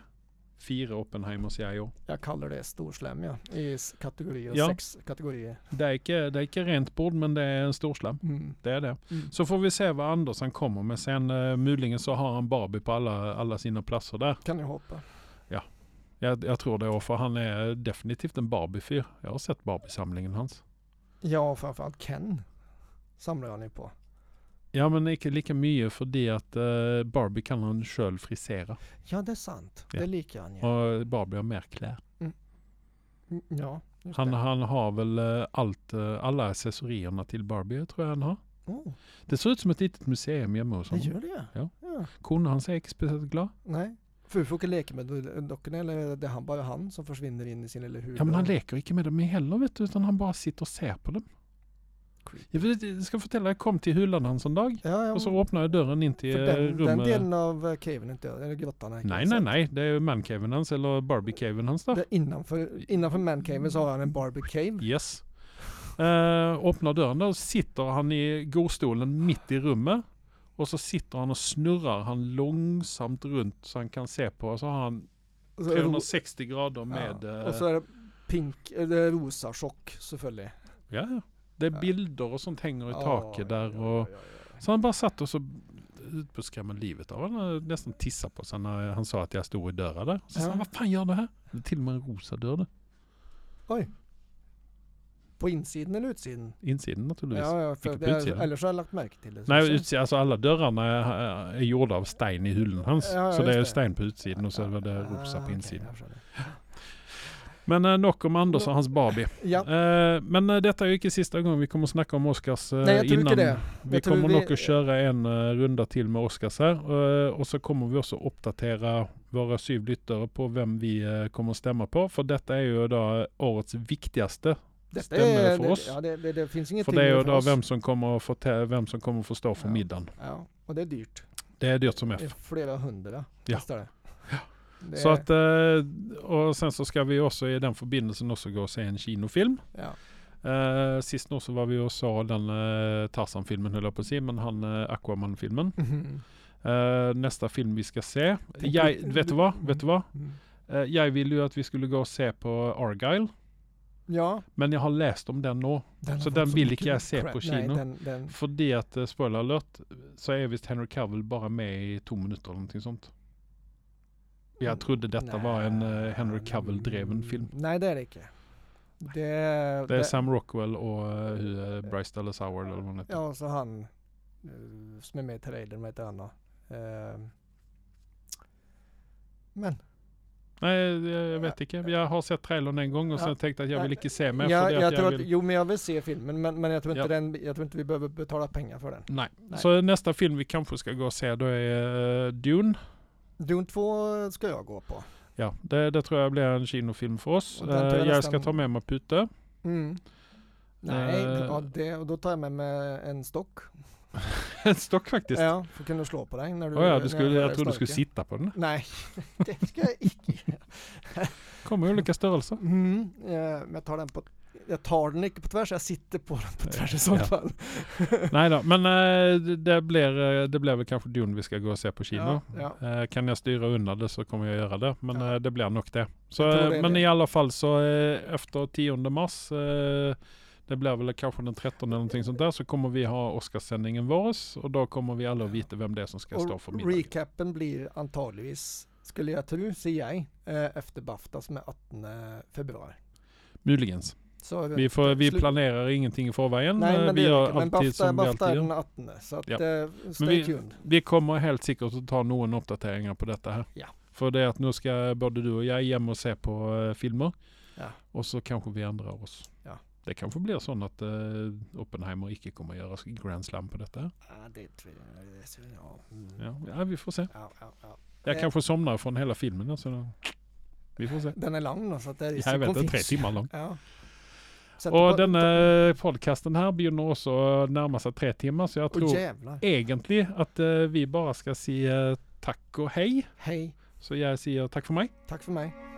[SPEAKER 1] fyra Oppenheimers jag gör.
[SPEAKER 2] Jag kallar det storslem ja, i s- kategorier,
[SPEAKER 1] Ja.
[SPEAKER 2] sex kategorier.
[SPEAKER 1] Det är icke, det är icke rent bord men det är en storslam.
[SPEAKER 2] Mm.
[SPEAKER 1] Det är det.
[SPEAKER 2] Mm.
[SPEAKER 1] Så får vi se vad Andersen kommer med. Sen eh, Mulingen så har han Barbie på alla, alla sina platser där.
[SPEAKER 2] Kan jag hoppa.
[SPEAKER 1] Jag, jag tror det och för han är definitivt en Barbiefyr. Jag har sett Barbie-samlingen hans.
[SPEAKER 2] Ja, framförallt Ken samlar han ju på.
[SPEAKER 1] Ja, men ikke lika mycket för det att eh, Barbie kan han själv frisera.
[SPEAKER 2] Ja, det är sant.
[SPEAKER 1] Ja.
[SPEAKER 2] Det likar han ju.
[SPEAKER 1] Och Barbie har mer kläder.
[SPEAKER 2] Mm, Ja, just
[SPEAKER 1] Han,
[SPEAKER 2] det.
[SPEAKER 1] han har väl eh, allt, eh, alla accessorierna till Barbie tror jag han har.
[SPEAKER 2] Oh,
[SPEAKER 1] Det ser ut som ett litet museum hemma hos
[SPEAKER 2] det
[SPEAKER 1] honom.
[SPEAKER 2] gör det
[SPEAKER 1] Ja.
[SPEAKER 2] ja.
[SPEAKER 1] Kunde han säkert speciellt glad?
[SPEAKER 2] Nej. Fufuk leker med do- dockorna eller det är han, bara han som försvinner in i sin lilla huvud.
[SPEAKER 1] Ja men han leker inte med dem heller vet du, utan han bara sitter och ser på dem. Jag, vet, jag ska fortälla, jag kom till hyllan hans en dag
[SPEAKER 2] Ja, ja,
[SPEAKER 1] och så öppnade jag dörren in till
[SPEAKER 2] för
[SPEAKER 1] eh,
[SPEAKER 2] den, den
[SPEAKER 1] rummet.
[SPEAKER 2] delen av eh, caven är inte över, eller grottan är inte
[SPEAKER 1] nej, nej,
[SPEAKER 2] över, så
[SPEAKER 1] nej, det är mancaven hans eller barbiecaven hans där.
[SPEAKER 2] att Det, innanför innanför mancaven så har han en Barbie cave.
[SPEAKER 1] Yes. Eh, öppnar dörren där och sitter han i godstolen mitt i rummet. Och så sitter han och snurrar han långsamt runt så han kan se på. Och så har han
[SPEAKER 2] Och så är det ro-
[SPEAKER 1] 360 grader med...
[SPEAKER 2] ja.
[SPEAKER 1] eh,
[SPEAKER 2] Och så är det pink, eh, det är rosa chock såfölje.
[SPEAKER 1] ja, ja. Det är
[SPEAKER 2] Ja.
[SPEAKER 1] bilder och sånt hänger i
[SPEAKER 2] Ja,
[SPEAKER 1] taket
[SPEAKER 2] ja,
[SPEAKER 1] där.
[SPEAKER 2] ja,
[SPEAKER 1] Och,
[SPEAKER 2] ja, ja, ja.
[SPEAKER 1] så han bara satt och så utbuskammade livet av honom. och Nästan tissade på sig när han sa att jag stod i dörren där. Så sa
[SPEAKER 2] Ja.
[SPEAKER 1] han, vad fan gör du här? Det är till och med en rosa dörr där.
[SPEAKER 2] Oj. På insidan eller utsidan?
[SPEAKER 1] Insidan naturligtvis.
[SPEAKER 2] Ja, ja, för
[SPEAKER 1] Inte på
[SPEAKER 2] det är,
[SPEAKER 1] utsidan.
[SPEAKER 2] eller så har jag lagt märke till det. så
[SPEAKER 1] Nej,
[SPEAKER 2] sen-
[SPEAKER 1] utsi- alltså alla dörrarna är, är gjorda av stein i hyllan hans.
[SPEAKER 2] Ja, ja,
[SPEAKER 1] så det
[SPEAKER 2] just
[SPEAKER 1] är
[SPEAKER 2] det.
[SPEAKER 1] stein på utsidan och så var det
[SPEAKER 2] Ah,
[SPEAKER 1] rosa på
[SPEAKER 2] okej,
[SPEAKER 1] insidan.
[SPEAKER 2] jag förstår
[SPEAKER 1] Men eh, nog om Anders och hans Barbie.
[SPEAKER 2] det. Ja,
[SPEAKER 1] Eh, men eh, detta är ju inte sista gången vi kommer att snacka om Oscars eh,
[SPEAKER 2] nej jag tror inte
[SPEAKER 1] innan.
[SPEAKER 2] det.
[SPEAKER 1] Vi
[SPEAKER 2] Jag tror
[SPEAKER 1] kommer
[SPEAKER 2] vi-
[SPEAKER 1] nog att köra en eh, runda till med Oscars här. Eh, och så kommer vi också uppdatera våra syvlyttare på vem vi eh, kommer att stämma på. För detta är ju då eh, årets viktigaste.
[SPEAKER 2] Detta
[SPEAKER 1] Stämmer det
[SPEAKER 2] är,
[SPEAKER 1] för
[SPEAKER 2] det,
[SPEAKER 1] oss?
[SPEAKER 2] Ja, det, det, det finns inget
[SPEAKER 1] för det är ju
[SPEAKER 2] för
[SPEAKER 1] då
[SPEAKER 2] oss.
[SPEAKER 1] vem som kommer att få, te- vem som kommer att få stå för
[SPEAKER 2] Ja.
[SPEAKER 1] middagen.
[SPEAKER 2] Ja, och det är dyrt.
[SPEAKER 1] Det är dyrt som
[SPEAKER 2] Det
[SPEAKER 1] F.
[SPEAKER 2] är flera hundra.
[SPEAKER 1] Ja.
[SPEAKER 2] kostar Det. Det,
[SPEAKER 1] Så att, eh, och sen så ska vi också i den förbindelsen också gå och se en kinofilm.
[SPEAKER 2] Ja.
[SPEAKER 1] Eh, Sist nu så var vi och såg den eh, Tarzan-filmen höll jag på att säga, men han eh, Aquaman-filmen.
[SPEAKER 2] Mhm.
[SPEAKER 1] Eh, Nästa film vi ska se.
[SPEAKER 2] Tänk
[SPEAKER 1] Jag,
[SPEAKER 2] lite-
[SPEAKER 1] vet du vad?
[SPEAKER 2] Mm.
[SPEAKER 1] Vet du vad?
[SPEAKER 2] Mm.
[SPEAKER 1] Eh, Jag ville ju att vi skulle gå och se på Argyle.
[SPEAKER 2] Ja.
[SPEAKER 1] Men jag har läst om den nu.
[SPEAKER 2] Den
[SPEAKER 1] Så
[SPEAKER 2] har fått
[SPEAKER 1] den vill
[SPEAKER 2] mycket
[SPEAKER 1] inte jag se
[SPEAKER 2] crap.
[SPEAKER 1] på
[SPEAKER 2] Nej,
[SPEAKER 1] kino.
[SPEAKER 2] den, den,
[SPEAKER 1] För det att, eh, spoiler alert, så är visst Henry Cavill bara med i två minuter eller någonting sånt.
[SPEAKER 2] Mm.
[SPEAKER 1] Jag trodde detta var en eh, Henry Cavill-dreven film.
[SPEAKER 2] Nej, det är det inte. Det,
[SPEAKER 1] Det är Sam Rockwell och uh, Bryce Dallas Howard eller vad han heter.
[SPEAKER 2] Ja, så han eh, som är med i trailern, vad heter han då? Eh, men.
[SPEAKER 1] Nej, jag jag vet inte. Jag har sett trailern en gång och sen
[SPEAKER 2] Ja.
[SPEAKER 1] tänkte jag att jag vill
[SPEAKER 2] Nej.
[SPEAKER 1] inte se mer.
[SPEAKER 2] jag,
[SPEAKER 1] för det
[SPEAKER 2] jag,
[SPEAKER 1] att
[SPEAKER 2] tror
[SPEAKER 1] jag
[SPEAKER 2] att,
[SPEAKER 1] vill...
[SPEAKER 2] jo, men jag vill se filmen, men, men jag, tror inte
[SPEAKER 1] Ja.
[SPEAKER 2] den, jag tror inte vi behöver betala pengar för den.
[SPEAKER 1] Nej.
[SPEAKER 2] Nej.
[SPEAKER 1] Så nästa film vi kanske ska gå och se då är eh, Dune.
[SPEAKER 2] Dune 2 ska jag gå på.
[SPEAKER 1] Ja, det, det tror jag blir en kinofilm för oss.
[SPEAKER 2] Och den tror
[SPEAKER 1] Eh, jag
[SPEAKER 2] jag nästan-
[SPEAKER 1] ska ta med mig Putte.
[SPEAKER 2] Mm. Nej,
[SPEAKER 1] Eh.
[SPEAKER 2] ja, det, och då tar jag med mig en stock.
[SPEAKER 1] En stock faktiskt.
[SPEAKER 2] Ja, för att kunna slå på dig när du...
[SPEAKER 1] Oh, ja,
[SPEAKER 2] när
[SPEAKER 1] du skulle,
[SPEAKER 2] hör
[SPEAKER 1] jag
[SPEAKER 2] dig
[SPEAKER 1] trodde du skulle
[SPEAKER 2] snarka.
[SPEAKER 1] sitta på den.
[SPEAKER 2] Nej, det ska jag icke.
[SPEAKER 1] Kommer i olika störelser.
[SPEAKER 2] Mm, eh, men jag tar den på... Jag tar den icke på tvärs, jag sitter på den på tvärs i så
[SPEAKER 1] Ja.
[SPEAKER 2] fall.
[SPEAKER 1] Nej då, men eh, det- det blir, eh, det blir väl kanske Dune vi ska gå och se på kino.
[SPEAKER 2] Ja, ja.
[SPEAKER 1] Eh, kan jag styra undan det så kommer jag göra det. Men
[SPEAKER 2] Ja.
[SPEAKER 1] eh, det blir nog det. Så,
[SPEAKER 2] Jag tror
[SPEAKER 1] eh,
[SPEAKER 2] det är
[SPEAKER 1] men
[SPEAKER 2] det.
[SPEAKER 1] i alla fall så eh, efter 10 mars, eh, det blir väl kanske den 13 eller någonting sånt där, så kommer vi ha Oscarssändningen vårs och då kommer vi alla att veta vem det är som ska stå för
[SPEAKER 2] Och
[SPEAKER 1] middagen.
[SPEAKER 2] recapen blir antagligen, skulle jag tro, säger jag, eh, efter Bafta som är 18 februari.
[SPEAKER 1] Möjligen.
[SPEAKER 2] Så
[SPEAKER 1] Vi, får, vi
[SPEAKER 2] Slut.
[SPEAKER 1] planerar ingenting i förvägen.
[SPEAKER 2] Nej,
[SPEAKER 1] Eh,
[SPEAKER 2] men
[SPEAKER 1] vi
[SPEAKER 2] det
[SPEAKER 1] gör
[SPEAKER 2] gör det Men
[SPEAKER 1] alltid
[SPEAKER 2] Bafta,
[SPEAKER 1] som vi
[SPEAKER 2] Bafta
[SPEAKER 1] alltid
[SPEAKER 2] är
[SPEAKER 1] gör.
[SPEAKER 2] den 18. Så att,
[SPEAKER 1] Ja.
[SPEAKER 2] eh, stay
[SPEAKER 1] vi-
[SPEAKER 2] tuned.
[SPEAKER 1] Vi kommer helt säkert att ta någon uppdateringar på detta här.
[SPEAKER 2] Ja.
[SPEAKER 1] För det är att nu ska både du och jag hem och se på eh, filmer.
[SPEAKER 2] Ja.
[SPEAKER 1] Och så kanske vi ändrar oss.
[SPEAKER 2] Ja.
[SPEAKER 1] Det kanske blir så att eh, Oppenheimer icke kommer att göra Grand Slam på detta.
[SPEAKER 2] Ja, det tror jag. det tror jag. Mm. Ja.
[SPEAKER 1] Ja, ja vi får se.
[SPEAKER 2] Ja, ja, ja.
[SPEAKER 1] Jag
[SPEAKER 2] Eh.
[SPEAKER 1] kanske somnar från hela filmen. alltså. vi får se.
[SPEAKER 2] Den är lång då, så att det är risk
[SPEAKER 1] Jag
[SPEAKER 2] att
[SPEAKER 1] vet
[SPEAKER 2] den
[SPEAKER 1] inte, tre
[SPEAKER 2] finns.
[SPEAKER 1] timmar lång.
[SPEAKER 2] Ja. Så att det
[SPEAKER 1] Och
[SPEAKER 2] bara-
[SPEAKER 1] den eh, podcasten här begynner också närma sig tre timmar. Så jag
[SPEAKER 2] Åh
[SPEAKER 1] tror
[SPEAKER 2] jävlar.
[SPEAKER 1] egentligen att eh, vi bara ska säga tack och hej.
[SPEAKER 2] Hej,
[SPEAKER 1] Så jag säger tack för mig.
[SPEAKER 2] tack för mig.